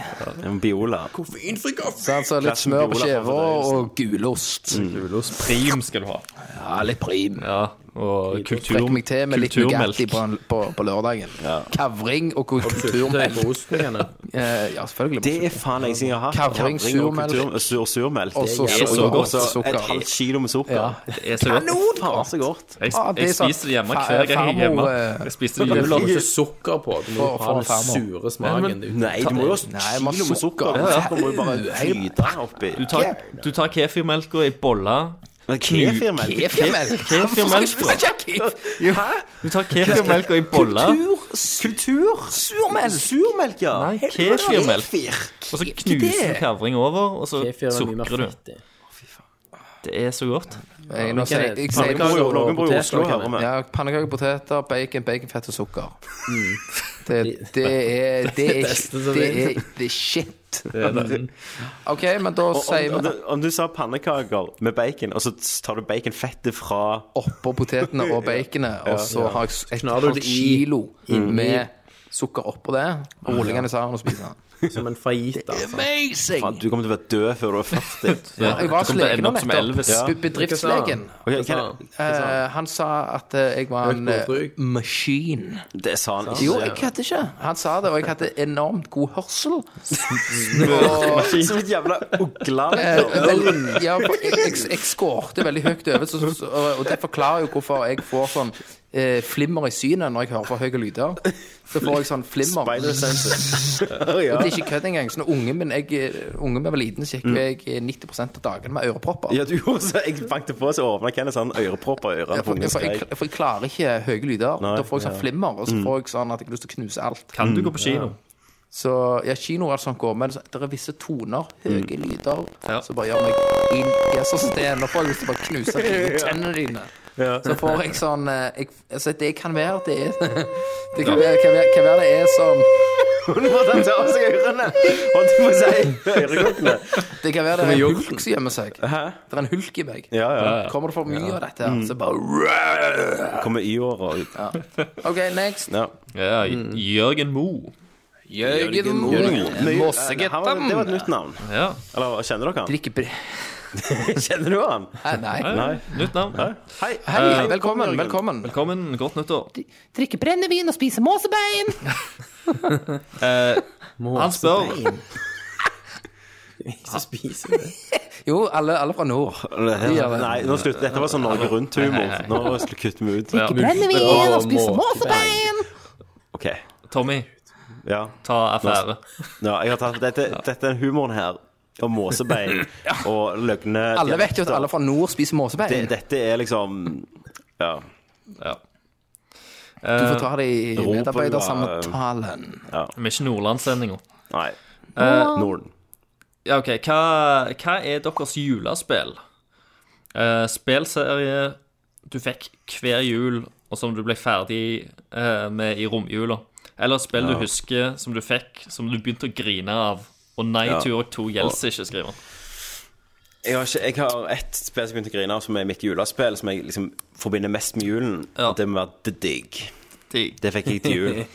Speaker 5: En Biola.
Speaker 7: Koffeinfri kaffe! Så altså, litt
Speaker 5: Glass med
Speaker 7: smør på
Speaker 5: Biola
Speaker 7: skjeva
Speaker 5: for
Speaker 7: og gulost.
Speaker 8: Gulost. Prim skal du ha.
Speaker 7: Ja, litt prim.
Speaker 8: Ja, og kultur,
Speaker 7: Trekk meg til med litt
Speaker 8: kulturmelk.
Speaker 7: Nugatti på, en- på, på lørdagen. Kavring og
Speaker 9: Sultetøy
Speaker 7: kulturmelk.
Speaker 9: på osten, Kenneth.
Speaker 7: Eh, ja, selvfølgelig.
Speaker 5: Det er faen lenge siden jeg har hatt
Speaker 7: Kavring, surmelk.
Speaker 5: og kultur, sur, surmelk.
Speaker 7: Og så
Speaker 5: Det er
Speaker 7: sukker.
Speaker 5: jævlig
Speaker 7: Og
Speaker 5: godt.
Speaker 7: så
Speaker 5: Også
Speaker 7: sukker.
Speaker 5: et halvt kilo med sukker.
Speaker 7: Ja.
Speaker 8: Det er så godt.
Speaker 5: Faen, så godt.
Speaker 8: Jeg,
Speaker 7: Ah, det er
Speaker 8: jeg
Speaker 7: sant.
Speaker 8: spiste det hjemme
Speaker 7: Fa-
Speaker 8: hver gang jeg er hjemme.
Speaker 7: farmor, eh,
Speaker 8: Jeg spiste det
Speaker 9: Men
Speaker 8: i
Speaker 9: det
Speaker 8: jula.
Speaker 9: får ikke sukker på. Du må
Speaker 7: For-
Speaker 9: ha
Speaker 7: for
Speaker 9: den
Speaker 7: farmor.
Speaker 9: sure
Speaker 8: Nei,
Speaker 9: smaken.
Speaker 8: men-
Speaker 9: ute.
Speaker 5: Nei, du må jo ha et
Speaker 7: Nei, man
Speaker 5: kilo med sukker.
Speaker 7: sukker.
Speaker 5: Ja, ja. Det må jo bare flyte oppi.
Speaker 8: Du tar, du tar kefirmelka i bolla
Speaker 5: Kefirmelk?
Speaker 7: Kefirmelk?
Speaker 8: Kefirmelk,
Speaker 7: Hvorfor skal jeg ikke si kef? Hæ?
Speaker 8: Du tar kefirmelka i bolla,
Speaker 5: Kultur?
Speaker 7: Surmelk?
Speaker 5: Surmelk, ja.
Speaker 8: Nei,
Speaker 5: Helvete,
Speaker 8: kefirmelk.
Speaker 5: kefir.
Speaker 8: og så knuser du kavring over, og så
Speaker 9: Kefir er mye mer
Speaker 8: sukrer du.
Speaker 9: fettig.
Speaker 8: Det er så godt.
Speaker 7: Jeg, nå,
Speaker 9: Ok,
Speaker 7: sier- jeg, sier-
Speaker 9: pannekaker og
Speaker 5: Noen bor i
Speaker 9: poteter,
Speaker 5: Oslo,
Speaker 9: Kenneth.
Speaker 5: hører vi.
Speaker 7: ja, Pannekaker, poteter, bacon, baconfett og sukker. Det, det er Det er,
Speaker 9: beste som
Speaker 7: det er, det er shit. OK, men da
Speaker 5: Og Om,
Speaker 7: sier
Speaker 5: om,
Speaker 7: vi
Speaker 5: du- om du sa pannekaker med bacon, og så tar du baconfettet fra
Speaker 7: oppå potetene og baconet, og så har jeg et
Speaker 9: Knar du
Speaker 7: halvt
Speaker 9: det i-
Speaker 7: kilo med sukker oppå det, og ruller den i sammen og spiser den.
Speaker 9: Som en
Speaker 5: (laughs)
Speaker 9: fajita. altså.
Speaker 5: Faen,
Speaker 7: Amazing!
Speaker 5: du kommer til å være død før du er (laughs) 40.
Speaker 8: Ja,
Speaker 7: Jeg var
Speaker 8: du
Speaker 7: hos
Speaker 8: kommer til å
Speaker 7: legen
Speaker 8: ende
Speaker 7: nå
Speaker 8: opp som
Speaker 7: nettopp.
Speaker 8: Elvis.
Speaker 7: Be- Bedriftslegen.
Speaker 5: Ok,
Speaker 9: Hva sa
Speaker 5: Kenneth,
Speaker 9: han?
Speaker 7: Eh, han sa at eh, jeg var en
Speaker 9: Økt
Speaker 7: eh,
Speaker 9: blodtrykk.
Speaker 7: machine.
Speaker 5: det sa han ikke.
Speaker 7: Jo, jeg hadde ikke. Han sa det, og jeg hadde enormt god hørsel.
Speaker 5: Som et jævla ugle.
Speaker 7: Eh,
Speaker 5: liksom.
Speaker 7: vel- Ja, jeg, jeg, jeg skårte veldig høyt over, så, så, og det forklarer jo hvorfor jeg får sånn eh, flimmer i synet når jeg hører for høye lyder. Så får jeg sånn flimmer.
Speaker 5: Spider senses. ja.
Speaker 7: Og det er ikke kødd engang. Så når ungen min, jeg, eh, ungen min var liten, så gikk jo jeg eh, 90 av dagene med ørepropper.
Speaker 5: Mm. ja, du (laughs) gjorde så Jeg banket på, så åpna Kenneth sånn ørepropp og ørene på
Speaker 7: For,
Speaker 5: ungen
Speaker 7: for, jeg,
Speaker 5: skrek.
Speaker 7: for jeg klarer ikke høye lyder.
Speaker 5: Nei, Mm.
Speaker 7: da får jeg sånn flimmer, og så får jeg sånn at jeg har lyst til å knuse alt.
Speaker 8: Kan du gå på kino?
Speaker 7: Så ja, kino og alt sånt går, men så- det er visse toner, høye lyder,
Speaker 8: Ja.
Speaker 7: som bare gjør meg inn i en sånn sted. Nå får jeg lyst til å bare knuse dine tennene dine. Så får jeg sånn eh, jeg, altså Det kan være det er (laughs) Det kan være, kan være, kan være det er sånn
Speaker 5: Hun måtte ta av seg ørene! Holdt jeg på å si. Ørekokkene.
Speaker 7: Det kan være det er en hulk som gjemmer seg. Det er en hulk i meg.
Speaker 5: Ja, ja.
Speaker 7: Kommer det for mye av dette, her, så bare
Speaker 5: Kommer y-åra ut.
Speaker 7: OK, next.
Speaker 5: Ja.
Speaker 8: Ja, Jørgen Moe.
Speaker 7: Jørgen Moe.
Speaker 5: Han var-
Speaker 7: Mossegutten.
Speaker 5: Det var et nytt navn.
Speaker 8: Ja,
Speaker 5: Eller kjenner dere han?
Speaker 7: Drikker bre...
Speaker 5: (laughs) Kjenner du han?
Speaker 7: Hæ, Nei.
Speaker 5: Nei.
Speaker 8: nytt navn.
Speaker 5: Hei.
Speaker 7: Hei,
Speaker 5: Eh,
Speaker 7: velkommen.
Speaker 5: Jørgen.
Speaker 7: Velkommen.
Speaker 8: Velkommen, godt nyttår.
Speaker 7: Drikke brennevin og
Speaker 8: (laughs)
Speaker 7: spise måsebein.
Speaker 8: Eh, han spør
Speaker 9: Ikke spiser det.
Speaker 7: Jo, alle, alle fra nord. De gjør det.
Speaker 5: Nei, nå slutt. Dette var sånn Norge Rundt-humor. Nå sl- kutter vi ut.
Speaker 8: Drikke brennevin og spise
Speaker 7: måsebein.
Speaker 5: OK.
Speaker 8: Tommy,
Speaker 5: Ja.
Speaker 8: ta affære.
Speaker 5: ja jeg har tatt, dette, dette er humoren her. Og måsebein og løgne
Speaker 7: Alle vet jo at alle fra nord spiser måsebein.
Speaker 5: det, Dette er liksom Ja.
Speaker 8: Ja.
Speaker 7: Du får ta det i
Speaker 5: Europa,
Speaker 7: medarbeidersamtalen.
Speaker 8: Vi er ikke Nordlandssendinga.
Speaker 5: Nei.
Speaker 8: Eh,
Speaker 5: Norden.
Speaker 8: Ja, OK. Hva, hva er deres julespill? Eh, spillserie du fikk hver jul, og som du ble ferdig eh, med i romjula. Eller spill
Speaker 5: Ja.
Speaker 8: du husker som du fikk, som du begynte å grine av. Og nei,
Speaker 5: Ja.
Speaker 8: Turok 2 gjelder ikke, skriver han.
Speaker 5: Jeg har, ikke, jeg har ett spill som jeg begynte å grine av, som er mitt julespill, som jeg liksom forbinder mest med julen. Og det må være The Dig.
Speaker 8: Digg.
Speaker 5: Det fikk jeg til
Speaker 8: (laughs)
Speaker 5: jul.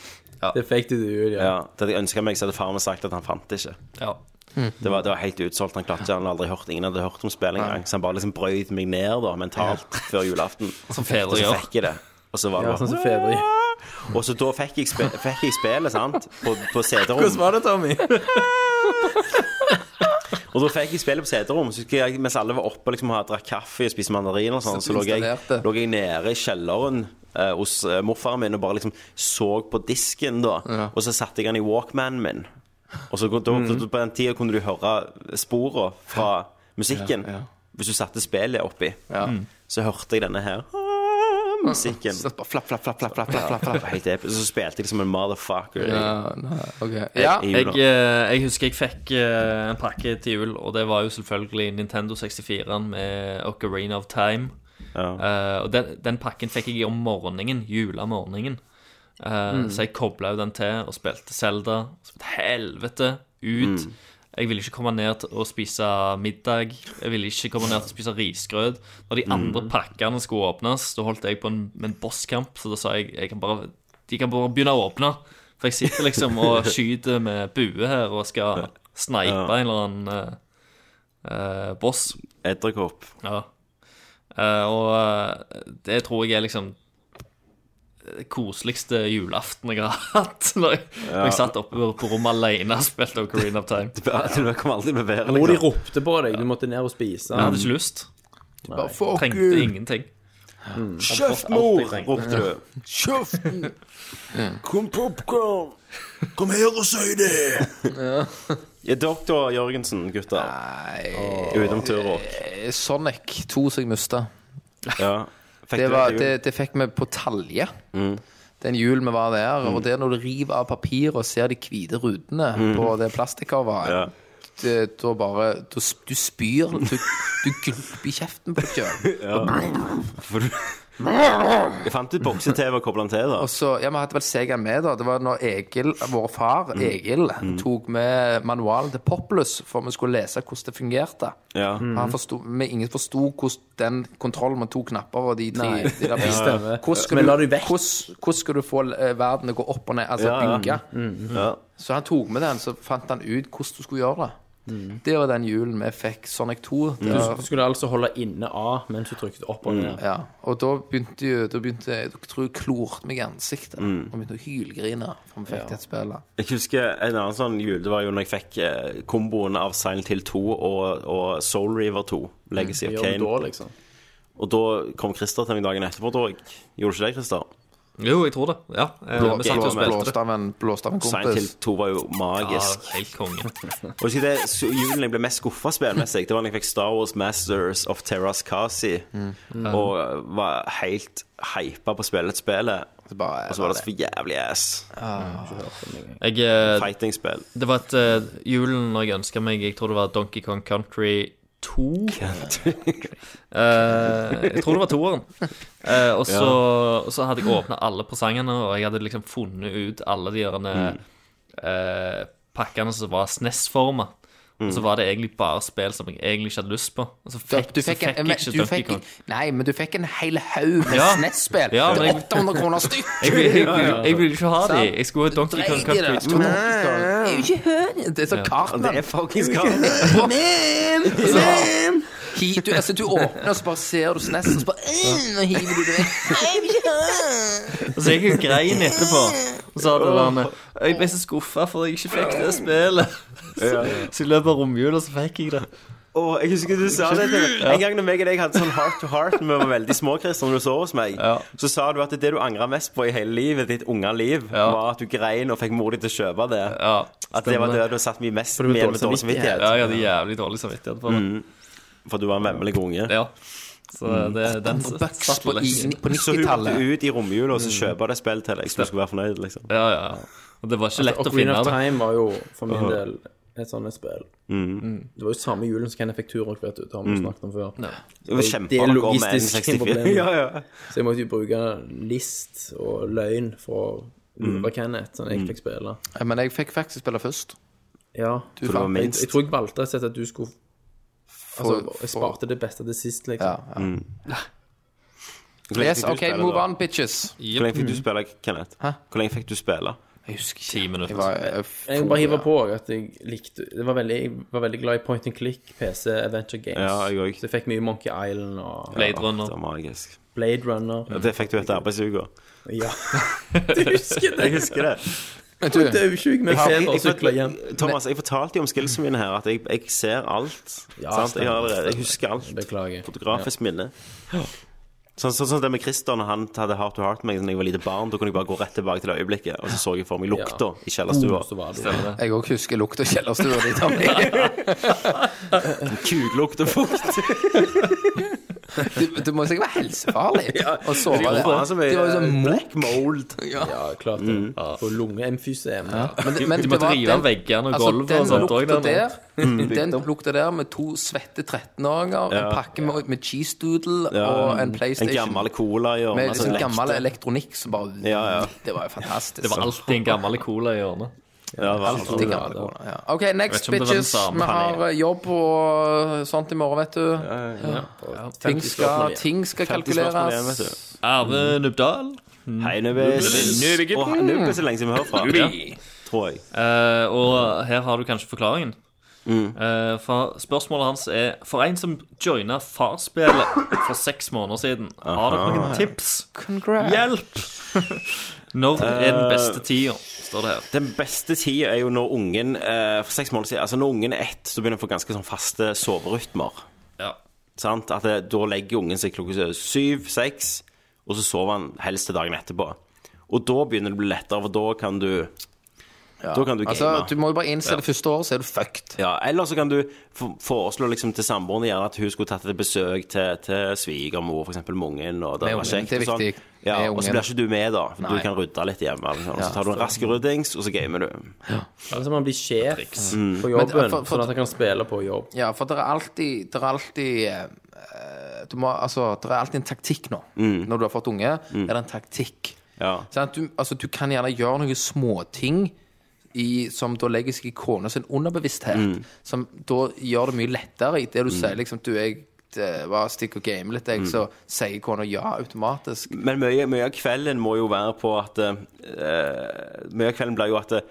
Speaker 9: Det fikk du til jul, ja.
Speaker 5: Ja, det hadde jeg ønska meg, så hadde faren min sagt at han fant det ikke.
Speaker 8: Ja.
Speaker 5: Det var, det var helt utsolgt. Han klarte ikke, han hadde aldri hørt Ingen hadde hørt om spillet engang. Så han bare liksom brøyt meg ned da, mentalt før julaften.
Speaker 8: (laughs) Som fedre
Speaker 5: Og så
Speaker 8: gjør.
Speaker 5: fikk jeg det. Og så var det
Speaker 9: Ja,
Speaker 5: bare
Speaker 9: sånn som fedre gjør.
Speaker 5: Og så da fikk jeg, spe, fikk jeg spillet, sant, på,
Speaker 8: (laughs)
Speaker 5: på
Speaker 9: Hvordan
Speaker 5: CD-rom.
Speaker 9: var det, Tommy?
Speaker 5: Og da fikk jeg spillet på CD-rom. Så husker jeg, mens alle var oppe og liksom, hadde drakk kaffe og spiste mandariner, og sånn,
Speaker 7: Så
Speaker 5: så
Speaker 7: du
Speaker 5: lå jeg,
Speaker 7: installerte.
Speaker 5: lå jeg nede i kjelleren eh, hos eh, morfaren min og bare liksom så på disken, da. Og så satte jeg den i Walkmanen min. Og så da, da, på den tida kunne du høre sporene fra musikken. Hvis du satte spillet oppi, så hørte jeg denne her. ah, Musikken.
Speaker 7: Så bare flapp, flapp, flapp, flapp, flapp,
Speaker 5: Det
Speaker 7: flapp, flapp.
Speaker 5: var Helt episk. Så spilte jeg som en motherfucker. i-
Speaker 7: Ja, nei, ok. ja.
Speaker 5: i
Speaker 8: Jeg,
Speaker 5: jula.
Speaker 8: eh, jeg husker jeg fikk eh, en pakke til jul, og det var jo selvfølgelig Nintendo 64-en med Ocarina of Time. Eh, og den, den pakken fikk jeg om morgenen, julemorgenen. Eh, Så jeg kobla jo den til og spilte Zelda. Som et helvete ut. Jeg ville ikke komme ned til å spise middag. Jeg ville ikke komme ned til å spise risgrøt. Når de andre pakkene skulle åpnes, da holdt jeg på en, med en bosskamp, så da sa jeg jeg kan bare, de kan bare begynne å åpne. For jeg sitter liksom og skyter med bue her og skal snipe en eller annen eh, eh, boss.
Speaker 5: Edderkopp.
Speaker 8: Ja. Eh, og eh, det tror jeg er liksom det koseligste julaften jeg har (laughs) hatt. Når jeg, når jeg satt oppe på rommet alene og spilte Ocarina of Time.
Speaker 5: (laughs) Du bare- du kom aldri med bedre,
Speaker 9: Hvor de
Speaker 5: liksom.
Speaker 9: ropte på deg, du måtte ned og spise.
Speaker 8: Jeg hadde ikke lyst.
Speaker 7: Bare fuck
Speaker 8: Trengte
Speaker 7: you.
Speaker 8: ingenting.
Speaker 5: Kjeft, mor!
Speaker 9: Alt jeg trengte.
Speaker 5: ropte du.
Speaker 7: Kjeften.
Speaker 5: Kom, popkorn! Kom her og si det! Er doktor Jørgensen, gutter? Nei Utenom Turok.
Speaker 7: Eh, Sonic 2 som jeg mista.
Speaker 5: Ja. Fikk
Speaker 7: Det,
Speaker 5: du
Speaker 7: var,
Speaker 5: jul?
Speaker 7: det, det fikk vi på Talje. Den julen vi var der. Og det er når du river av papiret og ser de hvite rutene på det plastikkcoveret
Speaker 5: Ja.
Speaker 7: det- Da bare da, sp- Du spyr. Du, du gulper i kjeften på deg
Speaker 5: For du- Jeg fant ut bokse-TV og kobla den til, da.
Speaker 7: Og så, ja, Vi hadde vel Sega med, da. Det var når Egil, vår far, Egil, tok med manualen til Populus for vi skulle lese hvordan det fungerte.
Speaker 5: Ja.
Speaker 7: Han forsto, vi ingen forsto hvordan den kontrollen med to knapper og de tre
Speaker 9: Nei.
Speaker 7: de der
Speaker 9: Ja,
Speaker 7: visste.
Speaker 9: stemmer.
Speaker 7: Hvordan skal,
Speaker 9: Men la
Speaker 7: du,
Speaker 9: de vekk.
Speaker 7: hvordan, hvordan skal du få eh, verden til å gå opp og ned, altså
Speaker 5: Ja, ja.
Speaker 7: bygge?
Speaker 9: Mm,
Speaker 5: Ja.
Speaker 7: Så han tok med den, så fant han ut hvordan du skulle gjøre det.
Speaker 9: Mm.
Speaker 7: Det var den julen vi fikk Sonic 2. Det var,
Speaker 9: Du skulle altså holde inne A mens du trykte opp og ned.
Speaker 7: ja, og da begynte jo Da begynte jeg, jeg tror jeg klorte meg i ansiktet
Speaker 9: Mm.
Speaker 7: og begynte å hylgrine. For vi fikk det spillet.
Speaker 5: Jeg husker en annen sånn jul. Det var jo når jeg fikk eh, komboen av Silent Hill 2 og, og Soul River 2. Legacy of
Speaker 7: Mm.
Speaker 9: Gjør du da,
Speaker 5: Kane.
Speaker 9: liksom?
Speaker 5: Og da kom Christer til meg dagen etterpå, tror jeg. Gjorde ikke det, Christer?
Speaker 8: Jo, jeg tror det. Ja. eh,
Speaker 7: Blå,
Speaker 8: vi satt og
Speaker 7: blå,
Speaker 8: spilte det.
Speaker 7: blåste av en, blåste av en
Speaker 5: Silent Hill
Speaker 7: kompis.
Speaker 5: 2 var jo
Speaker 8: Ja,
Speaker 5: magisk.
Speaker 8: helt konge.
Speaker 5: Og husker jeg det s- julen jeg ble mest skuffa spillmessig, det var da jeg fikk Star Wars Masters of Terras Kasi,
Speaker 8: Mm.
Speaker 5: og var helt hypa på å spille et spill, og
Speaker 7: Så bare,
Speaker 5: så var det så jævlig ass.
Speaker 8: Jeg, eh,
Speaker 5: Fighting-spill.
Speaker 8: det var et eh, julen når jeg ønska meg Jeg tror det var Donkey Kong Country 2.
Speaker 5: (laughs)
Speaker 8: Eh, jeg tror det var toeren. Eh, og, så, og så hadde jeg åpna alle presangene, og jeg hadde liksom funnet ut alle de gjerne eh, pakkene som var SNES-forma. Og så var det egentlig bare spill som jeg egentlig ikke hadde lyst på. Og så fikk,
Speaker 7: Du fikk,
Speaker 8: så fikk
Speaker 7: en,
Speaker 8: jeg ikke
Speaker 7: du
Speaker 8: Donkey
Speaker 7: fikk,
Speaker 8: Kong.
Speaker 7: nei, men du fikk en hel haug med
Speaker 8: Ja.
Speaker 7: SNES-spill.
Speaker 8: Ja, men jeg-
Speaker 7: 800 kroner stykk!
Speaker 8: Jeg ville jeg, ville- jeg ville ikke ha de.
Speaker 7: Sant?
Speaker 8: Jeg skulle ha Donkey Kong
Speaker 7: Dreit i det.
Speaker 8: Country 2.
Speaker 7: Donkey Kong. Det er jo ikke høn! Det er så
Speaker 8: (laughs)
Speaker 5: Det
Speaker 7: Cartman.
Speaker 5: er fuckings galt.
Speaker 7: Man! Man! Hi, du, altså, du åpner, og så bare ser du SNES, og så bare øh, og hiver du det vekk.
Speaker 8: Og så gikk Altså, jeg og grein etterpå. Og så hadde han Jeg ble så skuffa for jeg ikke fikk det (laughs) spillet. Så, så i løpet av romjula så fikk jeg det.
Speaker 5: Åh, jeg husker du sa det til meg. En gang når meg og deg hadde sånn heart to heart når vi var veldig små, Christian, når du sov hos meg, så sa du at det du angret mest på i hele livet, ditt unge liv, var at du grein og fikk mor di til å kjøpe det. at det var det du satt mye mest med med dårlig samvittighet.
Speaker 8: Ja, jeg hadde jævlig dårlig samvittighet for det.
Speaker 5: Mm. For du var en vemmelig unge.
Speaker 8: Ja. Så det, den satt
Speaker 5: på,
Speaker 8: lenge.
Speaker 5: så hun måtte ut i romjula og så kjøpe det spill til deg, så du skulle være fornøyd, liksom.
Speaker 8: Ja, ja. Og det var
Speaker 7: Altså,
Speaker 8: ikke lett å
Speaker 9: Ocarina
Speaker 8: finne
Speaker 9: of
Speaker 8: det.
Speaker 9: Time var jo for min
Speaker 5: Ja.
Speaker 9: del et sånn et spill.
Speaker 5: Mm.
Speaker 9: Det var jo samme julen som Ken fikk Turok, vet du. Det har vi jo
Speaker 5: Mm.
Speaker 9: snakket om før.
Speaker 5: Ja.
Speaker 9: Så
Speaker 5: Det var
Speaker 9: er
Speaker 5: kjempe-
Speaker 9: logistisk
Speaker 5: med N64.
Speaker 9: problem.
Speaker 5: (laughs) Ja, ja.
Speaker 9: Så jeg måtte jo bruke list og løgn for å lure Kenneth, sånn at jeg fikk spille.
Speaker 7: Ja, Men jeg fikk faktisk spille først.
Speaker 9: Ja.
Speaker 7: Du For det var
Speaker 9: jeg,
Speaker 7: vant.
Speaker 9: jeg,
Speaker 7: minst.
Speaker 9: tror jeg valgte rett og slett at du skulle Altså,
Speaker 7: For-
Speaker 9: jeg sparte det beste til sist, liksom.
Speaker 7: Ja, Yes, OK, move on, bitches.
Speaker 5: Hvor lenge fikk du spille, Kenneth? Hvor lenge fikk du spille?
Speaker 7: Jeg husker
Speaker 8: Ti minutter.
Speaker 7: eh,
Speaker 9: Jeg må bare hive på at jeg likte Det var veldig, Jeg var veldig glad i point and click, PC, Adventure Games.
Speaker 5: Ja, jeg òg.
Speaker 9: Så jeg fikk mye Monkey Island og
Speaker 8: Blade Runner.
Speaker 5: Det var magisk.
Speaker 9: Blade Runner.
Speaker 5: Ja, det fikk du etter arbeidsuka. (laughs)
Speaker 9: Ja. Du husker det?
Speaker 5: Jeg husker det.
Speaker 9: Jeg tror- Daudsjuk med
Speaker 5: Jeg har-
Speaker 9: feber
Speaker 5: jeg- jeg-
Speaker 9: sykler hjem.
Speaker 5: Thomas, jeg fortalte jo om skillsene mine her, at jeg, jeg ser alt. sant?
Speaker 9: Ja,
Speaker 5: Jeg,
Speaker 9: stemmer,
Speaker 5: har allerede- jeg
Speaker 9: stemmer.
Speaker 5: husker alt.
Speaker 9: Beklager.
Speaker 5: Fotografisk minne. Sånn sånn som det med Christer når han hadde heart to heart med meg da jeg var lite barn. Da kunne jeg bare gå rett tilbake til det øyeblikket, og så så jeg for meg lukta i kjellerstua.
Speaker 9: Mm, så var det.
Speaker 7: Jeg òg husker lukt og kjellerstua di. Tommy.
Speaker 5: Kuklukt og fukt.
Speaker 7: Det, det må sikkert være helsefarlig å sove der. (laughs) Det var jo sånn
Speaker 5: black mold.
Speaker 7: Ja,
Speaker 9: klart det.
Speaker 5: Mm.
Speaker 9: Og lungeemfysem.
Speaker 7: Ja. Men, det- men
Speaker 8: Du
Speaker 7: det
Speaker 8: må
Speaker 7: var
Speaker 8: drive
Speaker 7: den- altså,
Speaker 8: veggene og gulvet
Speaker 7: den
Speaker 8: og sånt
Speaker 7: lukta
Speaker 8: også, den
Speaker 7: der,
Speaker 8: der.
Speaker 7: Den lukta der med to svette 13-åringer,
Speaker 5: Mm.
Speaker 7: en
Speaker 5: Ja.
Speaker 7: pakke med, med cheese doodle og en PlayStation.
Speaker 5: En gammel cola i
Speaker 7: med
Speaker 5: hjørnet.
Speaker 7: liksom
Speaker 5: som
Speaker 7: gammel
Speaker 5: lekte.
Speaker 7: elektronikk som bare
Speaker 5: Ja, ja.
Speaker 7: Det var jo fantastisk.
Speaker 8: Det var alltid en gammel cola i hjørnet.
Speaker 5: Ja, det var sånn-
Speaker 7: Alltid
Speaker 5: alt.
Speaker 7: gammel cola, ja. OK, next bitches. Vi
Speaker 8: Panelet.
Speaker 7: har eh, jobb og sånt i morgen, vet du. Ting skal, ting skal
Speaker 5: 50 spørsmål igjen, vet
Speaker 7: kalkuleres.
Speaker 5: du.
Speaker 8: Arve Nubdal.
Speaker 5: Hei, Nubis.
Speaker 8: Nubis.
Speaker 5: Og Nubis er så lenge siden vi har hørt fra.
Speaker 8: Nubi.
Speaker 5: Tror jeg.
Speaker 8: Eh, og her har du kanskje forklaringen.
Speaker 7: Mm.
Speaker 8: Eh, for spørsmålet hans er For en som joina Farsspillet for seks måneder siden, har dere noen tips?
Speaker 7: Congrats.
Speaker 8: Hjelp! (laughs) Når er den
Speaker 7: Eh.
Speaker 8: beste tida, står det her.
Speaker 5: Den beste tida er jo når ungen eh, For seks måneder siden Altså når ungen er ett, så begynner han å få ganske sånn faste soverytmer.
Speaker 8: Ja.
Speaker 5: Sant? At det, Da legger ungen seg klokka syv-seks, og så sover han helst til dagen etterpå. Og da begynner det å bli lettere, for da kan du Da kan du game.
Speaker 7: Altså, du må jo bare innse det første året, så er du fucked.
Speaker 5: Ja, eller så kan du for- foreslå liksom til samboeren gjerne at hun skulle tatt et besøk til, til svigermor, f.eks. med ungen. Og det,
Speaker 7: Med
Speaker 5: var kjekt,
Speaker 7: ungen, det er
Speaker 5: og sånn.
Speaker 7: viktig.
Speaker 5: Ja,
Speaker 7: Med
Speaker 5: og så
Speaker 7: ungen.
Speaker 5: blir ikke du med, da. For
Speaker 7: Nei.
Speaker 5: du kan rydde litt hjemme. eller Sånn.
Speaker 7: Ja,
Speaker 5: Så tar du en rask ryddings, og så gamer du.
Speaker 9: Altså man blir sjef
Speaker 5: Mm.
Speaker 9: på
Speaker 7: Men,
Speaker 9: jobben,
Speaker 7: for- for-
Speaker 9: sånn at han kan spille på jobb.
Speaker 7: Ja, for det er alltid, det er alltid eh, du må, altså, Det er alltid en taktikk nå. Når du har fått unge, er det en taktikk.
Speaker 5: Mm. Ja.
Speaker 7: Sånn at du, altså, du kan gjerne gjøre noen småting i- som da legger seg i kona sin underbevissthet.
Speaker 5: Mm.
Speaker 7: Som da gjør det mye lettere. I det du sier liksom du jeg eh, var stikk og game litt,
Speaker 5: Mm.
Speaker 7: jeg, så sier kona ja automatisk.
Speaker 5: Men mye, mye av kvelden må jo være på at eh, Mye av kvelden blir jo at eh,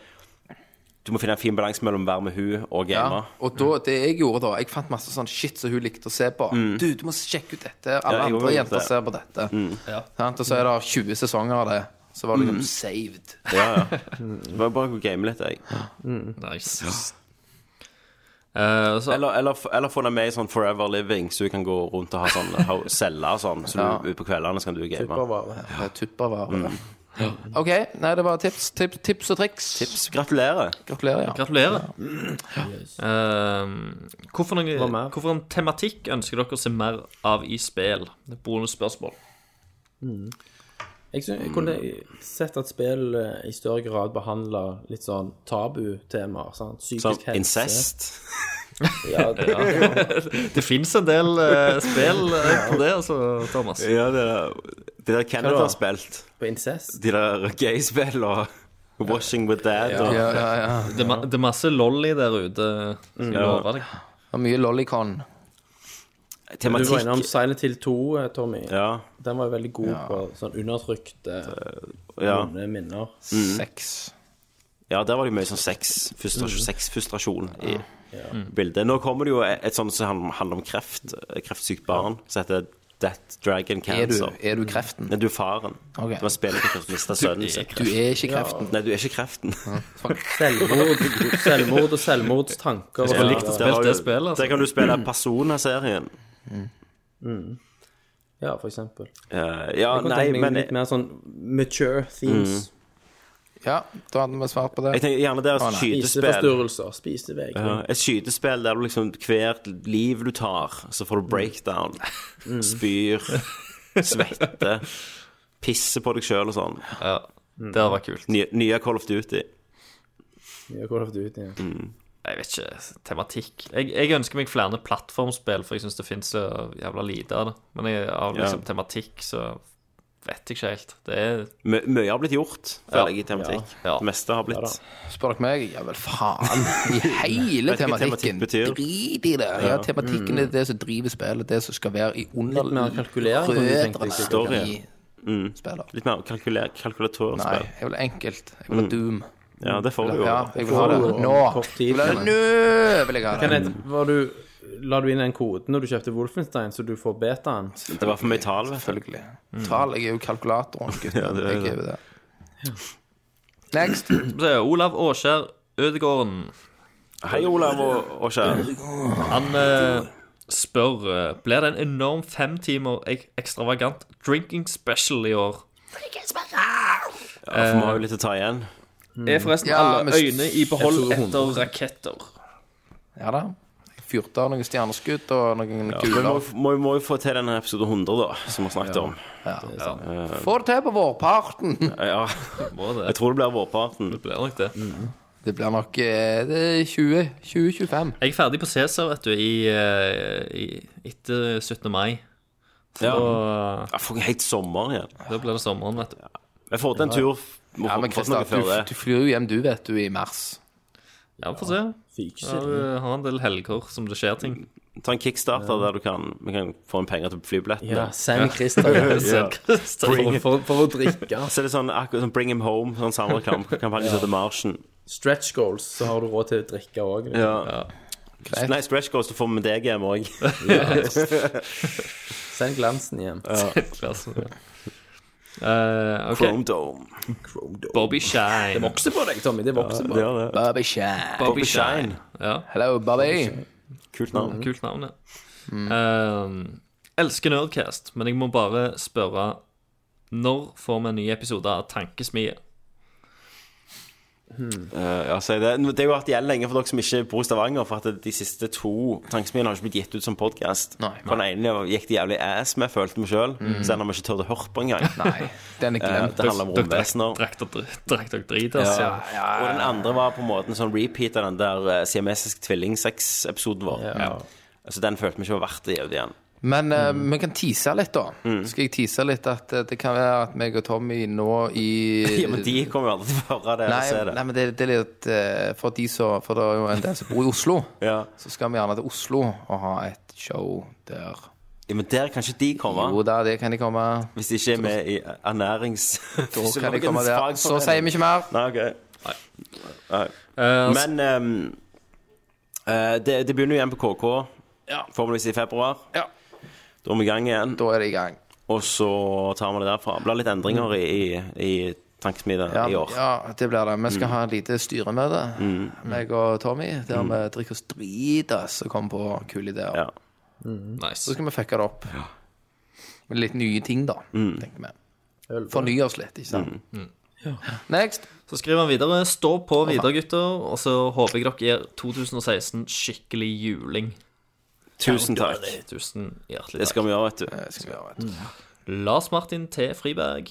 Speaker 5: du må finne en fin balanse mellom å være med hun og game.
Speaker 7: Ja. Og da, det jeg gjorde da, jeg fant masse sånn shit som hun likte å se på. Du, du må sjekke ut dette.
Speaker 5: Mm.
Speaker 7: Alle
Speaker 5: Ja, jeg gjorde det.
Speaker 7: andre
Speaker 5: Mm.
Speaker 7: jenter ser på dette.
Speaker 8: Ja.
Speaker 7: Sant? Og så er det 20 sesonger av det. Så var det liksom saved.
Speaker 5: Ja, ja. Det var bare å game litt, jeg.
Speaker 8: Nice. Eh, så,
Speaker 5: Eller, eller, eller få deg med i sånn Forever Living, så du kan gå rundt og ha sånn ha- selge og sånn. Så du, ut på kveldene så kan du game.
Speaker 9: Supervare.
Speaker 7: Det er Tupperware.
Speaker 5: Mm.
Speaker 7: OK. Nei, det var tips, tips, tips og triks.
Speaker 5: Tips. Gratulerer.
Speaker 7: Gratulerer. ja.
Speaker 8: gratulerer. Eh, hvorfor,
Speaker 9: Hva
Speaker 8: noen,
Speaker 9: mer?
Speaker 8: hvorfor en tematikk ønsker dere å se mer av i spill? Det er et bonusspørsmål.
Speaker 9: Jeg, synes, jeg kunne sett at spill eh, i større grad behandler litt sånn tabutemaer. sant?
Speaker 5: Sånn
Speaker 9: Psykisk
Speaker 5: incest. (laughs)
Speaker 9: Ja, det,
Speaker 8: Det fins en del eh, spill eh, på det, altså, Thomas.
Speaker 5: Ja, det der, det der Kenneth
Speaker 9: da?
Speaker 5: har spilt.
Speaker 9: på incest.
Speaker 5: De der gay-spill og Washing with Dad og
Speaker 7: Ja, ja, ja.
Speaker 8: Det, er ma- det er masse lolly der ute. Skal jeg love deg.
Speaker 7: Og mye lollicon.
Speaker 9: Du var
Speaker 5: tematikk.
Speaker 9: innom Silent Hill 2, eh, Tommy.
Speaker 5: Ja,
Speaker 9: Den var jo veldig god på sånn undertrykte,
Speaker 5: ja.
Speaker 9: vonde minner.
Speaker 5: Mm.
Speaker 7: Sex.
Speaker 9: Mm.
Speaker 5: ja, der var det mye sånn sex. Frustrasjon, sexfrustrasjon. i- bildet. Nå kommer det jo et, et sånt som han- handler om kreft, eh, kreftsykt barn, som heter Death Dragon
Speaker 7: Er du,
Speaker 5: Cancer.
Speaker 7: er du kreften?
Speaker 5: Nei, du er faren.
Speaker 7: Ok.
Speaker 5: Du har spillet på Kristianstad sønnen sin.
Speaker 7: (laughs) Du er ikke kreften.
Speaker 5: Nei, du er ikke kreften. (laughs)
Speaker 9: Selvmord, selvmord og
Speaker 5: (laughs)
Speaker 9: selvmordstanker.
Speaker 5: Ja,
Speaker 9: og- sånn.
Speaker 5: der har du-
Speaker 7: altså?
Speaker 5: Der kan du
Speaker 7: (laughs)
Speaker 5: spille Persona-serien.
Speaker 9: Mm. Ja, for eksempel.
Speaker 5: Eh, ja,
Speaker 9: Jeg kan
Speaker 5: nei,
Speaker 9: tenke meg
Speaker 5: men- Mm.
Speaker 9: Litt mer sånn mature themes.
Speaker 7: Ja, da hadde vi svart på det.
Speaker 5: Jeg tenker gjerne det er
Speaker 7: Å, Ah, nei.
Speaker 5: skytespill.
Speaker 9: Spiseforstyrrelser, spisevegring.
Speaker 5: Ja, et skytespill der du liksom hvert liv du tar, så får du breakdown.
Speaker 7: Mm. (laughs)
Speaker 5: Spyr, svette, pisser på deg sjøl og sånn.
Speaker 8: Ja, det hadde vært kult.
Speaker 5: Nye, nye Call of Duty.
Speaker 9: Ja, Call of Duty, ja.
Speaker 5: Mm.
Speaker 8: Jeg vet ikke. Tematikk. Jeg, jeg ønsker meg flere plattformspill, for jeg syns det fins så jævla lite av det. Men jeg, av
Speaker 5: Ja.
Speaker 8: liksom tematikk så vet jeg ikke helt. Det er
Speaker 5: Mø- Mye har blitt gjort, føler jeg, i tematikk.
Speaker 8: Ja.
Speaker 5: Det meste har blitt
Speaker 7: Spør dere meg, ja vel faen
Speaker 5: (laughs)
Speaker 7: i hele
Speaker 5: Vet ikke hva
Speaker 7: tematikken.
Speaker 5: tematikk betyr.
Speaker 7: Drit i det. Ja,
Speaker 5: Ja. Mm.
Speaker 7: tematikken er det som driver spillet, det som skal være i
Speaker 9: Litt mer kalkulering,
Speaker 7: underliggende
Speaker 9: kan du tenke deg, sikkert.
Speaker 7: rødrene i
Speaker 5: Story. Mm. Litt mer kalkuler
Speaker 7: Nei,
Speaker 5: kalkulatorspill.
Speaker 7: jeg vil ha enkelt. Jeg vil ha
Speaker 5: Mm.
Speaker 7: Doom.
Speaker 5: Ja, det får du jo.
Speaker 7: Ja, jeg vil ha det
Speaker 9: Får du jo.
Speaker 7: nå.
Speaker 9: Kort
Speaker 7: Jeg
Speaker 9: tid,
Speaker 7: vil ha
Speaker 5: Mm.
Speaker 7: det
Speaker 9: men-
Speaker 7: nå vil jeg ha det.
Speaker 9: Kenneth, var du, la du inn en kode når du kjøpte Wolfenstein, så du får betaen?
Speaker 5: Det var for mye tall, vet du.
Speaker 7: Selvfølgelig. Tall, jeg er jo kalkulatoren, gutten.
Speaker 5: (laughs) Ja, det er
Speaker 7: jeg
Speaker 5: det.
Speaker 7: er jo det. Next.
Speaker 8: Så er det Olav Åskjær Ødegården.
Speaker 5: Hei, Olav og, og Kjær.
Speaker 8: Han eh, spør eh, Blir det en enorm femtimer ek ekstravagant drinking special i år?
Speaker 5: Ja, for vi har jo litt å ta igjen.
Speaker 8: Er forresten
Speaker 7: Hmm. Ja,
Speaker 8: alle
Speaker 7: men-
Speaker 8: øyne i behold
Speaker 7: Jeg tror
Speaker 8: etter raketter?
Speaker 7: Ja da. Jeg Fyrte av noen stjerneskudd og noen
Speaker 5: Ja, vi må,
Speaker 7: kuler.
Speaker 5: må, må jo få til denne episode 100, da, som vi har snakket om. Eh,
Speaker 7: Ja. Få det til på vårparten.
Speaker 5: Ja,
Speaker 8: Må det.
Speaker 5: jeg tror det blir vårparten.
Speaker 8: Det blir nok det.
Speaker 7: Hmm. Det blir nok eh, det er 20 2025.
Speaker 8: Jeg er ferdig på Cæsar, vet du, i, eh, i, etter 17. mai.
Speaker 5: Ja.
Speaker 8: Og
Speaker 5: Jeg får helt sommer igjen.
Speaker 8: da blir det sommeren, vet du.
Speaker 5: Jeg får til en tur må
Speaker 7: Ja,
Speaker 5: få-
Speaker 7: men
Speaker 5: få til noe
Speaker 7: Kristian,
Speaker 5: før
Speaker 7: du,
Speaker 5: det.
Speaker 7: du flyr jo hjem, du, vet du, i mars.
Speaker 8: Ja, vi får se. Ja,
Speaker 9: Fyksel.
Speaker 8: vi har en del helger som det skjer
Speaker 7: (laughs)
Speaker 8: ting.
Speaker 5: Ta en kickstarter der du kan, vi kan få en penger til flybillettene.
Speaker 9: Ja,
Speaker 5: (laughs)
Speaker 9: Sam Christer.
Speaker 8: Så-
Speaker 5: Bring
Speaker 9: (laughs) For,
Speaker 5: it.
Speaker 9: for, for å drikke.
Speaker 5: Så er det sånn akkurat sånn Bring him home, sånn
Speaker 7: (laughs)
Speaker 5: samlekampanje som heter Marsjen.
Speaker 9: Stretch goals, så har du råd til å drikke liksom. òg.
Speaker 5: Ja.
Speaker 7: Greit.
Speaker 5: Nei, Stretch Goals, du får med deg hjem òg.
Speaker 9: Send glansen hjem.
Speaker 8: Klasse, ja. Eh, ok.
Speaker 5: Chrome Dome.
Speaker 8: Bobby Shine.
Speaker 9: Vokser på deg, Tommy. Det vokser på
Speaker 5: Det gjør det.
Speaker 7: Bobby Shine.
Speaker 8: Bobby Shine. Mm. Ja,
Speaker 7: Hello, Bobby.
Speaker 5: Kult navn.
Speaker 8: kult navn, ja.
Speaker 5: Mm.
Speaker 8: Eh, elsker Nerdcast, men jeg må bare spørre Når får vi en ny episode av Tankesmie?
Speaker 5: Eh, ja, så er det, det har jo vært gjeld lenge for dere som ikke bor i Stavanger, for at de siste to tankesmiene har ikke blitt gitt ut som podkast.
Speaker 7: Nei.
Speaker 5: For den ene gikk det jævlig ass med, følte vi sjøl. Så den har vi ikke turt å høre på engang.
Speaker 7: (laughs) Nei, den er
Speaker 5: Eh,
Speaker 7: glemt.
Speaker 5: det handler om
Speaker 8: Dere
Speaker 5: romvesener.
Speaker 8: drakk dere drakk dere drit, altså.
Speaker 5: Ja, Og den andre var på en måte en sånn repeat av den der eh, siamesisk tvilling-sex-episoden vår. Så den følte vi ikke var verdt å gi ut igjen.
Speaker 7: Men eh,
Speaker 5: Mm.
Speaker 7: vi kan tease litt, da. Skal jeg tease litt at eh, det kan være at meg og Tommy nå i
Speaker 5: (laughs) Ja, men de kommer jo aldri til å høre det
Speaker 7: Nei,
Speaker 5: eller se det.
Speaker 7: nei, men det, det er litt eh, For de som For det er jo en del som bor i Oslo.
Speaker 5: Ja.
Speaker 7: Så skal vi gjerne til Oslo og ha et show der.
Speaker 5: ja, Men der kan ikke de komme,
Speaker 7: Jo da, det kan de komme.
Speaker 5: hvis de ikke er med i
Speaker 7: Da kan de komme
Speaker 5: ernæringsfysiologens
Speaker 7: der. Så sier vi ikke mer.
Speaker 5: Nei, ok. Nei.
Speaker 8: Eh,
Speaker 5: Men ehm, eh, det, det begynner jo igjen på KK, forhåpentligvis i februar.
Speaker 7: Ja.
Speaker 5: Da er vi i gang igjen,
Speaker 7: Da er det i gang.
Speaker 5: og så tar vi det derfra. Det blir litt endringer i, i, i Tankesmien
Speaker 7: Ja,
Speaker 5: i år. Mm.
Speaker 7: ja, det blir det. Vi skal ha et lite styremøte, meg og Tommy, der vi drikker oss dritas og kommer på kule ideer.
Speaker 5: Ja.
Speaker 7: Så skal vi fucke det opp. Med litt nye ting, da,
Speaker 5: Mm.
Speaker 7: tenker vi. Fornye oss litt, ikke sant. Next.
Speaker 8: Så skriver han videre. Stå på videre, gutter. Og så håper jeg dere gir 2016 skikkelig juling.
Speaker 5: Tusen takk.
Speaker 8: Tusen hjertelig
Speaker 5: Det
Speaker 8: takk.
Speaker 5: skal vi gjøre, vet du.
Speaker 7: Det skal vi gjøre, vet du.
Speaker 8: Lars Martin T. Friberg.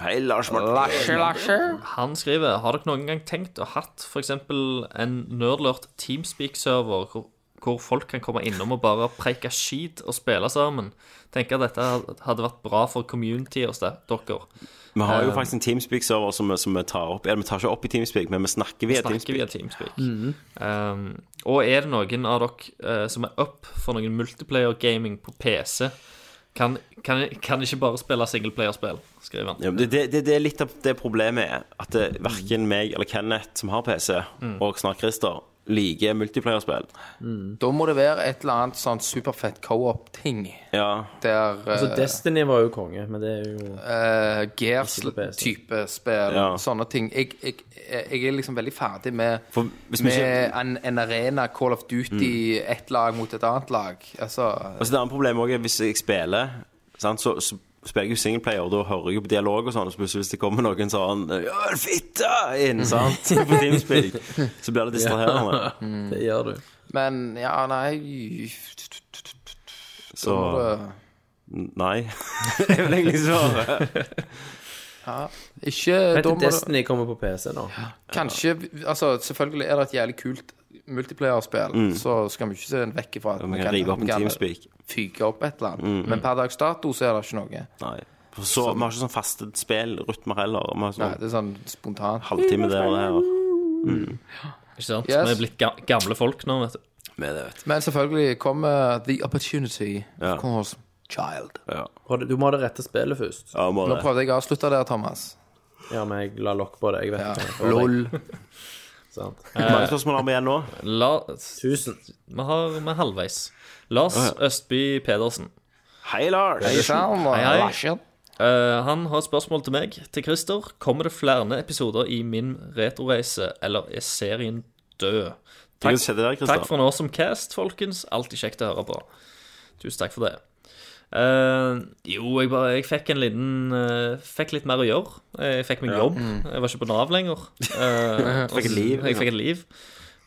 Speaker 5: Hei, Lars Martin.
Speaker 8: Han skriver Har dere noen gang tenkt og hatt f.eks. en nerdlurt Teamspeak-server hvor, hvor folk kan komme innom og bare preike skit og spille sammen? Tenker at dette hadde vært bra for communityet hos de- dere.
Speaker 5: Vi har jo
Speaker 8: Eh,
Speaker 5: faktisk en Teamspeak-server som, som vi tar opp. Eller vi tar ikke opp i Teamspeak, men vi snakker via
Speaker 8: snakker
Speaker 5: Teamspeak.
Speaker 8: via Teamspeak. um, og er det noen av dere eh, som er up for noen multiplayer-gaming på PC, kan, kan, kan ikke bare spille singleplayerspill, skriver han.
Speaker 5: Ja, men det, det, det- det er Mm. litt av det problemet er at det, verken meg eller Kenneth, som har PC, og snart Christer, liker multiplayerspill.
Speaker 7: Da må det være et eller annet sånn superfett co-op-ting.
Speaker 5: Ja.
Speaker 7: Der
Speaker 9: Altså,
Speaker 7: eh,
Speaker 9: Destiny var jo konge, men det er jo
Speaker 7: eh,
Speaker 9: Ikke på PC.
Speaker 7: Gears-type spill.
Speaker 9: Ja.
Speaker 7: Sånne ting. Jeg, jeg, jeg er liksom veldig ferdig med,
Speaker 5: hvis vi
Speaker 7: med
Speaker 5: ikke- Mm.
Speaker 7: en, en arena, Call of Duty, ett lag mot et annet lag. Altså
Speaker 5: Og så det andre problemet også er hvis jeg spiller, sant, så, så spiller jeg jo singleplayer, og da hører jeg jo på dialog og sånn, og så plutselig hvis det kommer noen sånn Ja, fitte! inn, sant? På Teamspeak. Så blir det distraherende.
Speaker 9: Det gjør du.
Speaker 7: Men ja, nei
Speaker 5: (laughs) Så
Speaker 7: Da må
Speaker 5: Nei. (laughs) Det er vel egentlig svaret.
Speaker 7: ja, Ikke
Speaker 9: Vent
Speaker 7: da
Speaker 9: til
Speaker 7: må det-
Speaker 9: Destiny kommer på PC nå.
Speaker 7: Kanskje altså, Selvfølgelig er det et jævlig kult multiplayerspill,
Speaker 5: Mm.
Speaker 7: så skal vi ikke se den vekk ifra at
Speaker 5: Vi kan rive opp en Teamspeak.
Speaker 7: fyke opp et eller annet.
Speaker 5: Mm.
Speaker 7: Men per dags dato så er det ikke noe.
Speaker 5: Nei. Så, vi har ikke sånn faste spillrytmer heller. Vi har
Speaker 7: Nei,
Speaker 5: sånn
Speaker 7: det er sånn spontant.
Speaker 5: halvtime der og der.
Speaker 8: Ikke sant?
Speaker 7: Yes.
Speaker 8: Vi er blitt ga- gamle folk nå, vet du.
Speaker 5: Med det, vet
Speaker 7: Men selvfølgelig kommer The Opportunity. Of course, child.
Speaker 9: Har Du du må ha det rette spillet først.
Speaker 5: Ja, må
Speaker 7: Nå prøvde jeg å avslutte der, Thomas.
Speaker 9: Ja, men jeg la lokk på det. Jeg vet
Speaker 7: Ja. (laughs)
Speaker 9: ikke. hva jeg får. Sant.
Speaker 5: Hvor mange spørsmål har vi igjen nå?
Speaker 8: La, Tusen. Vi har vi er halvveis. Lars
Speaker 5: Å,
Speaker 8: Østby Pedersen.
Speaker 5: Hei, Lars.
Speaker 7: Hei, sann. Larsen.
Speaker 8: Eh, han har et spørsmål til meg. Til Christer. Kommer det flere episoder i min retroreise, eller er serien død?
Speaker 5: Hva skjedde der, Christer?
Speaker 8: takk for nå som cast, folkens. Alltid kjekt å høre på. Tusen takk for det. Eh, jo, jeg, bare, jeg fikk en liten eh, Fikk litt mer å gjøre. Jeg fikk meg
Speaker 5: Ja.
Speaker 8: jobb. Jeg var ikke på Nav lenger. Eh,
Speaker 5: Fikk et liv,
Speaker 8: Jeg fikk
Speaker 5: liksom.
Speaker 8: et liv.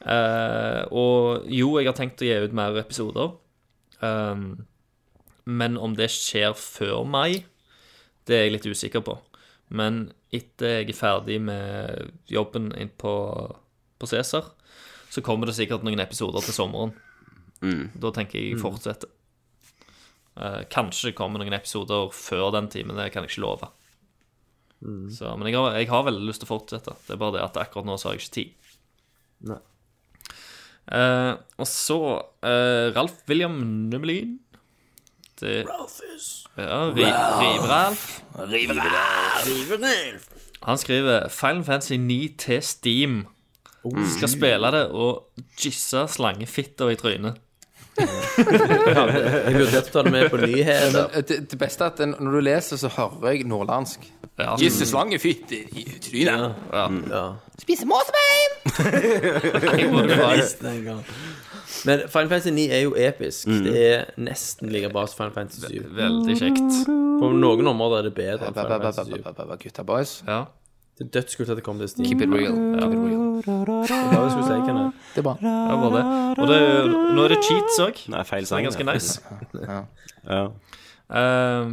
Speaker 8: Eh, og jo, jeg har tenkt å gi ut mer episoder. Um, men om det skjer før mai, det er jeg litt usikker på. Men etter jeg er ferdig med jobben inn på, på Cæsar, så kommer det sikkert noen episoder til sommeren. Da tenker jeg
Speaker 6: Mm.
Speaker 8: fortsette. Eh, kanskje det kommer noen episoder før den timen, det kan jeg ikke love. Så, men jeg har, jeg har veldig lyst til å fortsette. Det er bare det at akkurat nå så har jeg ikke tid.
Speaker 9: Nei.
Speaker 8: Eh, og så eh, Ralf William Nummelin. Det, ja, ri,
Speaker 2: Ralf.
Speaker 8: Rivralf.
Speaker 2: Riverelv.
Speaker 8: Han skriver Final Fantasy 9 til Steam. Skal spille det og gisse slangefitter i trynet.
Speaker 9: Jeg vurderte å ta det med på
Speaker 7: (laughs)
Speaker 9: nyheter.
Speaker 7: Men Eh, Det, det beste er at den- når du leser, så hører jeg nordlandsk.
Speaker 8: Ja.
Speaker 7: Gisse slangefitte i trynet.
Speaker 8: Ja.
Speaker 2: Spise måsbein!
Speaker 8: Jeg må jo faktisk-
Speaker 9: Men Final Fantasy 9 er jo episk.
Speaker 7: Mm.
Speaker 9: Det er nesten like bra som Final Fantasy 7.
Speaker 8: Veldig kjekt.
Speaker 9: På noen områder er det bedre enn Final Fantasy 7.
Speaker 7: Gutta boys.
Speaker 8: Ja.
Speaker 9: Det er dødskult at det kom til Steam.
Speaker 7: Keep it real. Keep it real.
Speaker 9: Det var det jeg skulle si, Kenneth.
Speaker 7: Det er bra.
Speaker 8: Ja, var det. Og det, nå er det cheats òg.
Speaker 5: Nei, feil sang,
Speaker 8: Det er
Speaker 5: ja.
Speaker 8: ganske nice. Um,
Speaker 7: Ja.
Speaker 5: Ja.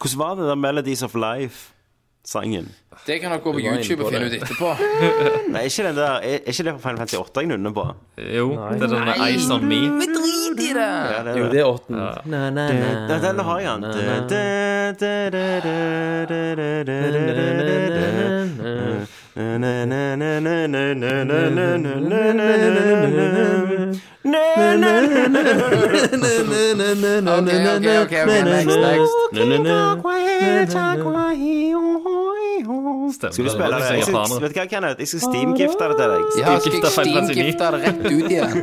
Speaker 5: Hvordan var det der Melodies of Life-sangen?
Speaker 7: Det kan dere gå på
Speaker 9: Vi var inne
Speaker 7: YouTube og
Speaker 9: på
Speaker 7: finne ut
Speaker 9: det.
Speaker 7: etterpå.
Speaker 5: Nei, ikke den der, er er ikke det på Final Fantasy 8 jeg nunner på?
Speaker 8: Jo, det er den
Speaker 2: Nei.
Speaker 8: Ice on Me.
Speaker 2: Vi driter i det!
Speaker 9: Jo, det er åtten. Na, na, na,
Speaker 5: Da- da- Den har jeg, han.
Speaker 7: Ok, (laughs) ok, ok, ok, next, next.
Speaker 5: Skal du spille det? Jeg skal, vet du hva, Kenneth? Jeg skal steamgifte det til deg.
Speaker 7: Ja, skal jeg steamgifte det rett ut igjen?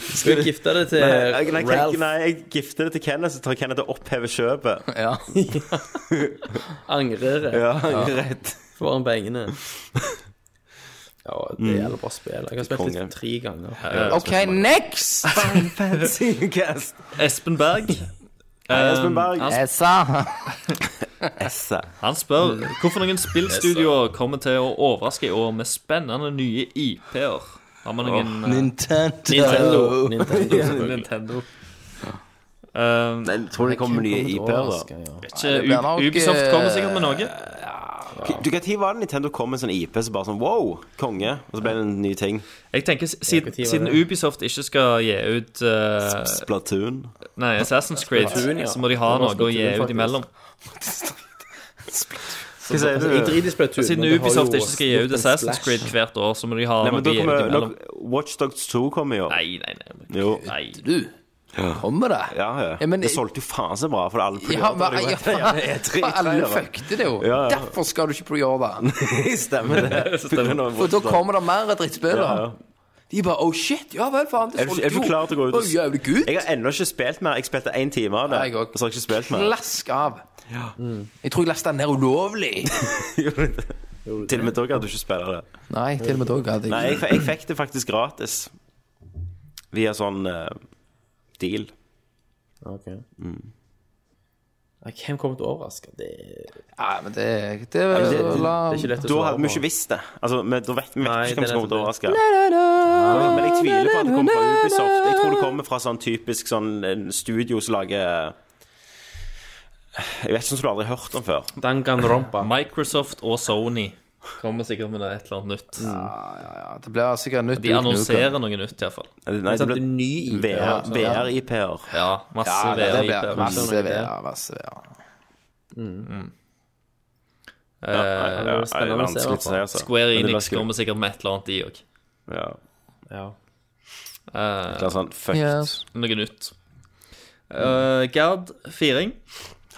Speaker 9: Skal vi gifte det til
Speaker 5: Eh, Nei, jeg- nei, jeg-
Speaker 9: Eh, Ralph?
Speaker 5: nei, jeg gifter det til Kenneth, så tar Kenneth og opphever kjøpet.
Speaker 7: (laughs) Ja.
Speaker 9: Angrer det.
Speaker 5: Ja, rett.
Speaker 9: Får han
Speaker 5: (laughs)
Speaker 9: pengene. Ja, det gjelder bare å spille. Jeg har spilt
Speaker 5: Mm. Konge.
Speaker 9: det tre ganger.
Speaker 7: Ok, next!
Speaker 5: Cast.
Speaker 8: Espen Berg.
Speaker 5: Hei, Espen Berg.
Speaker 8: Eh, han,
Speaker 7: Jeg sa
Speaker 5: Essa.
Speaker 8: han spør hvorfor noen spillstudioer kommer til å overraske i år med spennende nye IP-er. Har man noen eh,
Speaker 9: Nintendo. Nintendo selvfølgelig.
Speaker 8: Nintendo. Um,
Speaker 5: Nei, tror du det kommer nye IP-er, da?
Speaker 8: ikke,
Speaker 7: blir nok,
Speaker 8: U- Ubisoft
Speaker 7: eh,
Speaker 8: kommer sikkert med noe.
Speaker 5: Du, Når var det Nintendo kom med en sånn IP som bare sånn wow, konge, og så ble det en ny ting?
Speaker 8: Jeg tenker s-
Speaker 9: hva
Speaker 8: Siden,
Speaker 9: tid var
Speaker 8: siden
Speaker 9: det?
Speaker 8: Ubisoft ikke skal gi ut eh,
Speaker 5: Splatoon?
Speaker 8: Nei, Assassin's Creed,
Speaker 9: Splatoon, ja.
Speaker 8: så må de ha
Speaker 9: Det var
Speaker 8: noe å gi
Speaker 9: Splatoon,
Speaker 8: ut imellom.
Speaker 5: Hva sier
Speaker 9: Altså, jeg
Speaker 5: du?
Speaker 9: driter i Splatoon,
Speaker 8: Siden
Speaker 9: men det har
Speaker 8: Ubisoft
Speaker 9: jo
Speaker 8: ikke skal gi
Speaker 9: gjort
Speaker 8: ut
Speaker 9: en
Speaker 8: Assassin's
Speaker 9: splash.
Speaker 8: Creed hvert år, så må de ha
Speaker 5: Nei,
Speaker 8: noe
Speaker 5: men
Speaker 8: å
Speaker 5: da
Speaker 8: gi ut
Speaker 5: kommer
Speaker 8: imellom.
Speaker 5: nok- Watch Dogs 2 kommer jo.
Speaker 8: Nei, nei, nei.
Speaker 5: Jo.
Speaker 8: nei.
Speaker 7: Du, Kommer det?
Speaker 5: Ja, ja.
Speaker 7: Ja, men-
Speaker 5: det solgte jo faen så bra for alle
Speaker 7: Ja, men,
Speaker 5: programmer.
Speaker 7: ja, for alle fuckte det jo.
Speaker 5: Ja, ja.
Speaker 7: Derfor skal du ikke preordre.
Speaker 5: (laughs) Stemmer det.
Speaker 7: For
Speaker 5: (laughs)
Speaker 7: da kommer det mer drittspill. da.
Speaker 5: Ja, ja.
Speaker 7: De bare oh shit, ja vel, faen. Det
Speaker 5: Er du, er du klar til å gå ut
Speaker 7: og Jævlig gud.
Speaker 5: Jeg har ennå ikke spilt mer. Jeg spilte én time av det. og så har jeg ikke spilt mer.
Speaker 7: Klask av. Mm. Jeg tror jeg lasta den ned ulovlig.
Speaker 5: (laughs) Til og med da gadd du ikke spille det.
Speaker 7: Nei, til og med da gadd jeg
Speaker 5: Nei, jeg, f- jeg fikk det faktisk gratis. Via sånn eh, deal.
Speaker 9: Ok.
Speaker 5: Mm.
Speaker 9: Nei, Hvem kommer til å overraske? Det
Speaker 7: Nei, men det, det,
Speaker 5: Men det,
Speaker 7: la,
Speaker 5: da hadde vi ikke visst det. Altså, men Da vet vi vet ikke hvem som kommer til å overraske.
Speaker 7: Ja,
Speaker 5: Men jeg tviler på at det kommer fra Ubisoft. Jeg tror det kommer fra sånn typisk sånn en studio som lager Jeg vet ikke som du aldri har hørt om før.
Speaker 9: Danganronpa.
Speaker 8: Microsoft og Sony kommer sikkert med et eller annet nytt.
Speaker 7: Det blir sikkert nytt.
Speaker 8: De annonserer noe nytt, iallfall.
Speaker 5: Nei, det altså. ble VR VR-IP-er.
Speaker 8: Ja, masse
Speaker 7: Ja, det- det blir
Speaker 8: VR-IP-er.
Speaker 7: masse VR, masse VR.
Speaker 5: Ja, nei, nei, nei, det er vanskelig å si, altså.
Speaker 8: Square
Speaker 5: Men det blir
Speaker 8: Enix
Speaker 5: skummelt.
Speaker 8: kommer sikkert med et eller annet, de òg.
Speaker 5: Ja.
Speaker 9: Ja.
Speaker 5: Det er sånn fucked.
Speaker 8: Yes. Noe nytt.
Speaker 5: Mm.
Speaker 8: Eh, Gerd Firing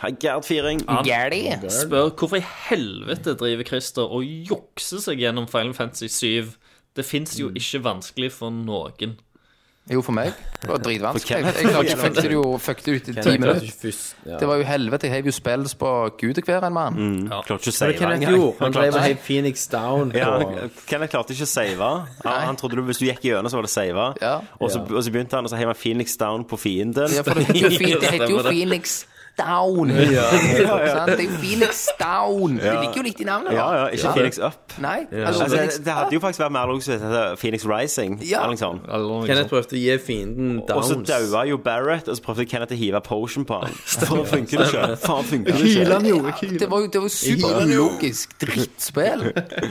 Speaker 5: Hei, Gerd Firing.
Speaker 8: Han
Speaker 7: Gerdi.
Speaker 8: spør hvorfor i helvete driver Christer og jukser seg gjennom Final Fantasy 7. Det fins
Speaker 5: Mm.
Speaker 8: jo ikke vanskelig for noen.
Speaker 7: Jo, for meg. Det var
Speaker 8: For
Speaker 7: dritvanskelig. Jeg,
Speaker 8: Kenneth.
Speaker 7: jeg klarte ikke fucket det jo fucket det ut i ti
Speaker 9: klarte ikke
Speaker 7: minutter.
Speaker 9: først, ja.
Speaker 7: Det var jo helvete. Jeg heiv jo spills på gud og hver en mann.
Speaker 5: Klarte ikke å
Speaker 9: Hva var
Speaker 5: save
Speaker 9: det Kenneth
Speaker 5: engang.
Speaker 9: gjorde? Han
Speaker 5: klarte
Speaker 9: drev og
Speaker 5: ikke-
Speaker 9: heiv Phoenix down.
Speaker 5: Ja,
Speaker 9: på-
Speaker 5: Kenneth klarte ikke å save. Han, han trodde du, hvis du gikk gjennom, så var det save. Og, så, og så begynte han å heive Phoenix down på fienden.
Speaker 7: Ja, for det heter jo, Phoen- det heter jo
Speaker 5: Stemmer det.
Speaker 7: Phoenix Down.
Speaker 5: Ja.
Speaker 7: (laughs) Sant? Det er jo Phoenix Down. Det
Speaker 5: Ja.
Speaker 7: ligger jo litt i navnet.
Speaker 5: (laughs)
Speaker 7: da.
Speaker 5: Ja, ja, ikke Phoenix Up.
Speaker 7: Nei.
Speaker 5: Altså, det, det hadde jo faktisk vært mer logisk hvis det het Phoenix Rising.
Speaker 7: Ja.
Speaker 5: Eller noe sånt.
Speaker 9: Kenneth prøvde å gi fienden
Speaker 5: Og så
Speaker 9: downs.
Speaker 5: daua jo Barrett, og så prøvde Kenneth å hive potion på han. Faen, funker det ikke? Faen, funker det
Speaker 7: Hyler
Speaker 5: ikke?
Speaker 7: han jo. Det var jo det var
Speaker 5: hyler han jo.
Speaker 7: superulogisk drittspill.
Speaker 5: (laughs)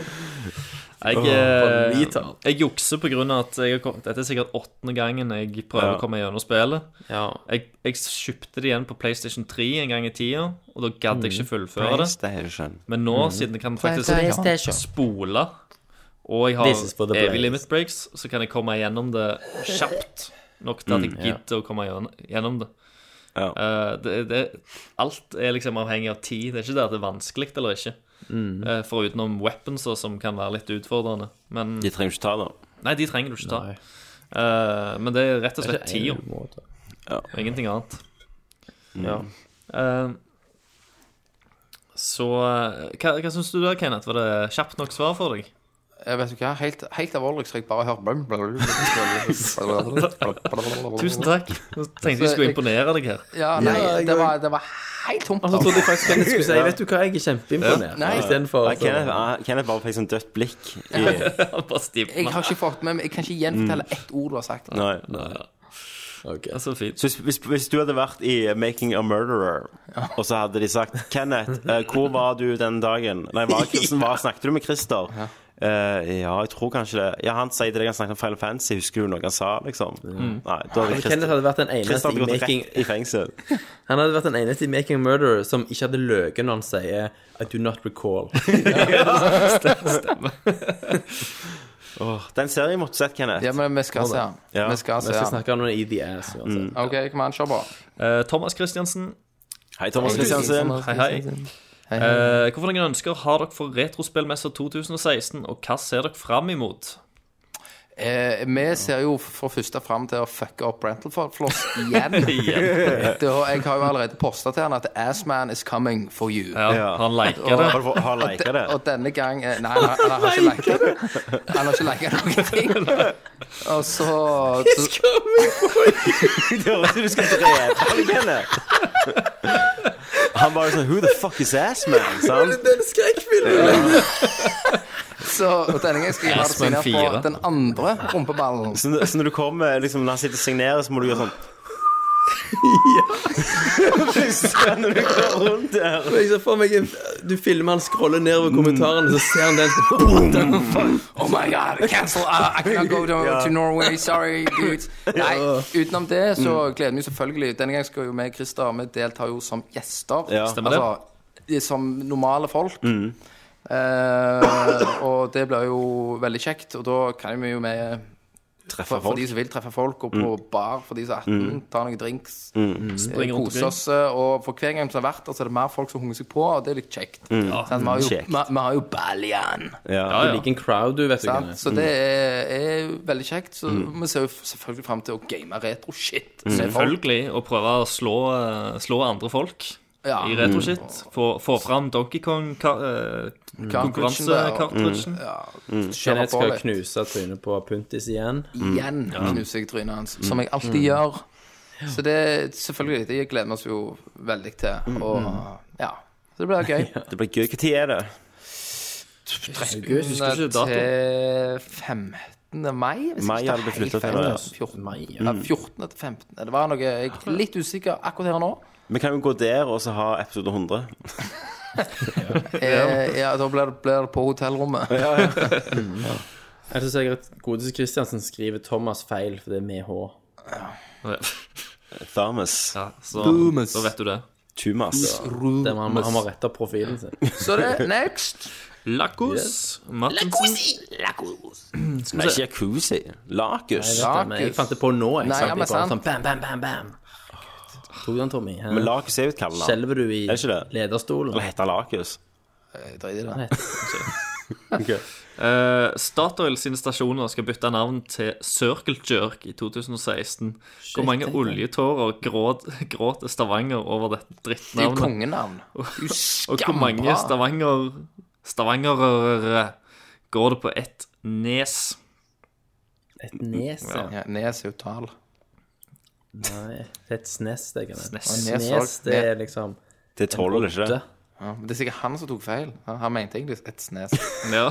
Speaker 8: Jeg,
Speaker 5: Åh, for
Speaker 8: eh,
Speaker 5: retard.
Speaker 8: jeg jukser på grunn av at jeg har kommet, Dette er sikkert åttende gangen jeg prøver
Speaker 5: Ja.
Speaker 8: å komme gjennom spillet. Jeg, jeg kjøpte det igjen på PlayStation 3 en gang i tida, og da gadd jeg ikke fullføre det.
Speaker 5: PlayStation.
Speaker 8: Men nå,
Speaker 5: Mm.
Speaker 8: siden jeg kan
Speaker 5: PlayStation.
Speaker 8: faktisk spole, og jeg
Speaker 5: This is for
Speaker 8: har
Speaker 5: the
Speaker 8: evig
Speaker 5: players.
Speaker 8: limit breaks, så kan jeg komme gjennom det kjapt nok til at jeg
Speaker 5: Mm, ja.
Speaker 8: gidder å komme gjennom- gjennom det. Eh, det, det. Alt er liksom avhengig av tid. Det er ikke det at det er vanskelig eller ikke.
Speaker 5: Mm.
Speaker 8: Eh, Foruten om weapons, og som kan være litt utfordrende. Men
Speaker 5: De trenger ikke ta det.
Speaker 8: Nei, de trenger du ikke ta. Eh, men det er rett og
Speaker 5: Det er
Speaker 8: slett
Speaker 5: ikke
Speaker 8: tida.
Speaker 5: en
Speaker 8: Og Ingenting annet.
Speaker 5: Ja.
Speaker 8: Eh, så eh, hva, hva syns du da, Kenneth? Var det kjapt nok svar for deg?
Speaker 7: Jeg vet ikke, helt, helt alvorlig så jeg bare har
Speaker 8: Tusen takk. Nå tenkte jeg skulle imponere deg her.
Speaker 7: Ja, nei, det var, det var helt tomt.
Speaker 5: Also
Speaker 9: Og så trodde jeg faktisk Kenneth skulle si
Speaker 5: Ja.
Speaker 9: Vet du hva, jeg er kjempeimponert.
Speaker 7: Nei.
Speaker 9: Istedenfor
Speaker 5: Nei, Kenneth, ah, Kenneth bare fikk sånn dødt blikk. I,
Speaker 8: (laughs)
Speaker 7: Jeg har ikke fått med meg Jeg kan ikke
Speaker 5: Mm.
Speaker 7: gjenfortelle ett ord du har sagt.
Speaker 5: nei.
Speaker 9: Altså,
Speaker 8: Så,
Speaker 5: hvis, hvis, hvis du hadde vært i Making a Murderer, og så hadde de sagt Kenneth, eh, hvor var du den dagen? Nei, hva, hvordan var, snakket du med Christer? Eh, ja, jeg tror kanskje det. Ja, Han sier til deg han snakket om Final Fantasy. Husker du noe han sa, liksom?
Speaker 9: Mm.
Speaker 5: Nei, da hadde
Speaker 9: Men
Speaker 5: Christer,
Speaker 9: Kenneth hadde vært den eneste
Speaker 5: Christer hadde
Speaker 9: i
Speaker 5: gått
Speaker 9: Making-
Speaker 5: rett i fengsel.
Speaker 9: Han hadde vært den eneste i Making a Murderer som ikke hadde løyet når han sier I do not
Speaker 7: (laughs)
Speaker 9: recall.
Speaker 5: Stemmer. Åh, den serien måtte sett, Kenneth.
Speaker 7: Ja, men vi skal se den.
Speaker 5: Ja.
Speaker 7: Vi skal se den.
Speaker 9: snakke om den i The
Speaker 7: Mm.
Speaker 9: Ass. uansett.
Speaker 7: OK, kom an, kjør på.
Speaker 8: Eh, Thomas Christiansen.
Speaker 5: Hei, Thomas Christiansen.
Speaker 8: Hei, hei.
Speaker 7: Hei,
Speaker 8: Eh, hvorfor noen ønsker har dere for Retrospillmessa 2016, og hva ser dere fram imot?
Speaker 7: Eh, vi ser jo for første fram til å fucke opp Rental Floss igjen. (laughs)
Speaker 8: Igjen.
Speaker 7: Det, har- jeg har jo allerede posta til han at Assman is coming for you.
Speaker 8: Ja, Ja. han liker det.
Speaker 7: Og-
Speaker 8: Har du- har han
Speaker 7: og
Speaker 8: liket
Speaker 7: de-
Speaker 8: det?
Speaker 7: Og denne gang eh, Nei, han, han, har ikke liket det. Han har ikke liket noen ting. Og så, så
Speaker 5: (laughs) Det høres ut som du skal drepe ham, Kenneth. Han bare sånn Who the fuck is ass, man?
Speaker 9: (laughs)
Speaker 5: Sant?
Speaker 9: Den skrekkfilmen!
Speaker 7: Så og denne gangen skal jeg ha det
Speaker 5: Assman
Speaker 7: signert
Speaker 5: fire.
Speaker 7: på den andre rumpeballen.
Speaker 5: Så, når- så når du kommer, liksom, når han sitter og signerer, så må du gjøre sånn Ja. når du går rundt der.
Speaker 9: Men jeg ser liksom for meg en, Du filmer han scroller
Speaker 7: Mm.
Speaker 9: nedover kommentarene, så ser han
Speaker 7: (laughs)
Speaker 9: den What the fuck?
Speaker 7: Oh my god, cancel, uh, I, I cannot go to,
Speaker 9: Ja.
Speaker 7: to Norway, sorry
Speaker 5: (laughs)
Speaker 7: dudes Nei, utenom det
Speaker 5: Mm.
Speaker 7: så gleder jeg meg selvfølgelig Denne gangen skal jo vi, Christer, vi deltar jo som gjester
Speaker 5: Ja. Stemmer det.
Speaker 7: Altså, som normale folk
Speaker 5: Mm.
Speaker 7: eh, Og det blir jo veldig kjekt Og da kan vi jo med
Speaker 5: Treffe
Speaker 7: for, for
Speaker 5: folk.
Speaker 7: de som vil treffe folk, og på bar for de som er 18,
Speaker 5: Mm.
Speaker 7: ta noen drinks,
Speaker 5: Mm, mm.
Speaker 7: eh,
Speaker 5: Springe rundt
Speaker 7: kose oss. eh, Og for hver gang som har vært der, så er det mer folk som hunger seg på, og det er litt kjekt.
Speaker 5: Mm.
Speaker 7: Sant? Vi har jo,
Speaker 5: Kjekt.
Speaker 7: vi, vi har jo Ballian.
Speaker 5: Ja.
Speaker 9: Ja, ja. Du liker en crowd, du, vet du.
Speaker 7: Sant?
Speaker 9: Kenneth.
Speaker 7: Så
Speaker 5: Mm.
Speaker 7: det er, er veldig kjekt. Så
Speaker 8: Mm.
Speaker 7: vi ser jo f- selvfølgelig fram til å game retro-shit.
Speaker 5: Mm.
Speaker 7: med folk.
Speaker 8: Selvfølgelig. Og prøve å slå, eh, slå andre folk
Speaker 7: Ja.
Speaker 8: i retroshit. Få, få fram Donkey eh, Kong-konkurransekartridgen.
Speaker 7: Mm.
Speaker 5: Mm.
Speaker 9: Kenneth skal knuse trynet på Puntis igjen.
Speaker 7: Igjen
Speaker 8: Mm.
Speaker 7: knuser jeg trynet hans, som jeg alltid
Speaker 5: Mm.
Speaker 7: gjør. Så det selvfølgelig, det gleder vi oss jo veldig til.
Speaker 5: Mm.
Speaker 7: Og ja, så det
Speaker 5: (laughs)
Speaker 7: blir gøy.
Speaker 5: Det blir gøy. Når er det?
Speaker 7: 13.
Speaker 5: August, husker ikke dato.
Speaker 7: til 15. mai, hvis
Speaker 5: Mai
Speaker 7: jeg
Speaker 5: hadde
Speaker 7: ikke
Speaker 5: blitt
Speaker 7: tar
Speaker 5: flyttet til,
Speaker 7: helt feil.
Speaker 5: ja. Mm.
Speaker 7: 14. mai. Ja, 14. til 15. Det var noe jeg er litt usikker akkurat her nå.
Speaker 8: (laughs)
Speaker 5: Vi kan jo gå der og så ha episode 100.
Speaker 7: Eh, ja, da blir det, blir det på hotellrommet.
Speaker 9: Jeg synes jeg at Godeste Kristiansen skriver Thomas feil, for det er med H.
Speaker 7: Mm,
Speaker 5: Thermos.
Speaker 8: Ja, så
Speaker 9: Thermos.
Speaker 8: da vet du det.
Speaker 5: Tumas.
Speaker 9: Det må han, han må rette profilen sin.
Speaker 7: Så det er next.
Speaker 8: Lakos
Speaker 9: Yes.
Speaker 8: Martinsen.
Speaker 5: Skal vi se. jacuzzi. Lakus.
Speaker 9: Nei, vet du, men jeg fant det på nå. Jeg,
Speaker 7: Nei,
Speaker 9: sant?
Speaker 7: ja, men
Speaker 9: jeg bare
Speaker 7: sant.
Speaker 9: sånn bam, bam, bam, bam. Tok den, Tommy. Hæ?
Speaker 5: Men Lakus er jo et kallenavn.
Speaker 9: Skjelver du i
Speaker 5: Er det ikke det?
Speaker 9: lederstolen?
Speaker 5: Eller heter han Lakus?
Speaker 7: Drit i det.
Speaker 8: Eh, Statoil sine stasjoner skal bytte navn til Circle Jerk i 2016. Hvor mange
Speaker 7: tenk det.
Speaker 8: oljetårer gråt, gråter Stavanger over dette
Speaker 7: Det er jo
Speaker 8: drittnavnet?
Speaker 7: kongenavn. Du
Speaker 8: Og hvor mange
Speaker 7: skambra.
Speaker 8: Stavanger stavangerere går det på ett nes?
Speaker 9: Et nes, ja.
Speaker 7: Ja, Nes er jo tall.
Speaker 9: Nei, det er et snes, det kan jeg.
Speaker 8: Snes.
Speaker 9: Og Nes, det er liksom
Speaker 5: Det tåler det ikke.
Speaker 9: åtte.
Speaker 7: Ja, men det er sikkert han som tok feil. Han, han mente egentlig et (laughs) snes.
Speaker 8: Ja.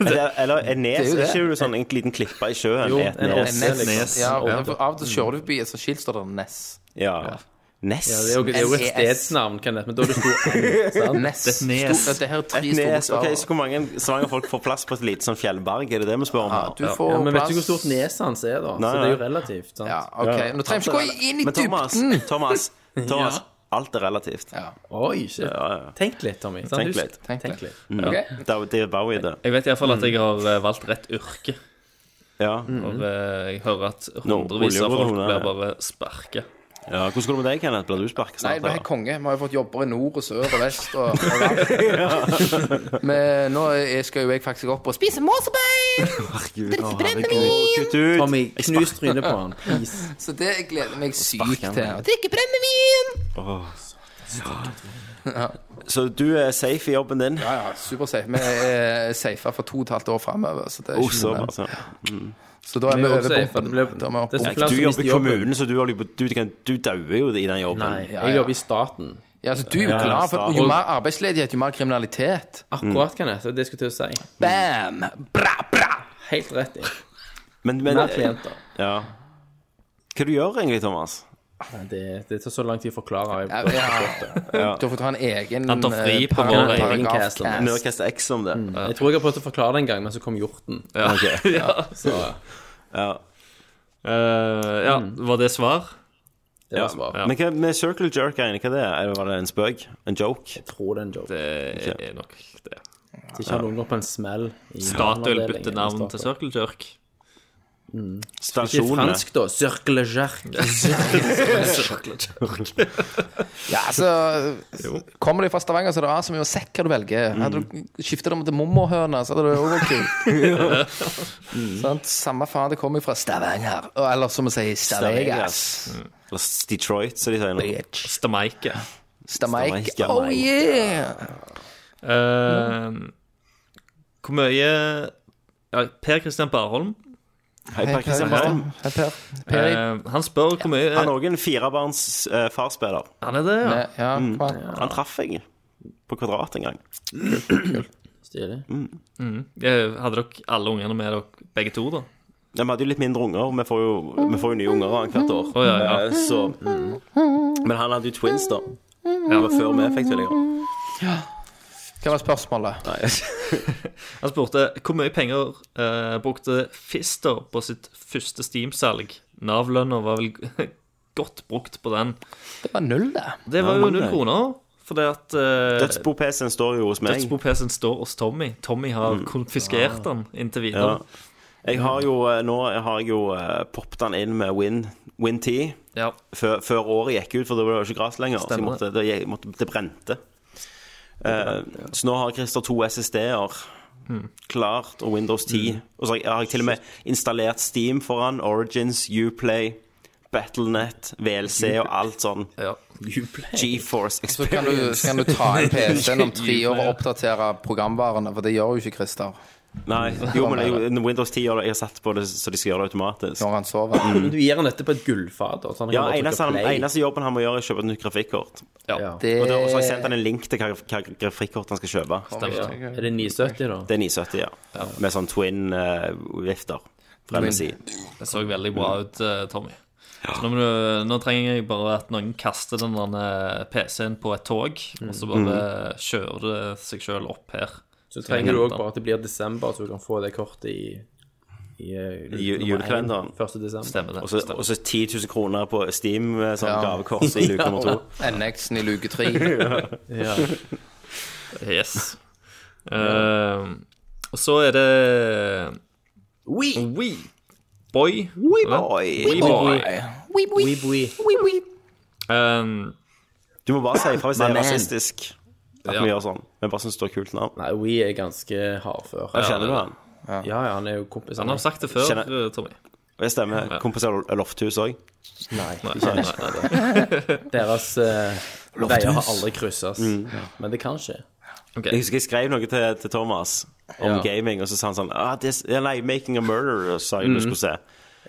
Speaker 5: Eller, eller er nes
Speaker 7: Det er jo
Speaker 5: er
Speaker 7: det.
Speaker 5: ikke du sånn en liten klippe i sjøen?
Speaker 9: Jo,
Speaker 5: er et
Speaker 9: en
Speaker 5: nes.
Speaker 9: nes.
Speaker 7: Nes.
Speaker 8: Nes.
Speaker 7: Ja, og
Speaker 8: Ja.
Speaker 7: for Av og til kjører du forbi et sånt skilt, står det Ness.
Speaker 5: Ja. Nes.
Speaker 9: Ja, det er jo, det er jo
Speaker 7: NES.
Speaker 9: et stedsnavn, Kenneth, men da er det stor sant?
Speaker 7: Ness.
Speaker 8: Det er et nes.
Speaker 7: Sto- ja, det her er tre
Speaker 5: Et
Speaker 7: store
Speaker 5: nes. Ok,
Speaker 7: bokstaver.
Speaker 5: så hvor mange svanger folk får plass på et lite sånn fjellberg? Er det det vi spør om?
Speaker 7: Ja,
Speaker 5: her?
Speaker 7: du får
Speaker 9: Ja, men vet
Speaker 7: plass
Speaker 9: du hvor stort neset hans er, da?
Speaker 5: Nei,
Speaker 9: så det er jo
Speaker 5: nei.
Speaker 9: relativt. sant?
Speaker 7: Ja, ok. Nå trenger vi ikke gå inn i
Speaker 5: Men Thomas,
Speaker 7: dybden.
Speaker 5: Thomas, Thomas alt er relativt.
Speaker 7: Ja,
Speaker 9: Oi, shit. Tenk litt, Tommy. sant?
Speaker 5: Tenk
Speaker 9: Husk-
Speaker 5: litt.
Speaker 7: tenk
Speaker 9: Tenk
Speaker 7: litt.
Speaker 9: litt.
Speaker 7: Ok.
Speaker 5: Det er- det er Bowie, det.
Speaker 8: Jeg vet iallfall at jeg har eh, valgt rett yrke.
Speaker 5: Ja.
Speaker 8: Og eh, jeg hører at
Speaker 5: Nå,
Speaker 8: hundrevis av folk
Speaker 5: oljeordoner,
Speaker 8: blir
Speaker 5: ja.
Speaker 8: bare sparket.
Speaker 5: ja. Hvordan går det med deg, Kenneth? Blir du sparket snart?
Speaker 7: Nei, vi er
Speaker 5: eller?
Speaker 7: konge. Vi har jo fått jobber i nord og sør og vest og (laughs) overalt. Men nå er- skal jo jeg faktisk opp og spise mosebein!
Speaker 5: Kutt ut!
Speaker 9: Tommy, knus trynet på han.
Speaker 7: (laughs)
Speaker 9: Please.
Speaker 7: Så det gleder jeg meg sykt
Speaker 5: han.
Speaker 7: til. Å drikke brennevin!
Speaker 5: Så du er safe i jobben din?
Speaker 7: Ja, ja, supersafe. Vi er safa for to og et halvt år framover, så det er
Speaker 5: Oh,
Speaker 7: ikke
Speaker 5: så,
Speaker 7: noe
Speaker 5: altså.
Speaker 7: problem. Så da er vi
Speaker 9: Vi er
Speaker 7: over
Speaker 9: også safe.
Speaker 7: pumpen.
Speaker 9: Vi-
Speaker 7: Da er vi oppe
Speaker 9: Det er så
Speaker 7: på-
Speaker 9: klart
Speaker 5: Du
Speaker 9: som
Speaker 5: jobber i
Speaker 9: mister jobben.
Speaker 5: kommunen, så du, holder på- du, kan- du dauer jo i den jobben.
Speaker 9: Nei,
Speaker 7: Ja,
Speaker 9: jeg
Speaker 7: ja.
Speaker 9: jobber i staten.
Speaker 7: Ja, så du er jo
Speaker 5: Ja, ja,
Speaker 7: glad for
Speaker 5: stav.
Speaker 7: jo mer arbeidsledighet, jo mer kriminalitet.
Speaker 5: Mm.
Speaker 9: Akkurat, Kenneth. Det er det jeg skulle til å si.
Speaker 7: Bam! Bra, bra!
Speaker 9: Helt rett i.
Speaker 5: Men, men
Speaker 9: Mer klienter.
Speaker 5: Ja. Hva du gjør egentlig, Thomas?
Speaker 9: Nei, Det, det tar så lang tid å forklare.
Speaker 7: Ja,
Speaker 9: Jeg,
Speaker 7: ja. Du får ta en egen
Speaker 8: Han tar fri
Speaker 7: eh,
Speaker 8: på
Speaker 7: par-
Speaker 8: vår
Speaker 7: paragraf-
Speaker 9: egen
Speaker 7: cast.
Speaker 9: cast.
Speaker 5: Nerdcast X om det.
Speaker 9: jeg tror jeg har prøvd å forklare det en gang, men så kom hjorten.
Speaker 8: Ja. ja.
Speaker 9: Så
Speaker 5: Ja.
Speaker 8: Eh, ja,
Speaker 9: Mm.
Speaker 8: var det svar?
Speaker 9: det var svaret.
Speaker 5: Men hva med Circle Jerk, egentlig, hva det er det? Var det en spøk? En joke?
Speaker 9: Jeg tror det er en joke.
Speaker 8: Det er nok det.
Speaker 9: At ikke alle unger på en smell. i
Speaker 8: Statoil
Speaker 9: barneavdelingen
Speaker 8: bytter
Speaker 9: i
Speaker 8: navn til
Speaker 9: Statoil.
Speaker 8: Circle Jerk.
Speaker 9: Ikke
Speaker 5: Stasjonene.
Speaker 9: fransk, da. Circle jerk.
Speaker 7: (laughs) Ja, altså Kommer de fra Stavanger, så er det A som gjør sekk hva du
Speaker 5: Mm.
Speaker 7: velger. Hadde du skiftet dem til mommohøne, så hadde det også vært kult.
Speaker 5: (laughs)
Speaker 7: (laughs) Sant? Samme faen, det kommer fra Stavanger. Og- Eller som vi sier, Stavagas.
Speaker 5: Eller s- Detroit, som de sier nå.
Speaker 7: Bitch.
Speaker 8: Stamaike.
Speaker 7: Stavanger.
Speaker 5: Stavanger.
Speaker 7: Oh yeah!
Speaker 8: Eh, hvor mye ja, Per Kristian Barholm
Speaker 5: Hei, Per Kristian Baum.
Speaker 7: Hei, Per.
Speaker 8: eh,
Speaker 7: Per.
Speaker 8: Han spør hvor mye
Speaker 5: Han er òg en firebarns eh, farspiller.
Speaker 8: Han er det, ja.
Speaker 5: Eh,
Speaker 7: Ja,
Speaker 5: mm.
Speaker 7: kom an.
Speaker 5: Han traff jeg på Kvadrat en gang.
Speaker 9: Stilig.
Speaker 8: Eh, Hadde dere alle ungene med dere begge to, da?
Speaker 5: Ja, Vi hadde jo litt mindre unger. Vi får jo, vi får jo nye unger hvert år.
Speaker 8: Å, ja, ja.
Speaker 5: Eh, Så, mm. men han hadde jo twins, da.
Speaker 8: Ja.
Speaker 5: Det var før vi fikk tvillinger.
Speaker 7: Hva var spørsmålet?
Speaker 8: Han spurte hvor mye penger eh, brukte Fister på sitt første Steam-salg. Nav-lønna var vel (laughs) godt brukt på den.
Speaker 7: Det var null, det.
Speaker 8: Det var
Speaker 5: Ja,
Speaker 8: jo
Speaker 5: men
Speaker 8: null
Speaker 5: det-
Speaker 8: kroner, fordi at eh,
Speaker 5: Dødsbo-PC-en står jo hos meg.
Speaker 8: Ah. Dødsbo-PC-en står hos Tommy. Tommy har konfiskert den inntil
Speaker 5: Mm. Ja.
Speaker 8: videre.
Speaker 5: Jeg har jo, eh, nå har jeg jo eh, poppet den inn med Win, Win 10 før, før året gikk ut, for da var det jo ikke gress lenger. Så jeg
Speaker 8: Stemmer
Speaker 5: måtte, det, jeg måtte, det brente. Eh, så nå har Christer to SSD-er
Speaker 8: Hmm.
Speaker 5: klart, og Windows 10. Og så har jeg, har jeg til og med installert Steam foran. Origins, Uplay, Battlenet, VLC og alt sånn. GeForce
Speaker 7: Så kan du, så kan du ta
Speaker 5: (laughs)
Speaker 7: en PC om tre år og oppdatere programvarene, for det gjør jo ikke Christer.
Speaker 5: Nei, jo, men jeg, Windows 10 gjør det. Jeg har satt på det så de skal gjøre det automatisk.
Speaker 7: Når han sover.
Speaker 9: Men du gir han dette på et gullfat. og så han
Speaker 5: Ja,
Speaker 9: kan bare
Speaker 5: eneste,
Speaker 9: trykke
Speaker 5: han,
Speaker 9: play.
Speaker 5: eneste jobben han må gjøre, er å kjøpe et nytt grafikkort.
Speaker 9: Ja.
Speaker 5: Og da- og så har jeg sendt han en link til hva, hva grafikkort han skal kjøpe.
Speaker 9: Ja. Er det 970, da?
Speaker 5: Det er 970, ja. Med sånn twin-vifter fra
Speaker 8: Twin.
Speaker 5: MSI.
Speaker 8: Det så veldig bra ut, eh, Tommy. Så nå, må du, nå trenger jeg bare at noen kaster den der eh, PC-en på et tog, og så
Speaker 5: Mm.
Speaker 8: bare kjører det seg sjøl opp her.
Speaker 9: Så trenger du òg bare at det blir desember, så du kan få det kortet i, i,
Speaker 5: I
Speaker 9: eh, nummer
Speaker 5: ju-
Speaker 9: én,
Speaker 5: julekalenderen.
Speaker 9: 1. desember. Stemmer
Speaker 5: Og så og så 10 000 kroner på Steam, eh, sånn gavekort i luke nummer to.
Speaker 7: NX-en i
Speaker 5: (laughs)
Speaker 7: luke tre.
Speaker 8: Ja. Yes. Eh, og så er det We. Boy. We boy.
Speaker 5: We boy.
Speaker 8: du Ehm,
Speaker 5: må bare si ifra hvis det
Speaker 9: My
Speaker 5: er
Speaker 9: man.
Speaker 5: rasistisk. At vi gjør sånn. Vi bare syns det er kult navn.
Speaker 9: Nei, We er ganske hardfør.
Speaker 5: Ja, kjenner du han?
Speaker 9: Ja, ja, han er jo kompis.
Speaker 8: Han har sagt det før, eh,
Speaker 5: Kjenner-
Speaker 8: Tommy.
Speaker 5: Og jeg stemmer. Kompis av Lofthus òg.
Speaker 9: Nei,
Speaker 5: Nei,
Speaker 9: de kjenner ikke
Speaker 5: nei,
Speaker 9: hverandre. Deres eh,
Speaker 5: Lofthus.
Speaker 9: veier har aldri krysses.
Speaker 5: Mm.
Speaker 9: Men det kan skje.
Speaker 5: Jeg husker jeg skrev noe til, til Thomas om
Speaker 9: Ja.
Speaker 5: gaming, og så sa han sånn ah, this, ja, Nei, 'Making a Murderer', sa jeg du
Speaker 9: Mm.
Speaker 5: skulle se.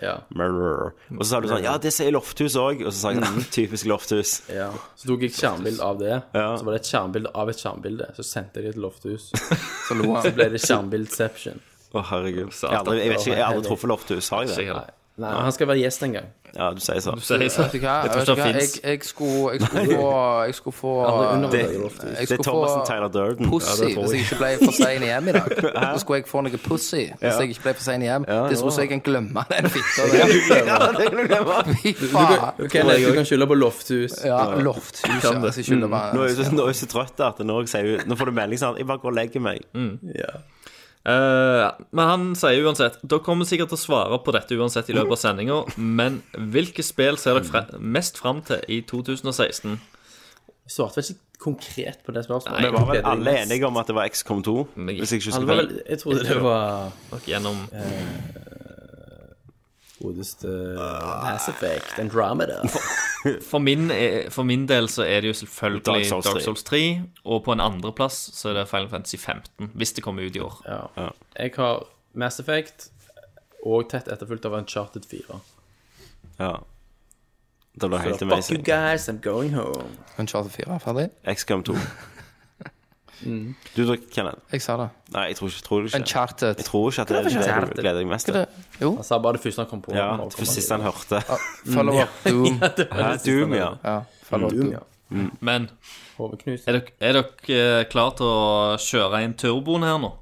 Speaker 9: Ja.
Speaker 5: Murderer. Og så sa du sånn Ja, det sier Lofthus òg. Og så sa jeg sånn Typisk Lofthus.
Speaker 9: Ja. Så tok jeg et skjermbilde av det. Så var det et skjermbilde av et skjermbilde. Så sendte jeg det til
Speaker 5: (laughs)
Speaker 9: Lofthus. så
Speaker 7: lo han.
Speaker 9: Så ble det skjermbildception.
Speaker 5: Å, herregud. Jeg, har aldri, jeg vet ikke, jeg har aldri truffet Lofthus, har jeg det?
Speaker 9: Nei. Nei, han skal være gjest en gang.
Speaker 5: Ja, du sier så.
Speaker 7: Vet du hva?
Speaker 5: Jeg tror
Speaker 7: Vet du
Speaker 5: ikke han
Speaker 7: hva? Jeg,
Speaker 5: finnes.
Speaker 7: jeg, skulle, jeg skulle få Jeg skulle få
Speaker 5: Alle
Speaker 7: jeg
Speaker 5: undervurderer
Speaker 7: skulle
Speaker 5: Lofthus. Det er Thomasen Tyler Durden. Ja,
Speaker 7: Pussy,
Speaker 5: det tror jeg.
Speaker 7: hvis jeg ikke
Speaker 5: (laughs)
Speaker 7: ble for sein hjem i dag. Så skulle jeg få noe pussy hvis
Speaker 5: Ja.
Speaker 7: jeg ikke ble for sein hjem.
Speaker 5: Ja, ja.
Speaker 7: Det tror jeg kan glemme den fitta
Speaker 5: Ja,
Speaker 7: der.
Speaker 5: det kan du glemme.
Speaker 7: (laughs) Fy
Speaker 9: Du, du,
Speaker 7: faen.
Speaker 9: kan- ok, nei, du kan skylde på Lofthus.
Speaker 7: Ja, Altså, Lofthus, ja.
Speaker 9: Kan det.
Speaker 7: Så jeg skylder bare-
Speaker 5: Nå er jeg så, nå er jeg så trøtt at nå, sier jeg, nå får du melding sånn Jeg bare går og legger meg.
Speaker 8: Eh, men han sier uansett Dere kommer sikkert til å svare på dette uansett i løpet av sendinga, men hvilke spill ser dere fre mest fram til i 2016?
Speaker 9: Jeg svarte vel ikke konkret på det spørsmålet.
Speaker 5: Vi var vel alle enige om at det Mm. var XCOM 2? Hvis jeg ikke husker
Speaker 9: Alle var
Speaker 5: feil.
Speaker 9: vel- jeg trodde det var
Speaker 8: Nok gjennom
Speaker 9: Godeste Mass Effect, Andromeda.
Speaker 8: For min, eh, for min del så er det jo selvfølgelig
Speaker 9: Dark
Speaker 8: Dark
Speaker 9: Souls
Speaker 8: Souls,
Speaker 9: 3.
Speaker 8: 3, og på en andreplass så er det Final Fantasy 15, hvis det kommer ut i år.
Speaker 9: Ja. Jeg har Mass Effect og tett etterfulgt av Uncharted 4.
Speaker 5: Ja. Det ble
Speaker 9: Så
Speaker 5: helt
Speaker 9: fuck you
Speaker 5: amazing.
Speaker 9: guys, I'm going home.
Speaker 7: Uncharted 4 er ferdig?
Speaker 5: XCOM 2.
Speaker 7: Mm.
Speaker 5: Du, Kenneth.
Speaker 7: Jeg sa det.
Speaker 5: Nei, jeg tror ikke, tror du ikke.
Speaker 7: Uncharted.
Speaker 5: Jeg tror ikke at det er det du gleder deg mest til.
Speaker 7: Jo.
Speaker 9: Han sa bare det første han kom på.
Speaker 5: Ja,
Speaker 9: Nå
Speaker 5: det
Speaker 9: kommer
Speaker 5: var siste han hørte.
Speaker 7: Follow up Doom.
Speaker 9: (laughs) Ja, det var
Speaker 5: Hæ,
Speaker 9: det siste
Speaker 5: Doom,
Speaker 9: han
Speaker 5: ja.
Speaker 9: hørte.
Speaker 7: follow up
Speaker 9: Doom,
Speaker 7: Doom.
Speaker 9: ja.
Speaker 8: Men
Speaker 9: Hovedknust.
Speaker 8: er dere, er dere klare til å kjøre inn turboen her nå?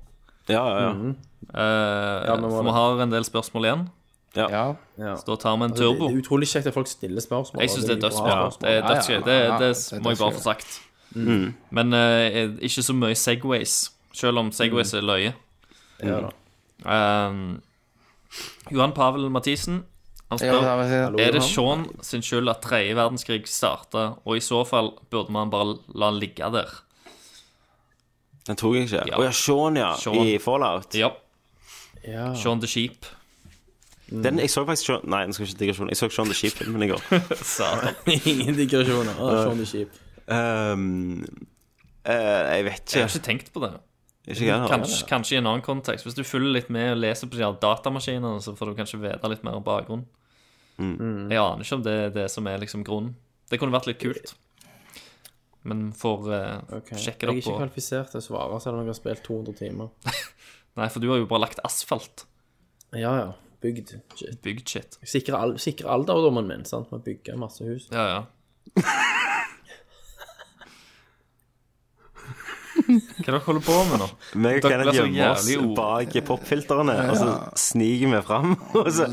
Speaker 5: Ja, ja, ja.
Speaker 8: Eh,
Speaker 9: Ja, vi må
Speaker 8: for
Speaker 9: det.
Speaker 8: vi har en del spørsmål igjen.
Speaker 5: Ja.
Speaker 8: Så da tar vi en
Speaker 9: Altså, det-
Speaker 8: turbo.
Speaker 9: Det er utrolig kjekt at folk stiller spørsmål.
Speaker 8: Jeg syns det er
Speaker 9: mye bra
Speaker 8: dødsbra.
Speaker 9: spørsmål.
Speaker 8: Det er dødsgøy. Det,
Speaker 9: Ja, ja,
Speaker 8: det,
Speaker 9: ja, ja,
Speaker 8: må jeg bare
Speaker 9: dødsgøy.
Speaker 8: få sagt.
Speaker 9: Mm.
Speaker 8: Men eh, ikke så mye Segways, selv om
Speaker 7: Mm.
Speaker 8: Segways er løye.
Speaker 9: Ja da.
Speaker 8: Um, Johan Pavel Mathisen han
Speaker 7: Ja,
Speaker 8: spør
Speaker 7: ja, ja, ja.
Speaker 8: Er det
Speaker 7: Hallo,
Speaker 8: Sean sin skyld at tredje verdenskrig starta, og i så fall burde man bare la han ligge der.
Speaker 5: Den tok jeg ikke. Å ja, Sean, ja.
Speaker 8: Sean.
Speaker 5: I Fallout.
Speaker 8: Ja.
Speaker 9: Ja.
Speaker 8: Sean the Sheep.
Speaker 5: Den, jeg så faktisk Sean Nei, den skal ikke digge Sean. Jeg så Sean the Sheep-filmen i går.
Speaker 8: Satan.
Speaker 9: (laughs) Ingen digresjoner. Ah, Sean the Sheep.
Speaker 5: Ehm, eh, jeg vet ikke.
Speaker 8: Jeg har ikke tenkt på det.
Speaker 5: Ikke jeg heller.
Speaker 8: kanskje, kanskje i en annen kontekst. Hvis du følger litt med og leser på de her datamaskinene, så får du kanskje vite litt mer om bakgrunnen.
Speaker 5: Mm.
Speaker 8: Jeg aner ikke om det er det som er liksom grunnen. Det kunne vært litt kult. Men får eh,
Speaker 9: Ok.
Speaker 8: sjekke det
Speaker 9: Jeg er
Speaker 8: opp
Speaker 9: ikke
Speaker 8: på
Speaker 9: kvalifisert til å svare, selv om jeg har spilt 200 timer.
Speaker 8: Nei, for du har jo bare lagt asfalt.
Speaker 9: Ja, ja. Bygd. Shit.
Speaker 8: Bygd shit.
Speaker 9: Sikre, al sikre alderdommen min, sant? Med å bygge masse hus.
Speaker 8: Ja, ja. Hva er det dere holder på med nå?
Speaker 5: Meg og
Speaker 8: Dere
Speaker 5: Kenneth
Speaker 8: blir så
Speaker 5: gjemmer oss
Speaker 8: jævlig ord.
Speaker 5: bak popfiltrene, og så sniker vi fram. (laughs) Og så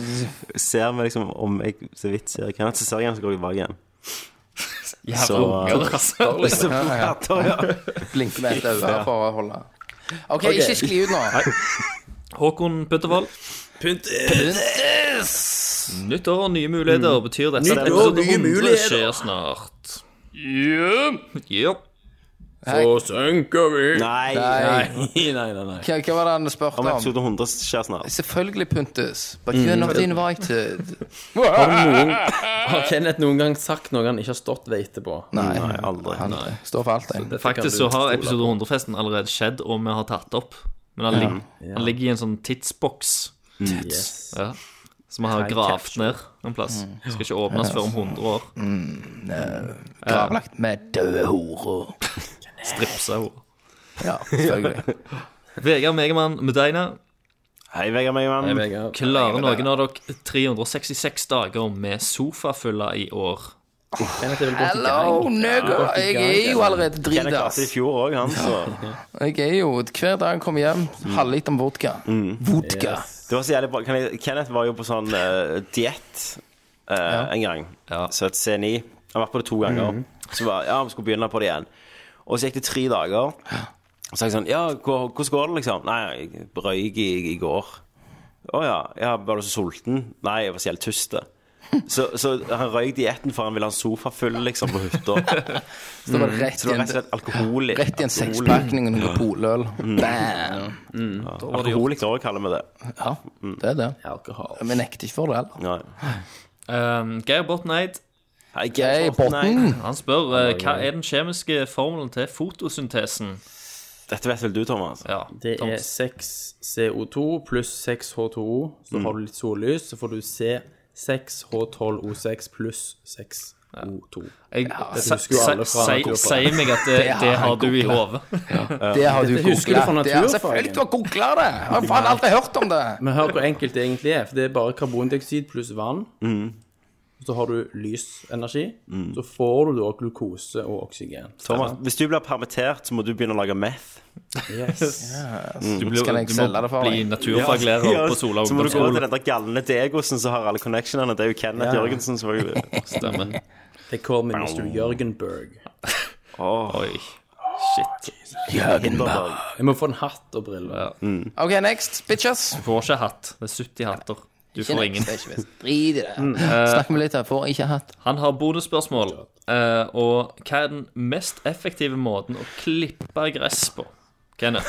Speaker 5: ser vi liksom om jeg så vidt ser Kenneth, så ser jeg ham, så går jeg bak igjen.
Speaker 7: Jævla
Speaker 5: (laughs) Så-
Speaker 7: unger, altså.
Speaker 5: Så prater, ja.
Speaker 7: Blinker med et øye
Speaker 5: Ja.
Speaker 7: for å holde OK,
Speaker 8: Ok.
Speaker 7: ikke skli ut nå.
Speaker 8: Håkon Puttervold Puntis! Nytt år, nye muligheter. Betyr dette
Speaker 9: Nytt
Speaker 8: at
Speaker 9: år,
Speaker 8: episode
Speaker 9: Mm. nye
Speaker 8: 100
Speaker 9: muligheter.
Speaker 8: skjer snart? Yep. Yep.
Speaker 9: Så synker vi.
Speaker 5: Nei.
Speaker 7: Nei.
Speaker 5: nei, nei, nei.
Speaker 7: Hva, hva var det han spurte
Speaker 5: Om
Speaker 7: om?
Speaker 5: episode 100 skjer snart.
Speaker 7: Selvfølgelig Puntus, but you're
Speaker 9: Mm.
Speaker 7: not invited.
Speaker 9: Har, noen, har Kenneth noen gang sagt noe han ikke har stått ved etterpå?
Speaker 7: Nei,
Speaker 5: aldri.
Speaker 7: han står for alt, jeg.
Speaker 8: Faktisk så har episode 100-festen allerede skjedd, og vi har tatt opp. Men han,
Speaker 7: Ja.
Speaker 8: ligger, han ligger i en sånn tidsboks.
Speaker 9: Yes.
Speaker 8: Ja. Som vi har
Speaker 9: Time
Speaker 8: gravd
Speaker 9: capsule. Mm.
Speaker 8: ned en plass. Skal ikke åpnes før om 100 år.
Speaker 7: Gravlagt med døde horer.
Speaker 8: Stripsa henne.
Speaker 7: Ja,
Speaker 5: (laughs)
Speaker 7: selvfølgelig.
Speaker 8: Vegard Megamann Medina.
Speaker 5: Hei, Vegard Megamann.
Speaker 8: Klarer noen av dere 366 dager med sofafulla i år?
Speaker 7: Hello, nigger! Jeg er jo allerede
Speaker 5: Kenneth klarte det i
Speaker 7: dritass.
Speaker 5: fjor òg, han, så
Speaker 7: Jeg er jo hver dag jeg kommer hjem,
Speaker 5: Mm.
Speaker 7: halvliter med vodka. Vodka.
Speaker 5: Det var så jævlig bra. Kan jeg- Kenneth var jo på sånn uh, diett eh, en gang. Så et C9. Han har vært på det to ganger.
Speaker 7: Mhm.
Speaker 5: Så var, ja, vi skulle begynne på det igjen. Og så gikk det tre dager. Og så er jeg sånn Ja, hvor- hvordan går det, liksom? Nei, jeg røyk i, i går. Å ja. ja. Var du så sulten? Nei, jeg var så jævlig tust. Så, så han røyk dietten for han ville ha en sofa full, liksom, på hytta.
Speaker 7: Så det var
Speaker 5: Mm.
Speaker 7: rett
Speaker 5: Så det var rett
Speaker 7: i
Speaker 5: og
Speaker 7: en,
Speaker 5: slett alkohol i
Speaker 7: rett i
Speaker 5: alkohol i-
Speaker 7: en sekspakning og noe poløl. Bam!
Speaker 5: Ja. Alkoholiker òg, kaller vi det.
Speaker 7: Ja, det er det.
Speaker 5: Alkohol.
Speaker 7: Vi nekter ikke for det heller.
Speaker 5: Nei.
Speaker 8: Um, Geir Bortneid.
Speaker 5: Hei,
Speaker 7: Geir Borten.
Speaker 8: Han spør eh, hva er den kjemiske formelen til fotosyntesen.
Speaker 5: Dette vet vel du, Thomas?
Speaker 8: Ja,
Speaker 9: Det er
Speaker 8: Thomas.
Speaker 9: 6 CO2 pluss 6 H2O. Så har du litt sollys, så får du se 6 H12O6 pluss 6 O2.
Speaker 8: Jeg
Speaker 9: Dette
Speaker 8: se-
Speaker 9: husker jo alle
Speaker 8: se-
Speaker 9: fra
Speaker 8: si-
Speaker 9: naturfag.
Speaker 8: Sier meg at det,
Speaker 7: Det har
Speaker 8: det
Speaker 7: han
Speaker 8: har du i
Speaker 7: googlet.
Speaker 8: hodet.
Speaker 7: Det har du
Speaker 9: Dette husker du fra
Speaker 7: googla. Det har-
Speaker 9: naturfagen.
Speaker 7: Selvfølgelig du har googla det! Jeg har faen aldri hørt om det.
Speaker 9: Men hør hvor enkelt det egentlig er. For det er bare karbondioksid pluss vann. Så har du lysenergi. Så får du da glukose og oksygen.
Speaker 5: Thomas, hvis du blir permittert, så må du begynne å lage meth.
Speaker 9: Yes.
Speaker 8: Du, blir,
Speaker 7: Skal jeg
Speaker 8: du
Speaker 7: selge det
Speaker 8: må
Speaker 7: for
Speaker 8: bli
Speaker 7: deg?
Speaker 8: naturfaglærer
Speaker 5: Ja,
Speaker 8: på Sola
Speaker 5: Så må du gå til
Speaker 8: ungdomsskole.
Speaker 5: den der galne Degosen som har alle connectionene. Det er jo Kenneth Jørgensen, selvfølgelig.
Speaker 8: Stemmer.
Speaker 9: They call me Mr. Jørgenberg.
Speaker 8: Oi. Shit.
Speaker 5: Hinderberg.
Speaker 9: Jeg må få en hatt og briller.
Speaker 7: OK, next, bitches.
Speaker 8: Du får ikke hatt. Det er 70 hatter. Du får
Speaker 7: Ikke next,
Speaker 8: ingen.
Speaker 7: det er ikke vits. Drit i det. Snakk med litt her. Får ikke hatt.
Speaker 8: Han har bonusspørsmål. eh, og hva er den mest effektive måten å klippe gress på? Kenneth.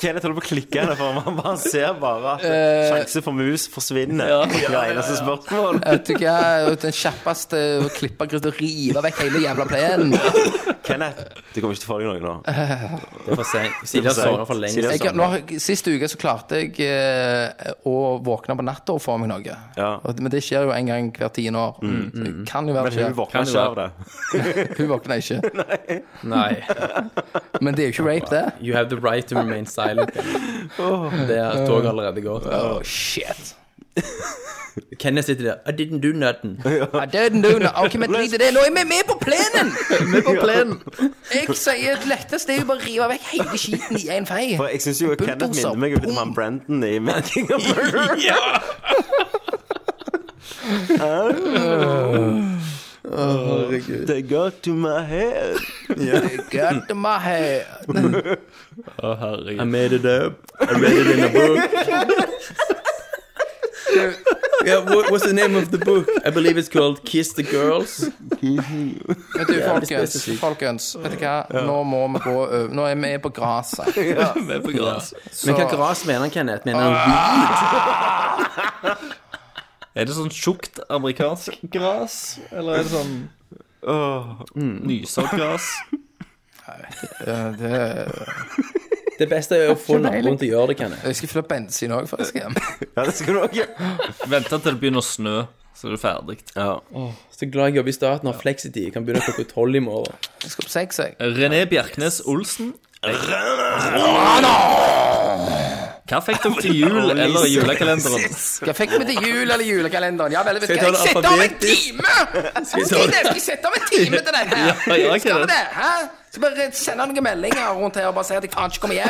Speaker 5: Kenneth holder på å klikke henne, for man bare ser bare at sjanse for mus forsvinner. Ja, eneste spørsmål.
Speaker 7: Vet du hva, den kjappeste å klippe gress og rive vekk hele jævla plenen.
Speaker 5: Kenneth, du kommer ikke til å få deg noe nå.
Speaker 9: Det er for sent. Silja
Speaker 5: for sent.
Speaker 9: svarer for lenge
Speaker 5: Silja
Speaker 9: siden.
Speaker 7: Jeg, nå, har- sist uke så klarte jeg eh, å våkne på natta og få meg noe.
Speaker 5: Ja.
Speaker 7: Og- Men det skjer jo en gang hvert tiende år. Det Kan jo være
Speaker 5: Men hun
Speaker 7: skjer.
Speaker 5: våkner ikke av det.
Speaker 7: Hun våkner ikke.
Speaker 9: Nei.
Speaker 7: Men det er jo ikke rape, det.
Speaker 9: You have the right to remain (laughs) silent. Det er toget allerede går.
Speaker 7: Oh, shit.
Speaker 9: Kenneth sitter der. I didn't do (laughs) nothing.
Speaker 7: I didn't do no. OK, men drit i det. Nå er vi med på plenen! (laughs) Vi på plenen. Jeg sier det letteste er jo bare å rive vekk hele skiten i en fei.
Speaker 5: For jeg synes jo Kenneth
Speaker 7: Bulldozer,
Speaker 5: minner meg om han Brendan i Making
Speaker 7: (laughs)
Speaker 5: a Murder. They got to my head.
Speaker 7: Get to my head.
Speaker 8: Å, herregud.
Speaker 9: I made it up. I read it in a book. (laughs) Yeah, what, what's the name of the book? I believe it's called Kiss the Girls.
Speaker 7: Vet du, folkens, folkens vet du hva? Nå må vi gå over. Nå er vi på
Speaker 5: (laughs)
Speaker 7: gresset.
Speaker 8: Vi er på gress.
Speaker 9: Men
Speaker 7: Så- Ah.
Speaker 9: hva gras mener han, Kenneth? Mener han
Speaker 8: Er det sånn tjukt amerikansk gras? Eller er det sånn Nysågras?
Speaker 7: Eh, Det,
Speaker 9: Det beste er å få naboen til å gjøre det, Kenneth.
Speaker 7: jeg skal fylle bensin òg før jeg skal hjem.
Speaker 5: (laughs) Ja, det skal du også gjøre.
Speaker 8: Vent til det begynner å snø, så er du ferdig.
Speaker 9: Så glad jeg jobber i staten og har flexity. Jeg kan begynne klokka tolv i
Speaker 7: (laughs)
Speaker 9: morgen.
Speaker 7: Jeg skal på seks, jeg.
Speaker 8: René Bjerknes Olsen. Hva fikk dere til jul eller i julekalenderen?
Speaker 7: Hva fikk vi til jul eller julekalenderen? Ja vel, vet du
Speaker 9: Skal
Speaker 7: hva, jeg
Speaker 9: jeg ta
Speaker 7: setter av
Speaker 9: det
Speaker 7: en time! Skal jeg sette av en time til denne her?
Speaker 8: Ja, ja,
Speaker 7: Skal
Speaker 9: (laughs)
Speaker 7: vi
Speaker 8: Kenneth.
Speaker 7: det? Hæ? Skal bare sende noen meldinger rundt her og bare si at jeg faen ikke kommer
Speaker 9: (laughs)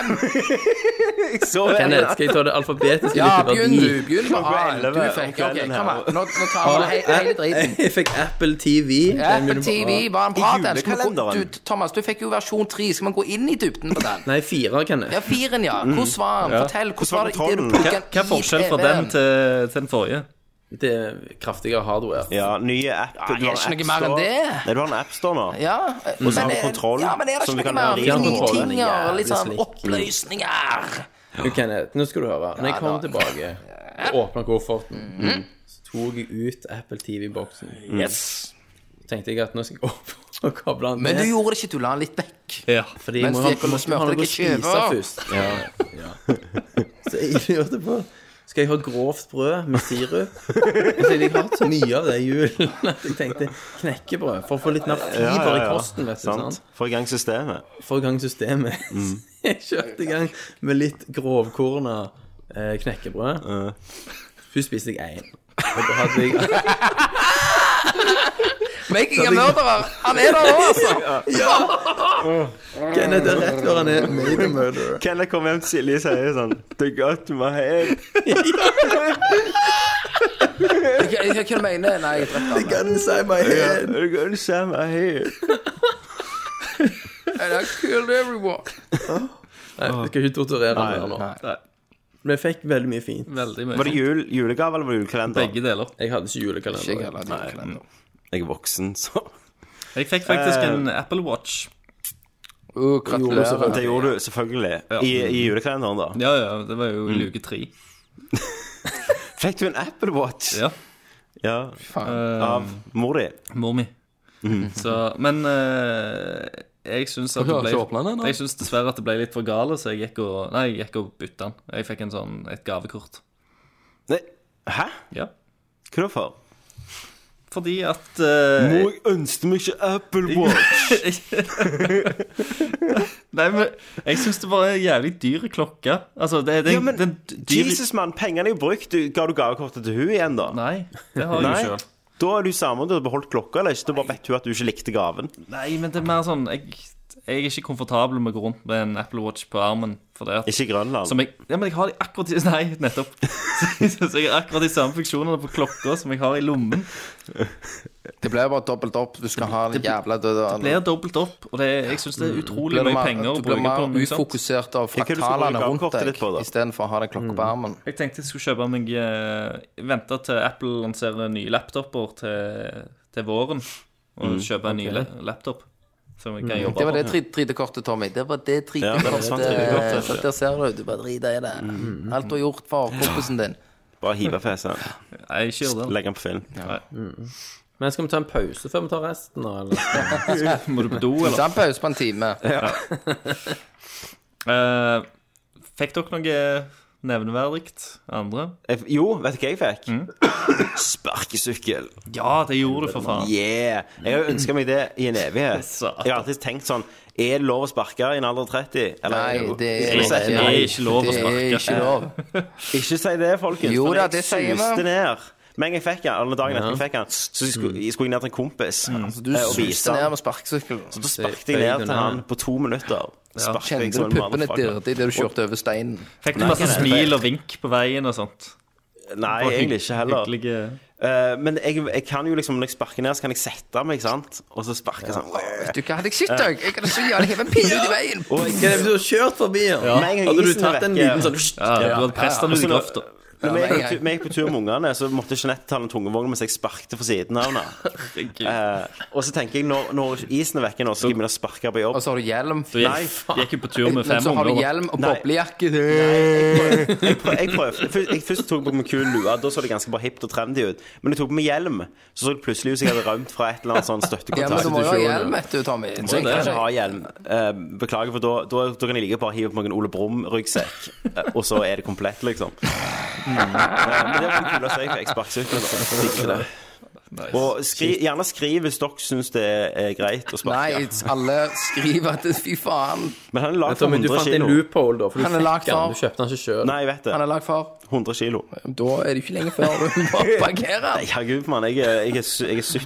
Speaker 7: hjem.
Speaker 9: Jeg så Kenneth, skal jeg ta det alfabetiske?
Speaker 7: Ja,
Speaker 9: litt i
Speaker 7: begynn du. Ah, Begynn
Speaker 9: verdi?
Speaker 7: på A. Du fikk OK, kom her. Nå, nå tar vi he- hele (laughs) driten.
Speaker 9: Ah, Jeg fikk Apple TV. den
Speaker 7: Apple
Speaker 9: begynner på
Speaker 7: TV,
Speaker 9: A.
Speaker 7: var en bra den? Skal vi gå- Du, Thomas, du fikk jo versjon 3. Skal man gå inn i dybden på den?
Speaker 9: Nei, fire, Kenneth.
Speaker 7: Ja, firen, ja.
Speaker 9: Mm.
Speaker 7: Hvordan var den?
Speaker 9: Ja.
Speaker 7: Fortell. Hvordan var det i det du
Speaker 8: Hva,
Speaker 7: plukket
Speaker 8: hva er forskjellen fra den til, til den forrige?
Speaker 9: Det er kraftigere hardware.
Speaker 5: Ja, nye app.
Speaker 7: Ja, jeg er ikke noe mer enn det.
Speaker 5: Nei, du har en appstore nå.
Speaker 7: Ja,
Speaker 5: Og så har
Speaker 7: men
Speaker 5: du
Speaker 7: er-
Speaker 5: kontroll,
Speaker 7: ja, men er det
Speaker 5: som du
Speaker 7: ikke noe
Speaker 5: kan
Speaker 7: mer
Speaker 5: ha i
Speaker 7: nye
Speaker 5: kontrollen.
Speaker 7: ting og litt sånn
Speaker 9: Jævlig slitt. Mm.
Speaker 7: oppløsninger?
Speaker 9: Du, Kenneth, nå skal du høre. Når jeg kom tilbake og åpna kofferten,
Speaker 7: Mm.
Speaker 9: så tok jeg ut Apple TV-boksen.
Speaker 7: Yes.
Speaker 9: Så tenkte jeg at nå skal jeg opp (laughs) og koble den
Speaker 7: Men du
Speaker 9: ned.
Speaker 7: gjorde det ikke, du la den litt vekk.
Speaker 8: Ja,
Speaker 9: Fordi jeg
Speaker 7: Mens
Speaker 9: må
Speaker 7: du
Speaker 9: ha,
Speaker 7: gikk og
Speaker 9: måtte ha
Speaker 7: smurte
Speaker 9: noe å
Speaker 7: deg i
Speaker 9: spise
Speaker 7: skiver.
Speaker 9: først. Ja. (laughs) Så jeg lurte på Skal jeg ha grovt brød med sirup? Og så jeg har hatt så mye av det i julen (laughs) at jeg tenkte knekkebrød. For å få litt mer fiber i kosten, vet du. sant?
Speaker 5: Få i gang systemet.
Speaker 9: Få i gang systemet.
Speaker 7: Mm.
Speaker 9: (laughs) Jeg kjørte i gang med litt grovkorna eh, knekkebrød. Først spiste jeg én. Og da hadde jeg
Speaker 7: Making a murderer! Han er der nå, (laughs) altså!
Speaker 9: Kenneth er rett før han er made a murderer.
Speaker 5: Kenneth kommer hjem til Silje og sier sånn Det er godt med egg.
Speaker 7: Jeg- jeg- Hva mener du? Nei, jeg drepte han.
Speaker 9: Kan du si meg
Speaker 5: Ja, Det er godt med egg.
Speaker 7: And I killed everyone.
Speaker 9: Nei, vi skal ikke torturere
Speaker 5: Nei,
Speaker 9: han der nå. Men jeg fikk veldig mye fint.
Speaker 8: Veldig mye.
Speaker 5: Var det jul, julegave eller var det julekalender?
Speaker 8: Begge deler.
Speaker 9: Jeg hadde
Speaker 7: Ikke
Speaker 9: ikke
Speaker 7: jeg
Speaker 9: julekalender.
Speaker 7: heller, jeg heller.
Speaker 5: Jeg er voksen, så
Speaker 8: Jeg fikk faktisk en
Speaker 5: Eh.
Speaker 8: Apple Watch.
Speaker 7: Uh, gratulerer.
Speaker 5: Det gjorde du selvfølgelig. I, i julekalenderen, da.
Speaker 8: Ja, ja, det var
Speaker 5: Mm.
Speaker 8: jo i luke tre.
Speaker 5: Fikk du en Apple Watch?
Speaker 8: Ja. Eh.
Speaker 5: Ja. Av mor di?
Speaker 8: Mor mi.
Speaker 5: Mm.
Speaker 8: Så, men eh, jeg syns at det
Speaker 7: Har du ikke åpnet den
Speaker 8: ble
Speaker 7: ennå?
Speaker 8: Jeg syns dessverre at det ble litt for gale, så jeg gikk og Nei, jeg gikk og bytta den. Jeg fikk en sånn, et gavekort.
Speaker 5: Nei, hæ?
Speaker 8: Ja.
Speaker 5: Hva da for?
Speaker 8: Fordi at eh, (laughs)
Speaker 5: Mor, jeg ønsker meg ikke Apple Watch.
Speaker 8: Nei, men jeg syns det var en jævlig dyr klokke. Altså, det, det,
Speaker 5: Ja, men
Speaker 8: den dyr...
Speaker 5: Jesus, mann, pengene er jo brukt. Du- Ga du gavekortet til hun igjen, da?
Speaker 8: Nei, det har jeg
Speaker 5: Nei.
Speaker 8: jo sjøl.
Speaker 5: Da er du sammen til å beholde klokka, eller ikke? Da bare vet hun at du ikke likte gaven.
Speaker 8: Nei, men det er mer sånn Jeg, jeg er ikke komfortabel med å gå rundt med en Apple Watch på armen. For det at,
Speaker 5: Ikke i Grønland.
Speaker 8: som jeg, ja, men jeg har de akkurat i- (laughs) Nei, nettopp. Så, så jeg har akkurat de samme funksjonene på klokka som jeg har i lommen.
Speaker 7: Det blir bare dobbelt opp. Du skal ha den jævla døde
Speaker 8: Blir dobbelt opp, og det, jeg syns det er utrolig mye penger å
Speaker 7: Du blir
Speaker 8: bruke på
Speaker 7: mer
Speaker 8: noe sånt.
Speaker 7: ufokusert av
Speaker 5: Hva er det du skal liksom
Speaker 7: fraktalene
Speaker 5: bruke
Speaker 7: rundt
Speaker 5: gavekortet
Speaker 7: deg
Speaker 5: ditt på, da?
Speaker 7: istedenfor å ha den klokka på armen.
Speaker 8: Jeg tenkte jeg skulle kjøpe meg eh, Vente til Apple lanserer nye laptoper til, til våren. Og kjøpe en ny la- laptop som jeg kan jobbe
Speaker 7: Mm. Det var
Speaker 8: på.
Speaker 7: det 3D-kortet, Tommy. Det var det
Speaker 5: Ja, det var sant
Speaker 7: 3D-kortet.
Speaker 5: 3D-kortet.
Speaker 7: Så der ser du. Du bare driter i det. Alt du har gjort for kompisen din.
Speaker 5: Bare hive fesen.
Speaker 8: Nei, ikke gjør det.
Speaker 5: Legge den på film.
Speaker 9: Men skal vi ta en pause før vi tar resten, da? Eller?
Speaker 8: Må du på do, eller?
Speaker 7: Ta en pause på en time.
Speaker 8: Eh, fikk dere noe nevneverdig andre?
Speaker 5: Jeg- Jo, vet du hva jeg fikk? Sparkesykkel.
Speaker 8: Ja, det gjorde du, for faen.
Speaker 5: Yeah! Jeg har jo ønska meg det i en evighet.
Speaker 8: Satan.
Speaker 5: Jeg har alltid tenkt sånn Er det lov å sparke i en alder av 30? Eller,
Speaker 8: er
Speaker 7: Nei, det er
Speaker 8: ikke- det er ikke lov å
Speaker 7: Det er
Speaker 8: sparke.
Speaker 7: ikke lov.
Speaker 5: Ikke si det, folkens.
Speaker 7: Jo
Speaker 5: for
Speaker 7: da,
Speaker 5: jeg
Speaker 7: det sier vi.
Speaker 5: suste ned. Men jeg fikk den, eller dagen etter jeg fikk den, så skulle jeg skulle ned til en kompis.
Speaker 7: Du
Speaker 5: eh, og vise den.
Speaker 7: suste ned med sparkesykkel.
Speaker 5: Da sparket jeg ned til han på to minutter. Sparket jeg
Speaker 7: Kjente
Speaker 5: som
Speaker 7: du
Speaker 5: en
Speaker 7: puppene
Speaker 5: motherfucker.
Speaker 7: dirre idet du kjørte over steinen?
Speaker 8: Fikk du masse smil og vink på veien og sånt?
Speaker 5: Nei,
Speaker 8: Og
Speaker 5: egentlig ikke heller.
Speaker 8: Hyggelige
Speaker 5: Eh, men jeg, jeg kan jo liksom, når jeg sparker ned, så kan jeg sette meg, sant? Og så sparker jeg sånn
Speaker 7: Du, hva hadde jeg sett deg? Jeg hadde så gjerne hevet en pinne ut i veien.
Speaker 9: Kenneth, du har kjørt forbi han.
Speaker 5: Med en gang
Speaker 9: Hadde du
Speaker 5: isen er
Speaker 9: tatt en
Speaker 5: vekke.
Speaker 9: liten sånn
Speaker 8: Ja, du hadde presset den ut i
Speaker 5: Altså, nå-
Speaker 8: grøfta.
Speaker 5: Når
Speaker 7: Ja,
Speaker 5: vi gikk
Speaker 7: men
Speaker 5: på
Speaker 7: jeg-
Speaker 5: tu- vi gikk på tur med ungene, så måtte Jeanette ta den tungevognen mens jeg sparkte for siden av
Speaker 7: (laughs)
Speaker 5: henne. Eh, og så tenker jeg, når, når isen er vekke nå, så skal jeg begynne å sparke på jobb.
Speaker 7: Og så har du hjelm.
Speaker 8: Du
Speaker 5: Eh,
Speaker 8: gikk, gikk jo på tur med
Speaker 7: Men
Speaker 8: fem
Speaker 7: så har du
Speaker 8: ungdommer.
Speaker 7: hjelm og
Speaker 5: Nei.
Speaker 7: boblejakke.
Speaker 5: Jeg prøv- jeg prøvde først, jeg først tok på meg kul lue, da så det ganske bare hipt og trendy ut. Men jeg tok på meg hjelm, så så det plutselig ut som jeg hadde rømt fra et eller annet sånn
Speaker 7: Ja, men du må
Speaker 5: støttekontakt.
Speaker 7: jo ha hjelm, vet du, Tommy.
Speaker 5: Så jeg kan ikke ha hjelm. Eh, beklager, for da, da, da kan jeg like bare hive på meg en Ole Brumm-ryggsekk, eh, og så er det komplett, liksom.
Speaker 7: Mm.
Speaker 5: Eh, men det var det kuleste jeg fikk. Sparkesykkelen. da. Digger det. Og skri, gjerne skriv hvis dere syns det er greit å
Speaker 7: Nei,
Speaker 5: sparke.
Speaker 7: alle skriver at fy faen.
Speaker 5: Men han er lagd for
Speaker 9: Tommy, du
Speaker 5: 100
Speaker 9: fant en
Speaker 5: kilo.
Speaker 9: loophole, da. For du
Speaker 7: Han er lagd
Speaker 9: fikk
Speaker 7: for-
Speaker 9: den. Du kjøpte den ikke sjøl.
Speaker 5: Nei, jeg vet det.
Speaker 7: Han er lagd for.
Speaker 5: 100 kilo.
Speaker 7: Da er det ikke lenge før du må parkere.
Speaker 5: Nei, herregud, mann. Jeg, er- jeg, er sy- jeg er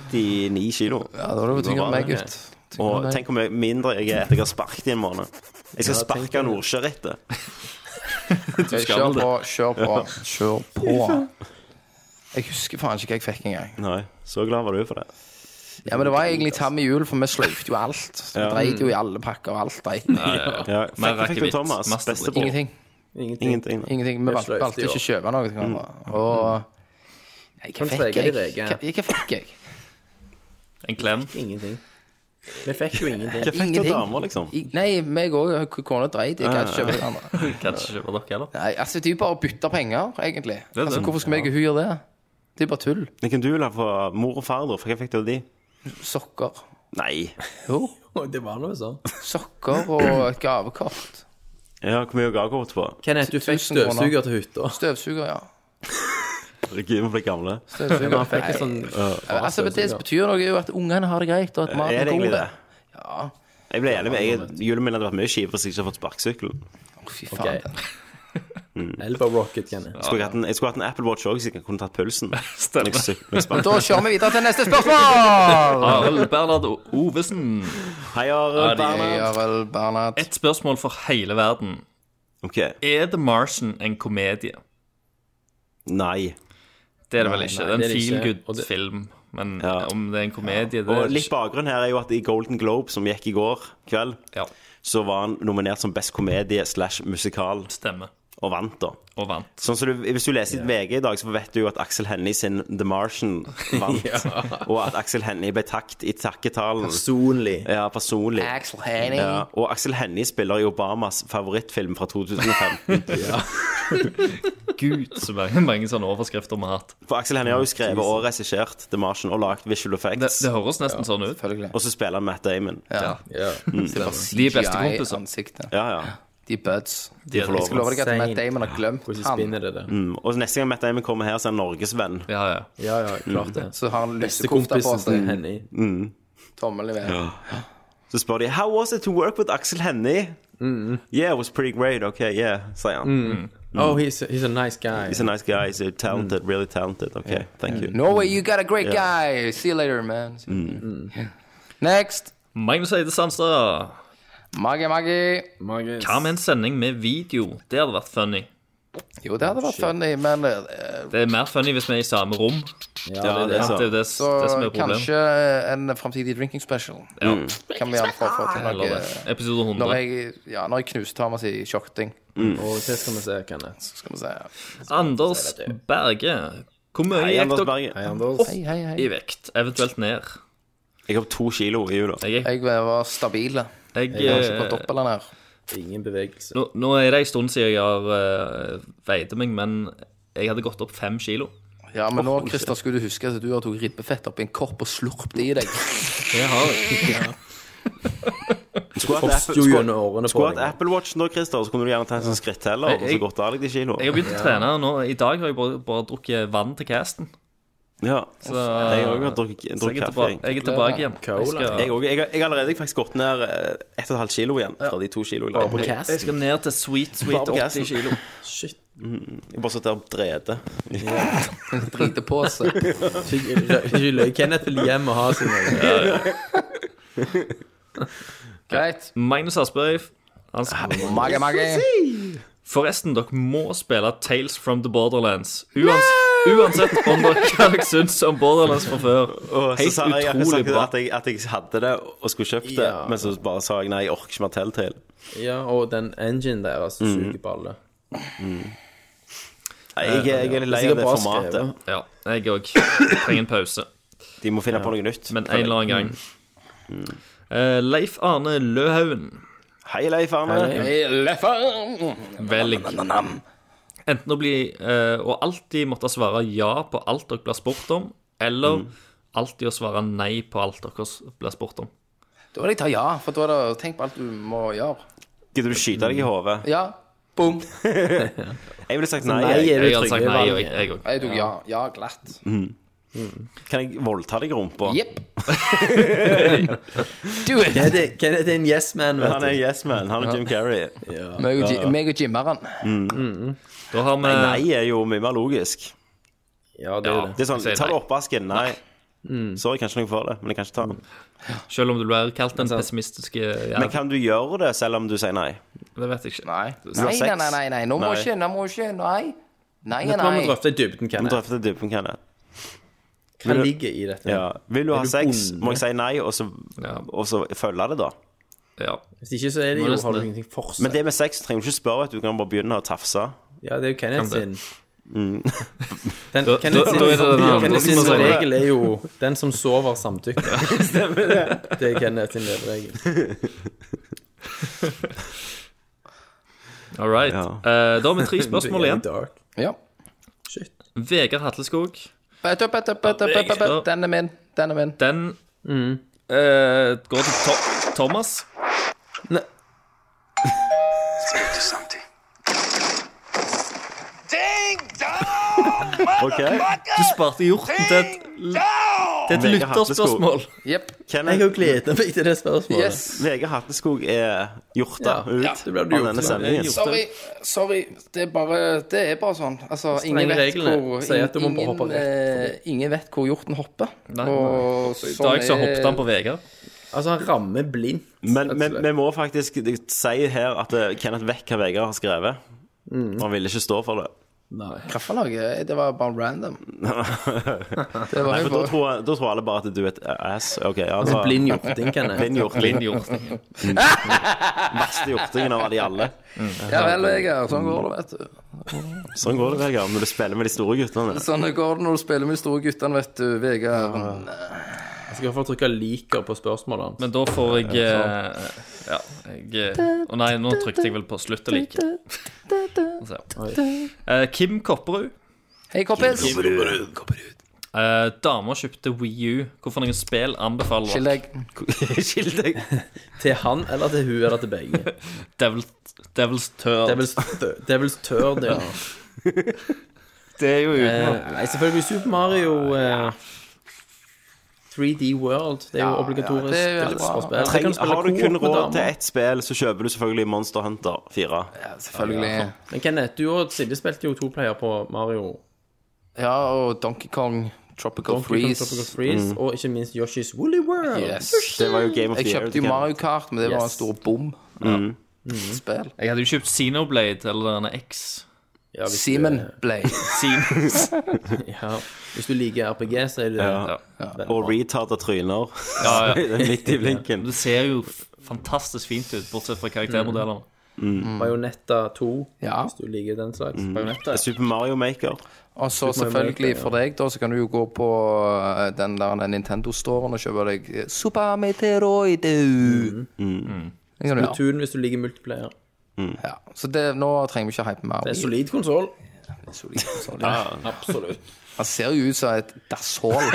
Speaker 5: 79 kilo.
Speaker 7: Ja, da er du tyngre enn meg, gutt.
Speaker 5: Og tenk hvor mye mindre jeg er etter jeg har sparket i en måned. Jeg skal
Speaker 7: Ja, tenk
Speaker 5: sparke Nordsjø etter.
Speaker 7: Ok, Kjør på, kjør på. Kjør på. Jeg husker faen ikke hva jeg fikk engang.
Speaker 5: Nei, så glad var du for det.
Speaker 7: Ja, men det var egentlig tam i jul, for vi sløyfte jo alt. Vi
Speaker 5: Ja.
Speaker 7: dreit jo i alle pakker og alt. Dreit. vi.
Speaker 5: Ja, ja, ja. Ja, Mer fikk- fikk du, rakevitt, Thomas? masse Beste på.
Speaker 7: Ingenting.
Speaker 5: Ingenting. Ingenting, nei.
Speaker 7: Ingenting. Vi
Speaker 5: Vi
Speaker 7: valgte
Speaker 5: sløyfte
Speaker 7: valgte
Speaker 5: i
Speaker 7: ikke å
Speaker 5: år. Mm.
Speaker 7: kjøpe noe til hverandre. Og Nei, hva
Speaker 9: Hvem
Speaker 7: fikk
Speaker 9: treger
Speaker 7: jeg?
Speaker 9: de rege?
Speaker 7: Hva- Hva fikk jeg?
Speaker 8: En klem?
Speaker 9: Ingenting. Vi fikk jo
Speaker 5: (laughs)
Speaker 9: ingenting.
Speaker 7: Ingenting.
Speaker 5: liksom.
Speaker 7: I- Nei, meg òg. Kona dreit.
Speaker 5: Ah,
Speaker 7: Jeg gadd ikke kjøpe til hverandre.
Speaker 8: Kan ikke kjøpe dere heller.
Speaker 7: Nei, altså, det er jo bare å bytte penger, egentlig.
Speaker 5: Det er
Speaker 7: Altså,
Speaker 5: det.
Speaker 7: hvorfor skal meg og hun gjøre det? Det er bare tull.
Speaker 5: Men kan du la få mor og far, da? For hva fikk du av de?
Speaker 7: Sokker.
Speaker 5: Nei.
Speaker 7: Jo.
Speaker 9: Det var noe sånn.
Speaker 7: Sokker og et gavekort.
Speaker 5: Ja, hvor mye gavekort på?
Speaker 9: Kenneth, du fikk
Speaker 7: 1000 kroner.
Speaker 9: støvsuger til hytta.
Speaker 7: Støvsuger, ja.
Speaker 5: Herregud, vi ble gamle.
Speaker 7: Støvsuger.
Speaker 9: Men han fikk en sånn-
Speaker 5: (laughs) Ja.
Speaker 7: Ja, altså, men det som betyr noe, er jo at ungene har det greit, og at maten
Speaker 5: Er
Speaker 7: er
Speaker 5: det egentlig
Speaker 7: god.
Speaker 5: det?
Speaker 7: Ja.
Speaker 5: Jeg ble enig med jeg, Julen min hadde vært mye kjipere hvis jeg ikke hadde fått sparkesykkelen.
Speaker 7: Fy
Speaker 9: (laughs) Ok.
Speaker 7: faen.
Speaker 9: Elbow rocket, Kenneth.
Speaker 5: Jeg skulle hatt en, jeg skulle hatt en Apple Watch òg, så jeg kunne tatt pulsen. Stemmer.
Speaker 7: Men da kjører vi videre til neste
Speaker 5: (laughs)
Speaker 7: spørsmål!
Speaker 8: Arild Bernhard Ovesen.
Speaker 5: Hei, Arild
Speaker 8: Hei,
Speaker 7: Bernhard.
Speaker 8: Et spørsmål for hele verden.
Speaker 5: Ok.
Speaker 8: Er The Martian en komedie?
Speaker 5: Nei.
Speaker 8: Det er det vel
Speaker 5: Nei,
Speaker 8: ikke.
Speaker 5: nei,
Speaker 8: Det er
Speaker 5: det er
Speaker 8: en
Speaker 5: det ikke. Og det-
Speaker 8: feelgood-film. Men om det er en komedie det
Speaker 5: Og
Speaker 8: er
Speaker 5: litt bakgrunn her er jo at i Golden Globe, som gikk i går kveld, så var han nominert som best komedie slash musikal.
Speaker 8: Stemmer.
Speaker 5: Og vant, da.
Speaker 8: Og vant.
Speaker 5: Sånn som du, Hvis du leser i VG i dag, så vet du jo at Axel Hennie sin The Martian vant.
Speaker 9: Ja.
Speaker 5: Og at Axel Hennie ble takt i takketalen.
Speaker 9: Personlig.
Speaker 5: Ja, personlig.
Speaker 7: Axel Hennie.
Speaker 5: Ja, og Axel Hennie spiller i Obamas favorittfilm fra 2015.
Speaker 8: (laughs) Gud, så mange, mange sånne overskrifter vi har hatt.
Speaker 5: For Axel Hennie har jo skrevet og regissert The Martian og lagd visual effects.
Speaker 8: Det høres nesten sånn ut.
Speaker 5: Og så spiller han Matt Damon.
Speaker 7: Ja.
Speaker 5: Mm.
Speaker 7: Det er bare
Speaker 8: De er bestekompiser.
Speaker 7: CGI-ansiktet.
Speaker 5: Ja, ja.
Speaker 7: De er buds.
Speaker 5: De er
Speaker 7: jeg skal love deg at Matt Damon har glemt han.
Speaker 5: Mm. Og neste gang Matt Damon kommer her, så er han Norgesvenn.
Speaker 8: Ja, ja.
Speaker 9: Ja, ja, klart det.
Speaker 7: Så har han lyssekofta på
Speaker 9: til
Speaker 7: seg.
Speaker 9: Henny.
Speaker 5: Mm.
Speaker 7: Tommel i været.
Speaker 5: Så spør de How was it to work with Axel Hennie? Yeah, it was pretty great. Okay, yeah, sier han.
Speaker 9: Mm. Oh, he's, he's a nice guy.
Speaker 5: He's a nice guy. He's talented,
Speaker 8: Mm.
Speaker 5: really talented. Okay, thank you.
Speaker 7: Norway, you got a great
Speaker 5: Ja.
Speaker 7: guy. See you later, man.
Speaker 5: Mm.
Speaker 7: Next.
Speaker 8: Magnus Eide Sandstad.
Speaker 7: Magi, magi.
Speaker 8: Hva med en sending med video? Det hadde vært funny.
Speaker 7: Jo, det hadde vært funny, men eh,
Speaker 8: Det er mer funny hvis vi er i samme rom.
Speaker 7: Ja,
Speaker 8: det, er det,
Speaker 7: sant.
Speaker 8: det,
Speaker 7: Så
Speaker 8: som er problemet.
Speaker 7: eh, kanskje en framtidig drinking special.
Speaker 8: Ja.
Speaker 7: Kan vi iallfall få til
Speaker 8: Eller
Speaker 7: noe
Speaker 8: det. Episode 100.
Speaker 7: Når jeg, ja, når jeg knuste Thomas i kjokting.
Speaker 8: Mm.
Speaker 9: Og det skal vi se, Kenneth.
Speaker 7: Skal vi se.
Speaker 8: Anders Berge. Hvor mye
Speaker 5: Hei,
Speaker 8: gikk
Speaker 5: Anders
Speaker 8: dere
Speaker 5: Berge. Hei,
Speaker 7: Anders. Hei, hei, hei.
Speaker 8: i vekt, eventuelt ned?
Speaker 5: Jeg opp to kilo i jula.
Speaker 8: Jeg gikk
Speaker 7: Jeg var stabil.
Speaker 8: Jeg,
Speaker 7: Jeg har ikke
Speaker 8: eh,
Speaker 7: gått opp eller ned.
Speaker 9: Ingen bevegelse.
Speaker 8: Nå, nå er det en stund siden jeg har eh, veid meg, men jeg hadde gått opp fem kilo.
Speaker 7: Ja, men nå,
Speaker 8: Åh,
Speaker 7: Christer, skulle du huske at du har tatt ribbefett oppi en kopp og slurpt det i deg.
Speaker 8: Det har jeg.
Speaker 5: Skulle hatt
Speaker 9: Forsto
Speaker 5: Apple-
Speaker 9: gjennom årene
Speaker 5: skulle-
Speaker 9: på
Speaker 5: Skulle
Speaker 9: deg.
Speaker 5: hatt Apple Watch nå, Christer, så kunne du gjerne tatt en sånn skritteller og så
Speaker 8: Jeg-
Speaker 5: gått av deg de kiloene.
Speaker 8: Jeg har begynt å trene nå. I dag har jeg bare, bare drukket vann til casten.
Speaker 5: Ja.
Speaker 8: Så-
Speaker 5: jeg har også drukket
Speaker 8: så jeg
Speaker 5: drukket
Speaker 8: er
Speaker 5: kaffe.
Speaker 8: tilbake- jeg er tilbake igjen. Jeg skal-
Speaker 5: Jeg, også- jeg, har- jeg har allerede faktisk gått ned eh, 1,5 kilo igjen fra de to kiloene.
Speaker 8: Bare på casten. Jeg skal ned til sweet, sweet 80 kilo.
Speaker 5: Shit. Mm. Jeg bare sitter og dreder.
Speaker 7: Driter på seg.
Speaker 9: Ikke løy. Kenneth vil hjem og ha sin
Speaker 8: Ja,
Speaker 7: Greit.
Speaker 8: Magnus Asbjørg. Han skriver-
Speaker 7: Mage, mage.
Speaker 8: Forresten, dere må spille Tales from the Borderlands. Uans Uansett om dere
Speaker 7: (laughs)
Speaker 8: hva dere syns om Borderlands fra før.
Speaker 5: Og så
Speaker 8: Helt
Speaker 5: sa jeg jeg har
Speaker 8: utrolig
Speaker 5: sagt
Speaker 8: bra.
Speaker 5: at jeg, at jeg hadde det og skulle kjøpt det,
Speaker 9: Ja.
Speaker 5: men så bare sa jeg nei, jeg orker ikke mer Telltale.
Speaker 9: Ja, og den engine der, altså,
Speaker 5: Mm.
Speaker 9: suger balle.
Speaker 5: Nei, jeg, er- jeg er litt lei av det formatet.
Speaker 8: Ja, jeg òg. Trenger en pause.
Speaker 5: De må finne på noe nytt.
Speaker 8: Men en eller annen gang.
Speaker 7: Mm.
Speaker 8: Eh, Leif Arne Løhaugen.
Speaker 5: Hei, Leif Arne.
Speaker 8: Velg. Enten å bli eh, Og alltid måtte svare ja på alt dere blir spurt om,
Speaker 7: Mm.
Speaker 8: eller alltid å svare nei på alt dere s- blir spurt om.
Speaker 7: Da vil jeg ta ja, for da er det tenk på alt du må gjøre.
Speaker 5: Gidder du skyte deg i hodet?
Speaker 7: Ja. Boom.
Speaker 5: Jeg ville sagt
Speaker 7: Så
Speaker 5: Altså, nei.
Speaker 7: nei er det
Speaker 8: Jeg hadde sagt nei,
Speaker 7: trygge valget.
Speaker 8: og jeg- jeg òg.
Speaker 7: Jeg tok ja. Ja, glatt.
Speaker 5: Mm. Kan jeg voldta deg i rumpa?
Speaker 7: Jepp. Do it.
Speaker 9: Kenneth er- Kenneth er en yes man, vet du.
Speaker 5: Han er yes man. Han og Jim Carrey.
Speaker 7: Meg og,
Speaker 5: Ja.
Speaker 7: Gi- meg og Jimmeren.
Speaker 5: Mm.
Speaker 8: Da har vi
Speaker 5: Nei, nei er jo mye mer logisk.
Speaker 9: Ja,
Speaker 5: det er sånn,
Speaker 8: jeg sier
Speaker 5: Ta
Speaker 8: nei.
Speaker 5: det oppvasken. Nei. Sorry, kanskje noe for det, men jeg kan ikke ta den.
Speaker 8: Selv om du blir kalt den pessimistiske jævla
Speaker 5: Men kan du gjøre det selv om du sier nei?
Speaker 8: Det vet jeg ikke.
Speaker 5: Du har
Speaker 7: Nei,
Speaker 5: sex.
Speaker 7: nei, nei, nei, nei. Nå må
Speaker 5: Nei.
Speaker 7: ikke, nå må ikke, nei. Nei,
Speaker 5: Dette må vi
Speaker 7: nei.
Speaker 5: drøfte.
Speaker 9: Drøfte dybden,
Speaker 5: Vi
Speaker 9: Kenneth.
Speaker 5: drøfter dybden, Kenneth.
Speaker 9: Hva
Speaker 5: Vil du-
Speaker 9: ligger i dette?
Speaker 5: Ja. Vil du
Speaker 9: Er
Speaker 5: ha
Speaker 9: du
Speaker 5: sex,
Speaker 9: bonde?
Speaker 5: må jeg si nei, og så, og så følge det, da.
Speaker 9: Hvis ikke, så er det
Speaker 5: Må
Speaker 9: jo
Speaker 5: nesten
Speaker 9: Har du
Speaker 5: det.
Speaker 9: ingenting for seg?
Speaker 5: Men det med sex trenger du ikke spørre, vet du. Du kan bare begynne å tafse.
Speaker 9: Ja, det er jo Kenneth
Speaker 5: Kan
Speaker 9: sin.
Speaker 5: det. Mm.
Speaker 9: Den,
Speaker 5: Da-
Speaker 9: Kenneth
Speaker 5: da- da er
Speaker 9: sin,
Speaker 5: det den andre
Speaker 9: Kenneth
Speaker 5: som
Speaker 9: sin
Speaker 5: sier det.
Speaker 9: regel er jo 'den som sover, samtykker'. Stemmer det. Det er Kenneth sin
Speaker 5: (laughs)
Speaker 9: leveregel.
Speaker 8: All right. Eh, da har vi
Speaker 5: (laughs)
Speaker 8: tre spørsmål igjen.
Speaker 7: Ja.
Speaker 9: Shit.
Speaker 8: Vegard Hatleskog.
Speaker 7: Bøtte, bøtte, bøtte, bøtte, bøtte. Den er min. Den er min.
Speaker 8: Den
Speaker 5: Mm.
Speaker 8: eh, går til to Thomas.
Speaker 9: Nei.
Speaker 8: Du sparte hjorten til et, til et
Speaker 5: Vegard
Speaker 8: lytterspørsmål.
Speaker 5: Hatleskog.
Speaker 7: Jepp.
Speaker 5: Kenneth-
Speaker 9: meg til det spørsmålet.
Speaker 5: Vegard Hatteskog er hjorta ut av denne sendingen.
Speaker 7: Sorry, sorry. Det er bare, det er bare sånn. Altså,
Speaker 9: Strenge
Speaker 7: ingen vet,
Speaker 9: reglene
Speaker 7: hvor,
Speaker 9: sier at du må
Speaker 7: ingen,
Speaker 9: hoppe rett
Speaker 7: eh, ingen vet hvor hjorten hopper. sånn
Speaker 8: nei. I dag så hoppet han på Vegard.
Speaker 9: Altså, han rammer blindt.
Speaker 5: Men men vi må faktisk si her at eh, Kenneth vet hva Vegard har skrevet. Og han ville ikke stå for det. (laughs)
Speaker 9: Nei.
Speaker 7: Kaffelaget, eh, det var bare random.
Speaker 5: Nei,
Speaker 7: var jo
Speaker 5: for da
Speaker 7: bare-
Speaker 5: tror, jeg- da tror alle bare at du er et ass. Ok, ja,
Speaker 9: Altså,
Speaker 5: da-
Speaker 9: blind hjorting, Kenneth.
Speaker 5: Blind hjorting.
Speaker 9: Blind
Speaker 8: hjorting.
Speaker 5: Mm. Verste hjortingen av de alle.
Speaker 7: Ja vel, Vegard. Sånn går det, vet du.
Speaker 5: Sånn går det, Vegard, når du spiller med de store guttene.
Speaker 7: Sånn går det når du spiller med de store guttene, vet du, Vegard.
Speaker 9: Jeg skal iallfall trykke 'liker' på spørsmålet hans.
Speaker 8: Men da får jeg eh, Ja, jeg eh, Å nei, nå trykte jeg vel på slutt å like. Eh, Kim Kopperud.
Speaker 7: Hei, kompis.
Speaker 8: Kim Eh, Dama kjøpte Wii U. Hvorfor noen spill anbefaler
Speaker 7: Skill deg.
Speaker 5: Skill deg. (laughs)
Speaker 9: Til han eller til hun eller til begge?
Speaker 8: Devils, Devils Turd.
Speaker 9: Devils, tø- Devils Turd, ja.
Speaker 8: Det er jo
Speaker 9: Eh, nei, selvfølgelig Super Mario eh, 3D World. Det er jo
Speaker 5: Ja,
Speaker 9: obligatorisk
Speaker 7: ja, det er veldig bra.
Speaker 9: for spill.
Speaker 5: Treng,
Speaker 9: Du kan spille
Speaker 5: har du
Speaker 9: co-op
Speaker 5: kun
Speaker 9: med
Speaker 5: råd
Speaker 9: damer.
Speaker 5: til ett spill, så kjøper du selvfølgelig Monster Hunter 4.
Speaker 7: Ja, selvfølgelig.
Speaker 9: Men Kenneth, du og Silje spilte jo toplayer på Mario.
Speaker 7: Ja, og Donkey Kong Tropical
Speaker 9: Donkey Kong
Speaker 7: Freeze.
Speaker 9: Tropical Freeze Og ikke minst Yoshi's Woolly World.
Speaker 7: Yes.
Speaker 5: Det var jo Game of the
Speaker 7: Jeg
Speaker 5: Year.
Speaker 7: kjøpte jo Mario Kart, men det var en
Speaker 9: Yes.
Speaker 7: stor bom.
Speaker 5: Mm.
Speaker 7: Spill.
Speaker 8: Jeg hadde jo kjøpt Xenoblade eller denne X.
Speaker 9: hvis
Speaker 7: Seaman Blade.
Speaker 8: Siemens.
Speaker 9: ja. Hvis du liker RPG, så er det
Speaker 5: Ja. Og retarda tryner. (laughs)
Speaker 8: Ja, ja.
Speaker 5: Midt i blinken.
Speaker 8: Det ser jo f- fantastisk fint ut, bortsett fra karaktermodellene.
Speaker 9: Bajonetta 2,
Speaker 7: Ja.
Speaker 9: hvis du liker den slags. Bayonetta,
Speaker 5: Super Mario Maker.
Speaker 7: Og så
Speaker 9: Super Mario
Speaker 7: selvfølgelig
Speaker 9: Maker,
Speaker 7: for deg, da, så kan du jo gå på eh, den der Nintendo-storen og kjøpe deg eh, Super Meteoroid.
Speaker 9: Mm.
Speaker 7: Mm. Det kan du gjøre.
Speaker 9: Platoon hvis du liker multiplayer.
Speaker 7: Ja. Så det, nå trenger vi ikke hype mer.
Speaker 9: Det er en solid konsoll.
Speaker 7: Solid, solid.
Speaker 9: Absolutt.
Speaker 7: Han ser jo ut som et dasshull.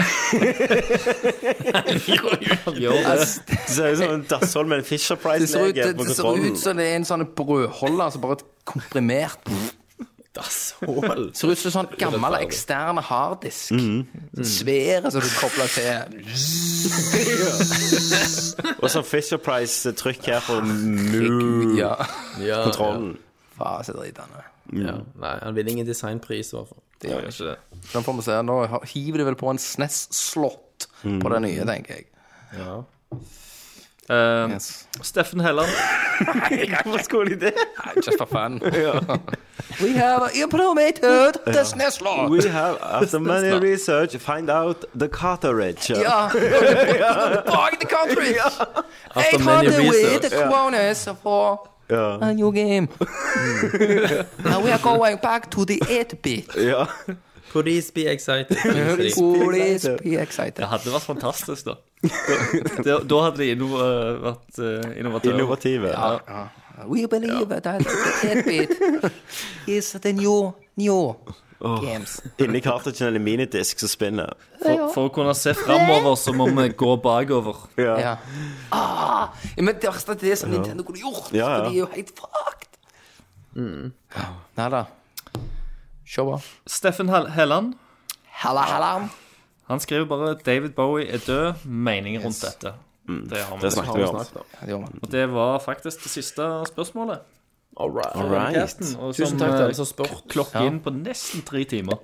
Speaker 8: Jo,
Speaker 7: Altså,
Speaker 5: Det ser ut som en dasshold med en Fisher
Speaker 7: Det ser ut,
Speaker 5: Price-lege
Speaker 7: det,
Speaker 5: på
Speaker 7: det ser
Speaker 5: kontrollen.
Speaker 7: ut som det er en sånn brødholder som bare er komprimert.
Speaker 9: Mm. Dasshål.
Speaker 7: Ser ut som en sånn gammel ekstern harddisk.
Speaker 9: Mm.
Speaker 7: Sånn Svære som du kobler til.
Speaker 5: Og sånn Fisher Price-trykk her på mu-
Speaker 7: Ja.
Speaker 9: Ja,
Speaker 5: kontrollen.
Speaker 7: Faen, så dritende.
Speaker 9: Ja. Nei, han vinner ingen designpris, i hvert fall.
Speaker 7: Det gjør jeg.
Speaker 8: ikke det.
Speaker 7: Den får vi se. Nå hiver de vel på en SNES-slott på den nye, tenker jeg.
Speaker 8: Eh,
Speaker 7: Yes.
Speaker 8: Steffen Helland.
Speaker 5: Hvorfor skulle de det?
Speaker 7: Just for (laughs) fun. We have implemented the SNES-slott.
Speaker 5: We have, after many research, find out the cartridge.
Speaker 7: Ja. Back the country. 800 with the quotas for
Speaker 5: Ja.
Speaker 7: a new game. Now we are going back to the 8-bit.
Speaker 5: ja.
Speaker 9: Police be
Speaker 5: (laughs)
Speaker 9: excited.
Speaker 7: Please be excited.
Speaker 8: Det hadde vært fantastisk, da. Da, da- da hadde de inno, eh, vært eh, innovatører.
Speaker 5: Innovative.
Speaker 8: Ja.
Speaker 7: We believe that the 8-bit is the new, new games.
Speaker 5: Inni cartridgen eller minidisk som spinner.
Speaker 8: For, for å kunne se framover, så må vi gå bakover.
Speaker 5: Ja.
Speaker 7: Ja. Ah, ja, men det verste er det som Nintendo kunne gjort.
Speaker 5: Ja, ja.
Speaker 7: For de er jo helt fucked. Nei da. Se bare.
Speaker 8: Steffen Hel- Helland
Speaker 7: Halla, halla.
Speaker 8: han skriver bare 'David Bowie er død'. Mening rundt dette. Det har vi.
Speaker 5: Det snakket vi om.
Speaker 7: Ja, det gjør man.
Speaker 8: Og det var faktisk det siste spørsmålet.
Speaker 9: All right.
Speaker 5: Right.
Speaker 8: Og
Speaker 9: Tusen
Speaker 8: som,
Speaker 9: takk til
Speaker 8: eh,
Speaker 9: alle som har spurt.
Speaker 8: Klokke inn på nesten tre timer.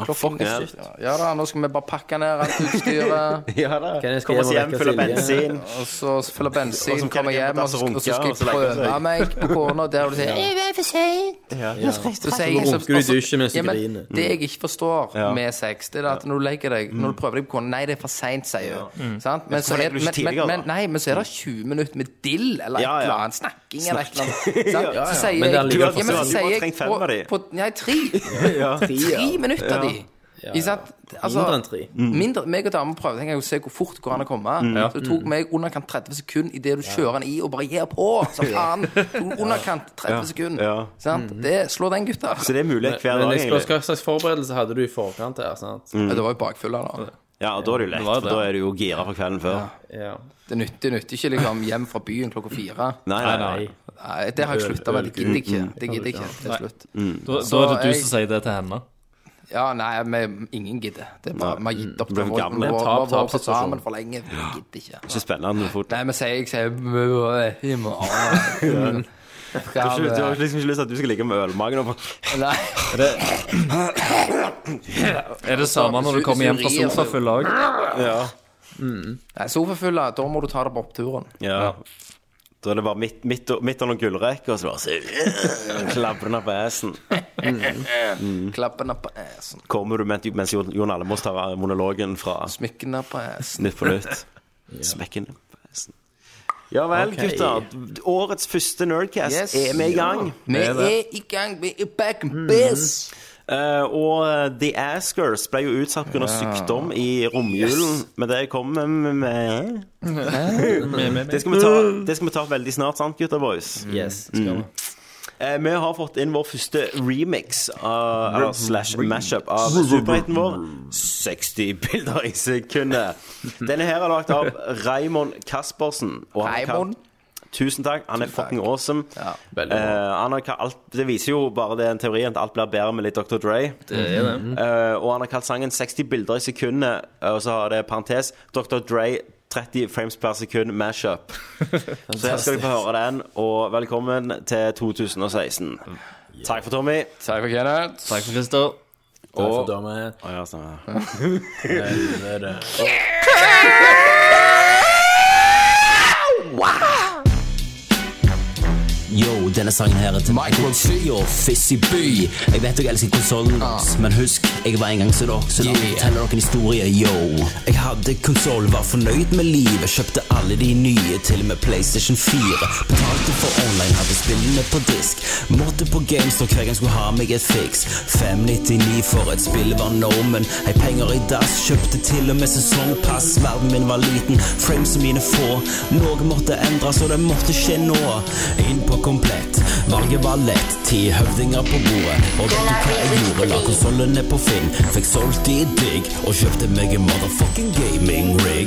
Speaker 7: Klokken
Speaker 5: fuck
Speaker 7: er
Speaker 5: it.
Speaker 7: sykt. Ja da, nå skal vi bare pakke ned alt (laughs) utstyret.
Speaker 5: Ja da. Kommer oss hjem, fyller bensin.
Speaker 7: (laughs) Og så fyller
Speaker 5: Og så
Speaker 7: bensin,
Speaker 5: kan
Speaker 7: kommer
Speaker 5: jeg
Speaker 7: hjem,
Speaker 5: hjem
Speaker 7: og så
Speaker 5: og runke,
Speaker 7: og så skal
Speaker 5: og så
Speaker 7: jeg
Speaker 5: legge
Speaker 7: prøve
Speaker 5: seg.
Speaker 7: meg på kona der og du sier
Speaker 5: Ja.
Speaker 7: (laughs) «Jeg er for sent».
Speaker 5: Ja.
Speaker 7: Ja. Så sier
Speaker 9: Så
Speaker 7: jeg-
Speaker 9: runker du i
Speaker 7: altså,
Speaker 9: dusjen mens du
Speaker 7: ja, men
Speaker 9: griner.
Speaker 7: Det jeg ikke forstår
Speaker 9: Ja.
Speaker 7: med sex, det er at når du legger deg Når du
Speaker 5: Mm.
Speaker 7: prøver deg på kona Nei, det er for seint, sier hun. Sant? Men,
Speaker 5: Men
Speaker 7: så
Speaker 5: så
Speaker 7: er,
Speaker 5: legger du ikke
Speaker 7: men, men,
Speaker 5: tidligere,
Speaker 7: men,
Speaker 5: da. Mm.
Speaker 7: nei, men så er det 20 minutter med dill eller
Speaker 5: Ja,
Speaker 7: et
Speaker 5: ja.
Speaker 7: eller annet. Snakking eller et eller annet.
Speaker 5: Snakking.
Speaker 7: sant?
Speaker 5: Ja, ja.
Speaker 7: Så sier
Speaker 5: Men det er
Speaker 7: jeg
Speaker 5: allikevel
Speaker 7: ja, men så
Speaker 5: for sent.
Speaker 7: sier
Speaker 5: Du
Speaker 7: jeg
Speaker 5: har trengt fem av de.
Speaker 7: på, på, Nei, tre.
Speaker 5: Ja.
Speaker 7: Tre
Speaker 5: Ja.
Speaker 7: minutter
Speaker 5: Ja.
Speaker 7: de.
Speaker 5: Ja,
Speaker 7: Ikke sant? Altså,
Speaker 9: Mindre enn tre.
Speaker 7: Mm. Mindre, meg og damen prøvde tenker jeg, å se hvor fort det går an å komme.
Speaker 9: Mm. Ja.
Speaker 7: Så det tok meg underkant 30 sekunder idet du kjører den i og bare gir på. Så faen! Tok Underkant 30 sekunder.
Speaker 5: Ja.
Speaker 7: Sant? Det, slå den, gutta.
Speaker 5: Så det er mulig hver
Speaker 9: Men
Speaker 5: dag,
Speaker 9: jeg spør
Speaker 5: egentlig.
Speaker 9: hva slags forberedelse hadde du i forkant her, sant?
Speaker 5: Mm. Ja, det
Speaker 7: var jo bakfylla, da.
Speaker 5: Ja, og da er det jo lett,
Speaker 7: Det var jo
Speaker 5: for
Speaker 7: det.
Speaker 5: da er du jo gira fra kvelden før.
Speaker 9: Ja.
Speaker 7: Det nytter, nytter ikke liksom hjem fra byen klokka fire.
Speaker 5: Nei, nei, nei.
Speaker 7: Nei, det har jeg slutta med. Det gidder jeg ikke. Det gidder jeg ikke. Det
Speaker 8: Nei.
Speaker 7: er slutt.
Speaker 8: Da, da
Speaker 7: Så
Speaker 8: er det du
Speaker 7: jeg-
Speaker 8: som sier det til henne.
Speaker 7: Ja, nei, men ingen gidder. Det er bare, Vi har gitt opp.
Speaker 5: Det blir en
Speaker 7: Vi har
Speaker 5: gammel
Speaker 7: vært-
Speaker 5: tap-
Speaker 7: vi har vært
Speaker 5: tapsituasjon.
Speaker 7: sammen for lenge. Vi gidder ikke.
Speaker 5: Ikke spennende fort.
Speaker 7: Nei, men sier jeg sier
Speaker 5: (laughs)
Speaker 7: i morgen.
Speaker 5: Du har, ikke, du har
Speaker 7: Mm. Skal vi-
Speaker 5: liksom ikke lyst til at du skal ligge med ølmagen og
Speaker 7: Nei.
Speaker 8: Er det samme når du kommer hjem fra sofa full òg?
Speaker 5: Ja.
Speaker 7: Nei, sofafulla, da må du ta det på oppturen.
Speaker 5: ja. Da er det bare midt, midt, midt under gullrekka, og så bare så- klabber den på assen. Mm.
Speaker 7: Klappene på assen.
Speaker 5: Kommer du mens, mens Jon Jon Almaas tar monologen fra
Speaker 7: Smykkene på assen.
Speaker 5: Snipp på
Speaker 7: (laughs)
Speaker 5: nytt. Smekkene på assen. Ja vel, gutter. Årets første Nerdcast
Speaker 7: Yes.
Speaker 5: er Mm. vi i gang.
Speaker 7: Vi er i gang. Vi er back in biz.
Speaker 5: Eh, og eh, The Askers ble jo utsatt pga.
Speaker 7: Ja.
Speaker 5: sykdom i romjulen, men det kommer vi med.
Speaker 7: (laughs) Med,
Speaker 5: Det skal, vi ta, det skal vi ta veldig snart, sant, gutter boys?
Speaker 9: Yes,
Speaker 5: Mm. Eh, vi har fått inn vår første remix av, eller slash mashup av superhelten vår. 60 bilder i sekundet. Denne her er lagd av Raymond Caspersen. og han er kalt-
Speaker 7: Raymond?
Speaker 5: Tusen takk. Han er fucking awesome.
Speaker 9: veldig bra.
Speaker 5: Eh, han har kalt, det viser jo bare den teorien at alt blir bedre med litt Dr. Dre.
Speaker 8: Det er det.
Speaker 5: Eh, og han har kalt sangen 60 bilder i sekundet, eh, og så har det parentes Dr. Dre 30 frames per sekund mashup. Så her skal vi få høre den, og velkommen til 2016. Takk for Tommy.
Speaker 7: Takk for Kenneth.
Speaker 8: Takk for Christer.
Speaker 9: Takk
Speaker 5: Og
Speaker 9: for dommen.
Speaker 5: Å, ja, sånn, ja.
Speaker 9: Helvete.
Speaker 2: Yo, denne sangen her er til Michael Sy og Fizzy By. Jeg vet dere elsker konsollen, men husk, jeg var en gang så dere, så la meg fortelle dere en historie, yo. Jeg hadde konsoll, var fornøyd med livet, kjøpte alle de nye, til og med PlayStation 4. Betalte for online, hadde spillene på disk. Måtte på GameStop hver gang skulle ha meg et fiks. 599 for et spill var normen. Hei, penger i dass, kjøpte til og med sesongpass. Verden min var liten, frames mine få. Noe måtte endres, og det måtte skje nå. Inn på komplett, valget var lett. Ti høvdinger på bordet, og vet du hva jeg gjorde? La konsollene på Finn, fikk solgt de digg, og kjøpte meg en motherfucking gaming rig.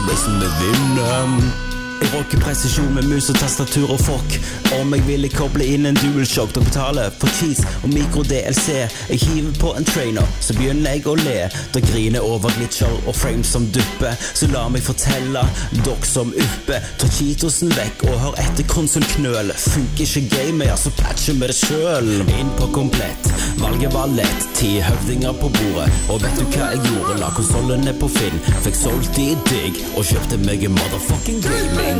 Speaker 2: Racen vi vinner. Jeg rocker presisjon med mus og tastatur og fork. Om jeg ville koble inn en dualshock og betale for cheese og mikro-DLC. Jeg hiver på en trainer, så begynner jeg å le. Da griner over glitcher og frames som dupper. Så la meg fortelle, dere som upper. Ta cheetosen vekk og hør etter konsolknøl. Funker ikke gamet, ja, så patcher vi det sjøl. Inn på komplett, valget var lett. Ti høvdinger på bordet, og vet du hva jeg gjorde? La konsollene på Finn, fikk solgt de digg, og kjøpte meg en motherfucking gaming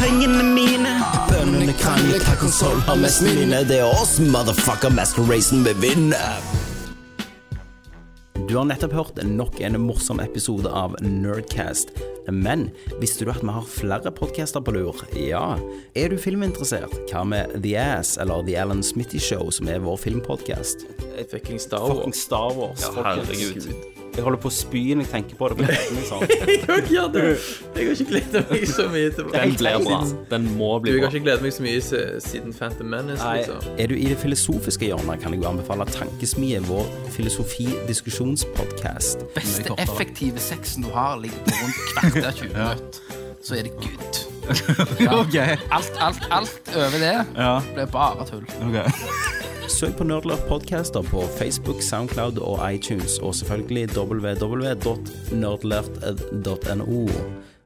Speaker 13: pengene mine.
Speaker 7: Bøndene krangler hva konsoll har mest mine. Det er oss, motherfucker, master racing vil vinne.
Speaker 5: Du har nettopp hørt nok en morsom episode av Nerdcast. Men visste du at vi har flere podcaster på lur? Ja. Er du filminteressert? Hva med The Ass eller The Alan Smitty Show, som er vår filmpodcast?
Speaker 14: Et fucking Star Wars. Fucking Star Wars.
Speaker 8: Ja,
Speaker 14: folkens.
Speaker 8: herregud.
Speaker 14: Jeg holder på å spy når jeg tenker på det. men det er ikke sånn.
Speaker 9: Jeg gjør det. Jeg har ikke gledet meg så mye til
Speaker 14: Den blir bra.
Speaker 8: Den må
Speaker 9: Du, jeg har ikke gledet meg så mye se- siden Phantom Menace, liksom.
Speaker 5: Eh, Er du i det filosofiske hjørnet, kan jeg jo anbefale Tankesmie, vår filosofi-diskusjonspodcast.
Speaker 4: Beste effektive sexen du har, ligger på rundt kvarter
Speaker 5: (laughs)
Speaker 4: 20 minutter. Så er det good.
Speaker 5: Ok.
Speaker 4: Alt, alt, alt over det
Speaker 5: Ja.
Speaker 4: blir bare tull.
Speaker 5: Søk på Nerdlurk Podcaster på Facebook, Soundcloud og iTunes, og selvfølgelig www.nerdlert.no.